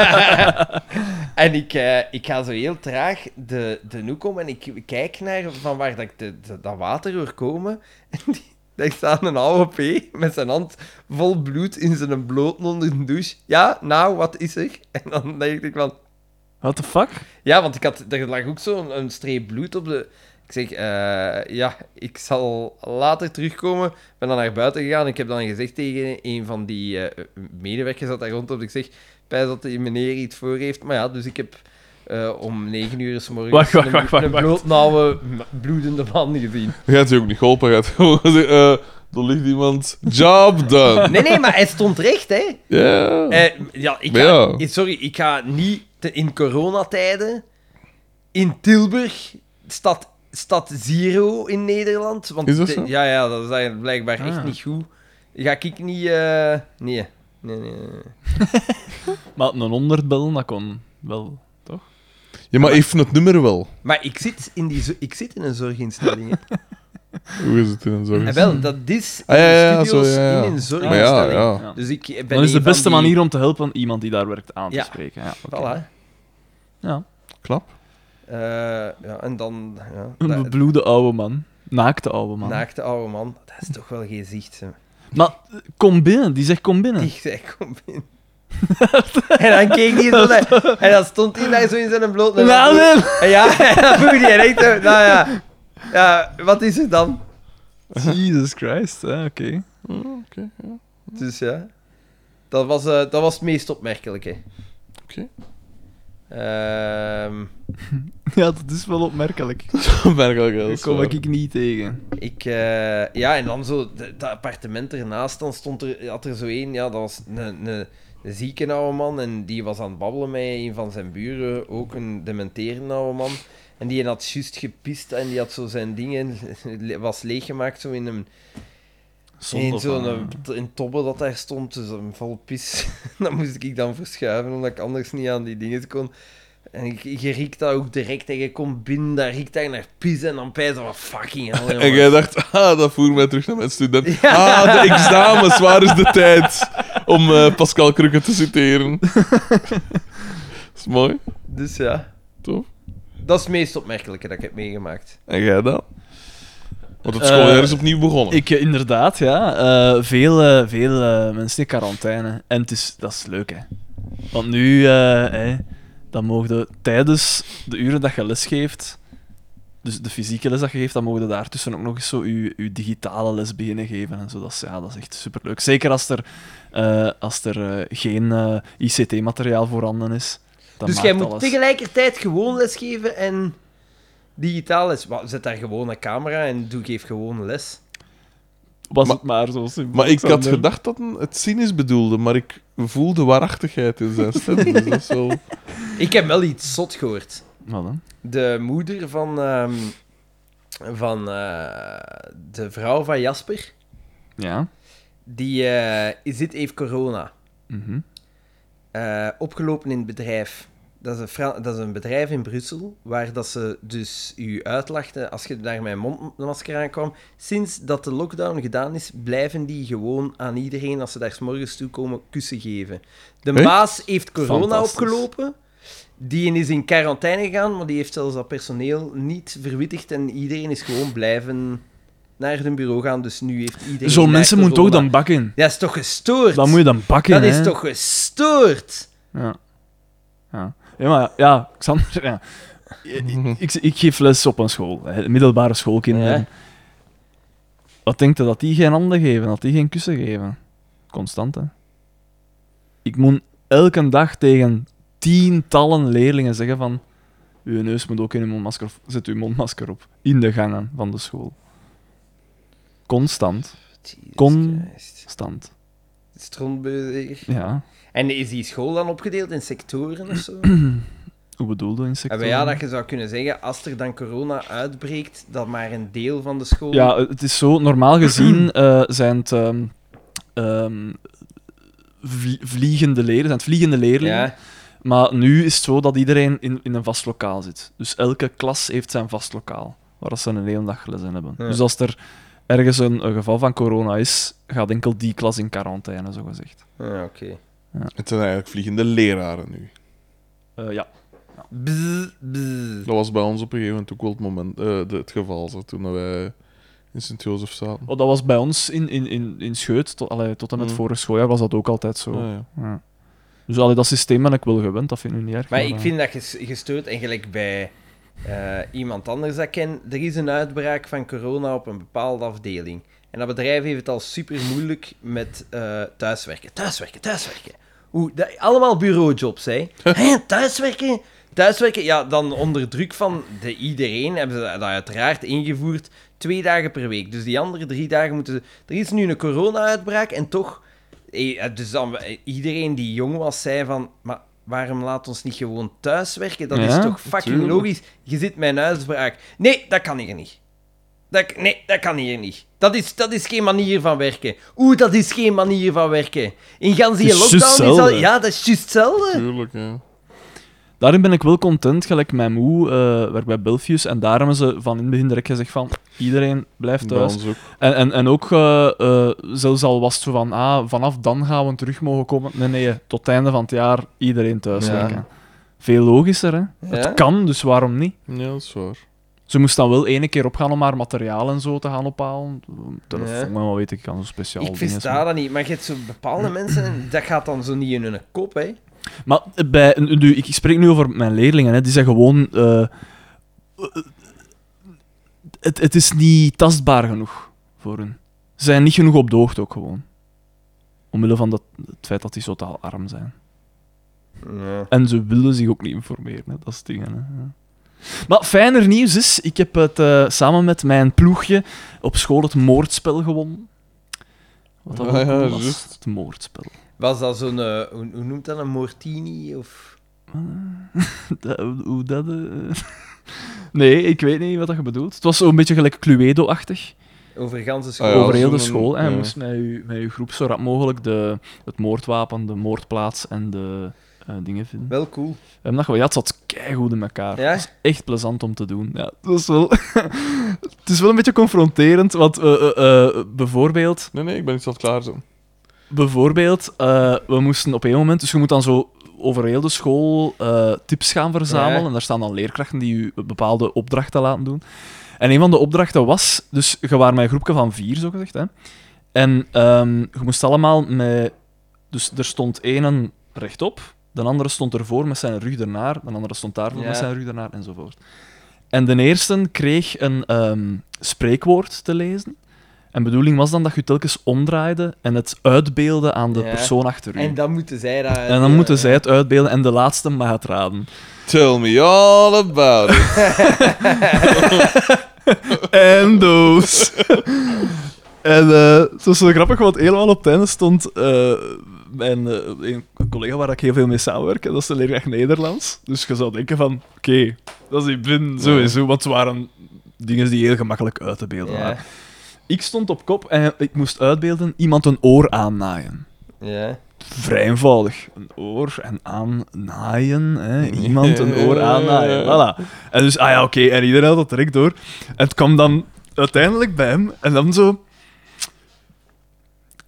S1: En ik, eh, ik ga zo heel traag de, de hoek om en ik kijk naar van waar dat, ik de, de- dat water hoor komen. En die, daar staat een oude P met zijn hand vol bloed in zijn bloten onder de douche. Ja, nou, wat is er? En dan denk ik van...
S3: What the fuck?
S1: Ja, want ik had, er lag ook zo'n een streep bloed op de... Ik zeg, eh, ja, ik zal later terugkomen. Ik ben dan naar buiten gegaan. Ik heb dan gezegd tegen een van die eh, medewerkers dat daar rondloopt. Ik zeg, pijs dat die meneer iets voor heeft. Maar ja, dus ik heb eh, om negen uur s morgens
S3: Wacht, wacht,
S1: een-
S3: wacht, wacht,
S1: een
S3: wacht.
S1: blootnauwe, m- bloedende man gezien.
S2: Jij hebt je ook niet geholpen. Jij hebt gewoon gezegd, eh, er ligt iemand. Job done.
S1: Nee, nee, maar hij stond recht, hè.
S2: Ja.
S1: Eh, ja, ik
S2: Maar
S1: ga,
S2: ja.
S1: Sorry, ik ga niet te- in coronatijden in Tilburg, stad, stad Zero in Nederland. Want
S2: Is dat
S1: de-
S2: zo?
S1: Ja, ja, dat is eigenlijk blijkbaar
S3: Ah.
S1: echt niet goed. Ga ik niet... eh, nee. Nee, nee, nee.
S3: Maar een 100 bellen, dat kon wel.
S2: Ja, maar even het nummer wel.
S1: Maar ik zit in, die, zo- ik zit in een zorginstelling. hè.
S2: Hoe is het in een zorg?
S1: en wel, dat is in
S2: Ah, ja, ja, ja,
S1: studio's
S2: zo, ja, ja.
S1: in een
S2: Maar
S1: zorginstelling.
S2: ja, ja.
S1: Dus ik ben
S3: Dan is de
S1: een van
S3: beste
S1: die-
S3: manier om te helpen iemand die daar werkt aan te
S1: Ja.
S3: spreken. Ja, oké.
S1: Voilà.
S3: ja.
S2: Knap.
S1: Eh, ja, en dan... Ja,
S3: Een
S1: dat,
S3: bebloede oude man. Naakte oude man.
S1: naakte oude man. Dat is toch wel geen zicht, hè.
S3: Maar eh, kom binnen, die zegt kom binnen.
S1: Ik zei, kom binnen. en dan keek hij zo naar... En dan stond hij daar zo in zijn bloot... en dan
S3: Nou,
S1: vroeg-
S3: nee.
S1: en ja, en dan vroeg hij en ik zo, Nou ja, ja, wat is er dan?
S3: Jesus Christ, ja, oké.
S2: Oké, ja.
S1: Dus ja, dat was, eh, dat was het meest opmerkelijke.
S2: Oké.
S1: Ehm,
S3: Ja, dat is wel opmerkelijk.
S2: Merkelijk, dat
S3: Daar
S2: is
S3: kom
S2: waar.
S3: ik ik niet tegen.
S1: ik, eh, ja, en dan zo, de- dat appartement ernaast, dan stond er, had er zo één, ja, dat was een, een, een zieke oude man, en die was aan het babbelen met een van zijn buren, ook een dementerende oude man. En die had juist gepist en die had zo zijn dingen, was leeggemaakt zo in een, in zo'n eh, t- in tobbe dat daar stond, dus een vol pis. dat moest ik dan verschuiven, omdat ik anders niet aan die dingen kon. En ik, je riekt dat ook direct en je komt binnen, daar riekt daar naar pis en dan pijs van fucking hell,
S2: En
S1: jongen.
S2: jij dacht, ah, dat voert mij terug naar mijn student.
S1: Ja.
S2: Ah, de examens, waar is de tijd om eh, Pascal Krukke te citeren? dat is mooi,
S1: Dus ja,
S2: tof.
S1: dat is het meest opmerkelijke dat ik heb meegemaakt.
S2: En jij dan? Want het schooljaar
S3: Eh,
S2: is opnieuw begonnen.
S3: Ik, eh, inderdaad, ja. Eh, veel eh, veel eh, mensen in quarantaine. En het is, dat is leuk, hè. Want nu, eh, hè, dan mogen we tijdens de uren dat je lesgeeft, dus de fysieke les dat je geeft, dan mogen we daartussen ook nog eens zo je, je digitale les beginnen geven. En zo. Dat, is, ja, dat is echt superleuk. Zeker als er, eh, als er eh, geen ICT-materiaal voorhanden is. Dat
S1: dus
S3: maakt
S1: jij moet
S3: alles.
S1: tegelijkertijd gewoon lesgeven en digitaal les. Wa- Zet daar gewoon een camera en doe, geef gewoon les.
S3: was
S2: Maar-
S3: het maar zo simpel.
S2: Maar ik had
S3: Xander.
S2: gedacht dat hij het cynisch bedoelde, maar ik voel de waarachtigheid in zijn stem. Dus dat is wel...
S1: Ik heb wel iets zot gehoord.
S3: Wat dan?
S1: De moeder van, ehm, van eh, de vrouw van Jasper,
S3: Ja.
S1: die eh, zit heeft corona.
S3: Mhm.
S1: Eh, opgelopen in het bedrijf. Dat is, een Fra- dat is een bedrijf in Brussel, waar dat ze dus u uitlachten als je daar met een mondmasker aankwam. Sinds dat de lockdown gedaan is, blijven die gewoon aan iedereen, als ze daar 's morgens toe komen, kussen geven. De
S2: Echt?
S1: baas heeft corona
S3: Fantastisch.
S1: opgelopen. Die is in quarantaine gegaan, maar die heeft zelfs dat personeel niet verwittigd. En iedereen is gewoon blijven naar hun bureau gaan. Dus nu heeft iedereen...
S3: Zo'n
S1: daar
S3: mensen moeten toch
S1: corona.
S3: dan bakken.
S1: Dat is toch gestoord?
S3: Dan moet je dan bakken,
S1: dat is
S3: hè.
S1: toch gestoord?
S3: Ja. Ja, ja maar ja, Xander, ja. Ik, ik, ik geef les op een school, hè, middelbare schoolkinderen.
S1: Ja.
S3: Wat denkt je dat die geen handen geven, dat die geen kussen geven? Constant, hè. Ik moet elke dag tegen tientallen leerlingen zeggen van... Uw neus moet ook in uw mondmasker, of zet uw mondmasker op. In de gangen van de school. Constant.
S1: Jesus
S3: Kon-
S1: Christ.
S3: Stand.
S1: Strontbezig.
S3: Ja.
S1: En is die school dan opgedeeld in sectoren of zo?
S3: Hoe bedoel je
S1: En
S3: insecten?
S1: wel ja, dat je zou kunnen zeggen, als er dan corona uitbreekt, dat maar een deel van de school...
S3: Ja, het is zo. Normaal gezien eh, zijn het ehm, ehm, vlie- vliegende leerlingen. Zijn het vliegende leerlingen.
S1: Ja.
S3: Maar nu is het zo dat iedereen in, in een vast lokaal zit. Dus elke klas heeft zijn vast lokaal. Waar dat ze een hele dag les in hebben.
S1: Ja.
S3: Dus als er ergens een, een geval van corona is, gaat enkel die klas in quarantaine, zogezegd.
S1: Ja, oké.
S2: Het zijn eigenlijk vliegende leraren nu.
S3: Eh ja.
S1: Bzz, bzz.
S2: Dat was bij ons op een gegeven moment ook wel het, moment, eh, de- het geval, zo, toen wij in Sint-Jozef zaten.
S3: Oh, dat was bij ons in, in, in, in Scheut, tot, allee, tot en met
S2: Mm.
S3: vorig schooljaar was dat ook altijd zo.
S2: Ah, ja.
S3: Ja. Dus allee, dat systeem ben ik wel gewend, dat vind ik niet erg.
S1: Maar
S3: eh.
S1: ik vind dat ges- gestoord, en gelijk bij eh, iemand anders dat ik ken, er is een uitbraak van corona op een bepaalde afdeling. En dat bedrijf heeft het al super moeilijk met eh, thuiswerken. Thuiswerken, thuiswerken. Hoe, dat, allemaal bureaujobs, hè. Hè, thuiswerken, thuiswerken. Ja, dan onder druk van de iedereen hebben ze dat uiteraard ingevoerd. Twee dagen per week. Dus die andere drie dagen moeten ze... Er is nu een corona-uitbraak en toch... eh, eh, Dus dan, eh, iedereen die jong was, zei van... Maar waarom laat ons niet gewoon thuiswerken? Dat is
S3: Ja,
S1: toch fucking
S2: natuurlijk.
S1: logisch? Je zit mijn uitspraak. Nee, dat kan hier niet. Dat, nee, dat kan hier niet. Dat is, dat is geen manier van werken. Oeh, dat is geen manier van werken. In gans die
S3: Het is juist
S1: lockdown is dat...
S3: hetzelfde.
S1: Ja, dat is juist hetzelfde.
S2: Tuurlijk, ja.
S3: Daarin ben ik wel content, gelijk mijn moe eh werkt bij Belfius. En daarom hebben ze van in het begin direct gezegd van, iedereen blijft
S2: Bij
S3: thuis.
S2: ons ook.
S3: En, en, en ook, eh, eh, zelfs al was het zo van, ah, vanaf dan gaan we terug mogen komen. Nee, nee, tot het einde van het jaar iedereen thuis
S1: Ja.
S3: werken. Veel logischer, hè?
S1: Ja.
S3: Het kan, dus waarom niet?
S2: Ja, dat is waar.
S3: Ze moest dan wel ene keer opgaan om haar materiaal en zo te gaan ophalen. Telefoon, en wat weet ik, kan zo speciaal
S1: Ik
S3: dingen
S1: versta dat niet, maar je hebt zo bepaalde mensen, dat gaat dan zo niet in hun kop, hè.
S3: Maar eh, bij, nu, ik spreek nu over mijn leerlingen, hè, die zijn gewoon. eh, eh, het, het is niet tastbaar genoeg voor hun. Ze zijn niet genoeg op de hoogte ook gewoon. Omwille van dat, het feit dat die zo taalarm zijn. En ze willen zich ook niet informeren, hè, dat is dingen. Hè. ja. Maar fijner nieuws is, ik heb het eh, samen met mijn ploegje op school het moordspel gewonnen. Wat dat
S2: Ah,
S3: wel
S2: ja,
S3: cool was,
S2: juist.
S3: Het moordspel.
S1: Was dat zo'n, eh, hoe, hoe noemt dat, een mortini? Of...
S3: Dat- hoe dat... eh, Nee, ik weet niet wat dat je bedoelt. Het was zo'n beetje gelijk Cluedo-achtig.
S1: Over ganse school.
S2: Ah, ja,
S3: over heel de
S2: zo'n-
S3: school. En je
S2: ja.
S3: moest met je, met je groep zo rap mogelijk de, het moordwapen, de moordplaats en de eh, dingen vinden.
S1: Wel cool.
S3: En dat, ja, het zat keigoed in elkaar.
S1: Ja?
S3: Het was echt plezant om te doen. Ja, het, was wel het is wel een beetje confronterend, want eh, eh, eh, bijvoorbeeld...
S2: Nee, nee, ik ben niet zo klaar zo.
S3: Bijvoorbeeld, eh, we moesten op een moment, dus je moet dan zo over heel de school eh, tips gaan verzamelen.
S1: Ja.
S3: En daar staan dan leerkrachten die u bepaalde opdrachten laten doen. En een van de opdrachten was, dus je waren met een groepje van vier, zo gezegd. Hè? En ehm, je moest allemaal met. Dus er stond één rechtop, de andere stond ervoor met zijn rug ernaar, de andere stond daarvoor
S1: Ja.
S3: met zijn rug ernaar, enzovoort. En de eerste kreeg een ehm, spreekwoord te lezen. En bedoeling was dan dat je telkens omdraaide en het uitbeelde aan de
S1: Ja.
S3: persoon achter u.
S1: En
S3: En,
S1: dan moeten zij dat... eh,
S3: dan moeten zij het uitbeelden en de laatste mag het raden.
S2: Tell me all about it.
S3: En doos. En eh, het was zo grappig, want helemaal op het einde stond eh, mijn eh, een collega waar ik heel veel mee samenwerk, en dat is de leerkracht Nederlands. Dus je zou denken van, oké, dat is die blind sowieso, want het waren dingen die heel gemakkelijk uit te beelden
S1: Ja.
S3: waren. Ik stond op kop en ik moest uitbeelden iemand een oor aannaaien.
S1: Ja.
S3: Vrij eenvoudig. Een oor en aannaaien. Hè? Iemand een oor
S2: Ja.
S3: aannaaien. Voilà. En dus, ah ja, oké. En iedereen had dat direct door. En het kwam dan uiteindelijk bij hem. En dan zo...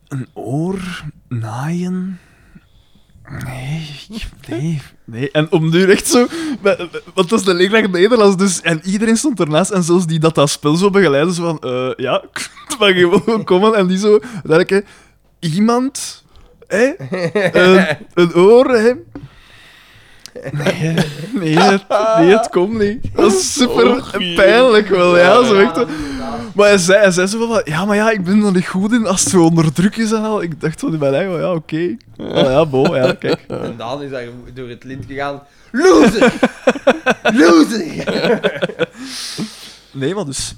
S3: Een oor naaien... Nee, nee, nee. En om nu echt zo... Want dat is de leerkracht Nederlands, dus... En iedereen stond ernaast, en zelfs die dat dat spel zo begeleidde, zo van... eh, ja, het mag gewoon komen. En die zo... Derke, iemand... Hè? Een, een oor, hè? Nee, nee, het, nee, het komt niet. Dat is super pijnlijk wel, ja. Zo echt, maar hij zei, hij zei zo van, ja, maar ja, ik ben er niet goed in als het zo onder druk is en al. Ik dacht van, bij mij, ja, oké. Ah, ja, bo, ja, kijk.
S1: En Daan is daar door het lint gegaan. Loser! Loser!
S3: Nee, maar dus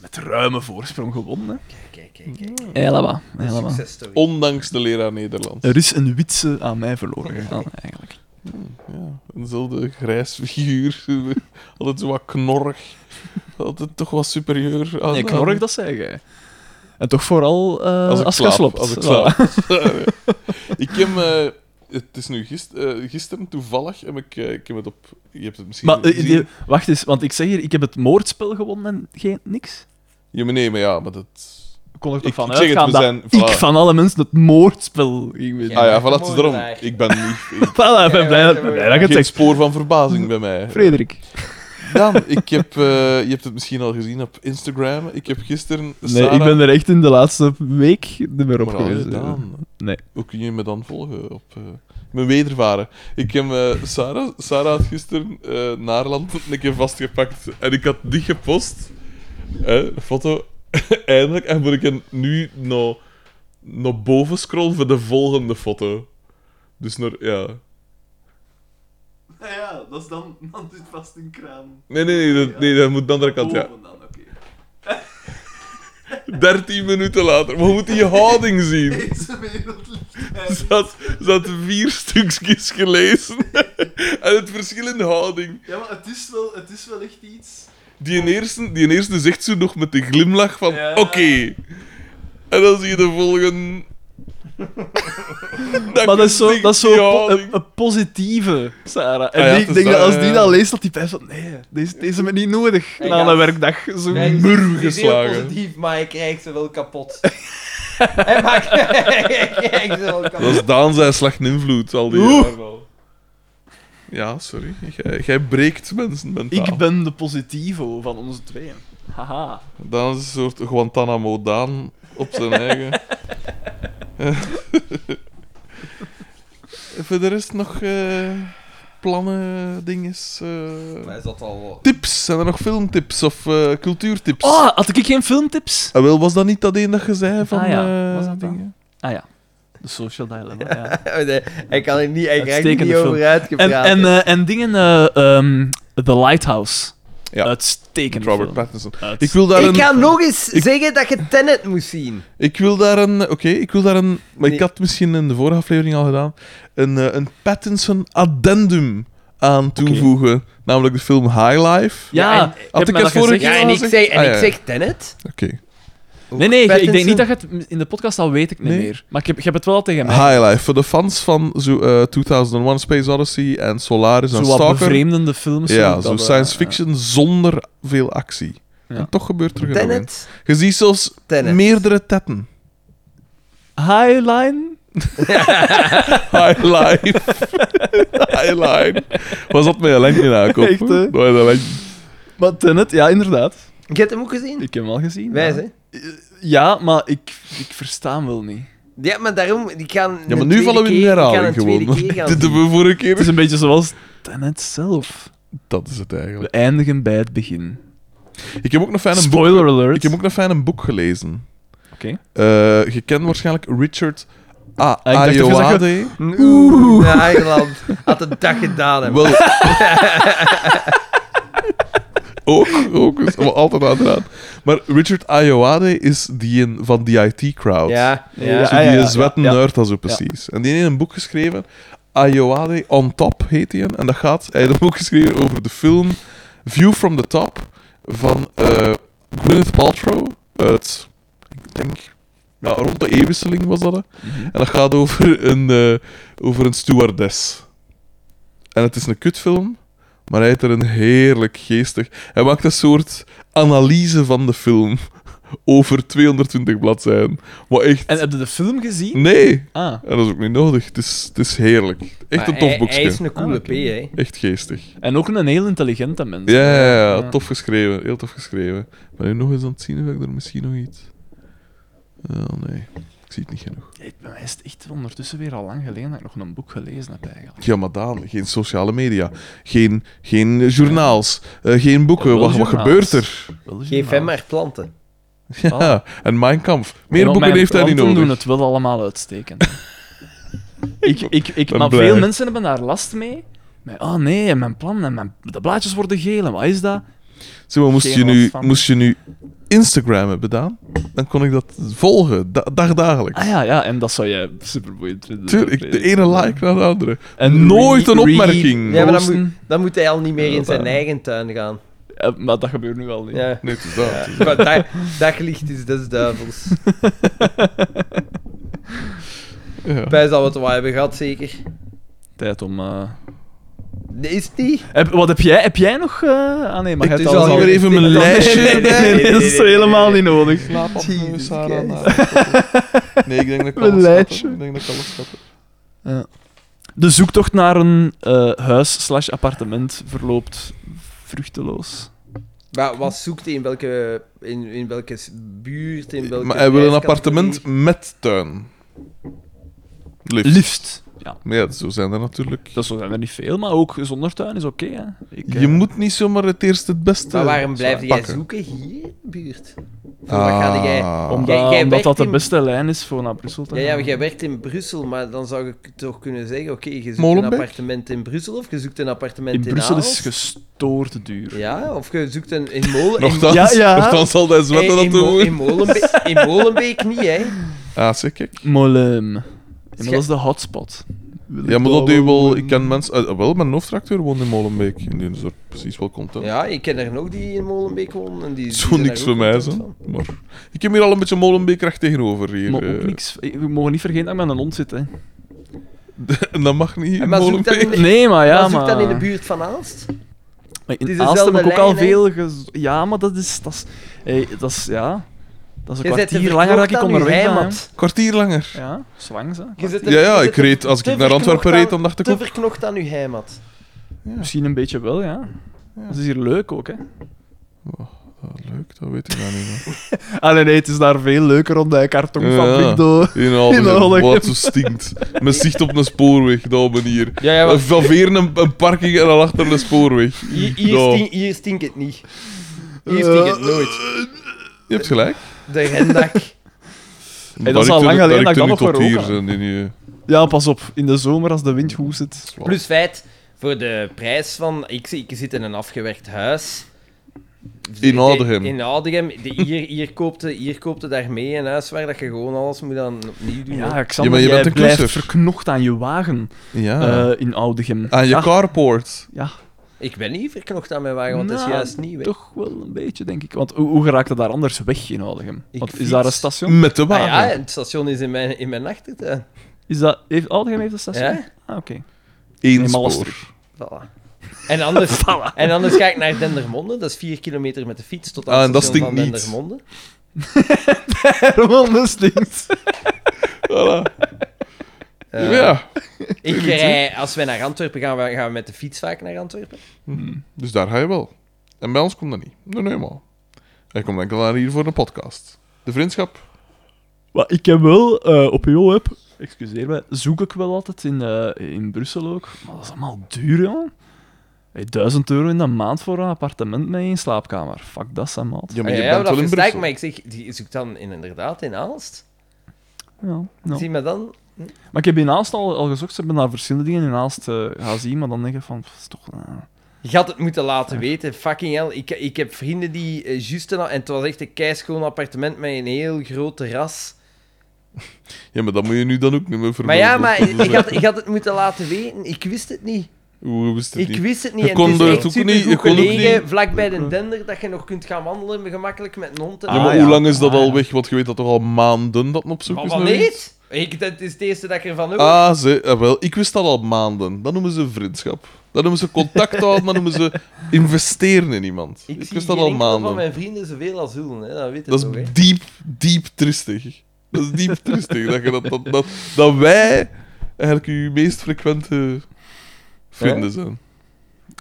S3: met ruime voorsprong gewonnen, hè.
S1: Kijk, kijk, kijk.
S3: Helemaal,
S1: Successtory.
S2: Ondanks de leraar Nederlands.
S3: Er is een witse aan mij verloren gegaan, eigenlijk.
S2: Ja, eenzelfde grijs figuur. Altijd zo wat knorrig. Altijd toch wat superieur. Ah, aan-
S3: Nee, knorrig, dat zei jij. En toch vooral eh
S2: Als ik slaap.
S3: slaapt.
S2: Als ik
S3: Voilà.
S2: slaap. ik heb... eh, het is nu gist, eh, gisteren toevallig heb ik, eh, ik heb het op... Je hebt het misschien
S3: Maar eh,
S2: gezien.
S3: die- wacht eens, want ik zeg hier, ik heb het moordspel gewonnen en geen niks.
S2: Ja, maar nee, maar ja, maar dat...
S3: Kon er
S2: Ik-
S3: toch van
S2: ik zeg het,
S3: uitgaan
S2: we
S3: dat
S2: zijn-
S3: ik
S2: voilà.
S3: van alle mensen het moordspel ging winnen.
S1: Ja,
S2: ah ja,
S1: dat is een
S2: voilà, het is
S1: mooie
S2: daarom.
S1: vraag.
S2: Ik ben niet... Ik,
S3: Voilà, ik ben blij,
S1: ja,
S3: dat-
S1: ja,
S3: blij dat je het
S2: geen
S3: zegt.
S2: spoor van verbazing bij mij.
S3: Frederik.
S2: Dan, ik heb... eh, je hebt het misschien al gezien op Instagram. Ik heb gisteren
S3: Nee, ik ben er echt in de laatste week niet meer op
S2: Maar alles
S3: geweest.
S2: gedaan.
S3: eh, Nee.
S2: Hoe kun je me dan volgen op eh, mijn wedervaren? Ik heb eh, Sarah, Sarah had gisteren eh Naarland een keer vastgepakt en ik had die gepost. Eh, foto. Eindelijk. En moet ik hem nu naar, naar boven scrollen voor de volgende foto. Dus naar, ja.
S3: Ah Ja, dat is dan... Dan zit vast een kraan.
S2: Nee, nee, nee, dat, nee, dat moet de andere kant, ja. 13 minuten later. Maar moet die houding zien? Ze had, ze had vier stukjes gelezen. en het verschil in de houding.
S3: Ja, maar het is wel, het is wel echt iets...
S2: Die eerste, die eerste zegt ze nog met de glimlach van...
S3: Ja.
S2: Oké. En dan zie je de volgende...
S3: Maar dat is zo, dat is zo
S2: die
S3: po-
S2: houding.
S3: een, een positieve, Sarah. En
S2: Ah ja,
S3: die-
S2: het
S3: ik
S2: is
S3: denk dat
S2: dat,
S3: als
S2: ja,
S3: die
S2: ja.
S3: dat leest, dat die pijn van... Nee, deze, deze hebben we niet nodig
S1: Hij
S3: na
S1: gaat-
S3: een werkdag. Zo
S1: Nee, het is-
S2: murw
S1: het is Heel
S2: geslagen.
S1: positief, maar hij krijgt ze wel kapot. hij maakt... hij krijgt ze wel
S2: Dat
S1: kapot.
S2: is Daan zijn slecht invloed al die
S3: Oeh.
S2: jaren al. Ja, sorry. Jij, jij breekt mensen mentaal.
S3: Ik ben de positivo van onze tweeën. Haha.
S2: Daan is een soort Guantanamo Daan op zijn eigen. Voor de rest nog eh, plannen, dinges. eh,
S1: Hij zat al...
S2: tips? Zijn er nog filmtips of eh, cultuurtips?
S3: Oh, had ik geen filmtips?
S2: Ah, wel, was dat niet dat een dat je zei van
S3: Ah ja,
S2: eh,
S3: was dat dan?
S2: dingen?
S3: Ah ja. De social dilemma, ja.
S1: Oh, Nee, hij kan er niet, hij krijgt er niet
S3: Uitstekende film.
S1: over uitgepraat.
S3: En, en, eh, en dingen, eh, ehm, The Lighthouse.
S2: Ja.
S3: Uitstekend.
S2: Robert
S3: film.
S2: Pattinson.
S3: Uitstekend.
S2: Ik wil daar
S1: ik
S2: een...
S1: ga nog eens zeggen dat je Tenet moet zien.
S2: Ik wil daar een... Oké, ik wil daar een... Maar ik
S1: Nee.
S2: had misschien in de vorige aflevering al gedaan. Een, eh, een Pattinson addendum aan toevoegen. Namelijk de film High Life.
S3: Ja,
S1: Ja, en-
S3: ik
S2: Had
S3: heb
S2: ik
S3: me
S2: het
S3: dat
S2: vorige
S3: gezegd.
S2: keer
S1: Ja, en
S2: al
S1: ik
S2: gezegd?
S1: zeg, en
S2: Ah,
S1: ik
S2: ja.
S1: zeg Tenet.
S2: Oké.
S1: Ook
S3: Nee, nee, ik- ik denk
S1: Pattinson.
S3: niet dat je het in de podcast al weet, ik niet
S2: Nee.
S3: meer. Maar ik heb, ik heb het wel al tegen mij.
S2: High Life. Voor de fans van zo, eh, 2001 Space Odyssey en Solaris
S3: Zo
S2: en
S3: wat
S2: Stalker.
S3: bevreemdende films.
S2: Ja,
S3: dat,
S2: zo
S3: eh,
S2: science fiction zonder veel actie.
S3: Ja.
S2: En toch gebeurt er genoeg. in.
S1: Tenet.
S2: Je ziet zelfs
S1: Tenet.
S2: meerdere tetten.
S3: Highline?
S2: High Life. High Line. Was dat met een lengte aankoop?
S3: Echt, hè?
S2: Dat was een lengte.
S3: Maar Tenet, ja, inderdaad.
S1: Je hebt hem ook gezien?
S3: Ik heb hem al gezien.
S1: Wijs,
S3: ja.
S1: hè?
S3: Ja, maar ik, ik versta hem wel niet.
S1: Ja, maar daarom... Ik kan
S2: Ja, maar nu vallen we in de herhaling gewoon. Dit hebben we vorige
S3: Het is
S2: keer.
S3: een beetje zoals Tenet zelf.
S2: Dat is het
S3: We
S2: eigenlijk.
S3: eindigen bij het begin.
S2: Ik heb ook nog fijn een boek,
S3: Spoiler alert.
S2: ik heb ook nog fijn een boek gelezen.
S3: Oké.
S2: Eh, je kent waarschijnlijk Richard A.
S3: Ah, ik dacht dat je
S2: Ayoade.
S1: Oeh, naar Engeland. Had het dag gedaan, hè.
S2: Wel. ook, ook is wel altijd aan de raad. Maar Richard Ayoade is die in, van die IT-crowd.
S1: Ja, ja.
S2: Zo
S3: Ah,
S2: die
S3: ja, ja,
S2: zwetten
S3: ja.
S2: nerd als zo precies. En die heeft een boek geschreven, Ayoade on Top heet hij. En dat gaat, hij heeft een boek geschreven over de film View from the Top van eh, Gwyneth Paltrow uit, ik denk, ja, rond de eeuwwisseling was dat. hè.
S3: Mhm.
S2: En dat gaat over een, eh, over een stewardess. En het is een kutfilm, maar hij heeft er een heerlijk geestig... Hij maakt een soort analyse van de film over 220 bladzijden. Maar echt...
S3: En heb je de film gezien?
S2: Nee!
S3: Ah.
S2: En dat is ook niet nodig. Het is, het is heerlijk. Echt
S1: Maar
S2: een tof
S1: hij-
S2: boekje.
S1: Hij is een coole
S3: Ah, oké.
S1: P, hè.
S2: Echt geestig.
S3: En ook een heel intelligente mens.
S2: Ja, ja, ja, tof geschreven. Heel tof geschreven. Ben nu nog eens aan het zien of ik er misschien nog iets... Oh, nee. Ik zie het niet genoeg.
S3: Hey, Bij mij is het echt ondertussen weer al lang geleden dat ik nog een boek gelezen heb, eigenlijk.
S2: Ja, maar Daan, geen sociale media. Geen, geen journaals. eh, geen boeken.
S3: Wel
S2: Wat, wat
S3: journaals.
S2: gebeurt er?
S3: Wel
S1: Geef
S3: journaal.
S1: hem maar planten.
S2: Ja, en Mein Kampf.
S3: Ja,
S2: Meer
S3: maar
S2: boeken
S3: mijn
S2: heeft hij niet
S3: klanten
S2: nodig.
S3: doen het wel allemaal uitstekend. ik, ik, ik,
S2: ben
S3: maar
S2: blij.
S3: veel mensen hebben daar last mee. Maar, oh nee, en mijn plannen, en mijn, de blaadjes worden geel, en wat is dat?
S2: Zeg maar, moest,
S3: Geen
S2: je nu,
S3: last van.
S2: moest je nu Instagram hebben gedaan, dan kon ik dat volgen, da dagdagelijks.
S3: Ah ja, ja, en dat zou jij superboeiend vinden.
S2: Tuurlijk, de ene like naar de andere.
S3: En
S2: Nooit
S3: re-
S2: een
S3: re-
S2: opmerking.
S1: Ja, maar dan
S3: Rozen.
S1: moet, dan moet hij al niet meer
S3: Ja,
S1: in zijn
S3: dat-
S1: eigen tuin gaan.
S3: Eh, maar dat gebeurt nu al niet.
S1: Ja.
S2: Nee, het is dat. het is dat.
S1: Maar dag, daglicht is dus des duivels.
S2: Ja.
S1: Wij zouden het wel hebben gehad, zeker.
S3: Tijd om... eh,
S1: Nee, is het niet?
S3: Heb, wat heb jij? Heb jij nog... eh, Ah nee, maar
S1: Ik
S3: jij hebt
S1: doe
S3: al...
S1: zo
S2: Zal ik weer even mijn
S1: Nee, nee,
S2: lijstje
S3: Nee, nee, nee, nee, dat is helemaal niet nodig.
S2: Slaap op,
S1: Jesus
S2: eh, Sarah,
S1: Christ.
S2: nou. Nee, ik denk dat ik
S3: Mijn
S2: alles
S3: lijstje.
S2: schatten. Ik denk dat ik alles schatten.
S3: De zoektocht naar een eh, huis slash appartement verloopt vruchteloos.
S1: Maar wat zoekt hij? In welke, in, in welke s- buurt? In welke
S2: Maar hij wil een
S1: prijskategorie?
S2: appartement met tuin. Liefst.
S3: Liefst. Ja.
S2: Maar ja, zo zijn er natuurlijk.
S3: Dat zijn er niet veel, maar ook zonder tuin is oké. hè. Ik, eh,
S2: Je moet niet zomaar het eerst het beste
S1: Maar waarom blijf jij
S2: pakken.
S1: zoeken hier in de buurt? Voor
S2: Ah,
S1: wat ga jij...
S3: omdat,
S1: Jij- jij
S3: ah, omdat
S1: werkt
S3: dat de
S1: in-
S3: beste lijn is voor naar Brussel te
S1: Ja, ja,
S3: gaan.
S1: maar jij werkt in Brussel, maar dan zou ik toch kunnen zeggen, oké, je zoekt
S2: Molenbeek?
S1: een appartement in Brussel of je zoekt een appartement in,
S3: in Brussel is
S1: Aalst.
S3: gestoord duur.
S1: Ja, of je zoekt een in Molen... in-
S2: Nochtans,
S3: Ja, ja.
S2: nochtans zal hij
S1: Hey,
S2: zwetten
S1: in,
S2: dat
S1: Mo-
S2: doen.
S1: in, Molenbeek, in Molenbeek niet, hè.
S2: Ah, zeker.
S3: Molen. Ja, maar
S1: Sche-
S3: dat is de hotspot.
S2: Ja, maar dat doe je wel. Ik ken mensen. eh, wel, mijn hoofdtracteur woont in Molenbeek. En die is er precies wel content.
S1: Ja, ik ken er nog die in Molenbeek wonen. En die, die
S2: Zo
S1: zijn daar
S2: niks
S1: ook
S2: voor mij,
S1: content
S2: zo.
S1: van.
S2: Maar ik heb hier al een beetje Molenbeek recht tegenover. Hier.
S3: Maar ook
S2: eh.
S3: niks. We mogen niet vergeten dat ik met een hond zit. Hè.
S2: En dat mag niet in
S1: maar zoek dat
S2: Molenbeek.
S1: in de-
S3: Nee, maar ja,
S1: maar
S3: maar... eh,
S1: zoek dan in de buurt van Aalst.
S3: Maar
S1: Het
S3: in
S1: is
S3: Aalst heb ik ook
S1: dezelfde
S3: al
S1: lijn,
S3: veel... gez- Ja, maar dat is... Dat is, hey, dat is ja... Dat is een
S1: Je zet de
S3: kwartier langer dat ik
S1: verknocht aan
S3: onderweg
S1: uw
S3: ben. hè.
S1: heimat.
S2: Kwartier langer.
S3: Ja, zwang ze.
S1: Je zet de-
S2: Ja, ja,
S1: je
S2: ik
S1: zet de-
S2: reed, als
S1: te
S2: ik naar Antwerpen
S1: verknocht
S2: reed, dan dacht
S1: aan-
S2: ik ook.
S1: Te verknocht aan uw heimat.
S3: Misschien een beetje wel, ja. Dat is hier leuk ook, hè.
S2: Ah, leuk, dat weet ik nou niet meer.
S3: Ah nee, nee, het is daar veel leuker om de kartonfabriek
S2: Ja.
S3: door.
S2: In
S3: Algem.
S2: Albergen, wat zo stinkt. Met zicht op een spoorweg, dat manier.
S1: Ja, ja, maar-
S2: Van veren een, een parking en dan achter een spoorweg.
S1: Hier, hier,
S2: Ja.
S1: stink- hier stinkt het niet. Hier
S2: Eh.
S1: stinkt het nooit.
S2: Je hebt gelijk.
S1: De rendak.
S3: Hey, dat is al lang geleden dat ik dat nog
S2: tot
S3: geroken
S2: hier
S3: heb.
S2: zijn. Die nu,
S3: Ja, pas op. In de zomer, als de wind goed zit.
S1: Plus feit, voor de prijs van... Ik, zie- ik zit in een afgewerkt huis.
S2: In Oudegem.
S1: In Oudegem. De- Hier, hier koopte hier koopte daarmee een huis waar dat je gewoon alles moet aan opnieuw doen. hè.
S3: Ja,
S2: Ja,
S3: Xander,
S2: maar je
S3: jij
S2: bent een
S3: blijft
S2: klusser.
S3: verknocht aan je wagen
S2: ja.
S3: eh, in Oudegem.
S2: Aan je
S3: ja,
S2: carport.
S3: Ja,
S1: Ik ben niet verknocht aan mijn wagen, want dat is
S3: Nou,
S1: juist nieuw. hè.
S3: toch wel een beetje, denk ik. Want hoe, hoe geraakt het daar anders weg in Oudegem?
S1: Ik
S3: Want is
S1: fiets.
S3: daar een station?
S2: Met de
S1: Ah
S2: wagen.
S1: ja, het station is in mijn, in mijn achtertuin.
S3: Is dat, heeft, Oudegem heeft een station?
S1: Ja.
S3: Ah, oké.
S2: Eén
S3: In
S2: spoor.
S3: Mallestrup.
S1: Voilà. En anders, en anders ga ik naar Dendermonde, dat is vier kilometer met de fiets tot aan
S2: Ah,
S1: het
S2: en dat
S1: station van
S2: stinkt niet.
S1: Dendermonde.
S3: Herman de Slinks.
S2: Voilà.
S1: Eh,
S2: Ja.
S1: ik rij, als wij naar Antwerpen gaan, we, gaan we met de fiets vaak naar Antwerpen.
S2: Dus daar ga je wel. En bij ons komt dat niet. Nee, nee, maar. Hij komt enkel naar hier voor een podcast. De vriendschap.
S3: Maar ik heb wel eh, op jouw web, excuseer mij, zoek ik wel altijd in, eh, in Brussel ook. Maar dat is allemaal duur, jongen. Hey, 1000 euro in de maand voor een appartement met één slaapkamer. Fuck dat, zijn maat.
S2: Ja,
S1: Ah,
S2: maar je
S1: ja,
S2: bent
S1: dat
S2: wel in
S1: versta ik,
S2: Brussel.
S1: maar ik zeg, die zoek dan in- inderdaad in Aalst.
S3: Ja, no.
S1: Zie me dan?
S3: Maar ik heb in Aalst al, al gezocht. Ze hebben daar verschillende dingen in Aalst eh, gaan zien, maar dan denk ik van, pff, dat is toch... eh,
S1: Je Je had het moeten laten weten. Fucking hell. Ik, ik heb vrienden die eh, juist... een- En het was echt een keischoon appartement met een heel groot terras.
S2: Ja, maar dat moet je nu dan ook niet meer
S1: Maar
S2: vermelden.
S1: ja, maar
S2: Dat is,
S1: ik
S2: eh,
S1: had, ik had het moeten laten weten. Ik wist het niet.
S2: Hoe wist het
S1: Ik
S2: niet?
S1: wist het niet.
S2: Je
S1: en
S2: kon
S1: het
S2: er
S1: is
S2: het
S1: echt
S2: ook niet- je
S1: supergoed
S2: kon ook
S1: gelegen,
S2: niet-
S1: vlakbij de dender, dat je nog kunt gaan wandelen gemakkelijk met een hond. en
S2: Ja,
S1: al.
S2: maar
S3: Ah,
S2: hoe
S3: ja.
S2: lang is dat al weg? Want je weet dat toch al maanden dat men op zoek
S1: Maar
S2: is
S1: wat
S2: naar iets?
S1: niet? Ik, dat is het eerste dat ik ervan hoor.
S2: Ah, ze, eh, wel, ik wist dat al maanden. Dat noemen ze vriendschap. Dat noemen ze contact houden, dat noemen ze investeren in iemand.
S1: ik,
S2: Ik,
S1: zie
S2: wist dat
S1: geen
S2: al
S1: enkel van
S2: maanden.
S1: mijn vrienden zoveel als Hullen, hè. dat weet je
S2: Dat
S1: toch, hè.
S2: is diep, diep tristig. Dat is diep tristig. dat, je dat, dat, dat, dat wij eigenlijk uw meest frequente vrienden zijn.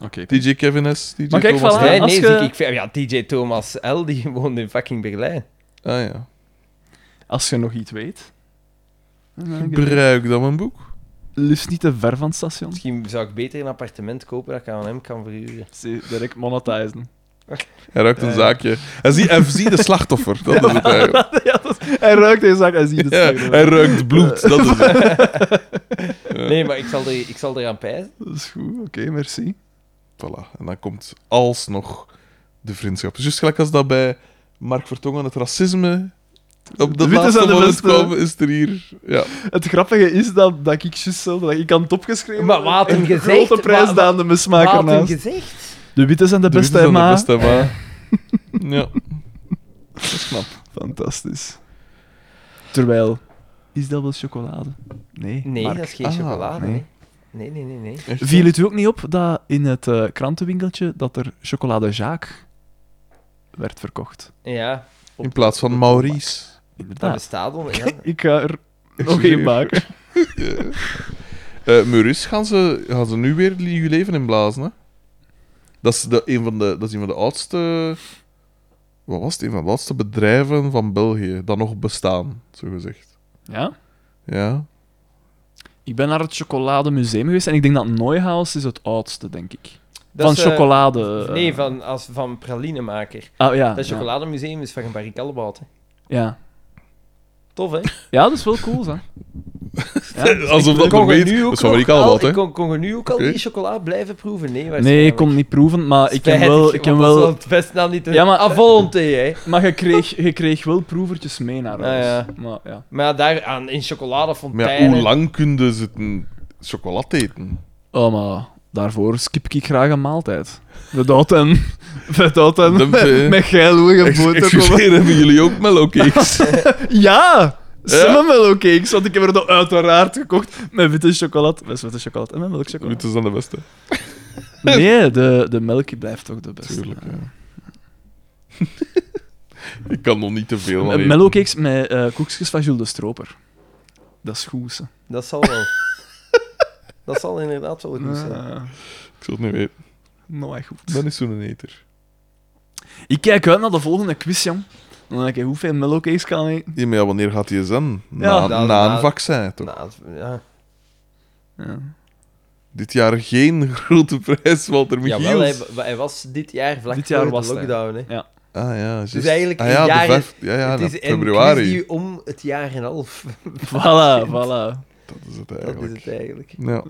S9: Oké.
S2: DJ Kevin S, DJ
S3: Maar kijk,
S2: Thomas
S3: voilà.
S2: K.
S1: Nee,
S3: als
S1: nee,
S3: ge-
S1: zie ik, ik vind- ja, DJ Thomas L, die woont in fucking Berlijn.
S2: Ah ja.
S3: Als je nog iets weet.
S2: Gebruik dan mijn boek.
S3: Liefst niet te ver van het station.
S1: Misschien zou ik beter een appartement kopen dat ik aan hem kan verhuren.
S3: Zie, Direct monetizen.
S2: Hij ruikt een zaakje. Hij zie, hij zie de slachtoffer. Dat is het eigenlijk.
S3: ja, dat is- hij ruikt deze zak en ziet het.
S2: Ja,
S3: terug.
S2: hij ruikt bloed. Dat is het.
S1: Nee, maar ik zal, er, ik zal eraan pijzen.
S3: Dat is goed, oké, merci.
S2: Voilà. En dan komt alsnog de vriendschap. Dus juist gelijk als dat bij Mark Vertongen het racisme op de
S3: De witte
S2: laatste
S3: zijn de
S2: moment
S3: beste.
S2: kwam, is er hier... Ja.
S3: Het grappige is dat, dat ik juist zelf, dat ik aan het opgeschreven
S1: Maar wat had hem
S3: een
S1: gezegd?
S3: grote prijs
S1: Wat-
S3: aan de
S1: Wat
S3: mismaker
S1: had hem
S3: naast.
S1: gezegd?
S3: De witte zijn de
S2: De witte
S3: beste,
S2: zijn de
S3: maar...
S2: beste, maar... Ja. Dat is knap.
S3: Fantastisch. Terwijl... Is dat wel chocolade? Nee.
S1: Nee,
S3: Mark.
S1: dat is geen
S2: Ah,
S1: chocolade.
S3: nee.
S1: Nee. nee, nee, nee. nee.
S2: Echt,
S3: Viel het u ook niet op dat in het eh, krantenwinkeltje dat er chocolade Jaak werd verkocht?
S1: Ja,
S2: In plaats van Maurice.
S1: dat
S3: Inderdaad.
S1: bestaat al. Ja.
S3: Ik ga er nog
S2: zweer.
S3: één maken.
S2: Eh Maurice gaan ze, gaan ze nu weer nieuw leven inblazen, hè? Dat is, de, een van de, dat is een van de oudste... Wat was het? Een van de oudste bedrijven van België. Dat nog bestaan, zogezegd.
S3: Ja?
S2: Ja.
S3: Ik ben naar het chocolademuseum geweest en ik denk dat Neuhaus is het oudste, denk ik.
S1: Dat
S3: van
S1: is, eh,
S3: chocolade. eh.
S1: Nee, van, als, van pralinemaker.
S3: Ah, ja.
S1: Dat
S3: ja.
S1: chocolademuseum is van een barricadebout. hè.
S3: Ja.
S1: Tof, hè?
S3: ja, dat is wel cool, hè. Ja.
S2: Alsof dat
S1: Kon
S2: nog
S1: je
S2: weet.
S1: nu ook
S2: Dat is van
S1: nog
S2: Amerika al
S1: al-
S2: wat, hè?
S1: ik Kon, kon je nu ook al
S2: Oké.
S1: die chocola blijven proeven? Nee,
S3: Nee, ik kon het niet proeven, maar ik heb wel... Ik heb wel
S1: het best nou niet...
S3: Ja,
S1: Ja,
S3: maar-
S1: maar... Avolonté, hè?
S3: maar je kreeg, je kreeg wel proevertjes mee naar huis.
S1: ja.
S3: Maar ja.
S1: Maar ja, daar aan, in
S2: Maar ja,
S1: chocoladefonteinen...
S2: hoe lang kunnen ze zitten chocolade eten?
S3: Oh, maar daarvoor skip ik graag een maaltijd. De dood en... De dood en...
S2: De-
S3: met- Met geilhoege
S2: Ex-
S3: boter. komen.
S2: Excuseer, hebben jullie ook mellowcakes?
S3: Ja! Cinnamon cakes, want ik heb er dan uiteraard gekocht met witte chocolade. Met witte chocolade en met
S2: Dit
S3: melkchocolade.
S2: is dan de beste.
S3: Nee, de, de melk blijft toch de beste.
S2: Tuurlijk, ja. Ik kan nog niet te veel aan
S3: Eh,
S2: eten.
S3: Mellowcakes met eh koekjes van Jules de Stroper. Dat is goed, ze.
S1: Dat zal wel. dat zal inderdaad wel goed zijn.
S3: eh,
S2: Ik zal het niet weten.
S3: nou, echt goed.
S2: Ben is zo'n eter.
S3: Ik kijk uit naar de volgende quiz, jong. Dan denk ik hoeveel mellowcakes kan ik...
S2: Ja, maar ja, wanneer gaat hij zijn? Na,
S3: Ja,
S2: na,
S1: dat-
S2: een
S1: na-
S2: vaccin, toch?
S1: Nou, het- ja.
S3: Ja.
S2: Dit jaar geen grote prijs, Walter
S1: Jawel, hij,
S2: Michiels.
S1: hij was dit jaar vlak
S3: Dit jaar
S1: voor
S3: was
S1: de
S3: het, hè.
S1: lockdown. Hè.
S2: ah ja, juist.
S1: Dus eigenlijk
S2: ah,
S1: een
S2: ja, de
S1: jaar-
S2: vijf- Ja, ja,
S1: het
S2: na
S1: is een
S2: februari.
S1: quiz die om het jaar en half.
S3: Voilà, voilà.
S2: Dat is het
S1: Dat is
S2: eigenlijk.
S1: het eigenlijk.
S2: Ja, oké.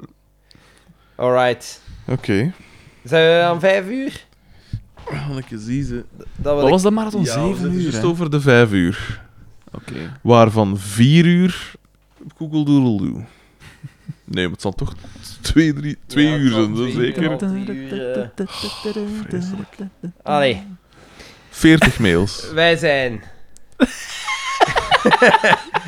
S1: Alright. Zijn we aan vijf uur?
S2: Kan ik je zien, ze.
S1: Dat
S3: Wat
S1: ik-
S3: was dat dus marathon?
S2: Ja, we
S3: 7
S2: zitten
S3: uur,
S2: juist
S3: hè?
S2: over de vijf uur.
S3: Oké.
S2: Waarvan vier uur Google Doodle Doo. Nee, maar het zal toch twee, drie, twee
S1: Ja, het
S2: uur
S1: zal
S2: zijn,
S1: twee
S2: zo
S1: uur
S2: zeker.
S1: wel. Allee,
S2: Veertig mails.
S1: wij zijn...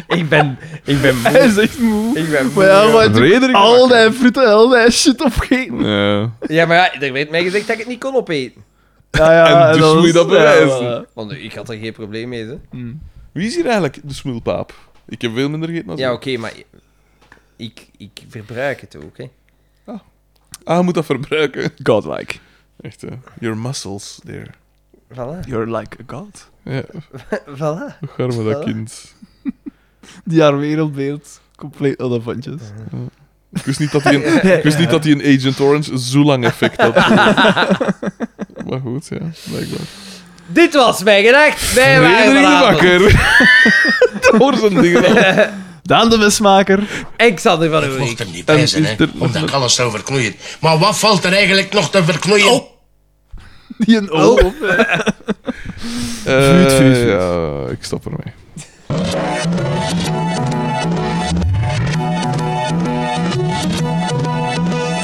S1: ik ben... Ik ben moe.
S3: Hij is echt moe.
S1: Ik ben moe.
S3: Maar ja, maar
S2: Frederik
S3: al die fritten, al die shit opgegeten.
S2: Ja.
S1: Ja, maar ja, er werd mij gezegd dat ik het niet kon opeten.
S3: Ja, ja,
S2: En dus
S3: was-
S2: moet je dat
S3: ja,
S2: bewijzen.
S3: voilà.
S1: Want ik had er geen probleem mee, hè.
S2: Wie is hier eigenlijk de smulpaap? Ik heb veel minder gegeten dan
S1: Ja,
S2: jij.
S1: oké, maar... Ik, ik verbruik het ook, hè.
S2: Ah, je moet dat verbruiken.
S3: Godlike.
S2: Echt, hè. Your muscles, there.
S1: Voilà.
S3: You're like a god.
S2: Ja,
S1: Voilà.
S2: hoe gaar met dat kind.
S3: Die haar wereldbeeld compleet aan de vandjes.
S2: Ik wist niet dat hij een, ik wist niet dat hij een Agent Orange zo lang effect had. maar goed, ja, blijkbaar.
S1: Dit was mijn gedacht. Wij waren
S2: Frederik de
S1: vanavond.
S2: Bakker. Door zijn dingen al.
S3: Daan de Mesmaker.
S1: Ik zal er van
S4: Ik
S1: uw
S4: mocht
S1: week.
S4: er niet bij zijn,
S2: is
S4: hè,
S2: er-
S4: omdat ik alles zou verknoeien. Maar wat valt er eigenlijk nog te verknoeien?
S3: Die een oog op.
S2: Eh,
S3: Vuut, vuut, vuut.
S2: Ja, ik stop ermee.